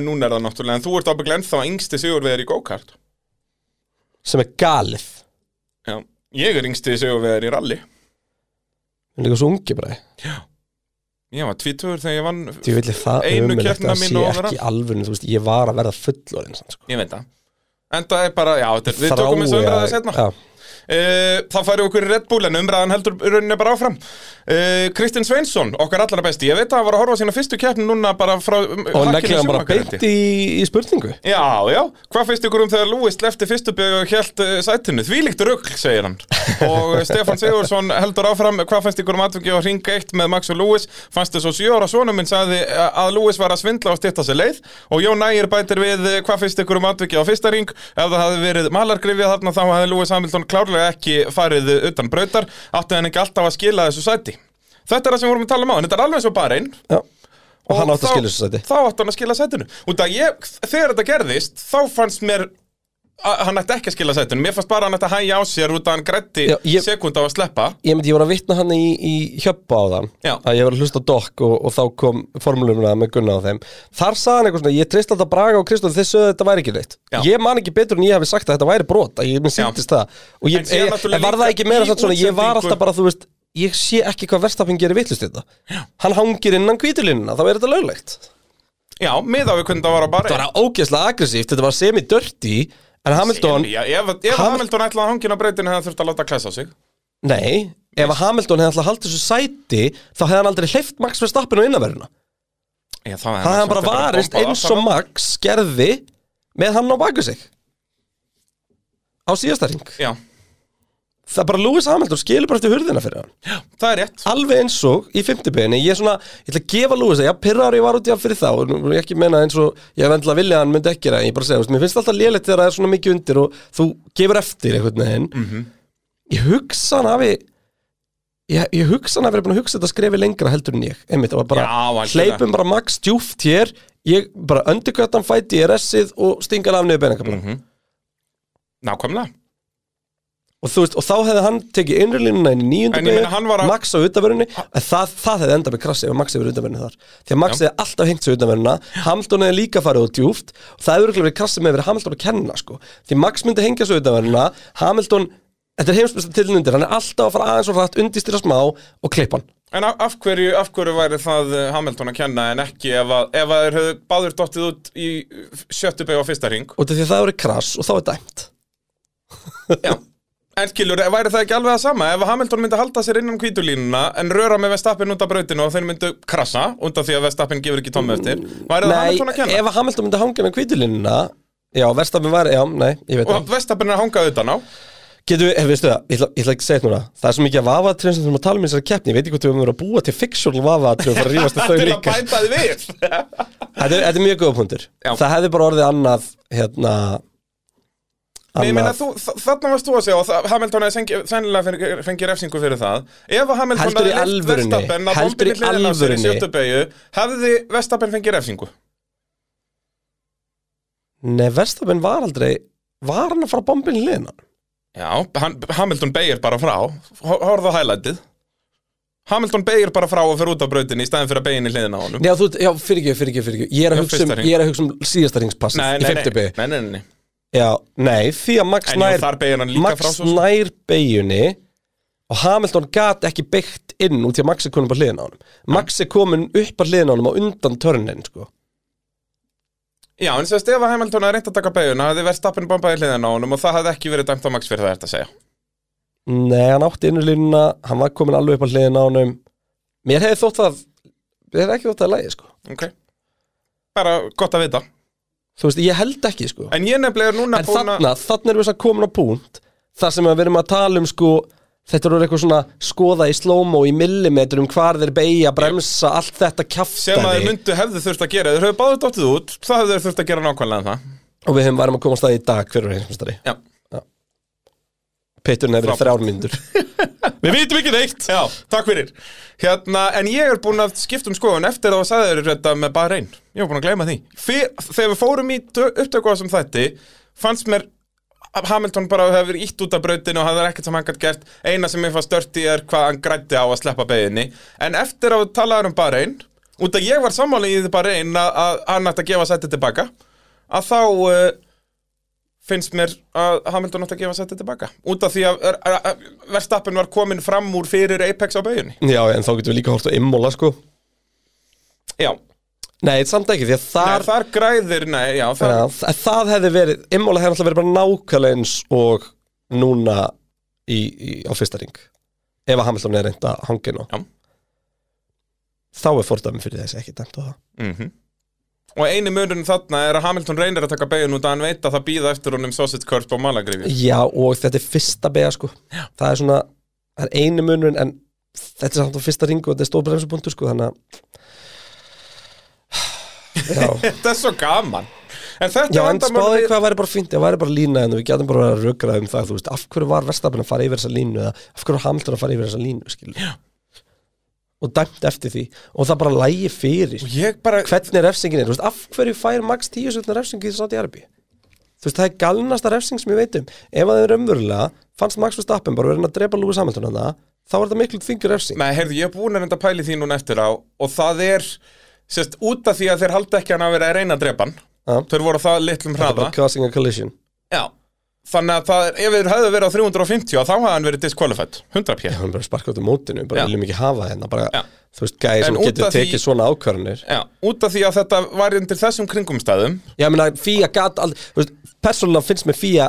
Speaker 5: En núna er það náttúrulega En þú ert ábygglega ennþá yngsti sigurvegari í go-kart
Speaker 4: sem er galið
Speaker 5: Já, ég er yngsti sigurvegari í rally
Speaker 4: Við erum líka svo ungi bara
Speaker 5: Ég var tvítur þegar ég vann
Speaker 4: Því vil ég það
Speaker 5: Einu
Speaker 4: ömurlegt
Speaker 5: keppnina
Speaker 4: að
Speaker 5: mín
Speaker 4: sé
Speaker 5: og
Speaker 4: ekki alvöru Þú veist, ég var að verða fullorinn samt, sko.
Speaker 5: Ég veit það En það er bara, já, þetta er- við tökum þessu
Speaker 4: Þrái
Speaker 5: umræða
Speaker 4: að-
Speaker 5: setna
Speaker 4: Já,
Speaker 5: Uh, það færi okkur í Red Bull en umræðan heldur rauninni bara áfram uh, Kristinn Sveinsson, okkar allra besti Ég veit að hann var að horfa á sína fyrstu keppni núna bara frá um,
Speaker 4: og
Speaker 5: hakkinu
Speaker 4: neglega bara
Speaker 5: Schumacher-riti.
Speaker 4: beint í, í spurningu
Speaker 5: Já, já, hvað finnst ykkur um þegar Lewis lefti fyrstu byggju og hjælt uh, sætinu? Þvílíkt rugl, segir hann Og uh, Stefan Sigursson heldur áfram Hvað finnst ykkur um atvöki og ringa eitt með Max og Lewis Fannst þess og sjö ára svona minn sagði uh, að Lewis var að svindla og styrta sér leið Og Jón Ægir bætir við uh, hvað finnst ykkur um atvöki á fyrsta ring Ef það hafði verið malargrifja þarna þá hafði Lewis Hamilton klárlega ekki farið uh, utan brautar Átti hann ekki alltaf að skila þessu sæti Þetta er það sem við vorum að tala um á, en þetta er alveg svo bara einn
Speaker 4: Já, og hann átti að
Speaker 5: þá-
Speaker 4: skilja þessu sæti
Speaker 5: Þá átti hann að skila sætinu Út að ég, þegar þetta gerðist Þá fannst mér að hann ætti ekki að skila sætinu Mér fannst bara að hann ætti að hægja á sér Út að hann grætti
Speaker 4: Já, ég-
Speaker 5: sekund á að sleppa
Speaker 4: Ég myndi, ég var að vitna hann í, í hjöppa á þann
Speaker 5: Já.
Speaker 4: að ég var að hlusta á dokk og, og þá kom formulumuna með Gunna á þeim Þar sagði hann eitthvað svona, ég treyst alltaf Braga og Kristó þess að þetta væri ekki neitt
Speaker 5: Já.
Speaker 4: Ég man ekki betur en ég hafi sagt að þetta væri brot að ég minn sýntist það og
Speaker 5: En
Speaker 4: ég,
Speaker 5: síðan
Speaker 4: ég,
Speaker 5: náttúrulega
Speaker 4: en var það
Speaker 5: líka
Speaker 4: ekki meira
Speaker 5: í
Speaker 4: satt svona, ég var
Speaker 5: útsendingu-
Speaker 4: alltaf bara, þú veist ég sé ekki hvað verstafinn gerir vitlust þetta Hann hangir innan hvítulinna, þá er þetta löglegt
Speaker 5: Já, miða við hvernig það var á bara
Speaker 4: Þetta var ógeðslega aggressíft, þetta var semi-dirty En Hamilton,
Speaker 5: Já, ef, ef
Speaker 4: Ham-
Speaker 5: Hamilton ætlaði að hangina á breytinu Það þurfti að láta klæsa á sig
Speaker 4: nei Ef að Hamilton hefði alltaf haldið þessu sæti Þá hefði hann aldrei hleyft Max Verstappen á innanverðina
Speaker 5: Já, það
Speaker 4: Það hefði hann bara varist eins og Max gerði Með hann á baku sig Á síðasta ring
Speaker 5: Já,
Speaker 4: það er bara Lewis Hamilton skilur bara eftir hurðina fyrir hann
Speaker 5: það er rétt
Speaker 4: alveg eins og í fymtibeginni ég er svona, ég ætla að gefa Lewis að ég pirrar ég var út í hann fyrir þá og nú- ég ekki meina eins og ég hef endla vilja að hann myndi ekki gera það, ég bara segja, þú veist, mér finnst alltaf lélegt þegar það er svona mikið undir og þú gefur eftir einhvern veginn
Speaker 5: Mhm.
Speaker 4: ég hugsa hann hafi ég, ég hugsa hann hafi verið búin að hugsa þetta skrefi lengra heldur en ég einmitt, það var bara,
Speaker 5: Já, algjörlega.
Speaker 4: hleypum bara max djúft hér ég bara öndugötan fæti í RS-ið og stinga hann af niður beningabla
Speaker 5: nákvæmlega
Speaker 4: og, þú veist, og þá hefði hann tekið innrýlínuna inn í nýjundu
Speaker 5: En ég meina, hann var að-
Speaker 4: Max á utanverðinni en það, það hefði endað með krassi ef Max hefur utanverðinni þar því að Max hefði alltaf hengt sig utanverðina Hamilton hefði líka farið út djúft og það hefur örugglega verið krassi með verið Hamilton að kenna sko. því Max myndi hengja sig utanverðina Hamilton, þetta er heimsbyrsta tilnundir hann er alltaf að fara aðeins og rætt undistýra smá og klippa hann
Speaker 5: En af, af, hverju, af hverju væri það eh, Hamilton að kenna en ekki ef að, ef að þeir höfðu báður dottið út í eh, sjöttu beig á fyrsta ring?
Speaker 4: og því að það hefur verið krass og þá er dæmt
Speaker 5: Já. En skilur, væri það ekki alveg það sama? Ef að Hamilton myndi halda sér innan kvítulínuna en röra með Vestappin út af brautinu og þeir myndu krassa út af því að Vestappin gefur ekki tómi eftir, væri það Hamilton að kenna?
Speaker 4: ef að Hamilton myndi hanga með kvítilínuna já, verstafin var, já, nei, ég veit það
Speaker 5: Og Vestappin er að hanga utan á?
Speaker 4: Getum við, hefur við stöða, ég ætla, ég ætla ekki að segja þetta núna Það er svo mikið að vafaðatriðum sem við þurfum að tala um í þessari keppni Ég veit ekki hvort við höfum verið að búa til fiksjónl vafaðatriðum fyrir að rífast við
Speaker 5: Þetta
Speaker 4: þau
Speaker 5: er að
Speaker 4: líka
Speaker 5: bæta þið við!
Speaker 4: Þetta er, þetta er mjög góða punktur
Speaker 5: Já.
Speaker 4: Það hefði bara orðið annað, hérna
Speaker 5: Nei, ég meina,
Speaker 4: annað
Speaker 5: þú, þa- þarna varst þú að segja og það- Hamilton hefði sengi- sennilega fengi- fengið refsingu fyrir það Ef að Hamilton
Speaker 4: Heldur í
Speaker 5: leyft
Speaker 4: alvörunni?
Speaker 5: Verstappen að
Speaker 4: Heldur í
Speaker 5: bombinni hliðina á sér í
Speaker 4: alvörunni?
Speaker 5: sjöttu beygju, hefði Verstappen fengið refsingu
Speaker 4: Nei, Verstafinn var aldrei Var hann að fara bombin í liðina?
Speaker 5: Já, hann, Hamilton beigir bara frá Hor- Horfðu á hælætið Hamilton beigir bara frá og fyrir út af brautinni í staðin fyrir að beiginni hliðina á honum
Speaker 4: Já, þú, já, fyrir ekki, fyrir ekki, fyrir ekki Ég er
Speaker 5: Já,
Speaker 4: að hugsa um,
Speaker 5: fyrsta hring.
Speaker 4: ég er að hugsa um síðasta ringspass
Speaker 5: Nei,
Speaker 4: Í
Speaker 5: nei, nei,
Speaker 4: 50 bygg
Speaker 5: nei, nei, nei, nei.
Speaker 4: Já, nei, því að Max
Speaker 5: En jú,
Speaker 4: nær
Speaker 5: þar beigir hann líka frá
Speaker 4: Max
Speaker 5: svo sem.
Speaker 4: nær beigjunni og Hamilton gat ekki beigt inn út í að Max er komin upp á hliðin á honum Max er komin upp á hliðin á honum á undan törnin sko.
Speaker 5: Já, en sérst ef að Hamilton hefði reynt að taka beiguna hefði Verstappen bombaði hliðina á honum og það hefði ekki verið dæmt á Max fyrir það er þetta að segja
Speaker 4: Nei, hann átti innur línuna hann var komin alveg upp á hliðin á honum Mér hefði þótt það mér hefði ekki þótt það lægi sko.
Speaker 5: okay. Bara gott að vita
Speaker 4: Þú veist, ég held ekki sko.
Speaker 5: En ég nefnilega er núna
Speaker 4: En
Speaker 5: búin að-
Speaker 4: þarna, þarna erum við samt komin á punkt þar sem við erum að tala um sko Þetta eru eitthvað svona skoða í slow-mo í millimetrum hvar þeir beigja, bremsa, allt þetta kjaftari
Speaker 5: sem að þeir myndu hefðu þurft að gera þeir hefðu báðu dottið út, það hefðu þeir þurft að gera nákvæmlega það
Speaker 4: og við hefum varum að koma á staði í dag hver er heimsmestari
Speaker 5: já,
Speaker 4: Pitturinn hefur verið þrjár myndur
Speaker 5: við vitum ekki neitt já, takk fyrir hérna, en ég er búin að skipta um skoðun eftir að það sagði þeir þetta hérna með bara einn ég er búin að gleyma því Fyr, þegar við fórum í dö- upptöku á þessum þætti fannst mér að Hamilton bara hefur verið ítt út af brautinu og það er ekkert sem hann gætt gert eina sem ég fann stört í er hvað hann grætti á að sleppa beginni en eftir að við talaðum um bara einn út að ég var sammáli í því bara einn að, að hann ætti að gefa sætti tilbaka að þá uh, finnst mér að Hamilton átti að gefa sætti tilbaka út af því að, að, að, að verðstappin var komin fram úr fyrir Apex á bauðinni
Speaker 4: Já, en þá getum við líka hort á Immola sko
Speaker 5: já,
Speaker 4: Nei, samt ekki, því að
Speaker 5: þar,
Speaker 4: þar,
Speaker 5: þar græðir nei, já, þar,
Speaker 4: ja, það, það hefði verið Immola hefði alltaf verið bara nákvæmlega eins og núna í, í, á fyrsta ring ef að Hamilton er reynda hangin á
Speaker 5: Já.
Speaker 4: Þá er fordæmi fyrir þessi ekki dæmt á það
Speaker 5: og eini munurinn þarna er að Hamilton reynir að taka bauðin út að hann veit að það býða eftir honum sausage curve og malagrifi
Speaker 4: Já, og þetta er fyrsta bega sko Já. Það er svona, það er einu munurinn en þetta er samt á fyrsta ringu og þetta er stór bremsupunktur sko, þannig að Já
Speaker 5: þetta er svo gaman en þetta
Speaker 4: Já,
Speaker 5: er
Speaker 4: en
Speaker 5: vandamálið
Speaker 4: spáði
Speaker 5: við-
Speaker 4: hvað væri bara fínt, það væri bara lína en við getum bara verið að rökra um það, þú veist, af hverju var Verstafn að fara yfir þessa línu eða af hverju var Hamilton að fara yfir þessa línu, skilur Já. og dæmt eftir því og það bara lægi fyrir
Speaker 5: ég bara,
Speaker 4: hvernig refsingin er, þú veist, af hverju fær Max 10 setna refsingi í Saudi Arabi þú veist, það er galnasta refsing sem ég veit um ef að það er umverulega, fannst Max Verstappen bara verið að drepa Lewis Hamilton hana, þá er þetta miklu þingur refsing
Speaker 5: Nei, heyrðu, ég er búin að reynda að pæli því núna eftir á og það er, sérst, út af því að þeir halda ekki að hann að vera að reyna að drepa hann
Speaker 4: Ja.
Speaker 5: Þeir voru á það litlum
Speaker 4: það er
Speaker 5: hraða
Speaker 4: bara causing a collision
Speaker 5: Já, þannig að það er, ef þeir hefðu verið á 350 þá hafði hann verið disqualified, 100
Speaker 4: Já,
Speaker 5: pér
Speaker 4: hann bara sparka út um mótinu, bara
Speaker 5: Já.
Speaker 4: viljum ekki hafa hérna bara,
Speaker 5: Já.
Speaker 4: þú veist, gæði
Speaker 5: En
Speaker 4: sem
Speaker 5: út
Speaker 4: getur
Speaker 5: af því-
Speaker 4: tekið svona ákvarðanir
Speaker 5: Já, út af því að þetta var undir þessum kringumstæðum
Speaker 4: Já, meina, Fía gat aldrei þú veist, Persónulega finnst mér Fía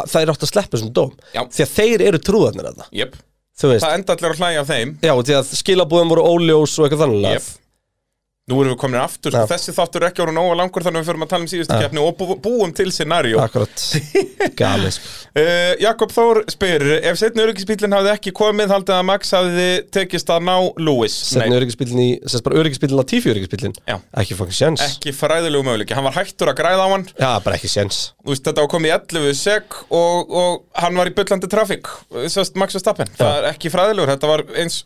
Speaker 4: að það er átt að sleppa þessum dóm
Speaker 5: Já.
Speaker 4: Því að þeir eru trúðarnir að það
Speaker 5: Jep,
Speaker 4: Þú veist,
Speaker 5: það enda allir að hlæja af þeim
Speaker 4: já, því að skilabúðum voru óljós og eitthvað þannig
Speaker 5: Jep.
Speaker 4: yep.
Speaker 5: Nú erum við komin aftur, sko.
Speaker 4: Já.
Speaker 5: þessi þáttur er ekki orðin nógu langur þannig að við förum að tala um síðustu
Speaker 4: Já.
Speaker 5: keppni og bú, búum til scenario.
Speaker 4: Akkurat, gali sko.
Speaker 5: Uh, Jakob Þór spyr, ef setni öryggisbílinn hafði ekki komið, haldið að Max hafði tekist að ná Lewis?
Speaker 4: Setna öryggisbílinn í, sérst bara öryggisbílinn að tífi öryggisbílinn
Speaker 5: Já.
Speaker 4: Ekki fangin sjens
Speaker 5: Ekki fræðilegu möguleiki, hann var hættur að græða á hann
Speaker 4: Já, bara ekki sjens
Speaker 5: Þú veist, þetta var komið í 11 sek og, og hann var í byllandi trafík Sest Max Verstappen, það er ekki fræðilegur Þetta var eins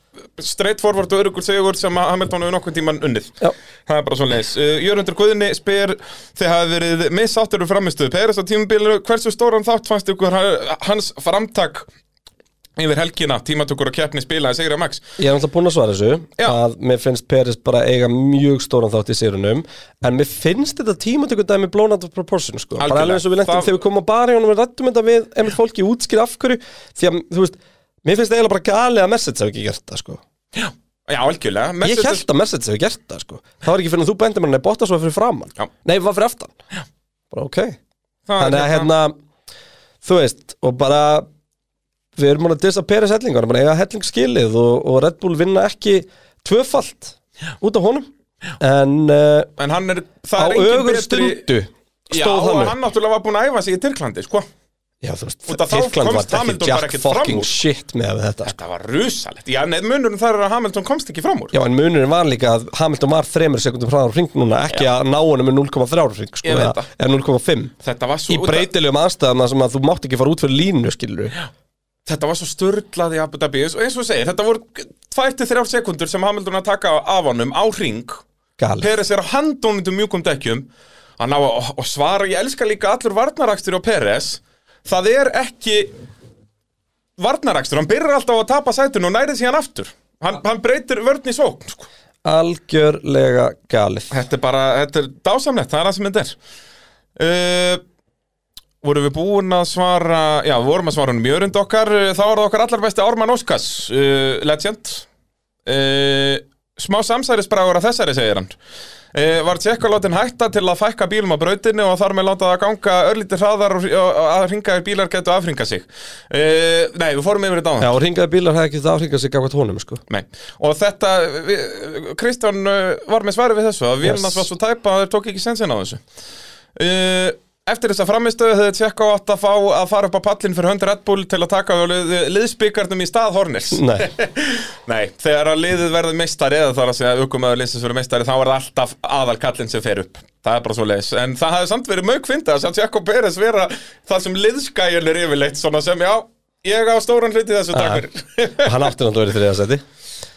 Speaker 5: straight forward og örugur segur sem að Hamilton hefur nokkuð tíman unnið
Speaker 4: Já.
Speaker 5: Það er bara svo leiðis uh, Jörundur Guðni spyr, þið hafi verið missáttur um framistuð Peres á tímubilinu, hversu stóran þátt fannst ykkur ha- hans framtak yfir helgina tímatökur og keppni spilaði segir að Max
Speaker 4: Ég er náttúrulega búinn að svara þessu
Speaker 5: Já.
Speaker 4: að mér finnst Peres bara eiga mjög stóran þátt í sérunum en mér finnst þetta tímatöku dæmi blown out of proportion sko. bara
Speaker 5: Algjörlega.
Speaker 4: alveg eins og við lentum
Speaker 5: Það-
Speaker 4: þegar við komum á bari og við rættum þetta við einmitt fólki útskýr af hverju því að þú veist, mér finnst eiginlega bara gali að message hafi ekki gert það sko.
Speaker 5: Já, algjörlega
Speaker 4: ég held að message hafi gert það sko. það var ekki fyrir en þú bendir mér nei, Bottas var fyrir framann
Speaker 5: Já.
Speaker 4: nei, var fyrir aftan bara ok,
Speaker 5: það,
Speaker 4: þannig að hérna þú veist, og bara við erum múin að dissa Peres hellingar bara eiga helling skilið og, og Red Bull vinna ekki tvöfalt út af honum en uh,
Speaker 5: En hann er,
Speaker 4: á
Speaker 5: það er engin
Speaker 4: ögur
Speaker 5: betri
Speaker 4: stundu
Speaker 5: Já,
Speaker 4: stóð
Speaker 5: og
Speaker 4: hann
Speaker 5: hann
Speaker 4: upp
Speaker 5: náttúrulega var búin að æfa sig í Tyrklandi, sko
Speaker 4: Já, þú veist,
Speaker 5: Út af þá
Speaker 4: Tyrkland
Speaker 5: komst
Speaker 4: var
Speaker 5: Hamilton
Speaker 4: ekki
Speaker 5: bara
Speaker 4: jack
Speaker 5: ekkert fram úr.
Speaker 4: fucking shit með þetta sko.
Speaker 5: Þetta var rusalegt Já, nei, munurinn þar er að Hamilton komst ekki fram úr
Speaker 4: Já, en munurinn var líka að Hamilton var þremur sekundum hraðar á hring núna, ekki að ná honum með 0,3 hring, sko,
Speaker 5: Ég veit
Speaker 4: eða
Speaker 5: það.
Speaker 4: eða 0,5
Speaker 5: Þetta var
Speaker 4: í
Speaker 5: svo,
Speaker 4: breytilegum aðstæðan sem að þú mátt ekki fara út fyrir línu, skilur
Speaker 5: þetta var svo störlað í Abu Dhabi eins og eins og segir, þetta voru 2-3 sekundur sem Hamilton að taka af honum á ring
Speaker 4: Galið.
Speaker 5: Peres er á handónundum mjúkum dekkjum að ná að og svara, ég elska líka allur varnarakstur á Peres það er ekki varnarakstur, hann byrjar alltaf á að tapa sætun og nærið síðan aftur Hann, hann breytir vörn í sókn sko.
Speaker 4: Algjörlega galið
Speaker 5: Þetta er bara, þetta er dásamlegt, það er það sem þetta er uh, Vorum við búin að svara, já, við vorum að svara um mjörund okkar uh, Þá var það okkar allar besti Ármann Óskars, uh, legend uh, Smá samsærisbragur að þessari, segir hann Uh, var tjekkalátin hætta til að fækka bílum á brautinu og þar með láta það ganga örlítið hraðar og, og, og að hringaðir bílar getu afhringa sig uh, Nei, við fórum yfir þetta
Speaker 4: Já,
Speaker 5: á
Speaker 4: og ringaði bílar hefði ekki það áhringað sig gafkvæmt honum, sko
Speaker 5: Nei. Og þetta, við- Kristján uh, var með svari við þessu að Vilmas
Speaker 4: Yes.
Speaker 5: var svo tæpa að þeir tók ekki sensin á þessu uh, Eftir þessa framistöðu hefði Tjekka átt að fá að fara upp á pallin fyrir hönd Red Bull til að taka við á lið, liðsbyggarnum í stað Horners
Speaker 4: Nei,
Speaker 5: Nei, þegar að liðið verður meistari eða þar að segja aukumæður liðsins verður meistari þá er það alltaf aðal kallinn sem fer upp Það er bara svo leiðis, en það hafði samt verið mögfynda að sjá Tjekko Peres vera það sem liðskæjun er yfirleitt svona sem já, ég á stóran hluti í þessu
Speaker 4: Ah.
Speaker 5: takkur
Speaker 4: Og hann átti náttúrulega verið þriðasæti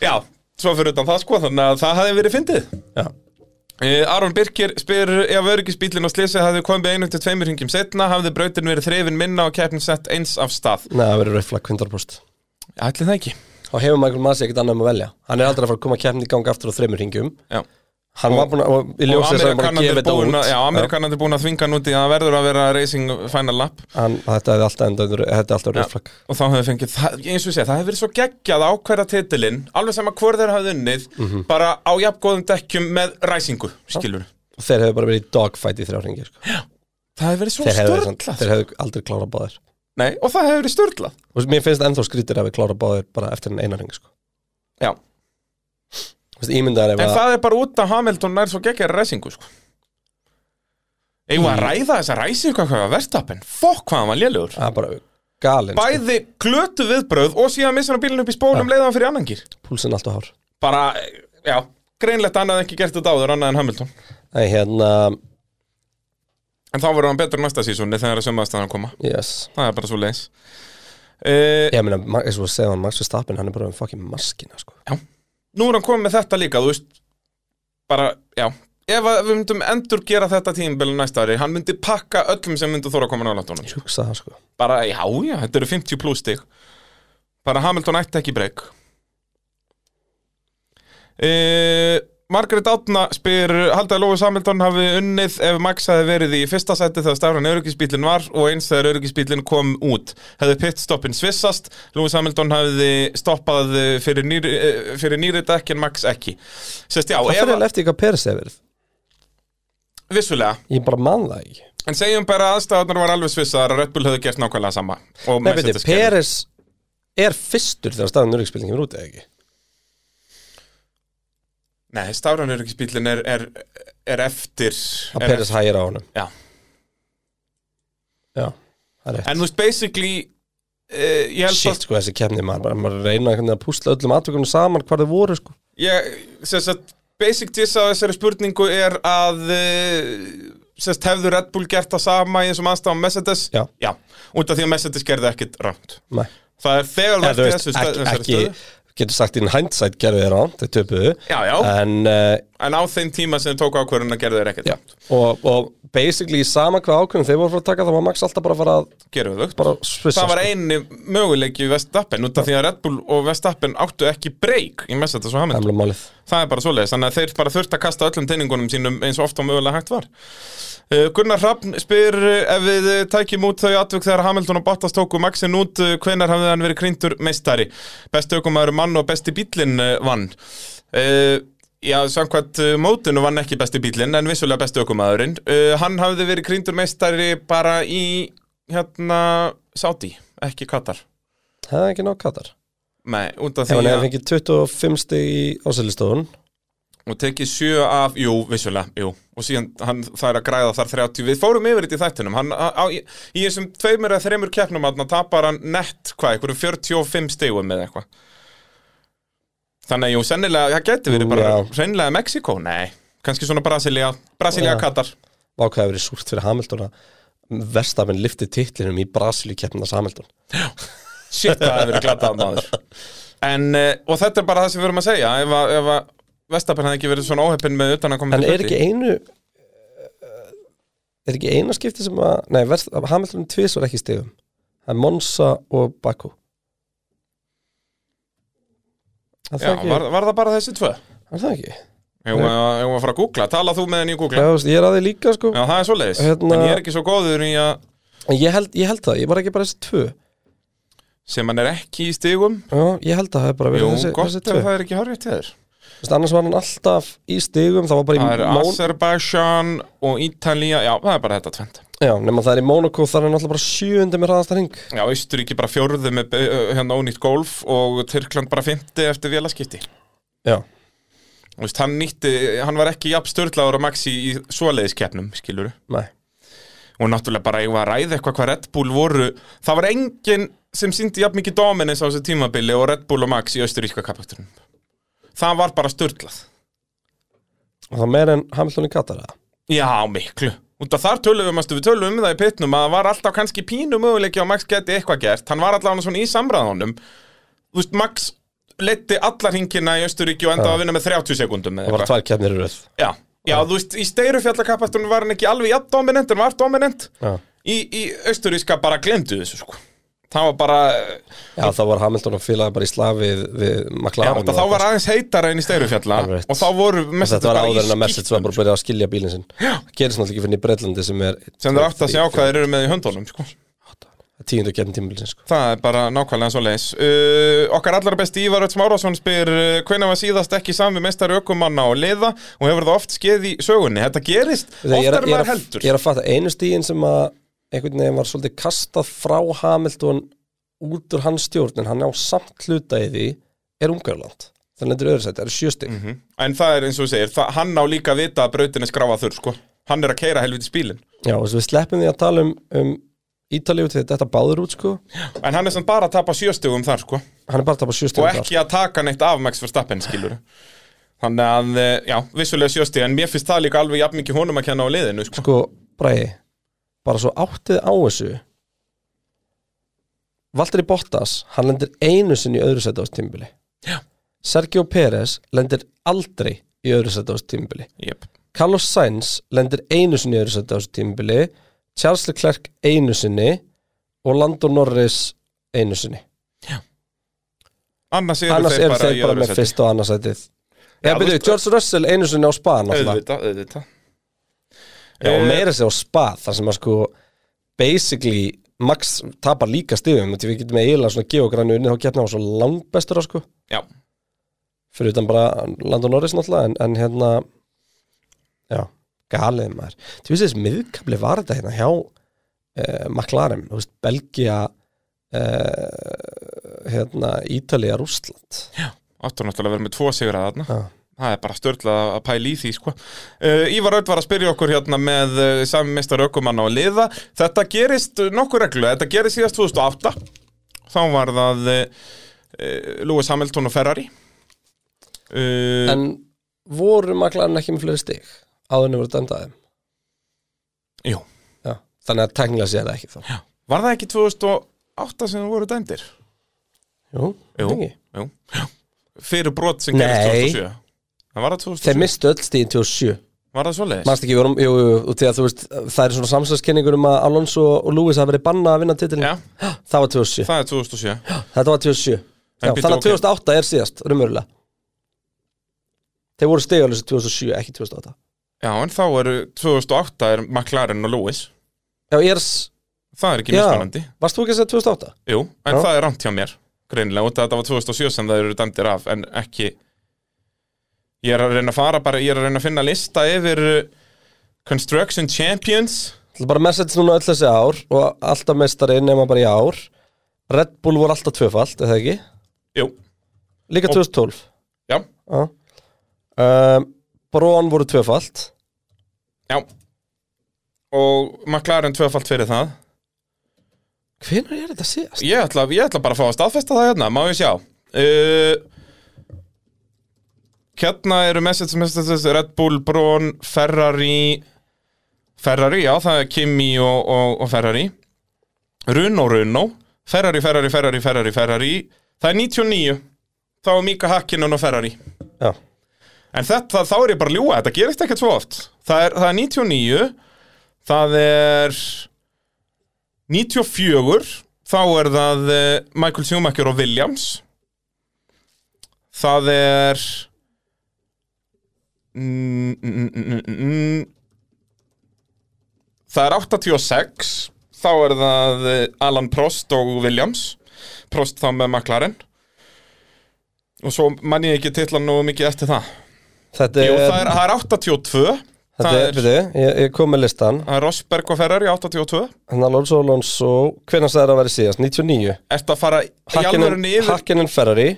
Speaker 5: Já, svo fyrir utan það sko, þannig að það hefði verið fyndið
Speaker 4: Já,
Speaker 5: Eh, Aron Birkir spyr ef öryggisbílinn og slysið hafði komið einu til tveimur hringjum setna hafði brautin verið þrefin minna og keppnin sett eins af stað
Speaker 4: neða, það verið rauðflag 100%
Speaker 5: Ætli það ekki
Speaker 4: Þá hefur Michael Masi ekkert annað um að velja Hann er aldrei að fara að koma keppni í gang aftur á þreymur ringjum
Speaker 5: Já.
Speaker 4: Hann var búin að, og í ljósið þess að hann bara
Speaker 5: Amerikanarnir
Speaker 4: gefa þetta
Speaker 5: búin að-
Speaker 4: út
Speaker 5: Já, Amerikanandi búin að þvinga hann út í að það verður að vera racing final lap
Speaker 4: Hann, þetta hefði alltaf enda, þetta er alltaf rauðflag
Speaker 5: og þá hefði fengið, það, eins og sé, það hefði verið svo geggjað að ákværa titilinn, alveg sama hvort þeir hafði unnið,
Speaker 4: Mhm.
Speaker 5: bara á jafngóðum dekkjum með ræsingu, skilur
Speaker 4: Og þeir hefðu bara verið í dogfight í þrjá ringir sko.
Speaker 5: Það hefði verið svo
Speaker 4: Þeir hefðu,
Speaker 5: störtlað
Speaker 4: þeir hefðu aldrei klára báðir
Speaker 5: Nei, og það hefði verið störtlað
Speaker 4: Og mér finnst ennþá skrítir að við klára báðir bara eftir en eina ring sko.
Speaker 5: Já,
Speaker 4: Þú veist, Ímyndaðar ef
Speaker 5: En
Speaker 4: að
Speaker 5: það er bara út að Hamilton nær svo geggjari ræsingu sko. Eigum að ræða þessa ræsingu hvað var verðstappen Fokk hvað hann var lélugur
Speaker 4: Það er bara galinn sko.
Speaker 5: Bæði klötu viðbröð og síðan missa hann bílinn upp í spólum leiða hann fyrir annangir
Speaker 4: Púlsinn alltaf hár
Speaker 5: Bara, já, greinlegt að hann hafði ekki gert þetta áður annað en Hamilton
Speaker 4: Æ, hérna,
Speaker 5: En þá verður hann betur næsta sísunni þegar að sömaðastæðan koma
Speaker 4: yes
Speaker 5: Það er bara svo leiðis uh,
Speaker 4: Ég meina, Ma- eins og að segja hann, Max Verstappen, hann er bara um fucking maskina, sko.
Speaker 5: nú er hann komið með þetta líka, þú veist bara, já, ef að við myndum endur gera þetta tímabili næsta ári hann myndi pakka öllum sem myndu þóra að koma nálægt honum
Speaker 4: Ég hugsa það, sko.
Speaker 5: bara, já, já, þetta eru 50 pluss stig bara Hamilton ætti ekki breyk e, Margaret Átna spyr haldaði Lófus Hamilton hafi unnið ef Max hafi verið í fyrsta sæti þegar stafran öryggisbílinn var og eins þegar öryggisbílinn kom út hefði pitstoppin svissast Lófus Hamilton hafi stoppað eh, fyrir nýri, eh, fyrir nýri dekk en Max ekki sérst já,
Speaker 4: Það fyrir
Speaker 5: ef,
Speaker 4: alveg eftir hvað Peres hefur verið.
Speaker 5: vissulega
Speaker 4: Ég bara man það ekki.
Speaker 5: en segjum bara að aðstæðanar var alveg svissaðar að Red Bull hefði gert nákvæmlega sama og
Speaker 4: Nei,
Speaker 5: Mercedes
Speaker 4: veitir,
Speaker 5: gerði.
Speaker 4: Peres er fyrstur þegar staðan nörgspilningin er út, eða ekki?
Speaker 5: Nei, stafræn öryggisbílinn er, er, er eftir
Speaker 4: að
Speaker 5: er
Speaker 4: Peres
Speaker 5: eftir-
Speaker 4: hægir á honum
Speaker 5: Já
Speaker 4: já, það er rétt
Speaker 5: En þú veist, basically uh, Ég held
Speaker 4: Shit, sko, þessi kemni, maður, bara- maður reyna einhvern veginn að púsla öllum atvikunum saman hvar þau voru, sko
Speaker 5: að ég, sem sagt, Basic gist á þessari spurningu er að uh, sem sagt, Hefðu Red Bull gert það sama í þessum aðstæðum Mercedes?
Speaker 4: Já.
Speaker 5: Já, út af því að Mercedes gerði ekkit rámt
Speaker 4: Nei,
Speaker 5: Það er þegar
Speaker 4: Eða,
Speaker 5: vært
Speaker 4: þú
Speaker 5: í
Speaker 4: veist,
Speaker 5: þessu stöð-
Speaker 4: ekki,
Speaker 5: þessari
Speaker 4: ekki
Speaker 5: stöðu
Speaker 4: getur sagt inn hindsight gerðu þér án, þau töpuðu
Speaker 5: Já, já.
Speaker 4: En, uh,
Speaker 5: En á þeim tíma sem þau tók ákvörðun að gerðu þeir ekkert
Speaker 4: já, og, og basically í sama hvað ákveðum þeir voru frá að taka þá var Max alltaf bara að fara að
Speaker 5: Gerum við þau
Speaker 4: bara svissa
Speaker 5: Það var
Speaker 4: sko.
Speaker 5: eini möguleiki í Vestappen út af því að Red Bull og Vestappen áttu ekki break í Mercedes og
Speaker 4: Það er
Speaker 5: Hamilton
Speaker 4: alveg málið
Speaker 5: Það er bara svoleiðis, þannig að þeir bara þurft að kasta öllum teiningunum sínum eins og ofta mögulega hægt var Eh, Gunnar Hrafn spyr eh, ef við eh, tækjum út þau atvök þegar Hamilton og Bottas tóku Maxin út eh, hvenær hafði hann verið krýndur meistari Besti aukumæður mann og besti bíllinn eh, vann Eh, Já, samkvæmt eh, mótinu vann ekki besti bíllinn en vissulega besti aukumæðurinn Hann hafði verið krýndur meistari bara í hérna Saudi, ekki Katar
Speaker 4: Það er ekki nóg katar
Speaker 5: Nei, út
Speaker 4: Ef
Speaker 5: af því
Speaker 4: hann hefði
Speaker 5: að
Speaker 4: fengið 25 stig í ásælistofun
Speaker 5: og tekið sjö af, jú, vissulega, jú og síðan hann, það er að græða þar 30 við fórum yfir þetta í þættinum hann, á, á, í, í þessum tveimur eða þreimur keppnum hann tapar hann nett, hvað, einhverjum 45 stegum eða eitthvað þannig að jú, sennilega, það gæti verið bara
Speaker 4: Já.
Speaker 5: sennilega Mexiko, nei, kannski svona Brasilia Brasilia
Speaker 4: Já.
Speaker 5: Katar
Speaker 4: Vákaði verið súrt fyrir Hamilton að Verstafinn lifti titlinum í Brasilíu keppnast Hamilton
Speaker 5: Shit, það hefur verið glatað maður en, eh, og þetta er bara það sem við erum að segja ef að, ef að Vestapinn hefði ekki verið svona óheppin með utan að koma
Speaker 4: En er ekki einu eh, Er ekki eina skipti sem að Nei, verð, Hamilton tvis var ekki í stigum Það er Monza og Baku Er
Speaker 5: Já,
Speaker 4: það ekki?
Speaker 5: var, var það bara þessi tvö?
Speaker 4: Er það ekki?
Speaker 5: Ég var að fara að googla, tala þú með henni í
Speaker 4: Já,
Speaker 5: googla
Speaker 4: þú veist, ég er að því líka sko
Speaker 5: Já, það er svoleiðis,
Speaker 4: Hérna-
Speaker 5: en ég er ekki svo góður í að
Speaker 4: En ég held, ég held það, ég var ekki bara þessi tvö
Speaker 5: sem hann er ekki í stigum
Speaker 4: Já, ég held að það hefði bara
Speaker 5: Jú,
Speaker 4: verið þessi,
Speaker 5: gott
Speaker 4: þessi
Speaker 5: ef
Speaker 4: tvö
Speaker 5: það er ekki horrið til þér
Speaker 4: Þú veist, annars var hann alltaf í stigum það var bara í
Speaker 5: Það er
Speaker 4: Mon-
Speaker 5: Azerbaijan og Ítalía, já, það er bara þetta tvend
Speaker 4: já, nema það er í Monaco þar er hann alltaf bara sjöundi með hraðasta hring
Speaker 5: Já, Austuríki bara fjórðu með be- ö, hérna ónýtt golf og Tyrkland bara fymti eftir vélaskipti
Speaker 4: já,
Speaker 5: Þú veist, hann nýtti, hann var ekki jafn störðlaður og Maxi í svoleiðiskeppnum, skilur
Speaker 4: nei,
Speaker 5: og náttúrulega bara ég var að ræða eitthvað hvað Red Bull voru það var enginn sem síndi jafn mikið dominance á þessu tímabili og Red Bull og Max í austuríska kapakturinn það var bara störtlað
Speaker 4: og það meir en Hamilton í Katar eða?
Speaker 5: já miklu út af þar tölum við, manstu, við tölum um það í pitnum að það var alltaf kannski pínu möguleiki og Max geti eitthvað gert hann var allavega svona í samræðanum þú veist Max letti allar hingina í austuríki og endaði að vinna með 30 sekundum
Speaker 4: það var tvær kefnir röð
Speaker 5: já, já, þú veist í steirufjallakapakturinn var hann ekki alveg jafn dominant en var dominant
Speaker 4: já.
Speaker 5: í, í austuríska bara glemdu þessu sko það var bara,
Speaker 4: já, þá var Hamilton að félagi bara í slag við, við
Speaker 5: já,
Speaker 4: McLaren
Speaker 5: það, þá var aðeins heitara inn í Steyrufjalla
Speaker 4: Alright.
Speaker 5: og þá voru
Speaker 4: og þetta var
Speaker 5: bara
Speaker 4: áður
Speaker 5: í sko.
Speaker 4: en að
Speaker 5: skít-
Speaker 4: Mercedes var bara að byrja að skilja bílinn sinn það gerist náttúrulega ekki fyrir í Breitlandi sem er
Speaker 5: sem þeir átt að sjá hvað þeir eru með í höndunum sko.
Speaker 4: tíundu kefn tímabilin sko.
Speaker 5: það er bara nákvæmlega svo leis uh, okkar allar besti Ívar Öts Márásson spyr uh, hvenær var síðast ekki sami mestari ökumanna og liða og hefur það oft skeið í sögunni þetta gerist
Speaker 4: Þegar ég er, að- ég,
Speaker 5: oftar en
Speaker 4: er
Speaker 5: maður
Speaker 4: að,
Speaker 5: heldur
Speaker 4: ég er að fatta einu stíin sem að einhvern veginn var svolítið kastað frá Hamilton út úr hans stjórn en hann á samt hluta í því er Ungarland þannig að þetta er öðru sætt, það er sjöstig mm
Speaker 5: en það er eins og þú segir, það, hann á líka að vita að brautin er skráfa þurr sko. hann er að keira helviti spílin
Speaker 4: Já, og svo við sleppum því að tala um, um Ítalíu til þetta báður út sko
Speaker 5: en hann er sem bara að tapa sjöstugum þar sko.
Speaker 4: hann er bara að tapa um sjöstig
Speaker 5: og ekki að taka neitt af Max Verstappen skilur þannig að, eh, já, vissulega sjösti en mér finnst það líka alveg jafn mikið honum að kenna á liðinu sko.
Speaker 4: sko, bræði bara svo áttið á þessu Valtteri Bottas hann lendir einu sinni í öðru sætt á þessu tímbili
Speaker 5: Já.
Speaker 4: Sergio Pérez lendir aldrei í öðru sætt á þessu tímbili
Speaker 5: yep.
Speaker 4: Carlos Sainz lendir einu sinni í öðru sætti á þessu tímabili Charles Leclerc einu sinni og Lando Norris einu sinni
Speaker 5: annars eru
Speaker 4: annars
Speaker 5: þeir
Speaker 4: eru
Speaker 5: bara,
Speaker 4: þeir bara með
Speaker 5: sæti.
Speaker 4: fyrst og annarsætið Já,
Speaker 5: þú
Speaker 4: byrju,
Speaker 5: veist-
Speaker 4: George Russell einu sinni á spa náttúrulega.
Speaker 5: auðvitað, auðvitað Eh,
Speaker 4: Já, og meira sér á spa þar sem að sko basically Max tapar líka stigum því við getum eiginlega svona geogrannu unni þá keppna á svo langbestur á sko
Speaker 5: já,
Speaker 4: fyrir utan bara Lando Norris náttúrulega en, en hérna já, galið maður þú veist þessi miðkabli var þetta hérna hjá uh, McLaren, þú veist Belgia uh, hérna Ítalía, Rússland
Speaker 5: áttu náttúrulega að vera með tvo sigra þarna
Speaker 4: Já.
Speaker 5: það er bara störla að pæla í því sko. uh, Ívar Öld var að spyrja okkur hérna með uh, sami mistar ökumanna og liða þetta gerist nokkuð reglu þetta gerist síðast 2008 þá var það uh, uh, Lewis Hamilton og Ferrari uh,
Speaker 4: En voru maklarinn ekki með fleiri stig áðunni voru dæmdaði
Speaker 5: Jú,
Speaker 4: Já. Þannig að tengla sér það ekki þá Já.
Speaker 5: var það ekki 2008 sem þú voru dæmdir?
Speaker 4: Jú,
Speaker 5: Jú,
Speaker 4: ekki
Speaker 5: jú. Fyrir brot sem
Speaker 4: Nei.
Speaker 5: gerist 2007 Það var það
Speaker 4: Þeir
Speaker 5: 2007
Speaker 4: mistu öll stíðin 27
Speaker 5: Var það svoleiðis?
Speaker 4: Manst ekki, við vorum, jú, jú, jú, og því að þú veist Það er svona samsvarskenningur um að Alonso og Lewis hafa verið banna að vinna titilin
Speaker 5: Já.
Speaker 4: Það var 27,
Speaker 5: Það er 2007
Speaker 4: þetta var 27 Já,
Speaker 5: bíddu,
Speaker 4: Þannig að
Speaker 5: ok.
Speaker 4: 2008 er síðast, raunverulega Þeir voru stigalösa 2007, ekki 2008
Speaker 5: Já, en þá eru 2008 er McLaren og Lewis
Speaker 4: Já, ég er, s-
Speaker 5: Það er ekki
Speaker 4: Já.
Speaker 5: mismunandi
Speaker 4: varst þú ekki að segja 2008?
Speaker 5: Jú, en
Speaker 4: Já.
Speaker 5: það er rámt hjá mér Greinilega, út af þetta var 2007 sem það eru dæmdir af En ekki Ég er að reyna að fara bara Ég er að reyna að finna lista yfir uh, Construction Champions
Speaker 4: Það er bara message núna öll þessi ár og alltaf meistari nema bara í ár Red Bull voru alltaf tvöfald, eða ekki?
Speaker 5: Jú,
Speaker 4: Líka
Speaker 5: Og-
Speaker 4: 2012
Speaker 5: já,
Speaker 4: Já. um, Brón voru tvöfald
Speaker 5: já Og McLaren tvöfalt fyrir það
Speaker 4: Hvenær er þetta síðast?
Speaker 5: Ég ætla, ég ætla bara að fá að staðfesta það hérna, má ég sjá uh, Hérna eru message messages, Red Bull, Brón, Ferrari Ferrari, já, það er Kimi og, og, og Ferrari Runo, Runo Ferrari, Ferrari, Ferrari, Ferrari, Ferrari Það er 99 Þá er Mika Hakkinen og Ferrari
Speaker 4: Já,
Speaker 5: En þetta, þá er ég bara að ljúga, þetta gerist ekkert svo oft Það er, það er 99 Það er 94 Þá er það eh, Michael Schumacher og Williams Það er mm, mm, mm, mm, mm. Það er 86 Þá er það eh, Alan Prost og Williams Prost þá með McLaren Og svo mann ég ekki titla nú mikið eftir það
Speaker 4: þetta
Speaker 5: Jú,
Speaker 4: er,
Speaker 5: það er, það er 82
Speaker 4: þetta er, er ég, ég kom með listan
Speaker 5: það er Rosberg og Ferrari 82
Speaker 4: Þannig að Lóns og Lóns og hvenær sagði það að vera síðast? 99
Speaker 5: Ertu að fara í alvörunni yfir
Speaker 4: Hakkinen Ferrari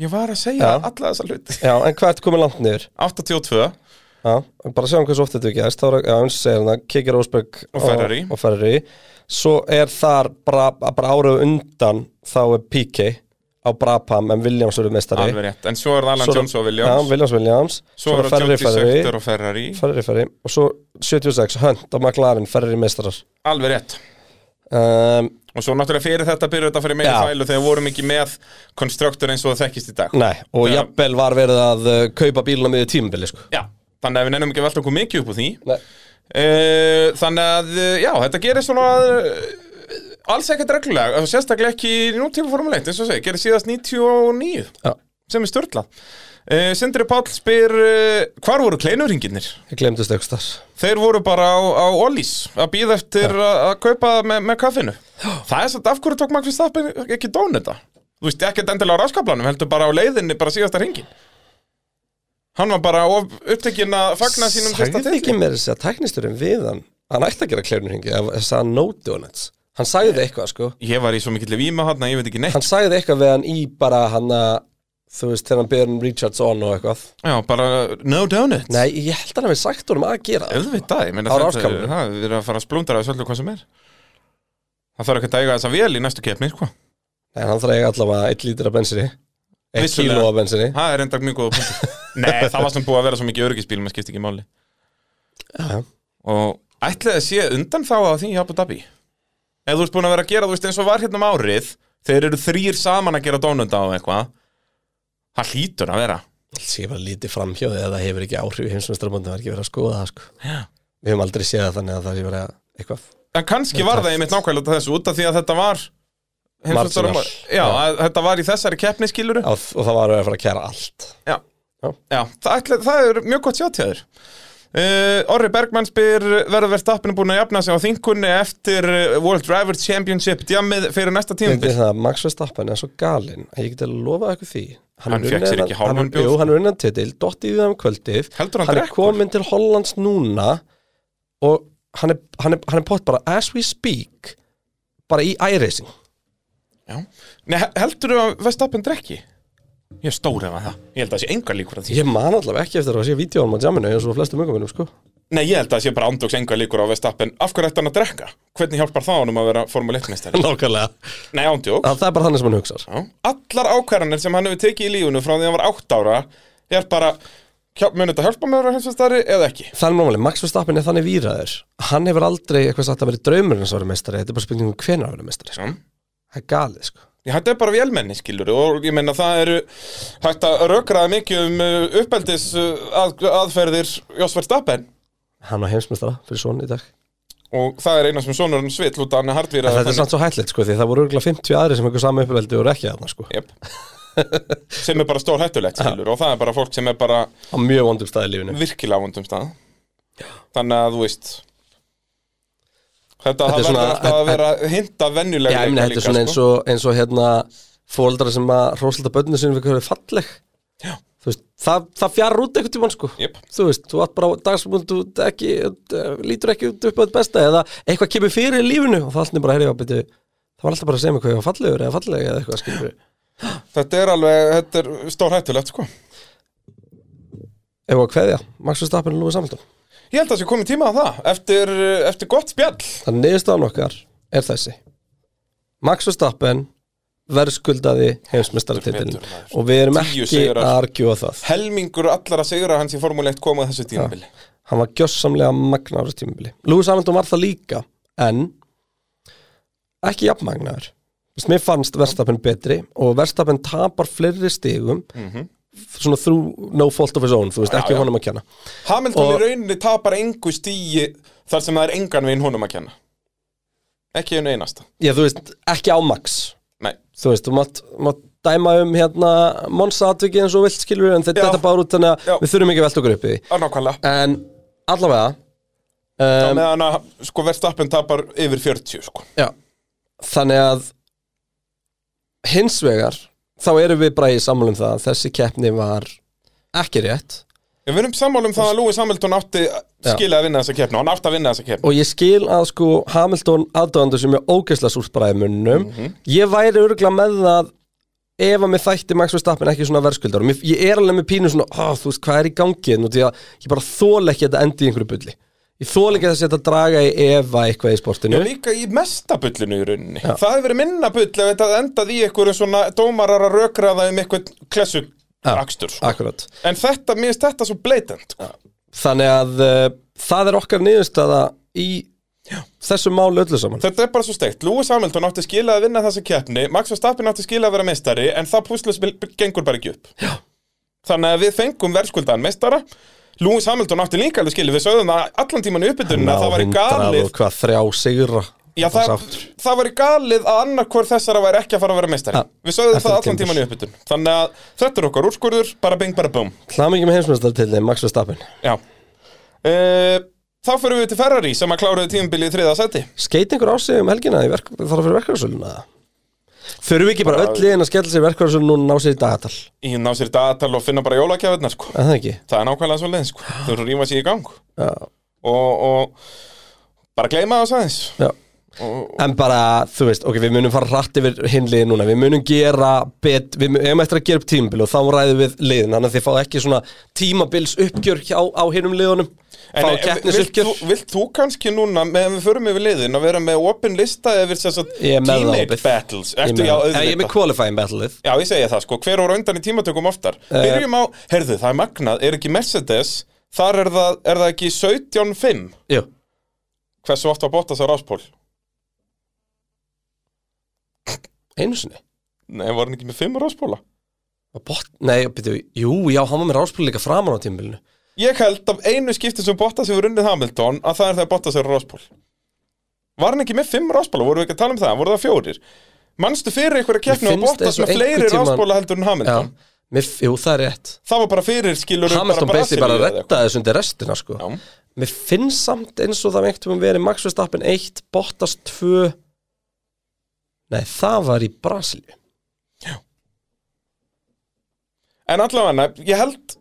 Speaker 5: Ég var að segja
Speaker 4: Já.
Speaker 5: alla þessa hluti
Speaker 4: Já, en hvað ertu komið langt niður?
Speaker 5: 82
Speaker 4: Já, bara sjáum hversu oft þetta gerist þá er já, eins og segir hérna, hann að Kiki Rósberg
Speaker 5: Og Ferrari.
Speaker 4: og, og Ferrari svo er þar bara, bara árið undan þá er PK á Brabham en Williams verður mestari
Speaker 5: Alveg rétt En svo er það Alan Jones og
Speaker 4: já,
Speaker 5: Williams
Speaker 4: Williams, Williams
Speaker 5: Svo er það
Speaker 4: Ferrari,
Speaker 5: Jody
Speaker 4: Ferrari,
Speaker 5: Sökter og Ferrari
Speaker 4: Ferrari, Ferrari og svo 76, Hunt og McLaren Ferrari mestarar
Speaker 5: Alveg rétt
Speaker 4: um,
Speaker 5: Og svo náttúrulega fyrir þetta byrjuð þetta fyrir meira
Speaker 4: Já.
Speaker 5: fælu Þegar við vorum ekki með konstruktur eins og það þekkist í dag
Speaker 4: Nei, og
Speaker 5: Já.
Speaker 4: jafnvel var verið að uh, kaupa bíluna miðið tímabili sko.
Speaker 5: Já Þannig að við nefnum ekki að velta okkur mikið upp úr því
Speaker 4: Nei.
Speaker 5: Eh, Þannig að, eh, já, þetta gerir svona eh, alls ekkert reglulega og sérstaklega ekki í nútímaformuleitt eins og ég segi, gerir síðast 99
Speaker 4: Já,
Speaker 5: sem er störla uh, Sindri Páll spyr uh, hvar voru kleinurhinginir?
Speaker 4: ég glemdist eitthvað þar
Speaker 5: Þeir voru bara á, á Ollís að býða eftir að að kaupa með, með kaffinu Það er satt af hverju tók Magnus Stappin ekki dón þetta Þú veist, ekkert endilega á raskablanum heldur bara á leiðinni bara síðasta hringin Hann var bara of upptekinn að fagna sínum fyrsta
Speaker 4: Sagði ekki
Speaker 5: titli
Speaker 4: mér þess að tæknisturinn við hann Hann ætti að gera klefnurhingi Þess að no donuts Hann sagði eitthvað sko
Speaker 5: Ég var í svo mikill víma hann að ég veit ekki neitt
Speaker 4: Hann sagði eitthvað við hann í bara hann að Þú veist þegar hann byrði um Richards on og eitthvað
Speaker 5: Já, bara no donuts
Speaker 4: Nei, ég held hann að við sagt honum að gera það.
Speaker 5: Auðvitað, ég
Speaker 4: Á
Speaker 5: meina þetta
Speaker 4: ráskamli.
Speaker 5: Það er að fara að splúndara þessu öllu hvað sem er Það þarf ekki að eiga þessa vel í næstu keppni, sko
Speaker 4: Nei, hann þarf að eiga allavega eitt lítur af bensinni Eitt
Speaker 5: Vissulega.
Speaker 4: kíló af bensinni
Speaker 5: Það er enda mjög góða punktur Nei, það var sem búið að vera svo mikið öryggisbíl maður skipti ekki máli
Speaker 4: Já.
Speaker 5: Og ætlaði að sé undan þá á því í Abu Dhabi Ef þú ert búin að vera að gera, þú veist eins og var hérna um árið Þeir eru þrýr saman að gera dónunda á eitthvað Það hlýtur að vera
Speaker 4: Ég var lítið framhjóði að það hefur ekki áhrif í heimsumstrabandi Það er ekki verið að skoða það sko
Speaker 5: Já.
Speaker 4: Við höfum aldrei séð það þannig að það sé verið að eitthvað
Speaker 5: En kannski var það einmitt nákvæmlega út af þessu út af því að þetta var
Speaker 4: Marginal.
Speaker 5: Já, Já. að Þetta var í þessari keppni skiluru
Speaker 4: Já, Og það var að fara að kæra allt
Speaker 5: Já,
Speaker 4: Já.
Speaker 5: Já það, ætla, það er mjög gott sjáttjæður uh, Orri Bergmann spyr verður verðstappinu búin að jafna sig á þinkunni eftir eh, World Driver Championship djamið fyrir næsta
Speaker 4: Þetta
Speaker 5: tímabil
Speaker 4: er það að Max Verstappen er svo galinn að ég get að lofa ykkur því
Speaker 5: Hann fékk sér ekki hálfan bjór. sko.
Speaker 4: Jú, hann er unnan titil, dott í því um kvöldið
Speaker 5: Heldur hann
Speaker 4: er
Speaker 5: drekkur?
Speaker 4: komin til Hollands núna og hann er, hann er, hann er pott bara as we speak bara í iRacing
Speaker 5: Já. Nei, heldur þú að verðstappin drekki? Ég er stórið með það Ég held að það sé engar líkur að því
Speaker 4: Ég man allavega ekki eftir að sé vídjóanum á jamminu eins og flestum öngum minnum, sko
Speaker 5: Nei, ég held að það sé bara ándóks engar líkur á Vestappen Af hverju ætti hann að drekka? Hvernig hjálpar það honum að vera Formule 1-meistari?
Speaker 4: Nákvæmlega
Speaker 5: Nei, ándjóks
Speaker 4: Það það er bara þannig sem hann hugsar
Speaker 5: Já. Allar ákvarðanir sem hann hefur tekið í lífunu frá því hann var 8 ára er bara, hjá- mun þetta hjálpa mér að vera heimsvistari eða ekki?
Speaker 4: Það er náttúrulega, Max Verstappen er þannig víraður Hann hefur aldrei eitthvað sagt að vera draumurinn að vera meistari Þetta er bara spurningum hvenær að vera meistari sko.
Speaker 5: Já.
Speaker 4: Það er galið, sko
Speaker 5: Ég hætti bara vélmenni, skilur og ég meina það eru hægt að rökraða mikið um uh, uppeldis uh, að, aðferðir Jósfer Stappen
Speaker 4: Hann á heimsmeistara fyrir svona í dag
Speaker 5: og það er eina sem sonur hann svill út að hann er
Speaker 4: En
Speaker 5: hardvíraður
Speaker 4: þetta er samt svo hættilegt, sko, því það voru örgulega 50 aðri sem hefur saman uppveldi og rekja þarna, sko
Speaker 5: Jep. sem er bara stór hættulegt, skilur og það er bara fólk sem er bara
Speaker 4: Á mjög vondum staði í lífinu
Speaker 5: virkilega á vondum stað þannig að þú veist
Speaker 4: Þetta
Speaker 5: Þetta, það
Speaker 4: er svona-
Speaker 5: verður alltaf að vera hinta venjulega
Speaker 4: Já, ég meina, þetta er
Speaker 5: sko.
Speaker 4: svona eins og, eins og hérna fóreldrar sem að hróslita bönnum sinni við hverju falleg
Speaker 5: Já.
Speaker 4: Þú veist, það, það fjarar út einhvern tímann sko
Speaker 5: Jep.
Speaker 4: Þú veist, þú átt bara dagsmund þú ekki, eh, lítur ekki út upp á þetta besta eða eitthvað kemur fyrir í lífinu og það allt er bara, heyrðu, beti, það var alltaf bara að segja mig hvað ég var fallegur eða falleg eða eitthvað skilur
Speaker 5: Þetta er alveg, þetta er stór hættulegt sko
Speaker 4: Ef að kveðja, Max Verstappen og Lúi Samhaldum
Speaker 5: Ég held að það sé komið tíma að það Eftir, eh, eftir gott spjall
Speaker 4: Þannig niðurstaðan okkar er þessi Max Verstappen verðskuldaði heimsmestaratitilin
Speaker 5: Heldur betur, maður.
Speaker 4: og við erum
Speaker 5: Tíu
Speaker 4: ekki
Speaker 5: sigrar.
Speaker 4: að argjúa það
Speaker 5: Helmingur allar að segja hans í Formule 1 komið þessu tímabili
Speaker 4: hann var gjössamlega magna á þessu tímabili Lewis Hamilton var það líka en ekki jafnmagnaður Þú veist, mér fannst Verstappen betri og Verstappen tapar fleiri stigum svona through no fault of his own þú veist, ekki
Speaker 5: Mhm. já.
Speaker 4: honum að kenna
Speaker 5: Hamilton
Speaker 4: Og-
Speaker 5: í rauninni tapar engu stíi Þar sem það er engan veginn honum að kenna Ekki einu einasta
Speaker 4: já, þú veist, ekki á max
Speaker 5: Nei,
Speaker 4: þú veist, þú mátt, mátt dæma um hérna Monsa atviki eins og þú vilt skilur en þetta,
Speaker 5: Já.
Speaker 4: þetta báður út þannig að
Speaker 5: Já.
Speaker 4: við þurfum ekki að velta okkur upp í því
Speaker 5: á nákvæmlega
Speaker 4: en allavega
Speaker 5: um,
Speaker 4: um,
Speaker 5: Meðan að sko verðstappin tapar yfir 40 sko
Speaker 4: Já, þannig að hins vegar þá erum við bara í sammála um það að þessi keppni var ekki rétt
Speaker 5: En Við erum sammála um það að Lewis Hamilton átti
Speaker 4: Já.
Speaker 5: skilja að vinna þessa keppni og Hann átti að vinna þessa keppni
Speaker 4: og ég skil að sko Hamilton aðdóðandur sem er ógeðslega súrt bara í munnum
Speaker 5: Mhm.
Speaker 4: ég væri örgulega með það ef að mér þætti Max Verstappen ekki svona verðskuldar Mér- ég er alveg með pínu svona, ó, þú veist, hvað er í gangi nú því að ég bara þóla ekki að þetta endi í einhverju bulli ég þóla ekki að þetta sé að draga í efa eitthvað í sportinu
Speaker 5: Já, líka í mesta bullinu í rauninni Það hefur verið minna bull ef þetta endaði í einhverjum svona dómarar að rökraða um einhvern klessu akstur sko.
Speaker 4: akkurat
Speaker 5: En þetta, mér finnst þetta svo bleitend sko.
Speaker 4: Þannig að uh, það er okkar niðurstaða í þessu málu öllu saman
Speaker 5: Þetta er bara svo steikt Lewis Hamilton átti skilað að vinna þessa keppni Max Verstappen átti skilað að vera meistari En það púslaspil gengur bara ekki upp Já. Þannig að við fengum verðskuldaðan meistara Lewis Hamilton átti líka alveg skilið Við sögðum það allan tíman í uppbytunum að það var í galið
Speaker 4: og hvað þrjá sigra
Speaker 5: Já, það,
Speaker 4: Sáttur.
Speaker 5: það var í galið að annarkvör þessara væri ekki að fara að vera meistari
Speaker 4: Ja,
Speaker 5: Við sögðum
Speaker 4: eftir
Speaker 5: það allan
Speaker 4: tímabil.
Speaker 5: tíman í uppbytun Þannig að þetta er okkar úrskurður, bara bing, bara bum
Speaker 4: Hlamingi með heimsmeistar til þeim, Max Verstappen
Speaker 5: Já uh, Þá fyrir við til Ferrari sem að kláruðu tímabilið í þriða seti
Speaker 4: Skeit einhver á sig um helgina í verk, þarf að fyrir verkvæðarsöluna Þurfum við ekki bara öll liðin að skella sér verkvæðarsölun og ná sér í dagatal
Speaker 5: Í ná sér dagatal og finna bara jólakjafarnar sko.
Speaker 4: Er það ekki?
Speaker 5: Það er nákvæmlega svo leið sko.
Speaker 4: Ah.
Speaker 5: Þau eru að rýma sér í gang
Speaker 4: Já,
Speaker 5: Og, og bara gleyma það aðeins
Speaker 4: já En bara, þú veist, ok, við munum fara hratt yfir hinlið núna, við munum gera bet, við mun- eigum eftir að gera upp tímabil og þá ræðum við liðin, þannig að þið fá ekki svona tímabils uppgjör hjá, á hinum liðunum
Speaker 5: En
Speaker 4: fá
Speaker 5: eh,
Speaker 4: keppnis
Speaker 5: vilt, þú, vilt þú kannski núna meðan við förum yfir liðin að vera með open lista yfir þess að
Speaker 4: Ég er með það
Speaker 5: teammate
Speaker 4: opið.
Speaker 5: battles
Speaker 4: Ég
Speaker 5: Ertu,
Speaker 4: með það. Eh,
Speaker 5: já, auðvitað.
Speaker 4: Ég er með qualifying battleið
Speaker 5: Já, ég segja það sko, hver voru undan í tímatökum oftar
Speaker 4: Eh.
Speaker 5: Byrjum á, heyrðu, það er magnað, er ekki Mercedes Þar er það, er það ekki 17.5
Speaker 4: Jú,
Speaker 5: Hversu oft var Bottas á ráspól?
Speaker 4: einu sinni
Speaker 5: Nei, var hann ekki með 5 ráspóla?
Speaker 4: Var bot, Nei, byrju, jú, já, hann var með ráspil líka framan á tímabilinu
Speaker 5: Ég held af einu skipti sem Bottas hefur unnið Hamilton Að það er þegar Bottas er á ráspól Var hann ekki með 5 ráspóla? Voru við ekki að tala um það? Voru það fjórir? Manstu fyrir einhverja keppni á
Speaker 4: finnst eins
Speaker 5: Bottas
Speaker 4: og
Speaker 5: með
Speaker 4: einhvern
Speaker 5: fleiri
Speaker 4: tímann-
Speaker 5: ráspóla heldur en
Speaker 4: Já,
Speaker 5: Hamilton?
Speaker 4: mér, jú, það er rétt
Speaker 5: Það var bara fyrir skilur
Speaker 4: Hamilton
Speaker 5: bara
Speaker 4: basic bara
Speaker 5: Brasilíu eða eitthvað.
Speaker 4: rettaði þessu undir restina, sko
Speaker 5: Já.
Speaker 4: Mér finnst samt eins og það með einhvern veginn verið Max Verstappen 1, Bottas 2 Nei, það var í Brasilíu
Speaker 5: En allavega, ég held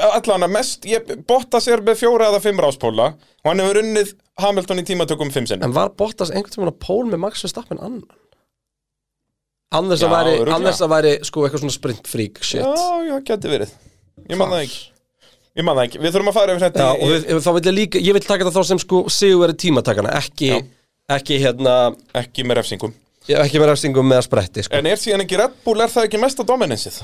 Speaker 5: allavega mest, ég botta sér með fjóra eða fimm ráspóla og hann hefur unnið Hamilton í tímatökum fimm sinnum
Speaker 4: En var Bottas einhvern veginn að pól með Max Verstappen annan? Án þess að
Speaker 5: Já,
Speaker 4: væri,
Speaker 5: örugglega.
Speaker 4: án þess að væri sko eitthvað svona sprint freak shit
Speaker 5: Já, já, geti verið Ég man það ekki Ég man það ekki, við þurfum að fara yfir þetta
Speaker 4: Já,
Speaker 5: í-
Speaker 4: og við, þá vil ég líka, ég vil taka þetta þá sem sko sigurveri tímatakana, ekki,
Speaker 5: Já.
Speaker 4: ekki hérna,
Speaker 5: Ekki með refsingum
Speaker 4: já, ekki með refsingum með að spretti, sko.
Speaker 5: En er síðan ekki Red Bull, er það ekki mesta dominansið?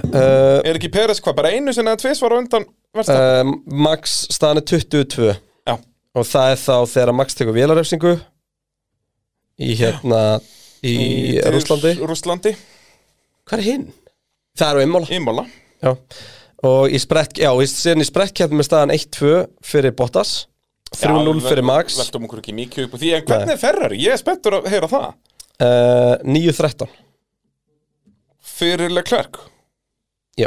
Speaker 4: Uh,
Speaker 5: Er ekki Peres hvað, bara einu sinni eða tvis var á undan versta?
Speaker 4: uh, Max, staðan er 22
Speaker 5: Já,
Speaker 4: og það er þá þegar Max tekur vélarefsingu í hérna, í, í
Speaker 5: til
Speaker 4: Rúslandi.
Speaker 5: Rússlandi,
Speaker 4: Hvað er hinn? Það er á einmála.
Speaker 5: ímála
Speaker 4: Já, og í sprett, já, í sérin í sprettkeppnum er staðan 1-2 fyrir Bottas, 3-0 fyrir Max,
Speaker 5: Veltum okkur ekki mikið upp úr því En hvernig er Ferrari? Ég er spenntur að heyra það
Speaker 4: uh, 9-13.
Speaker 5: Fyrir Leclerc
Speaker 4: Já,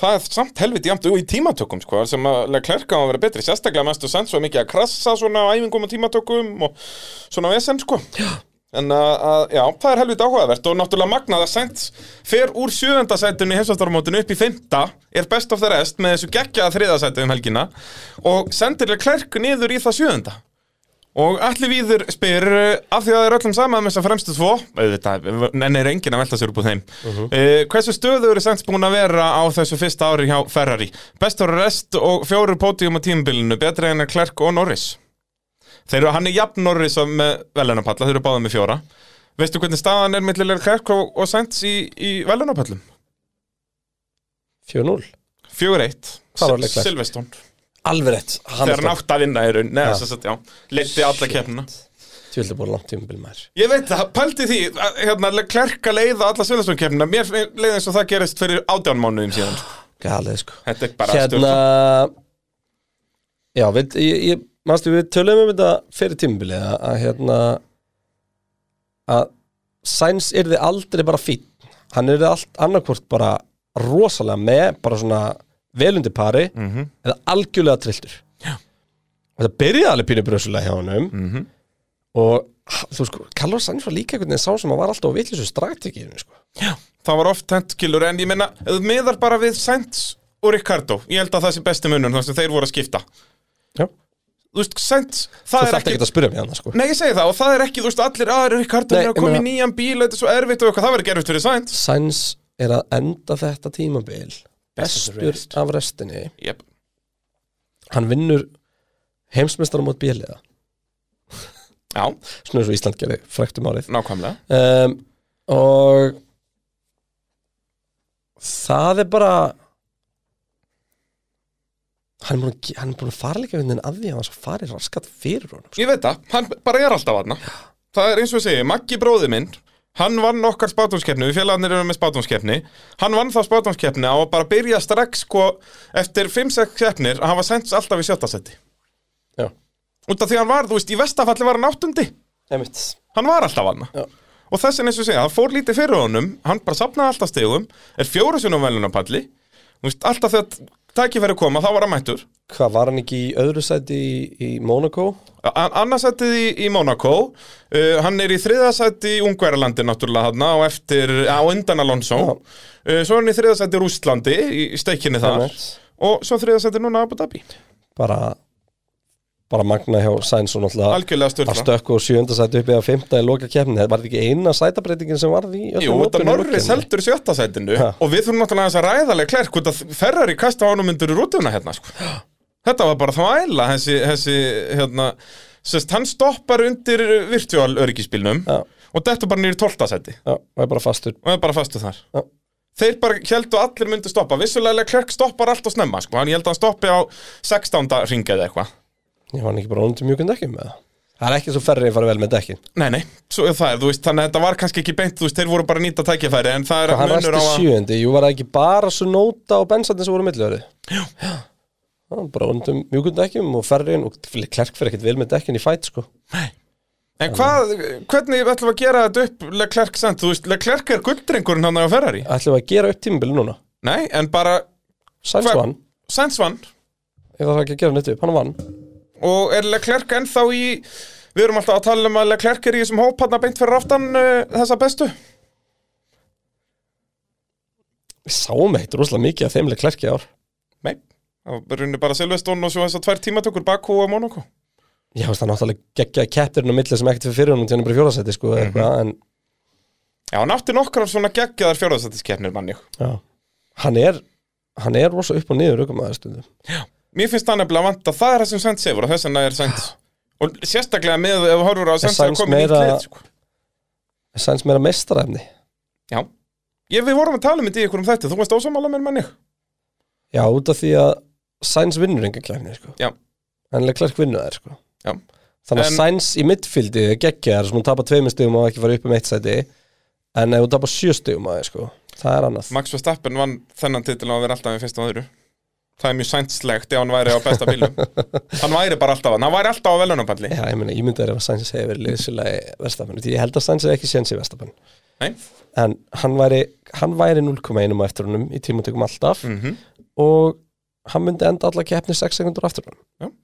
Speaker 5: Það er samt helviti jamt og í tímatökum sko, sem að klerka á að vera betri sérstaklega mestu sens og mikið að krassa svona á æfingum og tímatökum og svona vesen sko já. en að, að, já, það er helviti áhugavert og náttúrulega magnað að sens fer úr sjöðunda sætinu í hefstaftarmótinu upp í fymta er best of the rest með þessu geggjaða þriða sætið um helgina og sendir klerk niður í það sjöðunda Og allir viður spyr uh, af því að það er öllum sama með þess að fremstu tvo auðvitað, en er enginn að velta sér upp úr þeim uh
Speaker 4: Mhm.
Speaker 5: Hversu stöðu eru sent búin að vera á þessu fyrsta ári hjá Ferrari? Bestur rest og fjóru pódium á tímabilinu betri en að Klerk og Norris Þeir eru, hann er jafn Norris og með velunapalla, þeir eru báðið með fjóra Veistu hvernig staðan er millilega Klerk og, og sent í, í velunapallum?
Speaker 4: 4-0.
Speaker 5: 4-1
Speaker 4: Hvað var Leclerc?
Speaker 5: Silveston
Speaker 4: Alveg rétt,
Speaker 5: Þegar
Speaker 4: Hamilton,
Speaker 5: nátt að vinna í raun, neða
Speaker 4: Já.
Speaker 5: þess að já Leiti alla keppnuna
Speaker 4: tjóðlega búið langt tímabil maður.
Speaker 5: Ég veit það, pælti því að, hérna, klerka leiða alla Sjöðarsson-keppnina Mér leiði eins og það gerist fyrir átján mánuðum síðan sko.
Speaker 4: Galið, sko.
Speaker 5: Þetta er bara
Speaker 4: hérna já, við, ég, ég, manstu, við töluðum um þetta fyrir tímabilið að, að hérna að Sainz yrði aldrei bara fín hann yrði allt annarkvort bara rosalega með, bara svona velundi pari, eða algjörlega trilltur já. þetta byrjaði alveg pínu brösulega hjá honum -hmm. og þú sko, Carlos Sainz var líka einhvern veginn sá sem að var alltaf á vitlisum strategíunum sko.
Speaker 5: Það var oft tentkilur en ég minna Meðar bara við Sainz og Ricardo Ég held að það sé besti munur þannig sem þeir voru að skipta
Speaker 4: já,
Speaker 5: Þú veist, Sainz,
Speaker 4: þú
Speaker 5: það er
Speaker 4: þarft
Speaker 5: ekki
Speaker 4: ekki að spyrja mig hann sko.
Speaker 5: Nei, ég segi það og það er ekki, þú veist, allir aðri Ricardo
Speaker 4: Nei,
Speaker 5: er
Speaker 4: ég
Speaker 5: að koma í
Speaker 4: meina-
Speaker 5: nýjan bíl Þetta er svo erfitt og eitthvað, það verður ekki erfitt fyrir Sainz
Speaker 4: Sainz er að enda þetta tímabil
Speaker 5: Best of the
Speaker 4: bestur
Speaker 5: rest.
Speaker 4: af restinni
Speaker 5: yep.
Speaker 4: hann vinnur heimsmeistarum át bíliða
Speaker 5: Já,
Speaker 4: svona eins og Ísland gerði fræktum árið
Speaker 5: nákvæmlega
Speaker 4: um, og það er bara hann er búin að, ge- hann er búin að fara líka vinnin að því að hann svo fari raskat fyrir honum sko.
Speaker 5: Ég veit það, hann bara er alltaf aðna Það er eins og ég segi, Maggi bróði minn Hann vann okkar spátumskeppni, við félagarnir erum með spátumskeppni Hann vann þá spátumskeppni á að bara byrja strax sko Eftir 5-6 keppnir, hann var sent alltaf í sjötta seti
Speaker 4: já,
Speaker 5: Út af því hann var, þú veist, í vestafalli var hann áttundi
Speaker 4: einmitt
Speaker 5: Hann var alltaf aðna
Speaker 4: Já.
Speaker 5: Og þessin eins og ég segi, hann fór lítið fyrir honum Hann bara safnaði alltaf stegum Er fjóru sinum velunapalli Þú veist, alltaf þegar tækifæri koma, þá var hann mættur
Speaker 4: hvað var hann ekki í öðru sæti í, í Monaco
Speaker 5: Annarsættið í, í Monaco uh, Hann er í þriðasætti í Ungverjalandi náttúrulega hann á eftir á undan Alonso
Speaker 4: Já.
Speaker 5: uh, Svo er hann í þriðasætti í Rústlandi í, í steikinni þar
Speaker 4: Einmitt.
Speaker 5: og svo þriðasætti núna Abu Dhabi
Speaker 4: bara bara magna hjá Sainz og náttúrulega
Speaker 5: Algjörlega
Speaker 4: Það
Speaker 5: störla
Speaker 4: stökk og sjönda sæti upp eða fymta í loka keppni Það var ekki eina sætabreitingin sem varð í öllum
Speaker 5: Jú, þetta
Speaker 4: opinu
Speaker 5: Norris
Speaker 4: lokinu.
Speaker 5: heldur sjötta sætinu
Speaker 4: Ha.
Speaker 5: og við þurfum náttúrulega aðeins að ræðalega klærk út að Ferrari kasta á honum undir rútuna hérna sko. Þetta var bara þvæla þessi, þessi hérna, sérst, hann stoppar undir virtuál öryggisbílnum
Speaker 4: Já.
Speaker 5: og þetta bara nýr tóltasæti
Speaker 4: Já, það er bara fastur
Speaker 5: og er bara fastu þar
Speaker 4: Já.
Speaker 5: Þeir bara heldu að allir myndu stoppa Vissulega Klerk stoppar allt og snemma sko. Hann ég held að hann stoppi á 16. ringa eða eitthvað
Speaker 4: Ég var hann ekki bara honum til mjögum dekkjum með það Það er ekki svo ferri að fara vel með dekkin
Speaker 5: Nei, nei, svo er það er, þú veist, þannig að þetta var kannski ekki beint, þú veist, þeir voru bara að nýta tækifæri en það er
Speaker 4: Hann
Speaker 5: munur
Speaker 4: resti
Speaker 5: á að
Speaker 4: sjöndi, jú var það ekki bara svo nóta og bensandi sem voru millöri Já Það var bara honum til mjögum dekkjum og ferriðin og klerk fyrir ekkert vel með dekkin í fæt sko
Speaker 5: En hvað, hvernig ætlum við að gera þetta upp Leclerc sent, þú veist, Leclerc er gulddrengurinn hann á Ferrari
Speaker 4: Ætlum við að gera upp tímabili núna
Speaker 5: Nei, en bara
Speaker 4: Sainz
Speaker 5: Hver-
Speaker 4: vann,
Speaker 5: Sainz vann
Speaker 4: ég þarf ekki að gera neitt upp, hann vann
Speaker 5: og er Leclerc ennþá í við erum alltaf að tala um að Leclerc er í þessum hóp hann beint fyrir aftan uh, þessa bestu
Speaker 4: Við sáum eitt rosalega mikið af þeimlega klerki ár
Speaker 5: Nei, það runni bara Silveston og svo þess að tvær tímatökur Bakú og Monaco
Speaker 4: Já, veist, það er náttúrulega geggjaði keppirinn á milli sem ekkert fyrir fyrir honum til hann er bara fjóðarsæti sko, mm -hmm. en
Speaker 5: Já, hann átti nokkrar svona geggjaðar fjórðarsættiskeppnir manni
Speaker 4: Já. Hann er hann er rosa upp og niður aukum aðeins stundum
Speaker 5: Mér finnst það nefnilega vant að það er það sem Sainz hefur og þess vegna er Sainz og sérstaklega með ef þú horfur á Sainz að
Speaker 4: Sainz
Speaker 5: koma meira...
Speaker 4: meira-
Speaker 5: nýtt leið sko.
Speaker 4: Sæns meira mestaræfni
Speaker 5: Já, ég, við vorum að tala með því ykkur um þetta, þú varst ósamála með manni
Speaker 4: Já, út af því að Sæns vinnur enga kefni sko.
Speaker 5: Já.
Speaker 4: En Leclerc vinnur það sko.
Speaker 5: Já.
Speaker 4: Þannig að
Speaker 5: En-
Speaker 4: Sæns í midfildi geggjar sem hún tapar tveimur stegum og ekki fara upp um eitt sæti en ef hún tapar sjö stegum aðeins sko. það er annað
Speaker 5: Max Verstappen vann þennan titil og hann verið alltaf í fyrsta og öðru Það er mjög Sainzlegt ef hann væri á besta bílum Hann væri bara alltaf, hann væri alltaf á velunarpalli
Speaker 4: Já, ég meina, ég myndi að ef að Sainz hefur verið liðsfélagi Verstappen, því ég held að Sainz hefur ekki séns í Verstappen
Speaker 5: Nei.
Speaker 4: en hann væri, hann væri 0,1 á eftir honum í tímatökum alltaf
Speaker 5: Mhm.
Speaker 4: og hann myndi enda alla keppni 6 sekundur aftur honum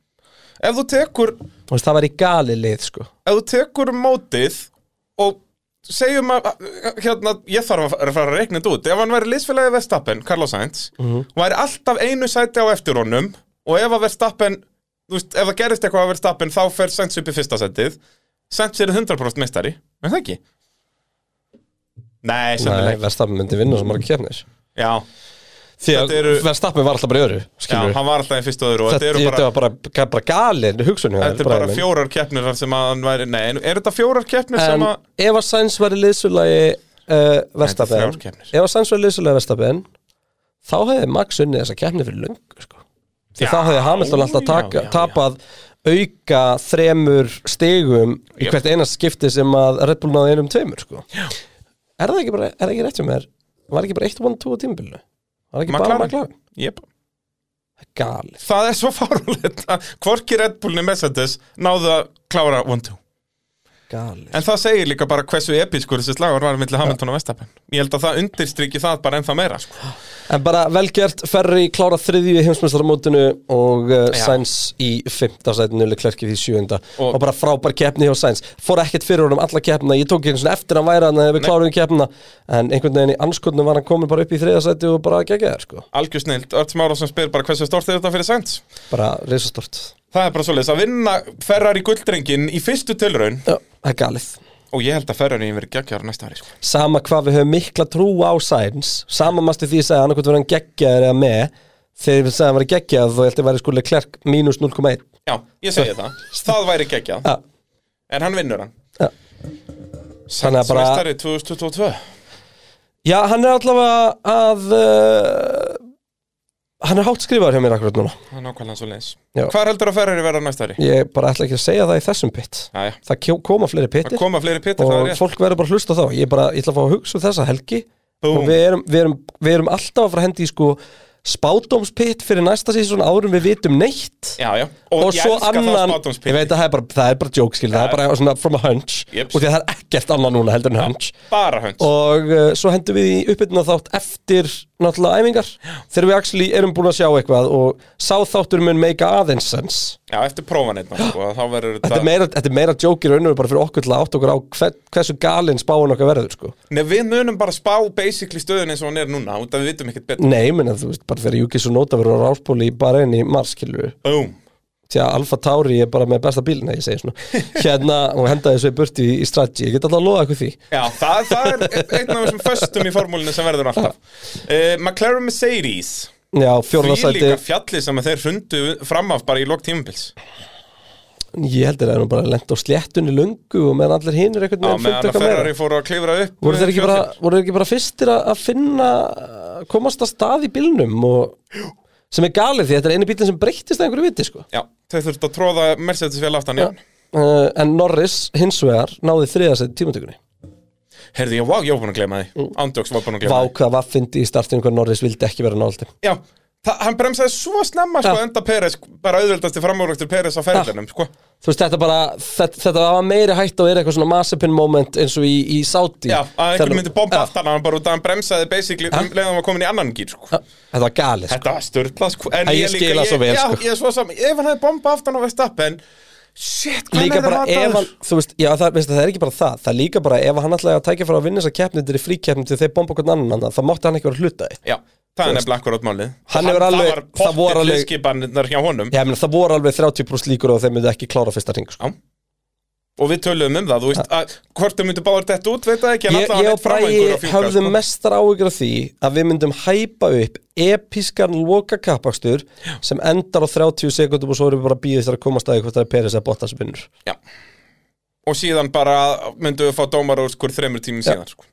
Speaker 5: Ef þú tekur
Speaker 4: Þú veist, það væri gali lið sko
Speaker 5: ef þú tekur mótið og segjum að hérna, ég þarf að fara að reikna þetta út ef hann væri liðsfélagið Verstappen, Carlos Sainz
Speaker 4: Mhm.
Speaker 5: væri alltaf einu sæti á eftir honum og ef að Verstappen þú veist, ef það gerist eitthvað á Verstappen þá fer Sainz upp í fyrsta sætið Sainz er 100% meistari, en það ekki Nei,
Speaker 4: Nei,
Speaker 5: sennilega ekki.
Speaker 4: Verstappen myndi vinna svo marga keppnir
Speaker 5: Já,
Speaker 4: Því að
Speaker 5: Þetta eru-
Speaker 4: Verstappen var alltaf bara í öru
Speaker 5: já,
Speaker 4: skilur
Speaker 5: hann var alltaf í fyrstu og öðru og
Speaker 4: Þetta
Speaker 5: þetta eru
Speaker 4: þetta
Speaker 5: bara,
Speaker 4: var bara, bara, bara galin hugsun hjá
Speaker 5: þetta
Speaker 4: þér,
Speaker 5: eru bara
Speaker 4: Bragi minn.
Speaker 5: fjórar keppnir þar sem að hann væri, nei, en eru þetta fjórar keppnir
Speaker 4: En
Speaker 5: sem að
Speaker 4: ef að Sainz væri liðsfélagi uh, Verstappen
Speaker 5: þrjár keppnir.
Speaker 4: Ef að Sainz væri liðsfélagi Verstappen þá hefði Max unnið þessa keppni fyrir löngu sko. því
Speaker 5: Já,
Speaker 4: þá hefði Hamilton alltaf
Speaker 5: já,
Speaker 4: taka,
Speaker 5: já, já.
Speaker 4: tapað auka þremur stigum í
Speaker 5: Jöp.
Speaker 4: hvert einast skipti sem að Red Bull náði einum tveimur sko. er það ekki, bara, er það ekki rétt hjá mér var ekki bara 1-1-2 á tímbilinu var ekki bara
Speaker 5: McLaren?
Speaker 4: McLaren
Speaker 5: Jep.
Speaker 4: galið
Speaker 5: Það er svo fárúleitt að hvorki Red Bullni Mercedes náðu að klára 1-2
Speaker 4: galið
Speaker 5: En það segir líka bara hversu episkur þessi slagur var millir Hamilton og Vestapen Ég held að það undirstrykki það bara ennþá meira sko.
Speaker 4: En bara velgjert, Ferri klára þriðju í heimsmeistaramótinu og uh,
Speaker 5: Já.
Speaker 4: Sainz í fymta sætinu Leclerc í því sjöunda og,
Speaker 5: Og-
Speaker 4: bara frábær keppni hjá Sainz fór ekkert fyrir honum alla keppna, ég tók ekki einu sinni eftir að hann væri hann að við kláruðum keppna en einhvern veginn í anskotnum var hann komin bara upp í þriða sæti og bara gegja þér sko
Speaker 5: Algjör snild, Örts Márásson spyr bara hversu stort er þetta fyrir Sainz
Speaker 4: bara reisastort
Speaker 5: Það er bara svoleiðis að vinna Ferrari gulddrengin í fyrstu tilraun
Speaker 4: Já, það er galið
Speaker 5: Og ég held að Ferrari verið geggjara næsta ári sko.
Speaker 4: Sama hvað við höfum mikla trú á Sainz sama mastu því að segja annarkvæmt verið hann geggjaður eða með þegar við segja hann verið geggjað þá heldur verið sko Leclerc mínus 0,1
Speaker 5: Já, ég segi það, það væri geggja
Speaker 4: Já.
Speaker 5: En hann vinnur hann
Speaker 4: Já. Þannig að
Speaker 5: Sainz
Speaker 4: bara-
Speaker 5: meistari 2022
Speaker 4: Já, hann er allavega að uh, Hann er hátt skrifaður hjá mér akkurat núna
Speaker 5: Það er nákvæmlega svoleiðis
Speaker 4: Já.
Speaker 5: Hvar heldur að Ferrari verða næsta ári?
Speaker 4: Ég bara ætla ekki að segja það í þessum pitt
Speaker 5: Jæja,
Speaker 4: Það kjó- koma fleiri
Speaker 5: það
Speaker 4: pittir
Speaker 5: koma fleiri pittir það er
Speaker 4: og
Speaker 5: rétt.
Speaker 4: fólk verður bara að hlusta þá Ég, bara, ég ætla að fá að hugsa um þessa helgi
Speaker 5: Búm.
Speaker 4: og við erum, við, erum, við erum alltaf að fara að hendi í sko spátdómspitt fyrir næsta síðan árum við vitum neitt
Speaker 5: Já, já.
Speaker 4: og,
Speaker 5: ég
Speaker 4: svo
Speaker 5: elska það
Speaker 4: annan,
Speaker 5: spádómspitti.
Speaker 4: ég veit að það er bara, það er bara joke skil, það er bara svona from a hunch
Speaker 5: Jeps.
Speaker 4: og því að það er ekkert annað núna heldur en hunch
Speaker 5: bara hönd
Speaker 4: og uh, svo hendum við í uppbytuna þátt eftir náttúrulega æfingar þegar við actually erum búin að sjá eitthvað og sá þáttur mun meika aðeins sens
Speaker 5: Já, eftir prófan einna sko, þá verður
Speaker 4: þetta
Speaker 5: þetta
Speaker 4: er meira, þetta er meira jókir raunur bara fyrir okkur til að átt okkur á hver, hversu galinn spáin okkar verður sko
Speaker 5: Nei, við munum bara spá basically stöðun eins og hann er núna út af við vitum ekkert betur
Speaker 4: nei, menn þú veist, bara þegar Júkis og Nóta verður á ráspóli í bara enn í marskilur
Speaker 5: Búm
Speaker 4: því að Alfa Tauri er bara með besta bíl nei, ég segi svona, hérna og henda þessu í burti í, í strategi, ég get alltaf að loða eitthvað því
Speaker 5: Já, það, það er einn af þessum föstum í formúlinu sem verður alltaf uh, McLaren Mercedes
Speaker 4: já,
Speaker 5: Því
Speaker 4: fjórðasæti,
Speaker 5: líka fjallið sem að þeir hrundu fram af bara í lok tímabils
Speaker 4: ég heldur að það er bara lent á sléttunni lungu og meðan allir hinir einhvern
Speaker 5: Já,
Speaker 4: veginn fundu
Speaker 5: meðan að
Speaker 4: eitthvað meira
Speaker 5: Ferrari fóru að klifra upp eh,
Speaker 4: voru þeir ekki
Speaker 5: fjöllin.
Speaker 4: bara, voru þeir ekki bara fyrstir að að finna að komast að stað í bílnum og sem er galið því þetta er eini bílinn sem breyttist að einhverju viti sko.
Speaker 5: Já, þeir þurftu að tróða Mercedes vel aftan ja.
Speaker 4: uh, en Norris hins vegar náði þriðasett tímatökunni
Speaker 5: Herði ég, vá, ég var búin að gleyma því
Speaker 4: Mm.
Speaker 5: Andjóks var búin að gleyma því
Speaker 4: Váka var fyndi í startinu hvað Norris vildi ekki vera náldi
Speaker 5: Já, það, hann bremsaði svo snemma sko,
Speaker 4: Já.
Speaker 5: enda Peres, bara auðveldasti framúröktur Peres á ferðinum sko.
Speaker 4: þú veist þetta bara, þetta, þetta var meiri hægt að vera eitthvað svona masipin moment eins og í, í Saudi
Speaker 5: Já, að
Speaker 4: Þegar-
Speaker 5: einhver myndi bomba
Speaker 4: Já,
Speaker 5: aftan hann bara út að hann bremsaði basically um leiðan hann var komin í annan gýr sko.
Speaker 4: já, þetta var galið sko.
Speaker 5: Þetta var störtlað sko En
Speaker 4: Æ, ég skil það svo vel,
Speaker 5: Já,
Speaker 4: sko.
Speaker 5: ég er svo saman Ef hann hefði bomba aftan á Verstappen Shit, hvað
Speaker 4: líka
Speaker 5: er
Speaker 4: bara
Speaker 5: það
Speaker 4: ef hann, þú veist, já það, veistu, það er ekki bara það það er líka bara ef hann ætlaði að tækja fyrir að vinna þess að keppni þetta er fríkeppni til þeir bomba hvern annan þá mátti hann ekki vera hlutaði
Speaker 5: Já, það er nefnilega akkur átt málið
Speaker 4: Hann hefur alveg- það voru
Speaker 5: Það var
Speaker 4: alveg-
Speaker 5: pottir skipanirnar hjá honum
Speaker 4: Já, menn, það voru alveg 30% líkur og þeim myndi ekki klára fyrsta ring sko.
Speaker 5: Já. og við töluðum um það, þú veist að, hvort þau myndu báður þetta út, veit það ekki en
Speaker 4: Ég,
Speaker 5: allavega
Speaker 4: ég og
Speaker 5: einn fram á
Speaker 4: Bræi
Speaker 5: einhverju að fjúka,
Speaker 4: höfðum
Speaker 5: sko.
Speaker 4: mestar áhyggjur af því að við myndum hæpa upp episkan loka kappakstur sem endar á 30 sekundum og svo erum við bara að býða þér að komast að því hvort það er Peres að Bottas vinnur
Speaker 5: Já. og síðan bara myndu við fá dómar úr skur þremur tímum síðan sko.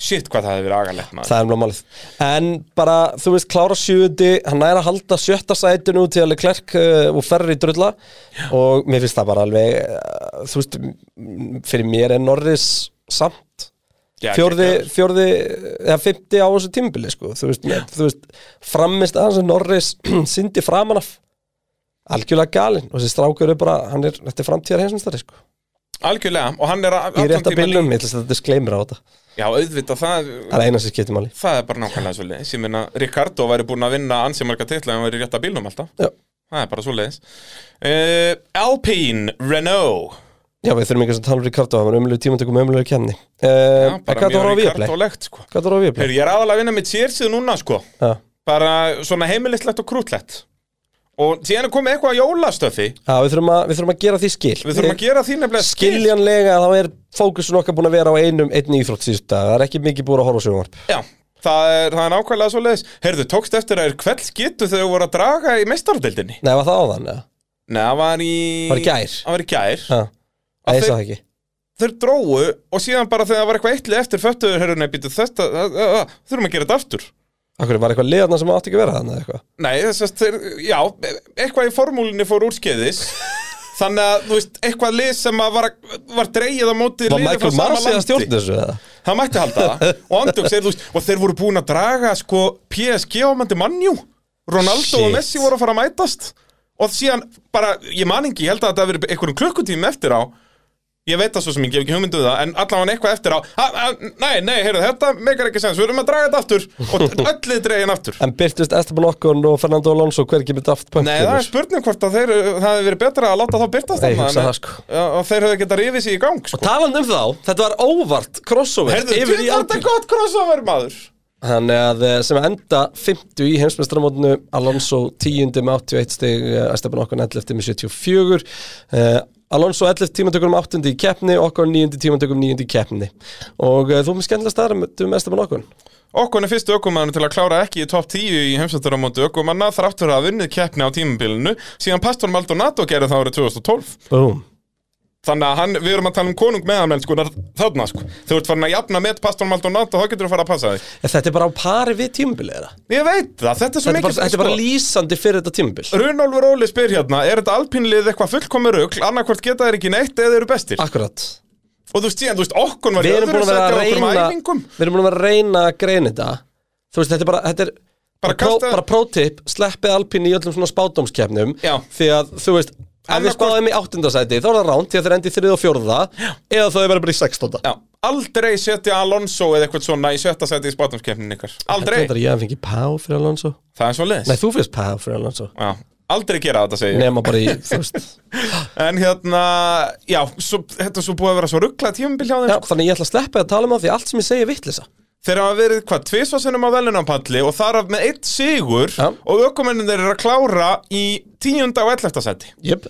Speaker 5: shit hvað það hefði verið agalegt maður
Speaker 4: Það er mjög málið En bara, þú veist, klára sjöundi Hann er að halda sjötta sætinu til alveg klerk uh, og ferri drulla Og mér finnst það bara alveg uh, Þú veist, m- fyrir mér er Norris samt
Speaker 5: Já,
Speaker 4: Fjórði,
Speaker 5: geggjaður.
Speaker 4: fjórði, eða fymti á þessu tímbili sko. Þú veist, með, þú veist framist aðeins að Norris sindi framan af Algjörlega galinn Og þessi strákur er bara, hann er, þetta er framtíðar heimsumstari sko.
Speaker 5: algjörlega, og hann er að-
Speaker 4: Í
Speaker 5: allan
Speaker 4: rétta
Speaker 5: tímann í-
Speaker 4: bílum, ég ætla að setja disclaimer á þetta
Speaker 5: já, auðvitað, það,
Speaker 4: Það er eina sem skiptir máli
Speaker 5: það er bara nákvæmlega svoleiðis ég meina, Ricardo væri búin að vinna ansi marga titla en hann væri í rétta bílnum alltaf
Speaker 4: Já,
Speaker 5: það er bara svoleiðis uh, Alpine, Renault
Speaker 4: Já, við þurfum ekki að tala um Ricardo, það var umlega tímantökum umlega kemni. Uh,
Speaker 5: já,
Speaker 4: en hvað
Speaker 5: bara
Speaker 4: það var á
Speaker 5: mjög
Speaker 4: Viaplay?
Speaker 5: Ricardo-legt sko.
Speaker 4: Hvað það var á Viaplay?
Speaker 5: Heyrðu, ég er aðalega að vinna með Cheersið núna sko
Speaker 4: Já,
Speaker 5: bara svona heimilislegt og krútlegt og síðan er komið eitthvað að jólastöfi
Speaker 4: Já, við þurfum að, við þurfum að gera því skil.
Speaker 5: við þurfum að gera því nefnilega skil.
Speaker 4: Skiljanlega þá er fókusun okkar búin að vera á einum, einn íþrótt síðust að það er ekki mikið búin að horfa á sjónvarp.
Speaker 5: Já, það er, það er nákvæmlega svo leiðis Heyrðu, tókst eftir að er kveld skitu þegar þau voru að draga í meistardeldinni
Speaker 4: Nei, var það áðan, eða?
Speaker 5: Nei, það var í...
Speaker 4: Var í gær?
Speaker 5: Það var í gær
Speaker 4: Já, Nei,
Speaker 5: þeir-
Speaker 4: ég sá það ekki.
Speaker 5: Þeir drógu og síðan bara þegar það var eitthvað eittlið eftir föttuður Heyrðu, nei, býtu þetta, það- það- það- þurfum að gera þetta aftur
Speaker 4: Akkur var eitthvað liðarna sem átti ekki að vera þannig eitthvað.
Speaker 5: Nei, þess að þeir, já, eitthvað í formúlinni fór úrskeiðis Þannig að, þú veist, eitthvað lið sem að var, var dreigið á móti
Speaker 4: Var
Speaker 5: liði frá
Speaker 4: Michael
Speaker 5: sama
Speaker 4: Marcy að
Speaker 5: landi.
Speaker 4: stjórna þessu eða?
Speaker 5: Það mætti halda það Og andjóks er þú veist Og þeir voru búin að draga sko PSG ámandi mannjú Ronaldo og
Speaker 4: Shit.
Speaker 5: Messi voru að fara að mætast Og síðan bara Ég man ekki, ég held að þetta hafi verið einhverjum klukkutími eftir á Ég veit það svo sem ég gef ekki hugmyndu það En allavega eitthvað eftir á "Ha, ha, Nei, nei, heyrðu, þetta megar ekki sens Við erum að draga þetta aftur Og öllið dregin aftur
Speaker 4: En byrtist Esteban Okkon og Fernando Alonso, hver kemur daft punk
Speaker 5: Nei, það er spurning hvort að þeir Það hefði verið betra að láta þá byrtast
Speaker 4: Nei, ég
Speaker 5: þarna,
Speaker 4: hugsa
Speaker 5: en-
Speaker 4: það, sko.
Speaker 5: Já, Og þeir hefði getað rifið sér í gang sko.
Speaker 4: Taland um þá, þetta var óvart crossover
Speaker 5: Heyrðu,
Speaker 4: yfir í
Speaker 5: djöfull var
Speaker 4: Alpine.
Speaker 5: þetta gott crossover maður
Speaker 4: Þannig að eh, sem enda 50 í heimsmeistramótinu Alonso 10 með 81 stig eh, Esteban Okkon 11 með 74 uh, Alonso 11 tímantökunum 8 í keppni Okkon 9 tímantökunum 9 í keppni og uh, þú með skemmtilega staðar með Esteban Okkon
Speaker 5: Okkon er fyrstu ökumann til að klára ekki í top 10 í heimsvættaramóti ökumanna þrátt fyrir að hafa unnið keppni á tímabilinu síðan Pastor Maldonado gerði það árið 2012
Speaker 4: Búm
Speaker 5: þannig að hann, við erum að tala um konung meðanmenn sko þarna sko, þú ert farin að jafna með Pastor Maldonado, þá getur þú að fara að passa þig
Speaker 4: Þetta er bara á pari við tímabilið þeirra
Speaker 5: ég veit það, þetta er
Speaker 4: Þetta er
Speaker 5: svo
Speaker 4: bara,
Speaker 5: mikið sko-
Speaker 4: þetta er bara lýsandi fyrir þetta tímabil
Speaker 5: Runolfur Óli spyr hérna, er þetta alpínlið eitthvað fullkomur rugl, annarkvort geta þeir ekki neitt eða þeir eru bestir,
Speaker 4: Akkurat
Speaker 5: og þú veist síðan, þú veist, okkon var í
Speaker 4: Við erum
Speaker 5: öðru
Speaker 4: búin að vera
Speaker 5: sæti á
Speaker 4: að
Speaker 5: okkur
Speaker 4: reyna
Speaker 5: æfingum
Speaker 4: Við erum búin að vera að reyna að greina þetta Þú veist, þetta er bara Þetta er bara,
Speaker 5: Bara
Speaker 4: pró,
Speaker 5: kasta-
Speaker 4: bara prótip Sleppið alpín í öllum svona spátumskefnum
Speaker 5: Já.
Speaker 4: Því að, þú veist Ef við
Speaker 5: Annarkvort-
Speaker 4: spáðum í áttundasæti Þá er það ránt Því að þeir endi í þrið og fjórða Eða þá er bara bara í sextónda
Speaker 5: Já, aldrei setja Alonso eða eitthvað svona í sjötta seti í spátumskeppnin ykkar aldrei,
Speaker 4: Þetta er ég að fengi pá fyrir Alonso
Speaker 5: það er svo
Speaker 4: Nei, þú finnst pá fyrir Alonso
Speaker 5: Já, aldrei gera þetta segi ég
Speaker 4: Nema bara í, þú veist
Speaker 5: En hérna, já, svo, þetta er svo búið að vera svo ruggla tímabil hjá þeim
Speaker 4: Já,
Speaker 5: sko.
Speaker 4: þannig ég ætla að sleppa að tala um það Því allt sem ég segi er vittlisa
Speaker 5: Þeir hafa verið, hvað, tvisvarsinnum á velunarpalli Og þar af með eitt sigur
Speaker 4: Já.
Speaker 5: Og ökumennin þeir eru að klára í tíunda og ellefta seti
Speaker 4: Jöp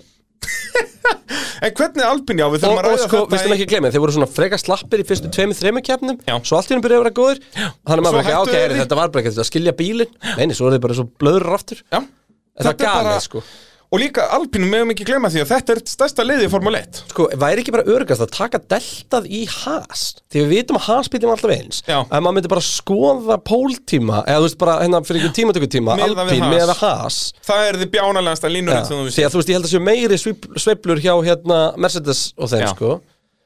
Speaker 5: En hvernig Albin, já,
Speaker 4: og,
Speaker 5: við þurfum
Speaker 4: og
Speaker 5: að ræða
Speaker 4: sko, við stum
Speaker 5: þetta
Speaker 4: ekki að gleyma, þeir voru svona freka slappir í fyrstu tveimur, þreimur keppnum
Speaker 5: Já.
Speaker 4: svo allt í hennum byrjaði að vera góður þannig að
Speaker 5: Svo
Speaker 4: maður bara,
Speaker 5: hættu
Speaker 4: ok,
Speaker 5: þeir
Speaker 4: er,
Speaker 5: því.
Speaker 4: þetta var bara ekkert að skilja bílinn neini, svo eru þeir bara svo blöður aftur
Speaker 5: Já,
Speaker 4: en það
Speaker 5: Þetta er
Speaker 4: gaf
Speaker 5: bara-
Speaker 4: bara... sko
Speaker 5: og líka Albin, meðum ekki glemma því að þetta er stærsta liði í Formule 1
Speaker 4: sko, væri ekki bara örgast að taka deltað í has því við vitum að has byrjum alltaf eins
Speaker 5: Já.
Speaker 4: að maður myndi bara skoða póltíma eða þú veist bara, hérna, fyrir ekki tímatökutíma
Speaker 5: Miðað við
Speaker 4: alpín
Speaker 5: Haas.
Speaker 4: með að has
Speaker 5: Það er því bjánalegasta línurinn sem þú
Speaker 4: því
Speaker 5: vissi
Speaker 4: að þú veist, ég held að séu meiri sveif- sveiflur hjá hérna Mercedes og þeim,
Speaker 5: Já.
Speaker 4: sko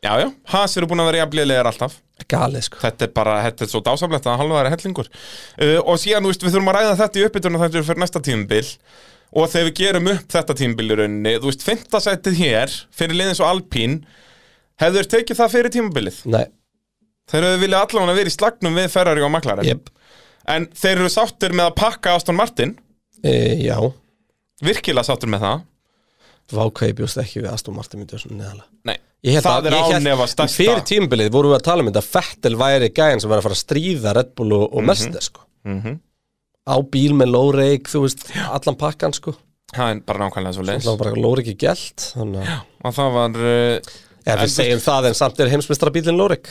Speaker 5: Já, já, Haas eru búin að vera jafnliðilegar alltaf
Speaker 4: galið, sko
Speaker 5: Þetta er bara, þetta er svo dásamlegt að halvaðara hellingur uh, Og síðan, þú veist, við þurfum að ræða þetta í uppbytun og þetta er fyrir næsta tímabil Og þegar við gerum upp þetta tímabil í rauninni Þú veist, fintasættið hér, fyrir liðin svo Alpín Hefur þeir tekið það fyrir tímabilið
Speaker 4: Nei,
Speaker 5: Þeir hefur viljað allan að vera í slagnum við Ferrari og Maklarinn
Speaker 4: jöp,
Speaker 5: En þeir eru sáttir með að pakka Aston Martin
Speaker 4: e, já
Speaker 5: Virkilega sáttir með það
Speaker 4: vákvæði bjóst ekki við Aston Martin myndi svona neðalega
Speaker 5: Nei,
Speaker 4: Ég held
Speaker 5: það
Speaker 4: að-
Speaker 5: er
Speaker 4: ég hélt-
Speaker 5: ánefa stærsta
Speaker 4: Fyrir tímbilið vorum við að tala um þetta að Fettel væri gæðin sem var að fara að stríða Red Bull og,
Speaker 5: Mhm.
Speaker 4: og mm sko. Á bíl með lóreik, þú veist, allan pakkan sko
Speaker 5: Það er bara nákvæmlega svo leis
Speaker 4: Það var bara lóreiki gælt Þannig að
Speaker 5: Og það var, uh,
Speaker 4: Ef við segjum það en samt er heimsmeistarabílinn Lórik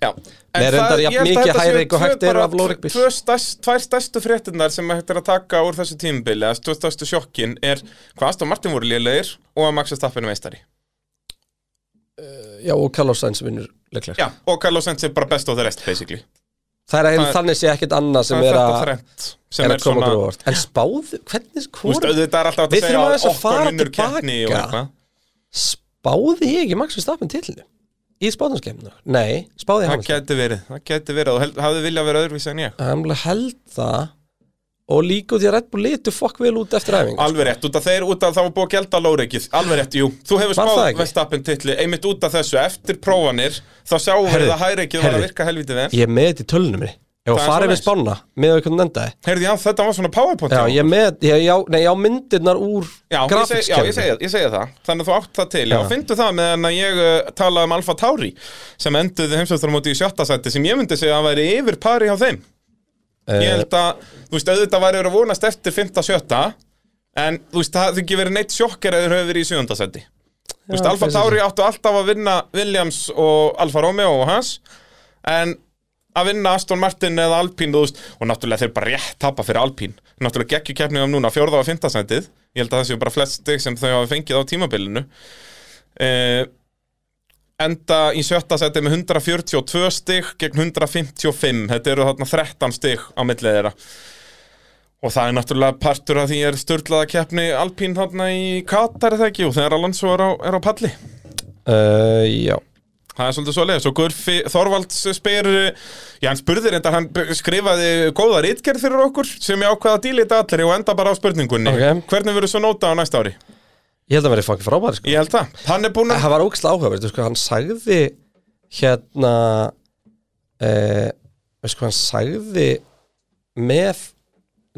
Speaker 5: Já, en
Speaker 4: Nei, reyndar jafn
Speaker 5: ég held að
Speaker 4: mikið
Speaker 5: þetta séu
Speaker 4: high rake og
Speaker 5: tvö
Speaker 4: hægt er
Speaker 5: bara-
Speaker 4: af Lorik bíl.
Speaker 5: tvö stærst- Tvær stærstu fréttinnar sem hægt er að taka úr þessu tímabili eða tvö stærstu sjokkin er hvað Aston Martin voru lélegir og að Max Verstappen er meistari
Speaker 4: Já, og Carlos Sainz vinnur leiklega
Speaker 5: Já, og Carlos Sainz er bara best of the rest basically
Speaker 4: Það er
Speaker 5: Það
Speaker 4: að
Speaker 5: er-
Speaker 4: þannig sé ekkert annað sem
Speaker 5: Það er
Speaker 4: er
Speaker 5: þetta
Speaker 4: að
Speaker 5: þrennt sem
Speaker 4: er
Speaker 5: er
Speaker 4: að koma okkur
Speaker 5: svona
Speaker 4: á óvart En spáðu, hvernig
Speaker 5: Þú veist,
Speaker 4: skor
Speaker 5: auðvitað er alltaf hægt
Speaker 4: Við þurfum
Speaker 5: að segja að
Speaker 4: aðeins að
Speaker 5: okkar
Speaker 4: fara
Speaker 5: vinnur
Speaker 4: tilbaka.
Speaker 5: keppni og eitthvað
Speaker 4: Spáði ég ekki Max Verstappen tillinu? Í spáðanskemnu? Nei, spáði ég
Speaker 5: Það
Speaker 4: Hamilton
Speaker 5: gæti verið, það gæti verið og held- hafði viljað vera öðruvísi en ég
Speaker 4: Hamilton held það Og líka út í að Red Bull litu fokk vel út eftir æfingu
Speaker 5: Alveg rétt, út af þeir, út af það var búið að gelda lóreikið Alveg rétt, jú, þú hefur
Speaker 4: Var
Speaker 5: spáð
Speaker 4: það ekki?
Speaker 5: Vestappen titli Einmitt út af þessu, eftir prófanir Þá sjáum
Speaker 4: Herðu,
Speaker 5: við að hæreikið var að
Speaker 4: herðu.
Speaker 5: virka helviti vel
Speaker 4: Ég er með þetta í tölunum minni Ef að
Speaker 5: Það er
Speaker 4: fara yfir
Speaker 5: svoleiðis.
Speaker 4: spána með að hvernig endaði
Speaker 5: Heyrðu, já, þetta var svona powerpoint
Speaker 4: Já,
Speaker 5: hjá
Speaker 4: ég er með, ég, já, nei, já, myndirnar úr
Speaker 5: Já, ég seg, já ég,
Speaker 4: grafíkskerfinu
Speaker 5: segja, ég segja það Þannig að þú átt það til Já,
Speaker 4: Já.
Speaker 5: fyndu það meðan að ég uh, talaði um Alfa Tauri sem enduði heimsvæmstramóti í sjötta seti sem ég myndi segja að væri yfir pari hjá þeim
Speaker 4: Eh,
Speaker 5: Ég held að, þú veist, auðvitað væri verið að vonast eftir 5.7 En, þú veist, það hefði ekki verið neitt sjokkar eða þeir höfðu verið í 7. seti Þú veist,
Speaker 4: Já,
Speaker 5: Alfa
Speaker 4: þessi-
Speaker 5: Tauri áttu alltaf að vinna Williams og Alfa Romeo og hans En að vinna Aston Martin eða Alpine, þú veist Og náttúrulega þeir bara rétt tapa fyrir Alpine Náttúrulega geggju keppnið um núna, fjórða og 5. setið Ég held að það séu bara flest stig sem þau hafa fengið á tímabilinu uh, Enda í sjötta seti með 142 stig gegn 155 Þetta eru þarna 13 stig á millið þeirra Og það er náttúrulega partur af því er störlaða keppni Alpín þarna í Katar er það ekki og þegar Alonso er á, er á palli
Speaker 4: Uh, já,
Speaker 5: Það er svolítið svo leiðis og Gurfi Þorvalds spyr Já, hann spurði reyndar, hann b- skrifaði góða rítgerð fyrir okkur sem ég ákvaða að díla þetta allir og enda bara á spurningunni
Speaker 4: Ok.
Speaker 5: Hvernig verður svo nóta á næsta ári?
Speaker 4: ég held að vera fokkin frábæri sko.
Speaker 5: Ég held það, hann er búinn að
Speaker 4: Það var ógæslega áhugaverð, þú veist hvað hann sagði hérna uh, veist hvað hann sagði með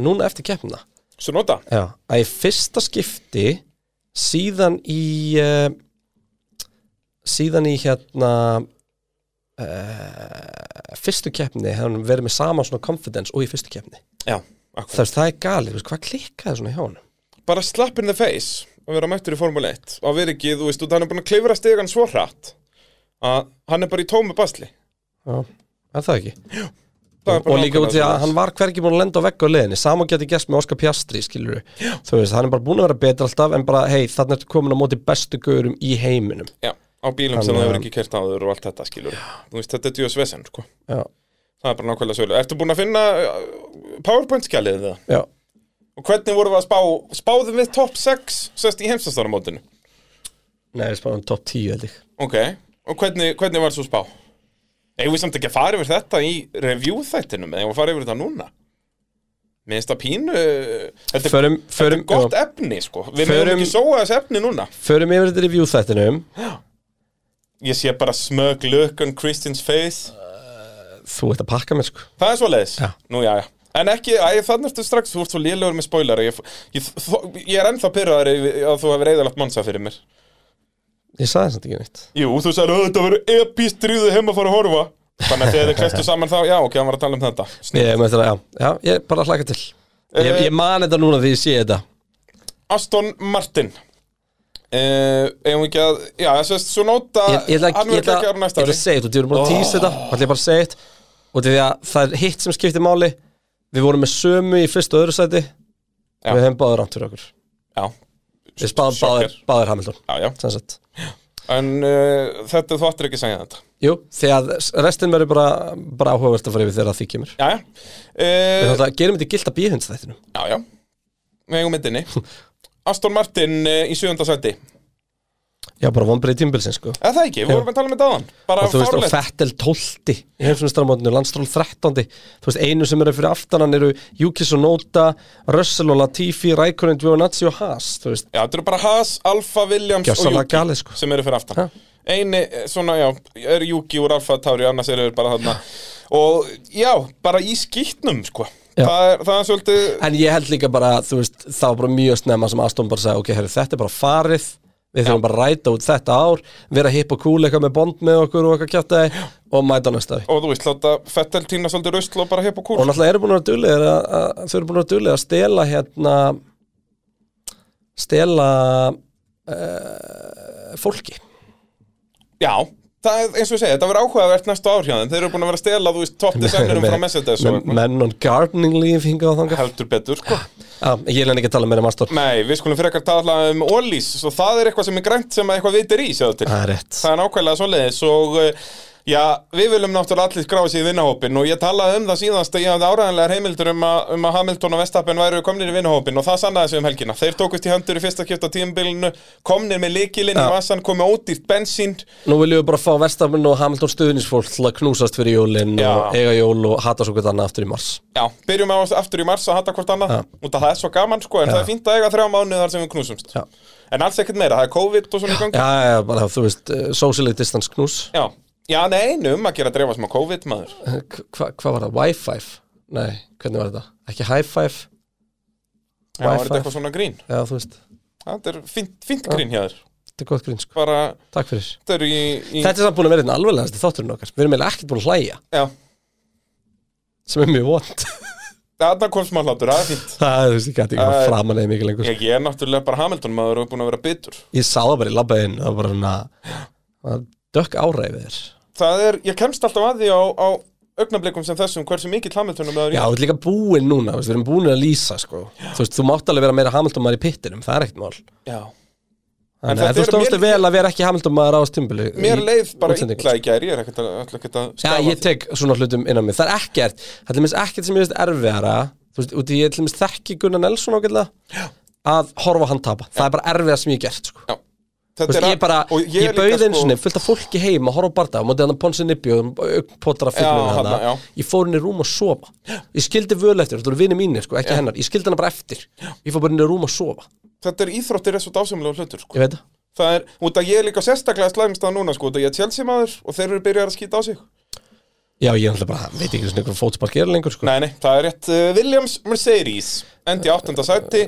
Speaker 4: núna eftir keppna
Speaker 5: Svo nóta
Speaker 4: já. að í fyrsta skipti síðan í uh, síðan í hérna uh, fyrstu keppni hefði hann verið með sama svona confidence og í fyrstu keppni
Speaker 5: Já, akkur
Speaker 4: það, það er galið, þú veist, hvað klikkaði svona hjá hann
Speaker 5: bara slap in the face og vera mættur í Formule 1 og vera ekki, þú veist, út, hann er búin að klifra stegan svo hratt að hann er bara í tómi basli
Speaker 4: já, er það ekki
Speaker 5: Það er
Speaker 4: og,
Speaker 5: bara
Speaker 4: og líka út
Speaker 5: nákvæmlega
Speaker 4: í að
Speaker 5: svoleiðis.
Speaker 4: hann var hvergi búin að lenda á vegg á leiðinni sama geti gæst með Óskar Pjastri, skilur þú veist, hann er bara búin að vera betra alltaf en bara, hei, þarna ertu komin á móti bestu gaurum í heiminum
Speaker 5: Já, á bílum
Speaker 4: Hann,
Speaker 5: sem það hefur
Speaker 4: um,
Speaker 5: ekki kert áður og allt þetta skilur Þú veist, þetta er djúðs vesen, sko
Speaker 4: já,
Speaker 5: Það er bara nákvæmlega svolítið Ertu búin að finna uh, PowerPoint-skjalið það?
Speaker 4: já,
Speaker 5: Og hvernig vorum við að spá, spáðum við top 6 sest í heimsastarumótinu?
Speaker 4: nei, við spáðum top 10 held ég
Speaker 5: Ok, og hvernig, hvernig var svo spá? Eigum við samt ekki að fara yfir þetta í review þættinum eða eigum við að fara yfir þetta núna? Mér finnst það pínu eh, Þetta er,
Speaker 4: Förum- förum-
Speaker 5: þetta er gott
Speaker 4: já.
Speaker 5: efni sko Við
Speaker 4: Förum-
Speaker 5: mögum ekki sóa þessu efni núna
Speaker 4: förum yfir þetta review þættinum
Speaker 5: Ég sé bara smög look on Christians face
Speaker 4: þú ert að pakka mér sko
Speaker 5: Það er svo leiðis
Speaker 4: Já.
Speaker 5: Nú já, já En ekki, æ, þannig ertu strax, þú ert svo lélegur með spoiler Ég, ég, þó- ég er ennþá pyrraður yfir að þú hefur reyðalagt mannsa fyrir mér
Speaker 4: ég sagði þetta ekki neitt
Speaker 5: Jú, þú sagði að þetta verður epíst dríðu heima að fara að horfa Þannig að þegar þið klestu saman þá, já, ok, hann var að tala um þetta Snill.
Speaker 4: ég, með þetta, já, já, ég bara hlaka til ég,
Speaker 5: Eh,
Speaker 4: ég man þetta núna því ég sé þetta
Speaker 5: Aston Martin Uh, eigum við ekki að, já, þess að svo nota
Speaker 4: ég, ég ætla
Speaker 5: hann
Speaker 4: ég
Speaker 5: verður
Speaker 4: ætla-
Speaker 5: ekki
Speaker 4: ég
Speaker 5: ára næsta
Speaker 4: ætla
Speaker 5: ári
Speaker 4: að segja þetta, þú erum bara að týsa þetta ætla ég bara að segja þetta og því að það er hitt sem skiptir máli við vorum með sömu í fyrst og öðru sæti
Speaker 5: Já.
Speaker 4: við hefum báður rámt fyrir okkur
Speaker 5: Já,
Speaker 4: við spáðum báður,
Speaker 5: Sjokker.
Speaker 4: báður Hamilton
Speaker 5: já, já,
Speaker 4: sem sagt.
Speaker 5: en uh, þetta þú ættir ekki að segja þetta
Speaker 4: jú, því að restin verður bara, bara áhugavert að fara yfir þegar að því kemur
Speaker 5: Já, já
Speaker 4: við
Speaker 5: uh,
Speaker 4: þátt að gerum þetta gilt að bíhundsþættinum
Speaker 5: Já, já, við eigum myndinni Aston Martin uh, í sjöfunda sæti
Speaker 4: já, bara vonbreið tímbilsin sko
Speaker 5: Eða það ekki, við vorum að tala um þetta áðan Bara
Speaker 4: og þú veist, og
Speaker 5: fárlegt
Speaker 4: Fettel 12 í heimsumistramótinu, Landstról 13 þú veist, einu sem eru fyrir aftanan eru Yuki Sonoda, Russell og Latifi Rækonen, Giovinazzi og Haas þú veist,
Speaker 5: Já, þetta eru bara Haas, Alfa, Williams og
Speaker 4: Gjörsamlega
Speaker 5: Juki
Speaker 4: galið, sko.
Speaker 5: sem eru fyrir aftan
Speaker 4: Ha.
Speaker 5: Eini, eh, svona, já, er Juki úr Alfa Tauri annars eru þeir bara þarna og já, bara í skýtnum, sko
Speaker 4: Já.
Speaker 5: það er, það er svolítið
Speaker 4: En ég held líka bara, þú veist, það var bara mjög snemma sem Aston bara sagði, ok, herri, þetta er bara farið við þurfum bara að ræta út þetta ár vera hipp og cool eitthvað með bond með okkur og eitthvað kjáttaði og mæta á næsta ári
Speaker 5: og þú veist, láta Fettel tína svolítið rusl og bara hepp og kúl
Speaker 4: og náttúrulega eru búin að vera duglegir að- að- þau eru búin að vera duglegir að stela hérna eh, stela uh, fólki
Speaker 5: Já, það er eins og ég segi, þetta verður áhugavert næstu ár hjá þeim Þeir eru búin að vera að stela, þú veist, top designerum frá Mercedes og
Speaker 4: Men-
Speaker 5: eitthvað.
Speaker 4: Menn on gardening leave hingað og þangað
Speaker 5: heldur betur, sko
Speaker 4: Já, Ég lenni ekki að tala meira um Astor
Speaker 5: Nei, við skulum frekar tala um Ólís Svo það er eitthvað sem er grænt sem að eitthvað vitir í, sjáðu til
Speaker 4: Það er rétt
Speaker 5: Það er nákvæmlega svoleiðis og uh, já, við viljum náttúrulega allir skrá sig í vinnahópin og ég talaði um það síðanst að ég hafði áræðanlegar heimildur um að, um að Hamilton og Vestapen væru komnir í vinnahópin og það sannaði sig um helgina. Þeir tókust í hendur í fyrsta kjöpta tímabilinu, komnir með líkilinn í
Speaker 4: Já.
Speaker 5: massan, komið ódýrt bensín
Speaker 4: Nú viljum við bara fá Vestamenn og Hamilton stuðnisfólk til að knúsast fyrir jólin og
Speaker 5: Já. eiga
Speaker 4: eiga jól og hata svo hvernig annað aftur í mars
Speaker 5: Já, byrjum á, aftur í mars að hata hvort annað
Speaker 4: Já.
Speaker 5: út af það er svo gaman sko, en það er fínt að eiga þrjá mánuð þar sem við knúsumst
Speaker 4: Já.
Speaker 5: En alls ekkert meira, það er COVID og svona í gangi
Speaker 4: Já, já, bara þú veist, eh, socially distance knús
Speaker 5: Já, já nei, num að gera að dreifa sem að COVID maður
Speaker 4: Eh, hva- Hvað var það? Wi-Fi? Nei, hvernig var þetta? Ekki high five?
Speaker 5: Já, er
Speaker 4: Wi-Fi.
Speaker 5: þetta eitthvað svona grín?
Speaker 4: Já, þú veist,
Speaker 5: Það er fínt, fínt grín hjá þér
Speaker 4: þetta er gott grín sko.
Speaker 5: Bara,
Speaker 4: Takk fyrir
Speaker 5: þetta eru í, í...
Speaker 4: Þetta er samt búin að vera einn alveglegasti þátturinn okkar Við erum eiginlega ekkert búin að hlæja
Speaker 5: Já,
Speaker 4: sem er mjög vond
Speaker 5: þarna kom smá hlátur, það er fínt
Speaker 4: Það er þú veist ekki að
Speaker 5: Æ.
Speaker 4: þetta framan eða mikið lengur sko.
Speaker 5: Ég, ég er náttúrulega bara Hamilton maður og búin að vera bitur
Speaker 4: Ég sá það bara í labbaðin það var bara svona það dökk áræfið þér
Speaker 5: Það er, ég kemst alltaf að því á, á augnablikum sem þessum hversu mikill Hamilton maður
Speaker 4: Já,
Speaker 5: ég
Speaker 4: þú ert líka búinn núna, þú veist, við erum búin að lýsa sko. þú veist, þú mátt alveg vera meira Hamilton maður í pittinum það er ekkert mál
Speaker 5: Já.
Speaker 4: Þannig
Speaker 5: þetta
Speaker 4: að þú
Speaker 5: er-
Speaker 4: stóðstu
Speaker 5: mér-
Speaker 4: vel að vera ekki Hamilton maður á stimbili
Speaker 5: Mér leið bara
Speaker 4: útsendingum.
Speaker 5: illa í gær, ég er ekkert að, ætla ekkert að
Speaker 4: Já,
Speaker 5: skafa
Speaker 4: ég tek svona hlutum innan mig Það er ekkert, það er til minnst ekkert sem ég veist erfiðara Þú veist, út í ég til minnst þekki Gunnar Nelson ágætlega að horfa á hann tapa, það er bara erfiða sem ég hef gert sko.
Speaker 5: Já.
Speaker 4: Þú
Speaker 5: Þetta
Speaker 4: veist,
Speaker 5: er
Speaker 4: ég
Speaker 5: að-
Speaker 4: bara,
Speaker 5: og
Speaker 4: ég, ég
Speaker 5: er
Speaker 4: bauði
Speaker 5: líka, sko-
Speaker 4: eins og nefn fullt af fólki heim að horfa á barða á móti hann að Ponsi Nibbi og potra
Speaker 5: Já,
Speaker 4: fylgum
Speaker 5: þarna,
Speaker 4: hana, ég fór henni rúm að sofa ég skildi völ eftir, þetta voru vini mínir sko, ekki hennar, ég skildi hana bara eftir ég fór bara henni rúm að sofa,
Speaker 5: Þetta er íþróttir er svo dásamlega hlutur sko.
Speaker 4: ég veit það
Speaker 5: Það er, út að ég er líka sérstaklega slæmstað núna sko, út að ég er Chelsea maður og þeir eru byrjað að skýta á sig
Speaker 4: Já, ég ætla bara, veit ekki svona einhver fótspark er lengur sko.
Speaker 5: Nei, nei, það er rétt uh, Williams Mercedes endi í áttunda sæti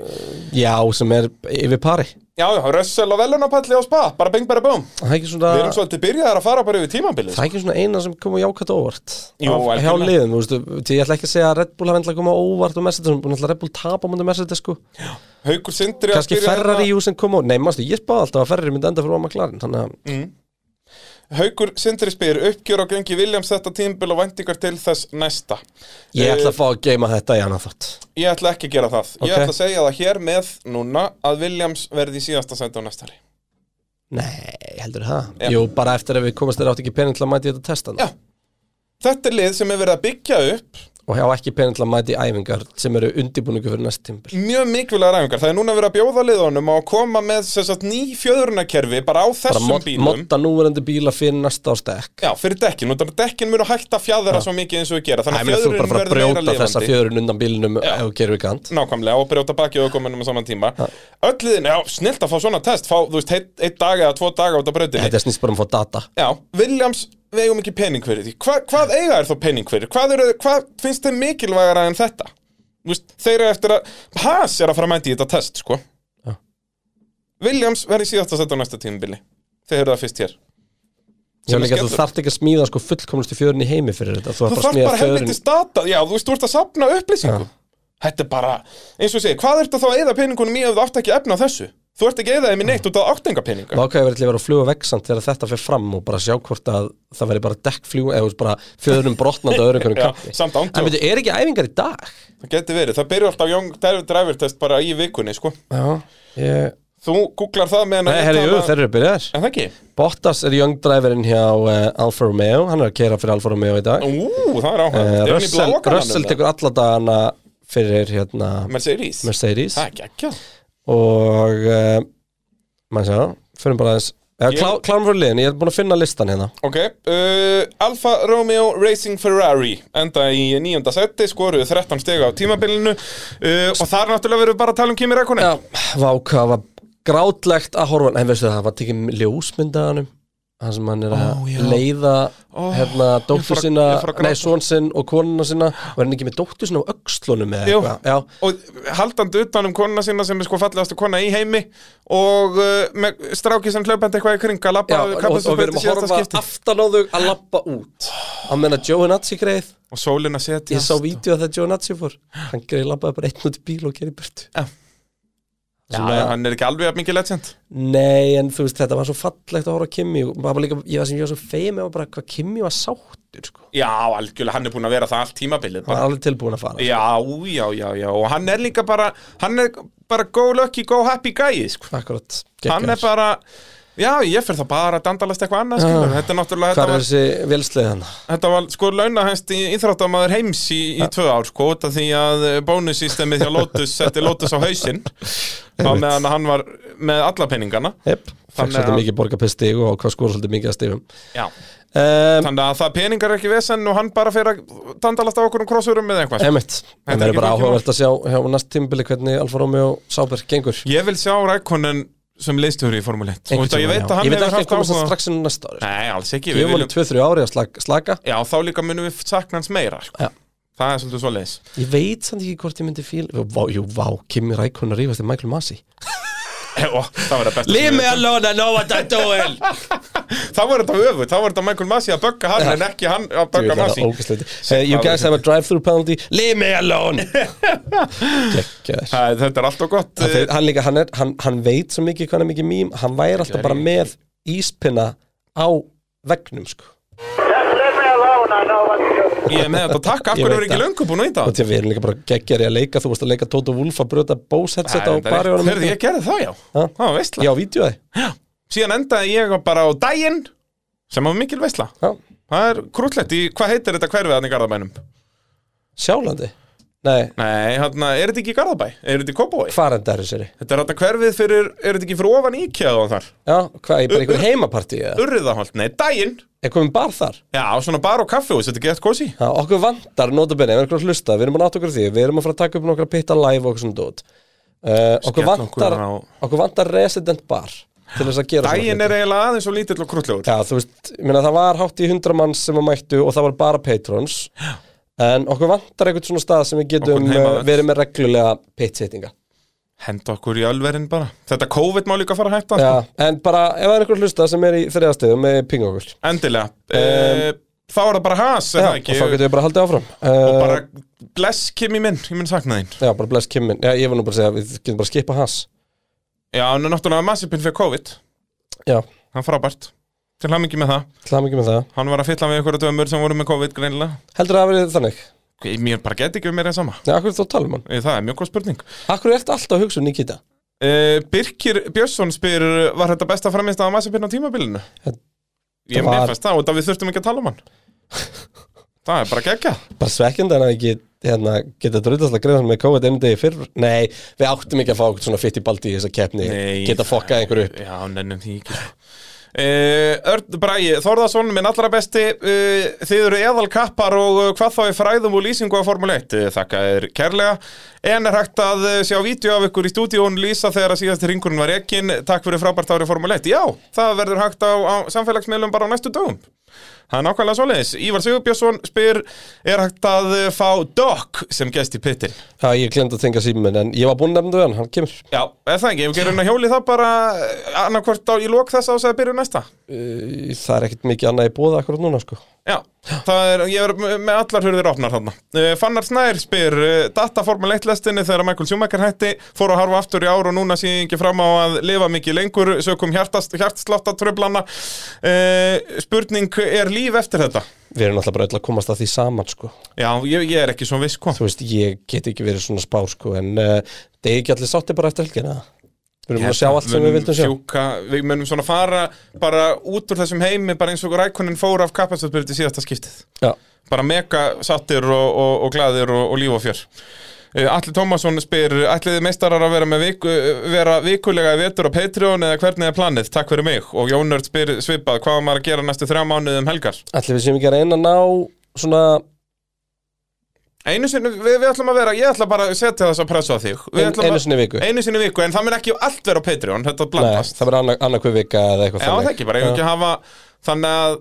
Speaker 4: Já, sem er yfir pari
Speaker 5: Já, já, Russell og velunapalli á spa bara bing, bara búm
Speaker 4: Það er ekki svona
Speaker 5: Við erum svolítið byrjaðar að fara bara yfir tímabilið
Speaker 4: Það er ekki svona eina sem kom á jákvætt á óvart
Speaker 5: Jú,
Speaker 4: Af- Hjá
Speaker 5: algjörlega.
Speaker 4: liðum, þú veistu því Ég ætla ekki að segja að Red Bull hafa endilega komið á óvart og Mercedes, hún ætla Red Bull tapa mútið Mercedes sko
Speaker 5: Haukur Sindri að
Speaker 4: Kanski
Speaker 5: byrja
Speaker 4: Ferrari
Speaker 5: hérna-
Speaker 4: jú sem kom á Nei, mástu, ég spáði alltaf að Ferrari myndi enda fyrir Óma Klarin Þannig að
Speaker 5: Haukur Sindri spyr uppgjör á gengi Williams þetta tímabil og vendingar til þess næsta
Speaker 4: ég
Speaker 5: Eh,
Speaker 4: ætla að fá að geima þetta í annan þátt
Speaker 5: Ég ætla ekki að gera það Ég
Speaker 4: Ok.
Speaker 5: ætla að segja það hér með núna að Williams verði í síðasta sæti á næstari
Speaker 4: Nei, heldur það
Speaker 5: Já.
Speaker 4: Jú, bara eftir að við komast þeir átt ekki pening til að mæti þetta testan
Speaker 5: Já. Þetta er lið sem er verið að byggja upp
Speaker 4: Og hjá ekki pening til að mæti æfingar sem eru undibúningu fyrir næst tímbil
Speaker 5: mjög mikilvægar æfingar. Það er núna verið að bjóða liðunum á að koma með sem sagt, ný fjöðrunarkerfi bara á
Speaker 4: Bara
Speaker 5: þessum
Speaker 4: mod-
Speaker 5: bílum.
Speaker 4: modda núverandi bíla fyrir næsta á stekk
Speaker 5: Já, fyrir dekkin. Þannig að dekkin munu hægt að fjaðra svo mikið eins og við gera.
Speaker 4: Það
Speaker 5: Þannig
Speaker 4: er
Speaker 5: að
Speaker 4: þú bara að fara
Speaker 5: fjöðrun
Speaker 4: að
Speaker 5: verður meira
Speaker 4: brjóta þessa
Speaker 5: lifandi.
Speaker 4: fjöðurinn undan bílinum
Speaker 5: Já. Mm.
Speaker 4: ef þú gerir við kant
Speaker 5: Nákvæmlega, og brjóta bakið og kominum á saman tíma. Öll liðin, já, snilt að fá svona test. Fá, þú veist, eitt, eitt dag eða tvo daga út af brautinni.
Speaker 4: Þetta snýst bara um að fá data
Speaker 5: Já, Williams við eigum ekki pening fyrir því. Hva, hvað eiga er þó pening fyrir? Hvað, eru, hvað finnst þeim mikilvægara en þetta? Þú Veist, þeir eru eftir að... Haas er að fara að mæta í þetta test, sko.
Speaker 4: Já.
Speaker 5: Williams verði síðast að setja á næsta tímabili. Þeir eru það fyrst hér.
Speaker 4: Já,
Speaker 5: Sem er
Speaker 4: líka þú
Speaker 5: skemmtilegt.
Speaker 4: þarft ekki að smíða sko fullkomnustu fjörun í heimi fyrir þetta Þú
Speaker 5: Þú
Speaker 4: þarft bara að
Speaker 5: þarf
Speaker 4: smíða
Speaker 5: bara
Speaker 4: fjörun
Speaker 5: helviti stata. Já, þú veist, þú ert að sapna upplýsingum. Þetta er bara... Eins og ég segi, hvað ertu þá að eigða peningunum í ef þú átt ekki efna þessu? Þú ert ekki að eigða þeim í neitt út af áttenga peninga.
Speaker 4: Vákaði verið til að vera að fluga vegsamt þegar þetta fyrir fram og bara sjá hvort að það veri bara dekkfljú eða þú veist, bara fjörunum brotnandi á öðru einhverjum
Speaker 5: Já,
Speaker 4: kappi
Speaker 5: samt ándjók.
Speaker 4: En veitu, er ekki æfingar í dag?
Speaker 5: Það geti verið. Það byrju alltaf Young Driver Test bara í vikunni, sko.
Speaker 4: Já ég...
Speaker 5: Þú googlar það meðan
Speaker 4: Nei,
Speaker 5: að ég
Speaker 4: herri, jú,
Speaker 5: tala-
Speaker 4: þeir eru byrjaðir
Speaker 5: En það ekki?
Speaker 4: Bottas er young driverinn hjá uh, Alfa Romeo Hann er að kera fyrir Alfa Romeo í dag uh,
Speaker 5: Ú, það er áhægt uh,
Speaker 4: Russell, Russell tekur alla dagana fyrir hérna,
Speaker 5: Mercedes
Speaker 4: Mercedes
Speaker 5: Það er ekki ekki
Speaker 4: og uh, maður sjá, fyrir bara aðeins
Speaker 5: Ég-
Speaker 4: ég... klá, klárum fyrir liðin, ég er búin að finna listan hérna
Speaker 5: Ok, uh, Alfa Romeo Racing Ferrari enda í nýjönda seti skoruðu 13 stega á tímabilinu uh, og þar náttúrulega verðum við bara að tala um Kimi Rækkonen
Speaker 4: já, váka, það var grátlegt að horfa en veistu það, það var tekið ljósmyndaðanum hann sem hann er að
Speaker 5: Ó, já.
Speaker 4: leiða hérna,
Speaker 5: ég fór
Speaker 4: dóttur
Speaker 5: að-
Speaker 4: sína
Speaker 5: ég fór að gráta.
Speaker 4: nei, són sinn og konuna sína og er hann ekki með dóttur sína á öxlunum eða
Speaker 5: Jú.
Speaker 4: eitthvað já,
Speaker 5: og haldandi utan um konuna sína sem er sko fallegastu kona í heimi og uh, með stráki sem hlaupandi eitthvað í kringa
Speaker 4: já,
Speaker 5: labba
Speaker 4: og, og, við erum að horfa aftan á þau að lappa út að menna Joe Natsi greið
Speaker 5: og sólin að setja
Speaker 4: ég sá vídeo að það Joe Natsi fór hann greið lappaði bara einn út í bíl og gerði burtu
Speaker 5: Já. Svona,
Speaker 4: já.
Speaker 5: hann er ekki alveg að mikið legend
Speaker 4: Nei, en þú veist, þetta var svo fallegt að horfa á Kimi og maður var líka, ég var sem ég var svo feim ég var bara hvað Kimi var sáttur sko.
Speaker 5: Já, algjörlega, hann er búin að vera það allt tímabilið
Speaker 4: hann
Speaker 5: bara.
Speaker 4: var alveg tilbúin að fara
Speaker 5: Já, já, já, já Og hann er líka bara Hann er bara go lucky, go happy guy sko.
Speaker 4: Akkurat,
Speaker 5: Hann er bara Já, ég fyrir það bara að dandalast eitthvað annað skilur. Þetta er náttúrulega
Speaker 4: Hvað
Speaker 5: þetta
Speaker 4: er
Speaker 5: var,
Speaker 4: þessi velsleið hann?
Speaker 5: þetta var sko launahæst í íþróttamaður heims í, í tvö ár sko, út af því að bónussystemið hjá Lotus setti Lotus á hausinn þá meðan hann var með alla peningana
Speaker 4: Jep, fæk
Speaker 5: Þannig
Speaker 4: svolítið
Speaker 5: að-
Speaker 4: mikið borgarpistig og hvað skora svolítið mikið að stigum
Speaker 5: Já
Speaker 4: um,
Speaker 5: Þannig að það peningar er ekki vesen og hann bara fyrir að dandalast á okkur um krossurum með eitthvað
Speaker 4: Emmett,
Speaker 5: Þetta er
Speaker 4: það er
Speaker 5: ekki
Speaker 4: bara
Speaker 5: flókið
Speaker 4: áhugavert að sjá hjá næst tímbili hvernig Alfa Romeo Sáber gengur
Speaker 5: Ég vil sjá Rækonen sem leistjóri í Formule 1
Speaker 4: Einhvern
Speaker 5: Og þetta ég
Speaker 4: tímann,
Speaker 5: veit
Speaker 4: já.
Speaker 5: að hann
Speaker 4: Ég veit
Speaker 5: hefur
Speaker 4: ekki að
Speaker 5: haft
Speaker 4: komast
Speaker 5: áhuga
Speaker 4: það strax inn á næsta ári
Speaker 5: Nei, alls ekki
Speaker 4: Ég
Speaker 5: Við
Speaker 4: voru
Speaker 5: viljum
Speaker 4: 2-3 ári að slag, slaka
Speaker 5: Já, þá líka munum við sakna hans meira sko.
Speaker 4: Já.
Speaker 5: Það er svolítið svoleiðis
Speaker 4: Ég veit samt ekki hvort ég myndi fíl vá, Jú, vá, Kimi Rækona rífast í Michael Masi
Speaker 5: Ó, Það var það besta sem ég veit.
Speaker 4: alone, I know what I'm doing
Speaker 5: Þá var þetta öfuð, þá var þetta Michael Masi að bögga hann En ekki hann að
Speaker 4: Jú,
Speaker 5: bögga
Speaker 4: það
Speaker 5: Masi
Speaker 4: er ógæstlegt You guys have a drive-through penalty Leave me alone Gekkjaður
Speaker 5: Æ, Þetta er allt og gott
Speaker 4: Þeir- hann, líka, hann, er, hann, hann veit svo mikið hvað hann er mikið mím hann væri alltaf bara með íspinna á vegnum sko.
Speaker 6: Just leave me alone. I know what to do.
Speaker 5: Ég er með þetta takk,
Speaker 4: Ég
Speaker 5: akkur
Speaker 4: veit
Speaker 5: er ekki
Speaker 4: það.
Speaker 5: löngu búin að íta
Speaker 4: og því að við erum líka bara geggjari að leika þú veist að leika Tóta Wolf að brjóta Bose headset á bari og
Speaker 5: Hérði, ég gerði það, já
Speaker 4: Ha?
Speaker 5: Það var veistla
Speaker 4: já, vídjóði
Speaker 5: Síðan endaði ég bara á daginn Sem var mikil veistla Það er krúllett í, hvað heitir þetta hverfið hann í Garðabænum?
Speaker 4: sjálandi, nei,
Speaker 5: Nei, hann, er þetta ekki í Garðabæ? Er þetta í Kópavói?
Speaker 4: hvað er þetta sér
Speaker 5: Þetta er hann hverfið fyrir, er þetta ekki fyrir ofan íkjað og þar?
Speaker 4: já, hvað, ég bara einhver heimapartí eða
Speaker 5: Urriðaholt, nei, daginn
Speaker 4: er komin bar þar
Speaker 5: Já, svona bar og kaffihús, þetta er gett kósi
Speaker 4: Já, okkur vantar notabene, við erum að hlusta, við erum að nátt okkur á því, við erum að fara að taka upp nokkra pitta live og okkur svona dót. Uh, okkur,
Speaker 5: Skella
Speaker 4: vantar,
Speaker 5: okkur á-
Speaker 4: okkur vantar resident bar til þess að gera svona
Speaker 5: Daginn
Speaker 4: hluti.
Speaker 5: er eiginlega aðeins og lítill og krúllegur
Speaker 4: Já, þú veist, ég meina það var hátt í hundra manns sem að mættu og það var bara patrons en okkur vantar einhvern svona stað sem við getum
Speaker 5: Okkur heimavöll.
Speaker 4: uh, verið með reglulega pitsettinga
Speaker 5: Henda okkur í alverin bara Þetta COVID má líka fara að hætta
Speaker 4: Já, en bara ef það er einhver hlusta sem er í þriðastöðum með ping okkur Já,
Speaker 5: Endilega um, Þá er það bara has, er það
Speaker 4: og
Speaker 5: ekki
Speaker 4: þá getum við bara haldið áfram uh,
Speaker 5: Og bara bless Kimi minn, ég mun sakna þín
Speaker 4: Já, bara bless kimmin, já, ég var nú bara að segja við getum bara að skipa hans
Speaker 5: Já, en náttúrulega Massipin fyrir COVID
Speaker 4: Já,
Speaker 5: Hann frábært Til hamingi með það
Speaker 4: hlaðum ekki með það
Speaker 5: Hann var að fylla með ykkur dömur sem voru með COVID greinilega
Speaker 4: Heldur það að verið þannig?
Speaker 5: Ég- Mér bara get ekki um meira en sama
Speaker 4: Já, akkur er þú að tala um hann?
Speaker 5: Eh, Það er mjög góð spurning
Speaker 4: Akkur ertu alltaf að hugsa um Nikita?
Speaker 5: uh, Birkir Björnsson spyr Var þetta besta framist að Massipin á tímabilinu?
Speaker 4: Þetta
Speaker 5: Ég
Speaker 4: var-
Speaker 5: var... nefnast það og það við þurftum ekki að tala um hann Það er bara geggja
Speaker 4: Bara svekkjandi hann að ekki hérna, geta dröðast að greiða hann með COVID einu degi fyrr Nei, við áttum ekki að fá okkur svona fyrt í baldi í þessa keppni
Speaker 5: Nei.
Speaker 4: Geta fokkað einhverju upp
Speaker 5: Já, nennum því ekki sko. Uh, Örn Bræi, Þorðarsson, minn allra besti uh, Þið eru eðal kappar og uh, hvað þá er fræðum og lýsingu á Formule 1 uh, Þakka þér kærlega En er hægt að uh, sjá vídeo af ykkur í stúdíón lýsa þegar að síðasti ringurinn var ekkin Takk fyrir frábært árið Formule 1 Já, það verður hægt á, á samfélagsmiðlum bara á næstu dögum Það er nákvæmlega svoleiðis Ívar Sigurbjörnsson spyr Er hægt að uh, fá Doc sem gest í pittin?
Speaker 4: Já, ég glemt að tengja síminn en ég var búinn að nefna við hann, hann kemur
Speaker 5: Já, eða það ekki, ef við gerum að hjóli það bara eh, annarkvort á, í lók þess ás að byrju næsta
Speaker 4: Uh, Það er ekkert mikið annað í bóða akkur núna sko
Speaker 5: Já, það er, ég er með allar hurðir opnar þarna. Uh, Fannar Snær spyr, uh, data Formule 1 lestinni þegar Michael Schumacher hætti, fór að harfa aftur í ár og núna sé ég ekki fram á að lifa mikið lengur, sökum hjartast, hjartsláttatröflana. Uh, spurning, er líf eftir þetta?
Speaker 4: Við erum alltaf bara öll að komast að því saman sko
Speaker 5: Já, ég, ég er ekki svo viss sko. hvað.
Speaker 4: Þú veist, ég get ekki verið svona spár sko en uh, það er ekki allir sátti bara eftir helgina Við erum búin að sjá allt sem við vildum sjá
Speaker 5: Hérna Fjúka, við munum svona fara bara út úr þessum heimi, bara eins og rækunin fór af kapastöðbyrði síðasta skiptið.
Speaker 4: Já,
Speaker 5: bara mega sattir og, og, og glaðir og, og líf og fjör Eh, Atli Tómasson spyr Ætlið þið meistarar að vera, með viku, eh, vera vikulega í vetur á Patreon eða hvernig er planið? Takk fyrir mig og Jónörd spyr svipað hvað á maður að gera næstu þrjá mánuði um helgar?
Speaker 4: allir við séum ekki að reyna að ná svona
Speaker 5: Einu sinni, við, við ætlum að vera, ég ætla bara að setja þess að pressa á þig Við
Speaker 4: ein,
Speaker 5: ætlum
Speaker 4: einu
Speaker 5: að-
Speaker 4: sinni í viku
Speaker 5: einu sinni í viku, en það mun ekki allt vera á Patreon, þetta
Speaker 4: Nei,
Speaker 5: blandast
Speaker 4: það verður annað, annað hver vika eða eitthvað
Speaker 5: Já, það ekki, bara ég vil
Speaker 4: Já.
Speaker 5: ekki hafa Þannig að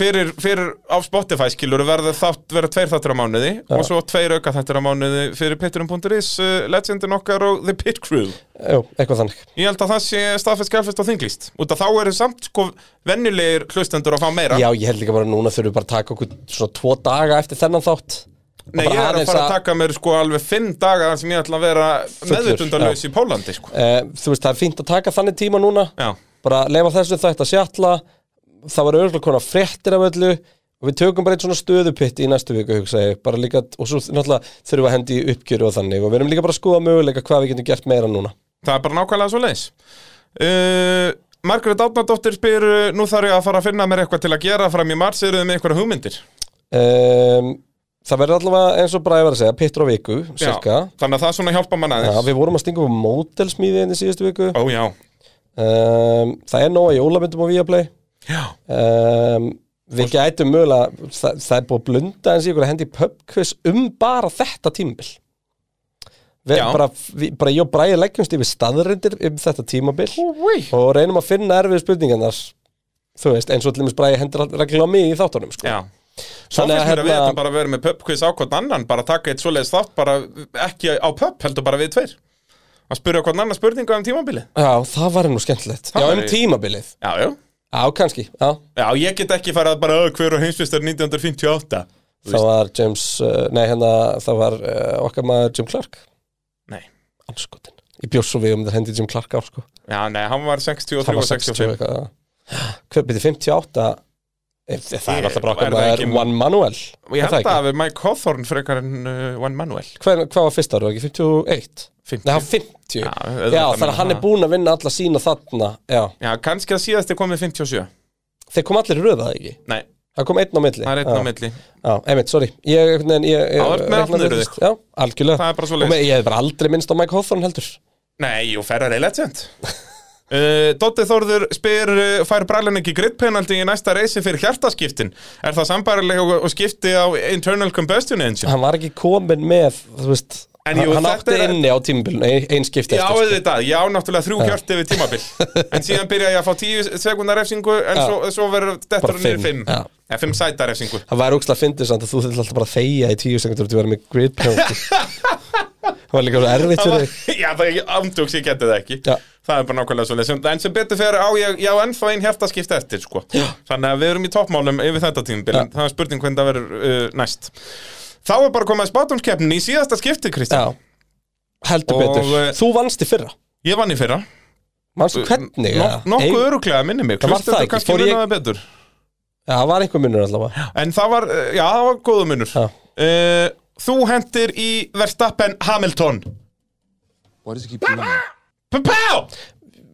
Speaker 5: fyrir, fyrir á Spotify skilur verða þátt, verða tveir þáttur á mánuði og svo tveir auka þáttur á mánuði fyrir Patreon.is, uh, Legendin okkar og The Pit Crew.
Speaker 4: Jú, eitthvað þannig
Speaker 5: Ég held að það sé staðfest, skjálfest og þinglist út að þá eru samt sko venjulegir hlustendur að fá meira.
Speaker 4: Já, ég held líka bara að núna þurfum við bara að taka okkur svona tvo daga eftir þennan þátt
Speaker 5: Nei,
Speaker 4: bara
Speaker 5: ég er að
Speaker 4: aðeins
Speaker 5: fara að
Speaker 4: að-
Speaker 5: taka mér sko alveg fimm daga þar sem ég ætla að vera meðutundarlaus í Pólandi sko.
Speaker 4: Eh, þú veist, það er fínt að taka þannig tíma núna
Speaker 5: Já.
Speaker 4: bara lefa þessu þætt að sjalla það var örgulega konar fréttir af öllu og við tökum bara eitt svona stöðupitt í næstu viku, hugsa ég, bara líka og svo náttúrulega þurfum við að hendi í uppgjöru og þannig og við erum líka bara að skoða möguleika hvað við getum gert meira núna
Speaker 5: Það er bara nákvæmlega svo leis uh, Margrét Átnardóttir spyr uh, Nú þarf ég að fara að finna mér eitthvað til að gera fram í mars Eruðu með einhverja hugmyndir?
Speaker 4: um, það verður allavega eins og bara ég var að segja, pittur á viku, cirka
Speaker 5: Já, Þannig að það svona hjálpa mann
Speaker 4: Já,
Speaker 5: aðeins
Speaker 4: við vorum að stinga upp mótelsmíði enn hérna í síðustu viku
Speaker 5: Ó já,
Speaker 4: um, Það er nóga jólamyndum á Viaplay
Speaker 5: já.
Speaker 4: um, Við gætum mögulega það, það er búið að blunda eins í ykkur að hendi pubquiz um bara þetta tímabil Við,
Speaker 5: Já.
Speaker 4: bara, við, bara ég og Bræði leggjumst yfir staðrindir um þetta tímabil
Speaker 5: Úi.
Speaker 4: og reynum að finna erfið spurningarnar þú veist, eins og allir mis Bræði hendur reglulega á mig í þáttunum sko.
Speaker 5: já. Svo
Speaker 4: Þannig að
Speaker 5: finnst mér að við
Speaker 4: hérna-
Speaker 5: ætlum bara að vera með pubquiz á hvort annan bara að taka eitt svoleiðis þátt bara ekki á pub heldur bara við tveir að spyrja hvort annan spurninga um tímabilið
Speaker 4: Já, það var nú skemmtilegt
Speaker 5: Það
Speaker 4: Já,
Speaker 5: væri-
Speaker 4: um tímabilið
Speaker 5: Já, já
Speaker 4: Já, kannski, já
Speaker 5: Já, ég get ekki farið að bara "Ö, hver og heimsvistar 1958 Þú
Speaker 4: Það var James, uh, nei hérna, það var uh, okkar maður Jim Clark
Speaker 5: Nei
Speaker 4: Anskotin Ég bjóst svo við um þetta hendi Jim Clark ár sko
Speaker 5: Já, nei, hann var 63
Speaker 4: Það
Speaker 5: og
Speaker 4: var 60
Speaker 5: 65
Speaker 4: eitthvað já. Hver byrði 58 e, Það
Speaker 5: Ég-
Speaker 4: er alltaf bara
Speaker 5: er
Speaker 4: okkar
Speaker 5: það
Speaker 4: maður
Speaker 5: ekki-
Speaker 4: One Manuel
Speaker 5: Og ég
Speaker 4: Er það
Speaker 5: held
Speaker 4: ekki?
Speaker 5: að við Mike Hawthorne frekar en uh, Juan Manuel
Speaker 4: Hver, Hvað var fyrst ára, ekki 51?
Speaker 5: 50.
Speaker 4: Nei, hann 50
Speaker 5: Já,
Speaker 4: Já, þannig
Speaker 5: auðvitað meina
Speaker 4: að hann er
Speaker 5: það.
Speaker 4: búinn að vinna alla sína þarna Já,
Speaker 5: Já, kannski að síðast er komið 57
Speaker 4: þeir kom allir röðað ekki
Speaker 5: Nei,
Speaker 4: Það kom einn á milli
Speaker 5: það er einn á milli
Speaker 4: Já, einmitt, sorry Ég, einhvern veginn, ég, ég
Speaker 5: Já, þú ert með
Speaker 4: reiknaði
Speaker 5: allir
Speaker 4: þetta- Já, algjörlega
Speaker 5: Það er bara
Speaker 4: Og
Speaker 5: svoleiðis.
Speaker 4: með- Ég hef bara aldrei minnst á Mike Hawthorne heldur
Speaker 5: Nei, jú, Ferrari Legend uh, Dotti Þórður spyr uh, fær brælun ekki gridpenaldi í næsta reysi fyrir hjartaskiptin er það sambærilega og, og skipti á internal combustion engine
Speaker 4: hann var ekki komin með þú veist,
Speaker 5: En
Speaker 4: hann,
Speaker 5: jú,
Speaker 4: hann
Speaker 5: þetta
Speaker 4: átti
Speaker 5: er-
Speaker 4: inni á tímabilun einn skipti
Speaker 5: Já,
Speaker 4: eftir,
Speaker 5: auðvitað, já, náttúrulega þrjú hjörti við tímabil En síðan byrja ég að fá tíu sekundar refsingu En
Speaker 4: Já.
Speaker 5: svo, svo verður
Speaker 4: Bara
Speaker 5: dettur niður fimm
Speaker 4: fimm, já.
Speaker 5: Já, fimm sæta refsingu
Speaker 4: það væri ógslag fyndið samt að þú þurfti alltaf bara að þegja í tíu sekundur og þú verið með grid penalty það var líka svo erfitt fyrir þig
Speaker 5: Já, það er andjóks, ég geti það ekki
Speaker 4: Já.
Speaker 5: Það er bara nákvæmlega svo leysum En sem betur fyrir á ég, já, ennþá ein hjartaskipt eftir sko. Þannig að við erum í toppmálum yfir þetta tímabil
Speaker 4: Já.
Speaker 5: en Það er spurning hvernig það verður uh, næst Þá er bara komið að spátumskeppnin í síðasta skipti,
Speaker 4: Já,
Speaker 5: Kristján
Speaker 4: heldur
Speaker 5: Og, eh,
Speaker 4: betur þú vannst í fyrra,
Speaker 5: Ég vann í fyrra
Speaker 4: mannstu hvernig eða?
Speaker 5: Nok Nokkuð
Speaker 4: Ein-
Speaker 5: öruglega minni mig
Speaker 4: Það var það
Speaker 5: Hlustendur
Speaker 4: ekki,
Speaker 5: kannski
Speaker 4: fór ég-
Speaker 5: muna það betur
Speaker 4: Já, það var einhver munur allavega
Speaker 5: En það var, uh, já, það var góða munur
Speaker 4: Já.
Speaker 5: uh, Þú hendir í Verstappen Hamilton What does he keep doing? Pá!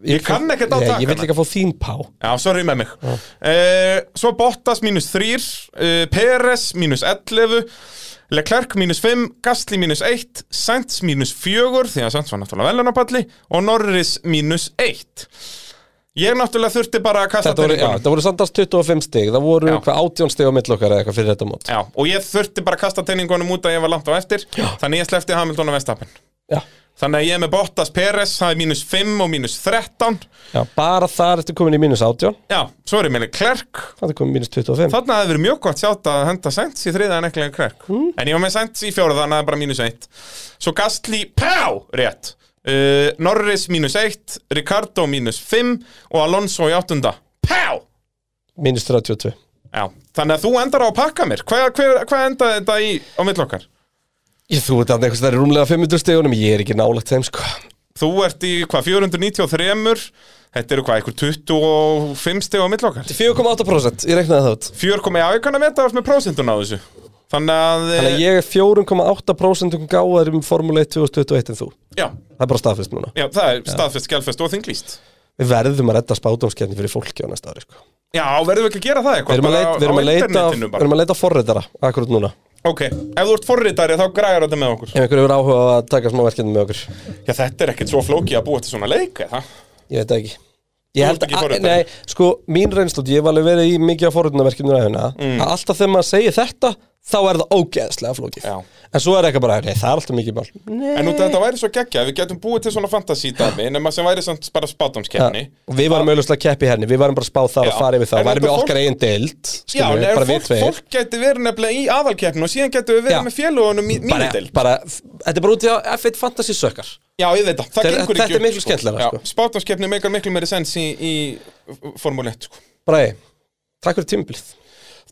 Speaker 5: Ég kann ekkert á
Speaker 4: Ég-
Speaker 5: takana.
Speaker 4: Ég vil líka fá þín pá
Speaker 5: Já, sorry með mig uh, Svo Bottas mínus 3 uh, Peres mínus 11 Leclerc mínus 5 Gastli mínus 1 Sainz mínus 4 Því að Sainz var náttúrulega velunarpalli Og Norris mínus 1 Ég náttúrulega þurfti bara að kasta
Speaker 4: Þetta voru, já,
Speaker 5: peningunum.
Speaker 4: þetta voru samtast 25 stig Það voru
Speaker 5: Já.
Speaker 4: hvað 18 stig á milli okkar eða eitthvað fyrir þetta mót
Speaker 5: Já, og ég þurfti bara að kasta teiningunum út að ég var langt á eftir Þannig ég slefti Hamilton og Vestapen
Speaker 4: Já,
Speaker 5: Þannig að ég er með Bottas Peres, það er mínus 5 og mínus 13
Speaker 4: já, bara þar ertu komin í mínus 18
Speaker 5: Já, svo er ég með Klerk
Speaker 4: Það er komin í mínus 25
Speaker 5: Þannig að það hefur verið mjög gott sjátt að henda Sainz í þriða en ekki lengur Klerk
Speaker 4: Hmm?
Speaker 5: En ég var með Sainz í fjóra þannig að það er bara mínus 1 Svo Gastli, pá, rétt uh, Norris mínus 1 Ricardo mínus 5 og Alonso í áttunda, pá
Speaker 4: Mínus 32
Speaker 5: Já, þannig að þú endar á að pakka mér Hvað hva, hva enda þetta í á mill okkar?
Speaker 4: Ég þú veit að einhvers það er rúmlega 500 stegunum, ég er ekki nálagt þeim sko.
Speaker 5: Þú ert í hvað, 493 Þetta eru hvað, einhver 25 stegu á mill okkar
Speaker 4: 4,8% ég reiknaði það út.
Speaker 5: 4,1 já, ég kann að meta það með prósentun á þessu Þannig að,
Speaker 4: Þannig að ég er 4,8% um gáðar um Formule 1 2021 en þú.
Speaker 5: eh, já,
Speaker 4: Það er bara staðfest núna.
Speaker 5: já, það er staðfest, skjálfest og þinglýst
Speaker 4: Við verðum að redda spátumskjarni fyrir fólki á næsta ári sko.
Speaker 5: Já, verðum við ekki að gera það
Speaker 4: Við
Speaker 5: eitthvað
Speaker 4: erum að,
Speaker 5: bara
Speaker 4: leit,
Speaker 5: á-
Speaker 4: við erum
Speaker 5: á
Speaker 4: að leita,
Speaker 5: internetinu
Speaker 4: við
Speaker 5: bara.
Speaker 4: erum að leita forreitara akkurat núna.
Speaker 5: Ok, ef þú ert forritari þá græjar þetta með okkur
Speaker 4: Ef einhverju er áhuga á að taka smá verkefni með okkur.
Speaker 5: Já, þetta er ekkert svo flókið að búa til svona leik eða?
Speaker 4: Ég veit það ekki. Ég held
Speaker 5: ert ekki
Speaker 4: að,
Speaker 5: forritari?
Speaker 4: nei, sko, mín reynslót, ég hef alveg verið í mikið á forrétunaverkefninu aðeina, mm. að alltaf þegar maður segir þetta, þá er það ógeðslega flókið.
Speaker 5: Já.
Speaker 4: En svo er eitthvað bara, nei, það er alltaf mikið mál. Nei.
Speaker 5: En út af þetta væri svo geggja, við getum búið til svona fantasídæmi nema sem væri samt bara spátumskeppni
Speaker 4: Já, og við varum auðvitað að keppi henni við varum bara að spá það
Speaker 5: Já.
Speaker 4: og fara yfir það
Speaker 5: En
Speaker 4: og væri með
Speaker 5: þetta
Speaker 4: okkar
Speaker 5: fólk-
Speaker 4: eigin deild
Speaker 5: Já,
Speaker 4: skilur
Speaker 5: en
Speaker 4: við,
Speaker 5: ef
Speaker 4: bara við
Speaker 5: fólk,
Speaker 4: tveir
Speaker 5: fólk geti verið nefnilega í aðalkeppni og síðan getum við verið
Speaker 4: Já.
Speaker 5: með félugunum í
Speaker 4: bara,
Speaker 5: mínudel
Speaker 4: bara, þetta er bara út í að F1 Fantasy sökkar
Speaker 5: Já, ég veit það, það
Speaker 4: Þetta-
Speaker 5: gengur
Speaker 4: þetta
Speaker 5: ekki
Speaker 4: er miklu skemmtilegra, sko.
Speaker 5: Spátumskeppni meikar miklu meiri sens í, í formúli 1 sko.
Speaker 4: Bræði, takk fyrir tímabilið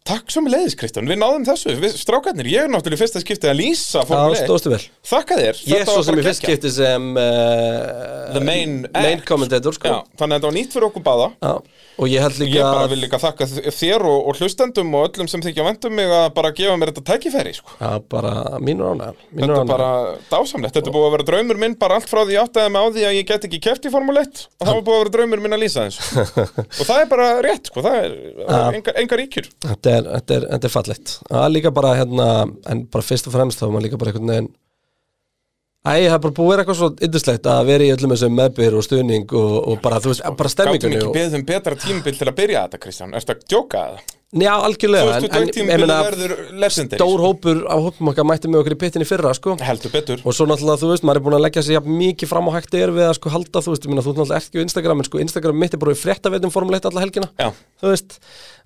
Speaker 5: Takk svo með leiðis, Kristján, við náðum þessu við, Strákarnir, ég er náttúrulega í fyrsta skiptið að lýsa
Speaker 4: Það
Speaker 5: Formule 1.
Speaker 4: stóðstu vel
Speaker 5: Þakka þér,
Speaker 4: Ég
Speaker 5: þetta
Speaker 4: svo
Speaker 5: var
Speaker 4: sem
Speaker 5: bara
Speaker 4: ég fyrst
Speaker 5: geggjað.
Speaker 4: skipti sem uh,
Speaker 5: The main
Speaker 4: main
Speaker 5: act.
Speaker 4: commentator sko.
Speaker 5: Já, Þannig að þetta var nýtt fyrir okkur báða
Speaker 4: Já. Og ég held
Speaker 5: Ég
Speaker 4: líka
Speaker 5: bara
Speaker 4: að-
Speaker 5: vil líka þakka þér og, og hlustendum og öllum sem þykja vendum mig að bara gefa mér þetta tækifæri sko.
Speaker 4: Já, bara mínur ánægðan
Speaker 5: Þetta er bara dásamlegt, þetta er búið að vera draumur minn bara allt frá því ég áttaði mig á því að ég get ekki keft í Formule 1
Speaker 4: Ah.
Speaker 5: og það var búið að vera draumur minn að lýsa þessu og það er bara rétt, sko, það er,
Speaker 4: Ah.
Speaker 5: það er engar, engar ríkjur
Speaker 4: þetta er, þetta er, þetta er fallegt það er líka bara hérna en bara fyrst og fremst þá er maður líka bara einhvern veginn Æ, það er bara búið að vera eitthvað svo yndislegt að vera í öllum þessum meðbyr og stuðning og, og bara, þú veist, bara
Speaker 5: Gáttum
Speaker 4: stemmingunni
Speaker 5: ekki
Speaker 4: og,
Speaker 5: beðið um betra tímabil til að byrja þetta, Kristján, ertu að djóka það?
Speaker 4: Já, algjörlega, en, en ég
Speaker 5: 2020-tímabil
Speaker 4: meina
Speaker 5: verður lesendir sko.
Speaker 4: stór hópur á hópum okkar mætti með okkur í pittin í fyrra, sko
Speaker 5: Heldur betur
Speaker 4: og svo náttúrulega, þú veist, maður er búin að leggja sér jafn mikið fram á hægt er við að sko halda, þú veist, ég meina, þú náttúrulega ert ekki á Instagram en sko Instagram mitt er bara í fréttaveitum Formule 1 alla helgina
Speaker 5: Já.
Speaker 4: þú veist,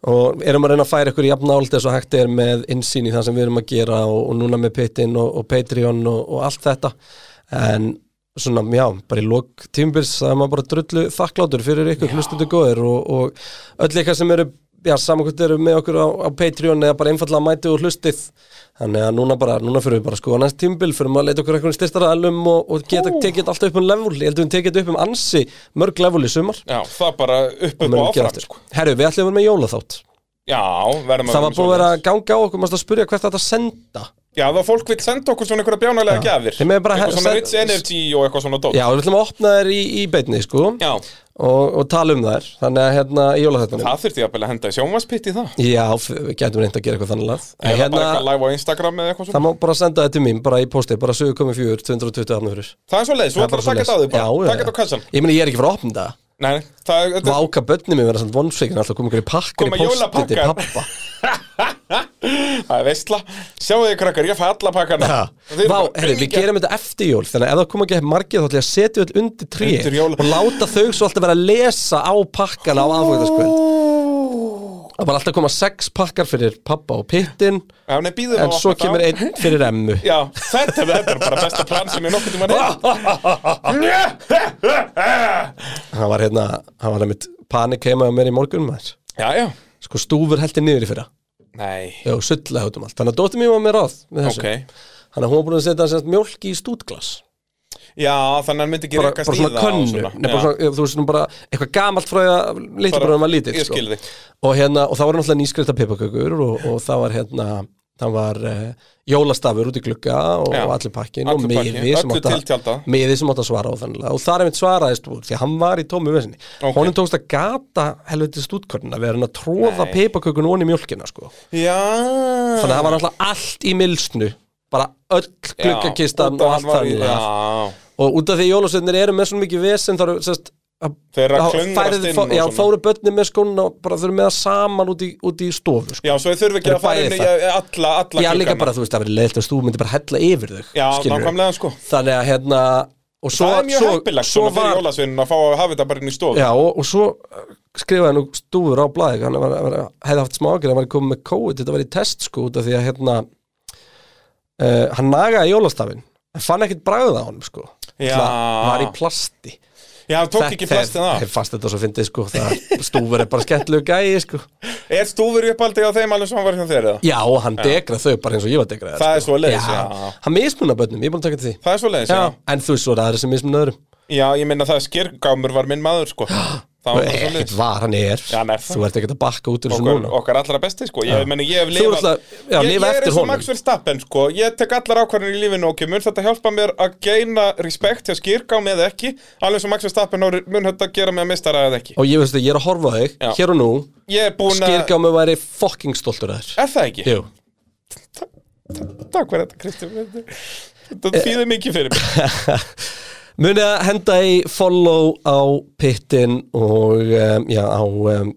Speaker 4: og erum að reyna að færa ykkur jafn nált þess að hægt er með innsýn í það sem við erum að gera og, og núna með Pitin og, og Patreon og, og allt þetta en svona, já, bara í lok tímbils það er maður bara drullu þakklátur fyrir ykkur hlustundu góðir og, og öll ykkar sem eru Já, samankvæmt eru með okkur á, á Patreon eða bara einfallega mætið og hlustið Þannig að núna bara, núna fyrir við bara sko á næst tímbil fyrir við að leita okkur eitthvað styrstara alum og, og geta tekið allt upp um level Ég held að við tekið þetta upp um ansi mörg level í sumar
Speaker 5: Já, það bara upp upp
Speaker 4: Munum
Speaker 5: og
Speaker 4: gera
Speaker 5: áfram,
Speaker 4: aftur.
Speaker 5: sko
Speaker 4: Herru, við ætlum að vera með jólaþátt
Speaker 5: Já, verðum
Speaker 4: Það
Speaker 5: vera
Speaker 4: var
Speaker 5: með
Speaker 4: búið að vera að
Speaker 5: svoleiðis.
Speaker 4: ganga á okkur Mást að spyrja hvert þetta senda
Speaker 5: Já, þá fólk vil senda okkur svona einhverja bjánalega gjafir
Speaker 4: Þeim er bara-
Speaker 5: Eitthvað svona
Speaker 4: send-
Speaker 5: rich energy og eitthvað svona dót
Speaker 4: Já, við ætlum að opna þær í, í beinni sko
Speaker 5: Já.
Speaker 4: og, og tala um þær Þannig að hérna í jólaþáttunum
Speaker 5: Það þurfti jafnvel að henda í sjónvarspitt í það
Speaker 4: Já, f- við gætum reynd að gera eitthvað þannig lagað. En
Speaker 5: Eða
Speaker 4: hérna,
Speaker 5: bara eitthvað live á Instagram eða eitthvað svona
Speaker 4: Það má bara senda þetta til mín, bara í postið Bara 7.4, 220 afnöfur
Speaker 5: Það er svo leiðis, þú ætlar að taka þetta á þig bara Takk þetta á kassan
Speaker 4: Ég meni, ég er ekki fyrir að opna þetta
Speaker 5: Nei, nei, það er þetta-
Speaker 4: Váka börnum mér vera samt vonsveikin Alltaf kom ykkur í pakkin
Speaker 5: Koma
Speaker 4: í postið til
Speaker 5: jólapakkar.
Speaker 4: pappa
Speaker 5: það er veistla Sjáu þið krakkar, ég fæ alla pakkana
Speaker 4: Vá,
Speaker 5: Þið eru bara
Speaker 4: herri, við
Speaker 5: bylgja.
Speaker 4: gerum þetta eftir jól Þannig að ef það kom ekki margið þá ætla ég að setja öll undir trí
Speaker 5: Undir jóla-
Speaker 4: Og láta þau svo alltaf vera að lesa á pakkana á aðfóðaskvöld Það var alltaf að koma sex pakkar fyrir pappa og pittin
Speaker 5: Já, nei, býðum
Speaker 4: En svo kemur einn fyrir emmu
Speaker 5: Já, þetta, þetta er bara besta plan sem ég nokkuð tíma neitt
Speaker 4: Hann var hérna, hann var nefnt panik heima á mér í morgun maður
Speaker 5: Já, já
Speaker 4: Sko stúfur heldur niður í fyrra
Speaker 5: Nei,
Speaker 4: Já, sullaði út um allt Þannig að dóttir mér var með ráð með þessu
Speaker 5: ok
Speaker 4: Þannig að hún var búin að setja sem sagt mjólk í stútglas
Speaker 5: Já, þannig að hann myndi ekki
Speaker 4: bara,
Speaker 5: reyka
Speaker 4: bara svona
Speaker 5: stíða
Speaker 4: könnu Nei, bara
Speaker 5: Já.
Speaker 4: svona, þú veist, svona bara eitthvað gamalt frá því að lítið bara um að lítið
Speaker 5: ég skil þig.
Speaker 4: og, hérna, og það voru náttúrulega nýskreita pipakökur og, og það var hérna það var uh, jólastafur út í glugga og,
Speaker 5: Já.
Speaker 4: og allir pakkin og
Speaker 5: Allur pakkinn,
Speaker 4: miði sem,
Speaker 5: öllu
Speaker 4: átti
Speaker 5: tiltjaldað.
Speaker 4: að- miði sem átt að svara á þannig og þar er mitt svaraðist úr því að hann var í tómu vesinni
Speaker 5: Ok.
Speaker 4: honum tókst að gata helviti stútkörnina við erum að tróða
Speaker 5: Nei.
Speaker 4: pipakökun onni í mjólkina sko.
Speaker 5: Já
Speaker 4: þannig að það var náttúrulega allt í milsnu bara öll gluggakistan og allt þannig
Speaker 5: Já,
Speaker 4: og út af því jólasveitinir eru með svona mikið vesen þá eru sérst að-
Speaker 5: Þeir eru að
Speaker 4: þá
Speaker 5: klöngrast
Speaker 4: færið-
Speaker 5: inn og
Speaker 4: já,
Speaker 5: svona.
Speaker 4: þá eru börnin með skóna og bara þau eru með það saman út í, út í stofu sko.
Speaker 5: já, svo þau þurfi ekki
Speaker 4: Þeir
Speaker 5: að fara
Speaker 4: bæði
Speaker 5: inn í eh,
Speaker 4: það.
Speaker 5: alla, alla
Speaker 4: já líka
Speaker 5: gluggana.
Speaker 4: bara þú veist það verið leiðilegt að þú myndir bara hella yfir þau
Speaker 5: Já,
Speaker 4: skilurðu.
Speaker 5: nákvæmlega sko
Speaker 4: þannig að hérna og svo,
Speaker 5: það er mjög
Speaker 4: svo,
Speaker 5: heppilegt
Speaker 4: svo
Speaker 5: svona fyrir
Speaker 4: var,
Speaker 5: jólasveinin að fá að hafa þetta bara inn í stofu
Speaker 4: já, og, og svo uh, skrifaði nú stúfur á blæði hann var, var, hefði haft smákir hann var komið með COVID þetta var í test sko út af því að hérna uh, hann nagaði jólastafinn en fann ekkert bragða á honum sko
Speaker 5: Já.
Speaker 4: var í plasti
Speaker 5: Já, það tók ekki plastin af
Speaker 4: Ég fannst þetta svo fyndið sko það- Stúfur er bara skemmtilegu gæi sko
Speaker 5: Er stúfur uppaldi á þeim alveg sem hann var hjá þér eða?
Speaker 4: Já, og hann degrað þau bara eins og ég var degrað
Speaker 5: Það er
Speaker 4: sko.
Speaker 5: svoleiðis, já.
Speaker 4: Hann mismuna bönnum, ég er búin að taka til því
Speaker 5: Það er svoleiðis,
Speaker 4: já.
Speaker 5: já
Speaker 4: En þú veist svo er aðri sem mismuna öðrum
Speaker 5: Já, ég minna það skirgámur var minn maður sko Það var bara
Speaker 4: Ekkert
Speaker 5: svoleiðis
Speaker 4: var, hann er
Speaker 5: Já, hann er það.
Speaker 4: Þú ert ekkert að bakka út úr þessu
Speaker 5: Okkar,
Speaker 4: núna
Speaker 5: okkar allra besti sko Ég, meni, ég hef
Speaker 4: Þú
Speaker 5: lifað
Speaker 4: ert að- já,
Speaker 5: ég,
Speaker 4: lifa
Speaker 5: ég er
Speaker 4: eftir
Speaker 5: eins og
Speaker 4: honum.
Speaker 5: Max Verstappen sko Ég tek allar ákvarðin í lífinu ok Mun þetta hjálpa mér að geina respekt hjá skýrgám eða ekki Alveg sem Max Verstappen á- mun þetta gera mig að mistara eða ekki
Speaker 4: Og ég veist að ég er að horfa á þig,
Speaker 5: Já.
Speaker 4: hér og nú
Speaker 5: Ég er búin að
Speaker 4: Skýrgámi væri fucking stoltur að þér
Speaker 5: Er það ekki?
Speaker 4: Jú
Speaker 5: Takk fyrir þetta Kristján Þetta- Þetta þýðir mikið fyrir mig
Speaker 4: Eh, Munið að henda í follow á pittin og um, já, á, um,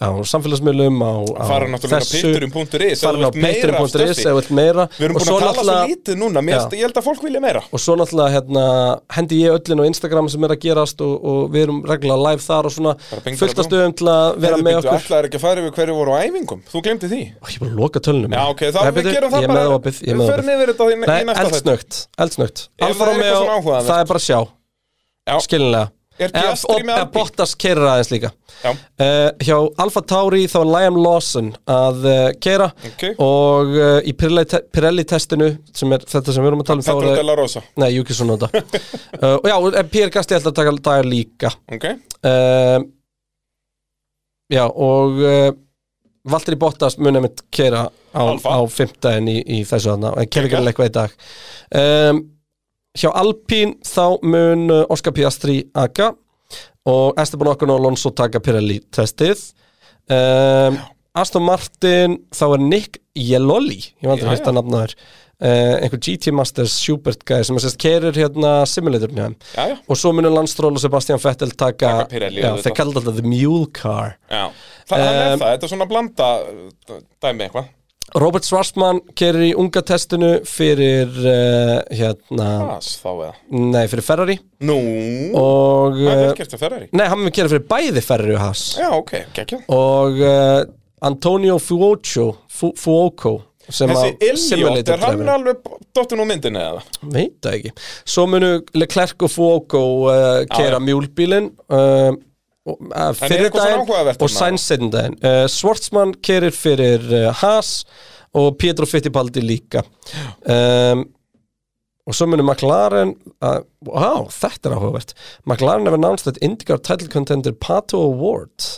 Speaker 4: á samfélagsmiðlum á, á
Speaker 5: fara náttúrulega á pitturum.is
Speaker 4: farin á pitturum.is eða vilt meira
Speaker 5: Við erum
Speaker 4: og
Speaker 5: búin
Speaker 4: svo
Speaker 5: að tala svo
Speaker 4: náttúrulega-
Speaker 5: lítið núna, mér
Speaker 4: Já.
Speaker 5: finnst- ég held að fólk vilja meira
Speaker 4: og svo náttúrulega hérna, hendi ég öllin á Instagram sem er að gerast og, og við erum reglulega live þar og svona
Speaker 5: bing, bara
Speaker 4: fullt
Speaker 5: búm.
Speaker 4: að stöðum til að vera
Speaker 5: Heyrðu,
Speaker 4: með
Speaker 5: bíddu,
Speaker 4: okkur
Speaker 5: ætlaðir ekki að fara yfir hverju voru á æfingum, þú glemdi því
Speaker 4: Ó, Ég er bara að loka tölunum
Speaker 5: Já, ok, þá
Speaker 4: Nei,
Speaker 5: við
Speaker 4: bíddu,
Speaker 5: gerum það
Speaker 4: Ég er
Speaker 5: bara-
Speaker 4: með opið ég er
Speaker 5: við
Speaker 4: með
Speaker 5: förum
Speaker 4: opið.
Speaker 5: yfir þetta í- í
Speaker 4: Nei,
Speaker 5: næsta þætti.
Speaker 4: eldsnögt, eldsnögt
Speaker 5: það er
Speaker 4: Alfa
Speaker 5: eitthvað
Speaker 4: Romeo,
Speaker 5: svona áhugavert.
Speaker 4: það er bara að sjá
Speaker 5: Já.
Speaker 4: Skilinlega
Speaker 5: Er
Speaker 4: Eða-
Speaker 5: Piastri með
Speaker 4: eða
Speaker 5: Albi?
Speaker 4: Bottas keirir aðeins líka
Speaker 5: Já.
Speaker 4: Eh, Hjá Alfa Tauri þá er Liam Lawson að uh, keira
Speaker 5: Ok.
Speaker 4: og uh, í Pirelli, te Pirelli testinu sem er þetta sem við erum að tala um
Speaker 5: Þetta
Speaker 4: þá
Speaker 5: er
Speaker 4: er
Speaker 5: Della Rosa
Speaker 4: Nei, Juki Sunoda uh, og Já, en Pierre Gasti ætla að taka dagar líka
Speaker 5: Ok,
Speaker 4: uh, Já, og uh, Valtteri Bottas munið mitt keira á,
Speaker 5: Alfa.
Speaker 4: á fimmtæðin í, í þessu þarna en keira
Speaker 5: Kekka.
Speaker 4: ekki eitthvað í dag um, Hjá Alpín þá mun uh, Oscar Piastri aga og Esteban Ocon og Alonso taka Pirelli testið um, Aston Martin þá er Nick Jeloli ég vant
Speaker 5: Já,
Speaker 4: að hérta
Speaker 5: já.
Speaker 4: nafnaður uh, einhver GT Masters Schubert gæði sem að sérst keirir hérna simulatorn hjá þeim
Speaker 5: já, já,
Speaker 4: og svo munir Landstról og Sebastian Vettel taka,
Speaker 5: Taka Pirelli
Speaker 4: já,
Speaker 5: auðvitað.
Speaker 4: þeir kallar þetta The Mule Car
Speaker 5: já. Þa, um, er
Speaker 4: Um,
Speaker 5: það, þetta er svona blanda uh, dæmi eitthvað
Speaker 4: Robert Schwarzman kerir í unga testinu fyrir uh, hérna,
Speaker 5: Haas þá eða
Speaker 4: nei fyrir Ferrari
Speaker 5: Nú,
Speaker 4: og,
Speaker 5: það er
Speaker 4: uh,
Speaker 5: vel gert að Ferrari
Speaker 4: nei hann mun kera fyrir bæði Ferrari og Haas
Speaker 5: Já, ok, gekkja
Speaker 4: og uh, Antonio Fuoco Fu Fuoco sem
Speaker 5: Þessi
Speaker 4: að
Speaker 5: Elliot, er hann
Speaker 4: driver. Eh,
Speaker 5: alveg dottinn úr myndinni eða?
Speaker 4: veit það ekki svo munu Leclerc og Fuoco uh,
Speaker 5: Já,
Speaker 4: kera
Speaker 5: já.
Speaker 4: mjúlbílin uh, og, uh,
Speaker 5: er
Speaker 4: fyrir
Speaker 5: eitthvað svona áhugavert
Speaker 4: daginn og
Speaker 5: þarna?
Speaker 4: Sainz setjum daginn uh, Schwartzmann kerir fyrir uh, Haas og Pietro Fittipaldi líka um, og svo munu McLaren að, wow, þetta er áhugavert McLaren have announced that IndyCar title contender Pato Award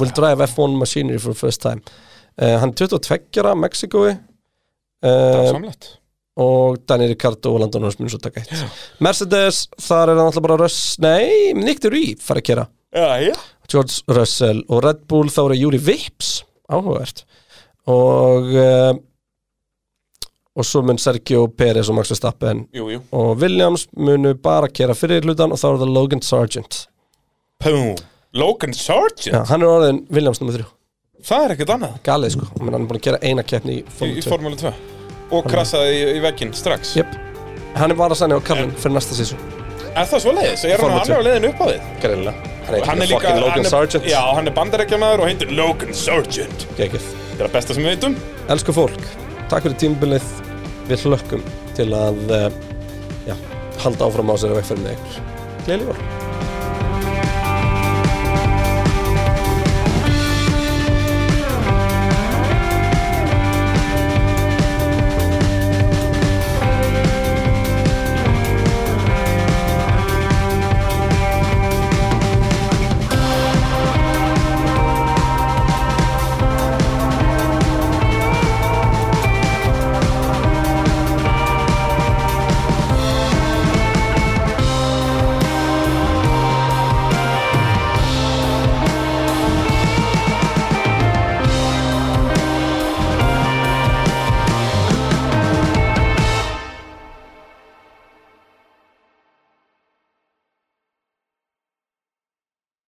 Speaker 4: will drive F1 machinery for the first time uh, hann er 22 ára, Mexikoi
Speaker 5: Það
Speaker 4: uh,
Speaker 5: er samlegt
Speaker 4: og Daniel Ricardo og Landon Norris mun svo taka eitt Mercedes, þar er hann alltaf bara Russ, nei, Nick de Ruy fara að kera
Speaker 5: Já, já
Speaker 4: George Russell og Red Bull þá eru Júli Vips áhugavert og uh, og svo mun Sergio Perez og Max Verstappen
Speaker 5: Jú, jú
Speaker 4: og Williams munu bara kera fyrir hlutan og þá er það Logan Sargent
Speaker 5: Pum. Logan Sargent,
Speaker 4: ja, hann er orðin Williams nummer 3
Speaker 5: það er ekkert annað
Speaker 4: galið sko, Ég meina, hann er búin að kera eina keppni í
Speaker 5: í,
Speaker 4: Formule
Speaker 5: í
Speaker 4: 2
Speaker 5: Formule 2 Og krassaði í, í vegginn strax
Speaker 4: Jep. hann er bara sannir á kallin fyrir næsta sísu
Speaker 5: Er það svoleiðis? Er hann,
Speaker 4: Formule
Speaker 5: hann er á leiðin upp á þig?
Speaker 4: hann
Speaker 5: Hann er líka
Speaker 4: fucking
Speaker 5: hann
Speaker 4: Logan
Speaker 5: er,
Speaker 4: Sargent
Speaker 5: Já, hann er bandarækjamaður og heitir Logan Sargent
Speaker 4: Gekið.
Speaker 5: Það er að besta sem við veitum
Speaker 4: Elsku fólk, takk fyrir tímbilið Við hlökkum til að eh, já, halda áfram á sér að vegferðinu ykkur Gleðileg voru